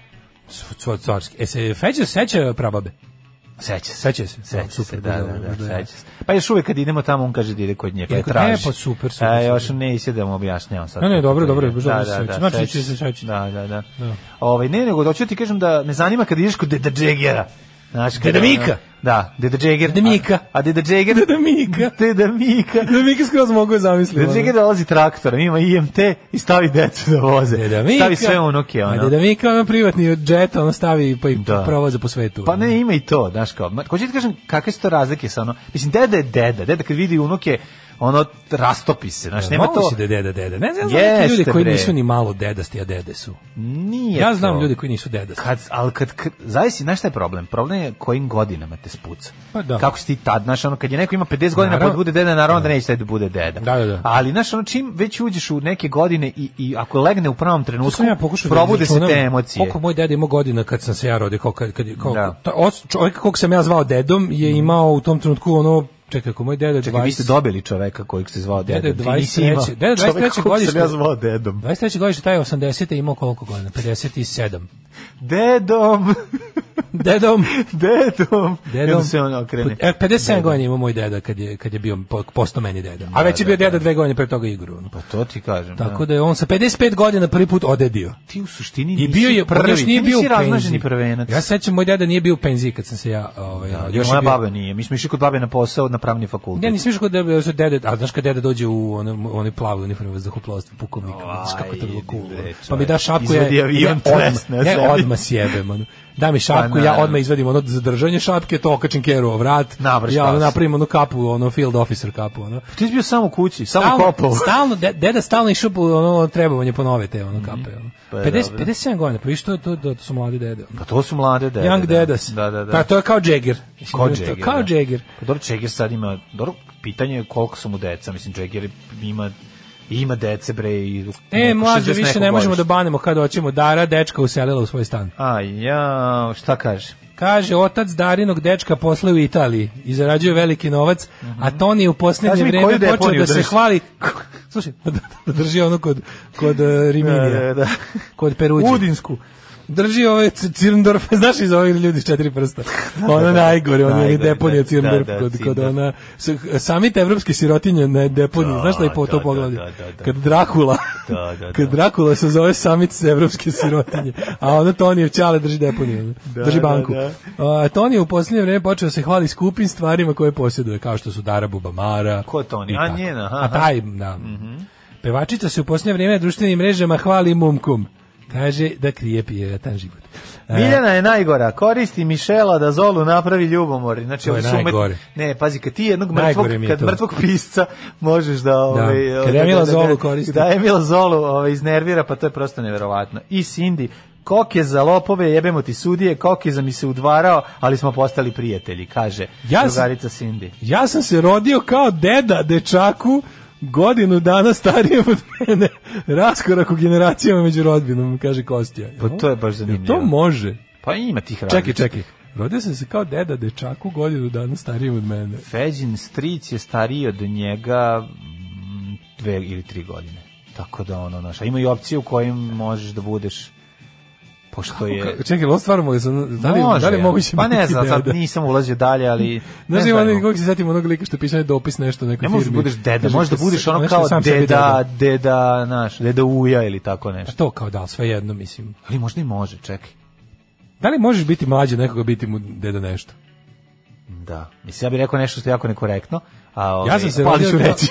Speaker 6: Car- Carski. E se Feđa seća prababe.
Speaker 7: Seća se.
Speaker 6: Seća se.
Speaker 7: Seća
Speaker 6: O, super,
Speaker 7: se, da,
Speaker 6: da,
Speaker 7: da,
Speaker 6: dobro,
Speaker 7: da,
Speaker 6: da.
Speaker 7: seća se. Pa još uvek kad idemo tamo, on kaže da ide kod nje, pa
Speaker 6: Ide
Speaker 7: je
Speaker 6: kod-
Speaker 7: traži.
Speaker 6: e, pa super, super,
Speaker 7: E, još
Speaker 6: super.
Speaker 7: ne ide da mu objašnjavam sad.
Speaker 6: Ne, ne, dobro,
Speaker 7: kako to
Speaker 6: dobro,
Speaker 7: ide.
Speaker 6: žao mi
Speaker 7: Da,
Speaker 6: se
Speaker 7: da,
Speaker 6: seća.
Speaker 7: da,
Speaker 6: Znači,
Speaker 7: seća
Speaker 6: će se seći.
Speaker 7: Da, da, da.
Speaker 6: Da.
Speaker 7: Ovaj, ne, nego hoću ti kažem da me zanima kad ideš kod Deda Džegera. Znaš, kad
Speaker 6: Deda
Speaker 7: ono-
Speaker 6: Mika.
Speaker 7: Da, Deda Džeger.
Speaker 6: Deda Mika.
Speaker 7: A, a Deda Džeger...
Speaker 6: Deda Mika.
Speaker 7: Deda Mika.
Speaker 6: Da mi skroz mogu je zamisliti. ono.
Speaker 7: Deda Džeger dolazi traktorom, ima IMT i stavi decu da voze.
Speaker 6: Deda Mika.
Speaker 7: Stavi sve unuke, ono.
Speaker 6: A Deda Mika ima privatni džet, ono stavi pa i
Speaker 7: Da.
Speaker 6: provoza po svetu. ono.
Speaker 7: Pa ne, ima i to, znaš kao. ma, Hoću ti kažem kakve su to razlike sa ono. Mislim deda je deda, deda kad vidi unuke, ono rastopi se, znaš, nema to.
Speaker 6: Moguće E, da je deda, deda. Ne znam, znam neke
Speaker 7: Jeste,
Speaker 6: ljudi koji
Speaker 7: bre.
Speaker 6: nisu ni malo dedasti, a dede su.
Speaker 7: Nije
Speaker 6: Ja znam
Speaker 7: to.
Speaker 6: ljudi koji nisu dedasti.
Speaker 7: Kad, ali kad, kad zavisi, znaš šta je problem? Problem je kojim godinama te spuca.
Speaker 6: Pa da.
Speaker 7: Kako si ti tad, znaš, ono, kad je neko ima 50 godina pa
Speaker 6: Naravno.
Speaker 7: da bude deda, naravno da neće taj da bude deda.
Speaker 6: Da, da, da.
Speaker 7: Ali, znaš, ono, čim već uđeš u neke godine i, i ako legne u pravom
Speaker 6: To
Speaker 7: trenutku,
Speaker 6: sam ja pokušao da
Speaker 7: probude se
Speaker 6: izračunam
Speaker 7: te emocije.
Speaker 6: Koliko moj deda imao godina kad sam se ja rodio, kao, kad, kad, kao,
Speaker 7: Da. Mhm.
Speaker 6: ta- os- čovjek kog sam ja zvao dedom je imao u tom trenutku ono, čekaj, ako moj deda
Speaker 7: Čekaj, vi ste
Speaker 6: 20
Speaker 7: dobili čoveka kojeg ste zvao
Speaker 6: Deda
Speaker 7: dedom.
Speaker 6: je
Speaker 7: Ti nisi
Speaker 6: 23.
Speaker 7: imao
Speaker 6: Deda je
Speaker 7: čoveka
Speaker 6: 23.
Speaker 7: kojeg sam
Speaker 6: godište.
Speaker 7: ja zvao dedom.
Speaker 6: 23. godište, taj je 80. je imao koliko godina? 57.
Speaker 7: Dedom!
Speaker 6: Dedom!
Speaker 7: Dedom.
Speaker 6: Dedom.
Speaker 7: I onda se on okrene.
Speaker 6: E, 57 godina imao moj deda kad je, kad je bio po- postao meni deda. A već je bio deda dve godine pre toga igru. ono.
Speaker 7: Pa to ti kažem.
Speaker 6: Tako da je on sa 55 godina prvi put odedio.
Speaker 7: ti u suštini
Speaker 6: I bio je prvi,
Speaker 7: prvi,
Speaker 6: nije
Speaker 7: ti
Speaker 6: bio u
Speaker 7: nisi razmaženi
Speaker 6: penziji.
Speaker 7: prvenac.
Speaker 6: Ja se sećam, moj deda nije bio u penziji kad sam se ja... Ovaj, rodio.
Speaker 7: još
Speaker 6: je
Speaker 7: moja
Speaker 6: bio-
Speaker 7: baba nije. Mi smo išli kod babe na posao na pravni fakultet.
Speaker 6: Ja nisam išao kod dede, sa dede, a znaš kad dede dođe u ono, onaj onaj plavu uniformu za zrakoplovstvo pukovnik, vidiš kako je to bilo
Speaker 7: idi
Speaker 6: cool.
Speaker 7: bre,
Speaker 6: Pa mi da šapku ja,
Speaker 7: Izvadi
Speaker 6: ja
Speaker 7: avion, tresne
Speaker 6: odmah,
Speaker 7: sebi.
Speaker 6: ja odmah sjebem. Ono. Da mi šapku,
Speaker 7: Pa,
Speaker 6: ja
Speaker 7: naravno.
Speaker 6: odmah izvadim ono za držanje šapke, to okačim keru o vrat,
Speaker 7: Navrš
Speaker 6: ja ono,
Speaker 7: vas.
Speaker 6: napravim onu kapu, ono field officer kapu. Ono.
Speaker 7: Ti si bio samo u kući, samo kopao.
Speaker 6: Stalno, stalno, de- deda stalno išao po ono trebovanje po nove te ono kape. Ono.
Speaker 7: Pa je
Speaker 6: 50,
Speaker 7: dobro.
Speaker 6: 57 godina, pa išto to, to, to su mladi dede. Ono.
Speaker 7: Pa to su mlade dede.
Speaker 6: Young
Speaker 7: da.
Speaker 6: dedas.
Speaker 7: Da, da, da.
Speaker 6: Pa to je kao Jagger. Mislim,
Speaker 7: Kao
Speaker 6: to je
Speaker 7: Jagger.
Speaker 6: Kao
Speaker 7: da.
Speaker 6: Jagger.
Speaker 7: Pa dobro, Jagger sad ima, dobro, pitanje je koliko su mu deca, mislim, Jagger ima ima dece bre i
Speaker 6: E,
Speaker 7: neko
Speaker 6: mlađe,
Speaker 7: 60
Speaker 6: više
Speaker 7: nekog
Speaker 6: ne možemo da
Speaker 7: godište.
Speaker 6: banemo kad hoćemo. Dara dečka uselila u svoj stan.
Speaker 7: A ja, šta kaže?
Speaker 6: Kaže, otac Darinog dečka posle u Italiji i zarađuje veliki novac, a Toni je u
Speaker 7: Mhm. Kaži
Speaker 6: posljednje
Speaker 7: mi koju
Speaker 6: vreme počeo
Speaker 7: deponiju
Speaker 6: da se
Speaker 7: drži?
Speaker 6: hvali... Slušaj, da, da drži ono kod, kod eh, Riminija,
Speaker 7: Da, da, da.
Speaker 6: kod Peruđe.
Speaker 7: Udinsku.
Speaker 6: Drži ovaj C- Cirndorf, znaš iz ovih ljudi s četiri prsta. Ono najgore, ono je
Speaker 7: Najgore,
Speaker 6: deponija
Speaker 7: da,
Speaker 6: Cirndorf
Speaker 7: da, da,
Speaker 6: kod, kod
Speaker 7: Cirndorf.
Speaker 6: ona... s- Samit evropski sirotinje na deponiji,
Speaker 7: Da,
Speaker 6: znaš šta je po,
Speaker 7: da,
Speaker 6: to
Speaker 7: da,
Speaker 6: poglavlje?
Speaker 7: da, da, da.
Speaker 6: Kad Drakula,
Speaker 7: Da, da, da.
Speaker 6: kad Drakula se zove Samit evropske sirotinje, a onda Tonijev čale drži deponiju, ono, drži
Speaker 7: da,
Speaker 6: banku.
Speaker 7: da.
Speaker 6: A, Toni je u posljednje vreme počeo se hvali skupim stvarima koje posjeduje, kao što su Dara Bubamara.
Speaker 7: Ko je Toni?
Speaker 6: i
Speaker 7: A,
Speaker 6: tako.
Speaker 7: njena, aha, Mhm.
Speaker 6: A taj, da. Pevačica se u posljednje vrijeme na društvenim mrežama hvali mumkom. Kaže da krije pijatan život. E,
Speaker 7: Miljana je najgora, koristi Mišela da Zolu napravi ljubomor. Znači,
Speaker 6: To je
Speaker 7: ovi su umet-
Speaker 6: najgore.
Speaker 7: Ne, pazi, kad ti jednog mrtvog,
Speaker 6: Najgore mi je
Speaker 7: kad
Speaker 6: to.
Speaker 7: mrtvog pisca možeš da... ovaj,
Speaker 6: kad
Speaker 7: ovaj,
Speaker 6: Emila
Speaker 7: da- da-
Speaker 6: Zolu koristi.
Speaker 7: Da Emila Zolu ovaj, iznervira, pa to je prosto neverovatno. I Cindy, koke za lopove, jebemo ti sudije, koke za mi se udvarao, ali smo postali prijatelji, kaže
Speaker 6: Ja sam-
Speaker 7: drugarica Cindy.
Speaker 6: Ja sam se rodio kao deda dečaku godinu dana starijem od mene. Raskorak u generacijama među rodbinom, kaže Kostija.
Speaker 7: Pa to je baš
Speaker 6: Jel
Speaker 7: zanimljivo.
Speaker 6: To može.
Speaker 7: Pa ima tih različitih.
Speaker 6: Čekaj, čekaj. Rodio sam se kao deda dečaku godinu dana starijem od mene.
Speaker 7: Feđin stric je stariji od njega mm, dve ili tri godine. Tako da ono, znaš, a ima i opcije u kojim možeš da budeš pošto je
Speaker 6: Ka- Čekaj, ovo stvarno mogu sam... Da li, da li
Speaker 7: ja.
Speaker 6: moguće
Speaker 7: Pa ne
Speaker 6: biti
Speaker 7: znam, sad
Speaker 6: deda?
Speaker 7: nisam ulazio dalje, ali ne
Speaker 6: Znaš ima
Speaker 7: znam.
Speaker 6: onaj, kako se setim onog lika što je pisao dopis nešto nekoj
Speaker 7: Ne
Speaker 6: firmi.
Speaker 7: možeš da budeš deda,
Speaker 6: Kaže,
Speaker 7: možeš da
Speaker 6: što
Speaker 7: budeš
Speaker 6: se-
Speaker 7: ono
Speaker 6: nešto
Speaker 7: kao
Speaker 6: sam sebi
Speaker 7: deda, deda, znaš, deda uja ili tako
Speaker 6: Pa
Speaker 7: nešto.
Speaker 6: to kao da, sve jedno mislim.
Speaker 7: Ali možda i može, čekaj.
Speaker 6: Da li možeš biti mlađi od nekoga biti mu deda nešto?
Speaker 7: Da. Mislim, ja bih rekao nešto što je jako nekorektno, a ovaj,
Speaker 6: Ja sam se
Speaker 7: pa ali
Speaker 6: rodio
Speaker 7: ću
Speaker 6: kao-
Speaker 7: reći.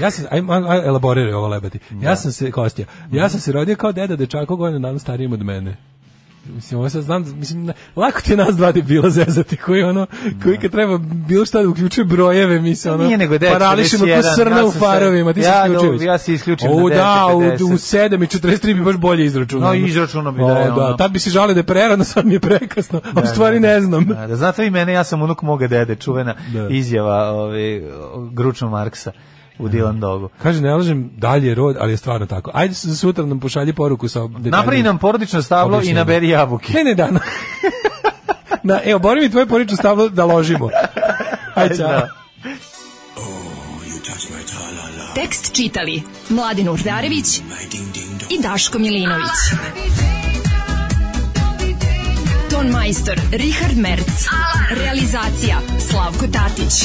Speaker 6: ja sam, aj, aj, aj, elaboriraj ovo lebati. Ja sam se, Kostija, ja sam se rodio kao deda dečako godinu dana starijim od mene. Mislim, ovo sad znam, da- mislim, na- lako ti je nas dva debila zezati koji ono, koji kad treba bilo šta da uključuje brojeve, mi se ono,
Speaker 7: Nije nego 9.41,
Speaker 6: parališemo
Speaker 7: ja
Speaker 6: ko srna
Speaker 7: sam
Speaker 6: u
Speaker 7: se-
Speaker 6: farovima, ti
Speaker 7: ja
Speaker 6: se
Speaker 7: do-
Speaker 6: isključio.
Speaker 7: ja se isključim
Speaker 6: O,
Speaker 7: na
Speaker 6: da, u,
Speaker 7: 9:40.
Speaker 6: u 7 i 43 bi baš bolje izračunao.
Speaker 7: No, izračunao bi da je
Speaker 6: O, da,
Speaker 7: ono-
Speaker 6: tad bi se žalio da je prerano, sad mi je prekasno, a u stvari ne znam.
Speaker 7: Da, da znate vi mene, ja sam unuk moga dede, čuvena
Speaker 6: Da.
Speaker 7: izjava ove, Gručno Marksa u Dylan Dogu.
Speaker 6: Kaže, ne lažem, dalje je rod, ali je stvarno tako. Ajde se za sutra nam pošalji poruku sa detaljnim-
Speaker 7: Napravi nam porodično stablo i
Speaker 6: Objašnjenje.
Speaker 7: naberi jabuke.
Speaker 6: Ne, ne, da. na- Na, evo, bori mi tvoje porično stavlo da ložimo. Ajde, čao.
Speaker 5: Tekst čitali Mladin Urdarević i Daško Milinović. Ton majstor Richard Merc. Realizacija Slavko Tatić.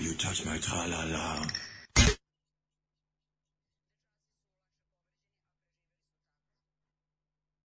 Speaker 10: you touch my tra-la-la.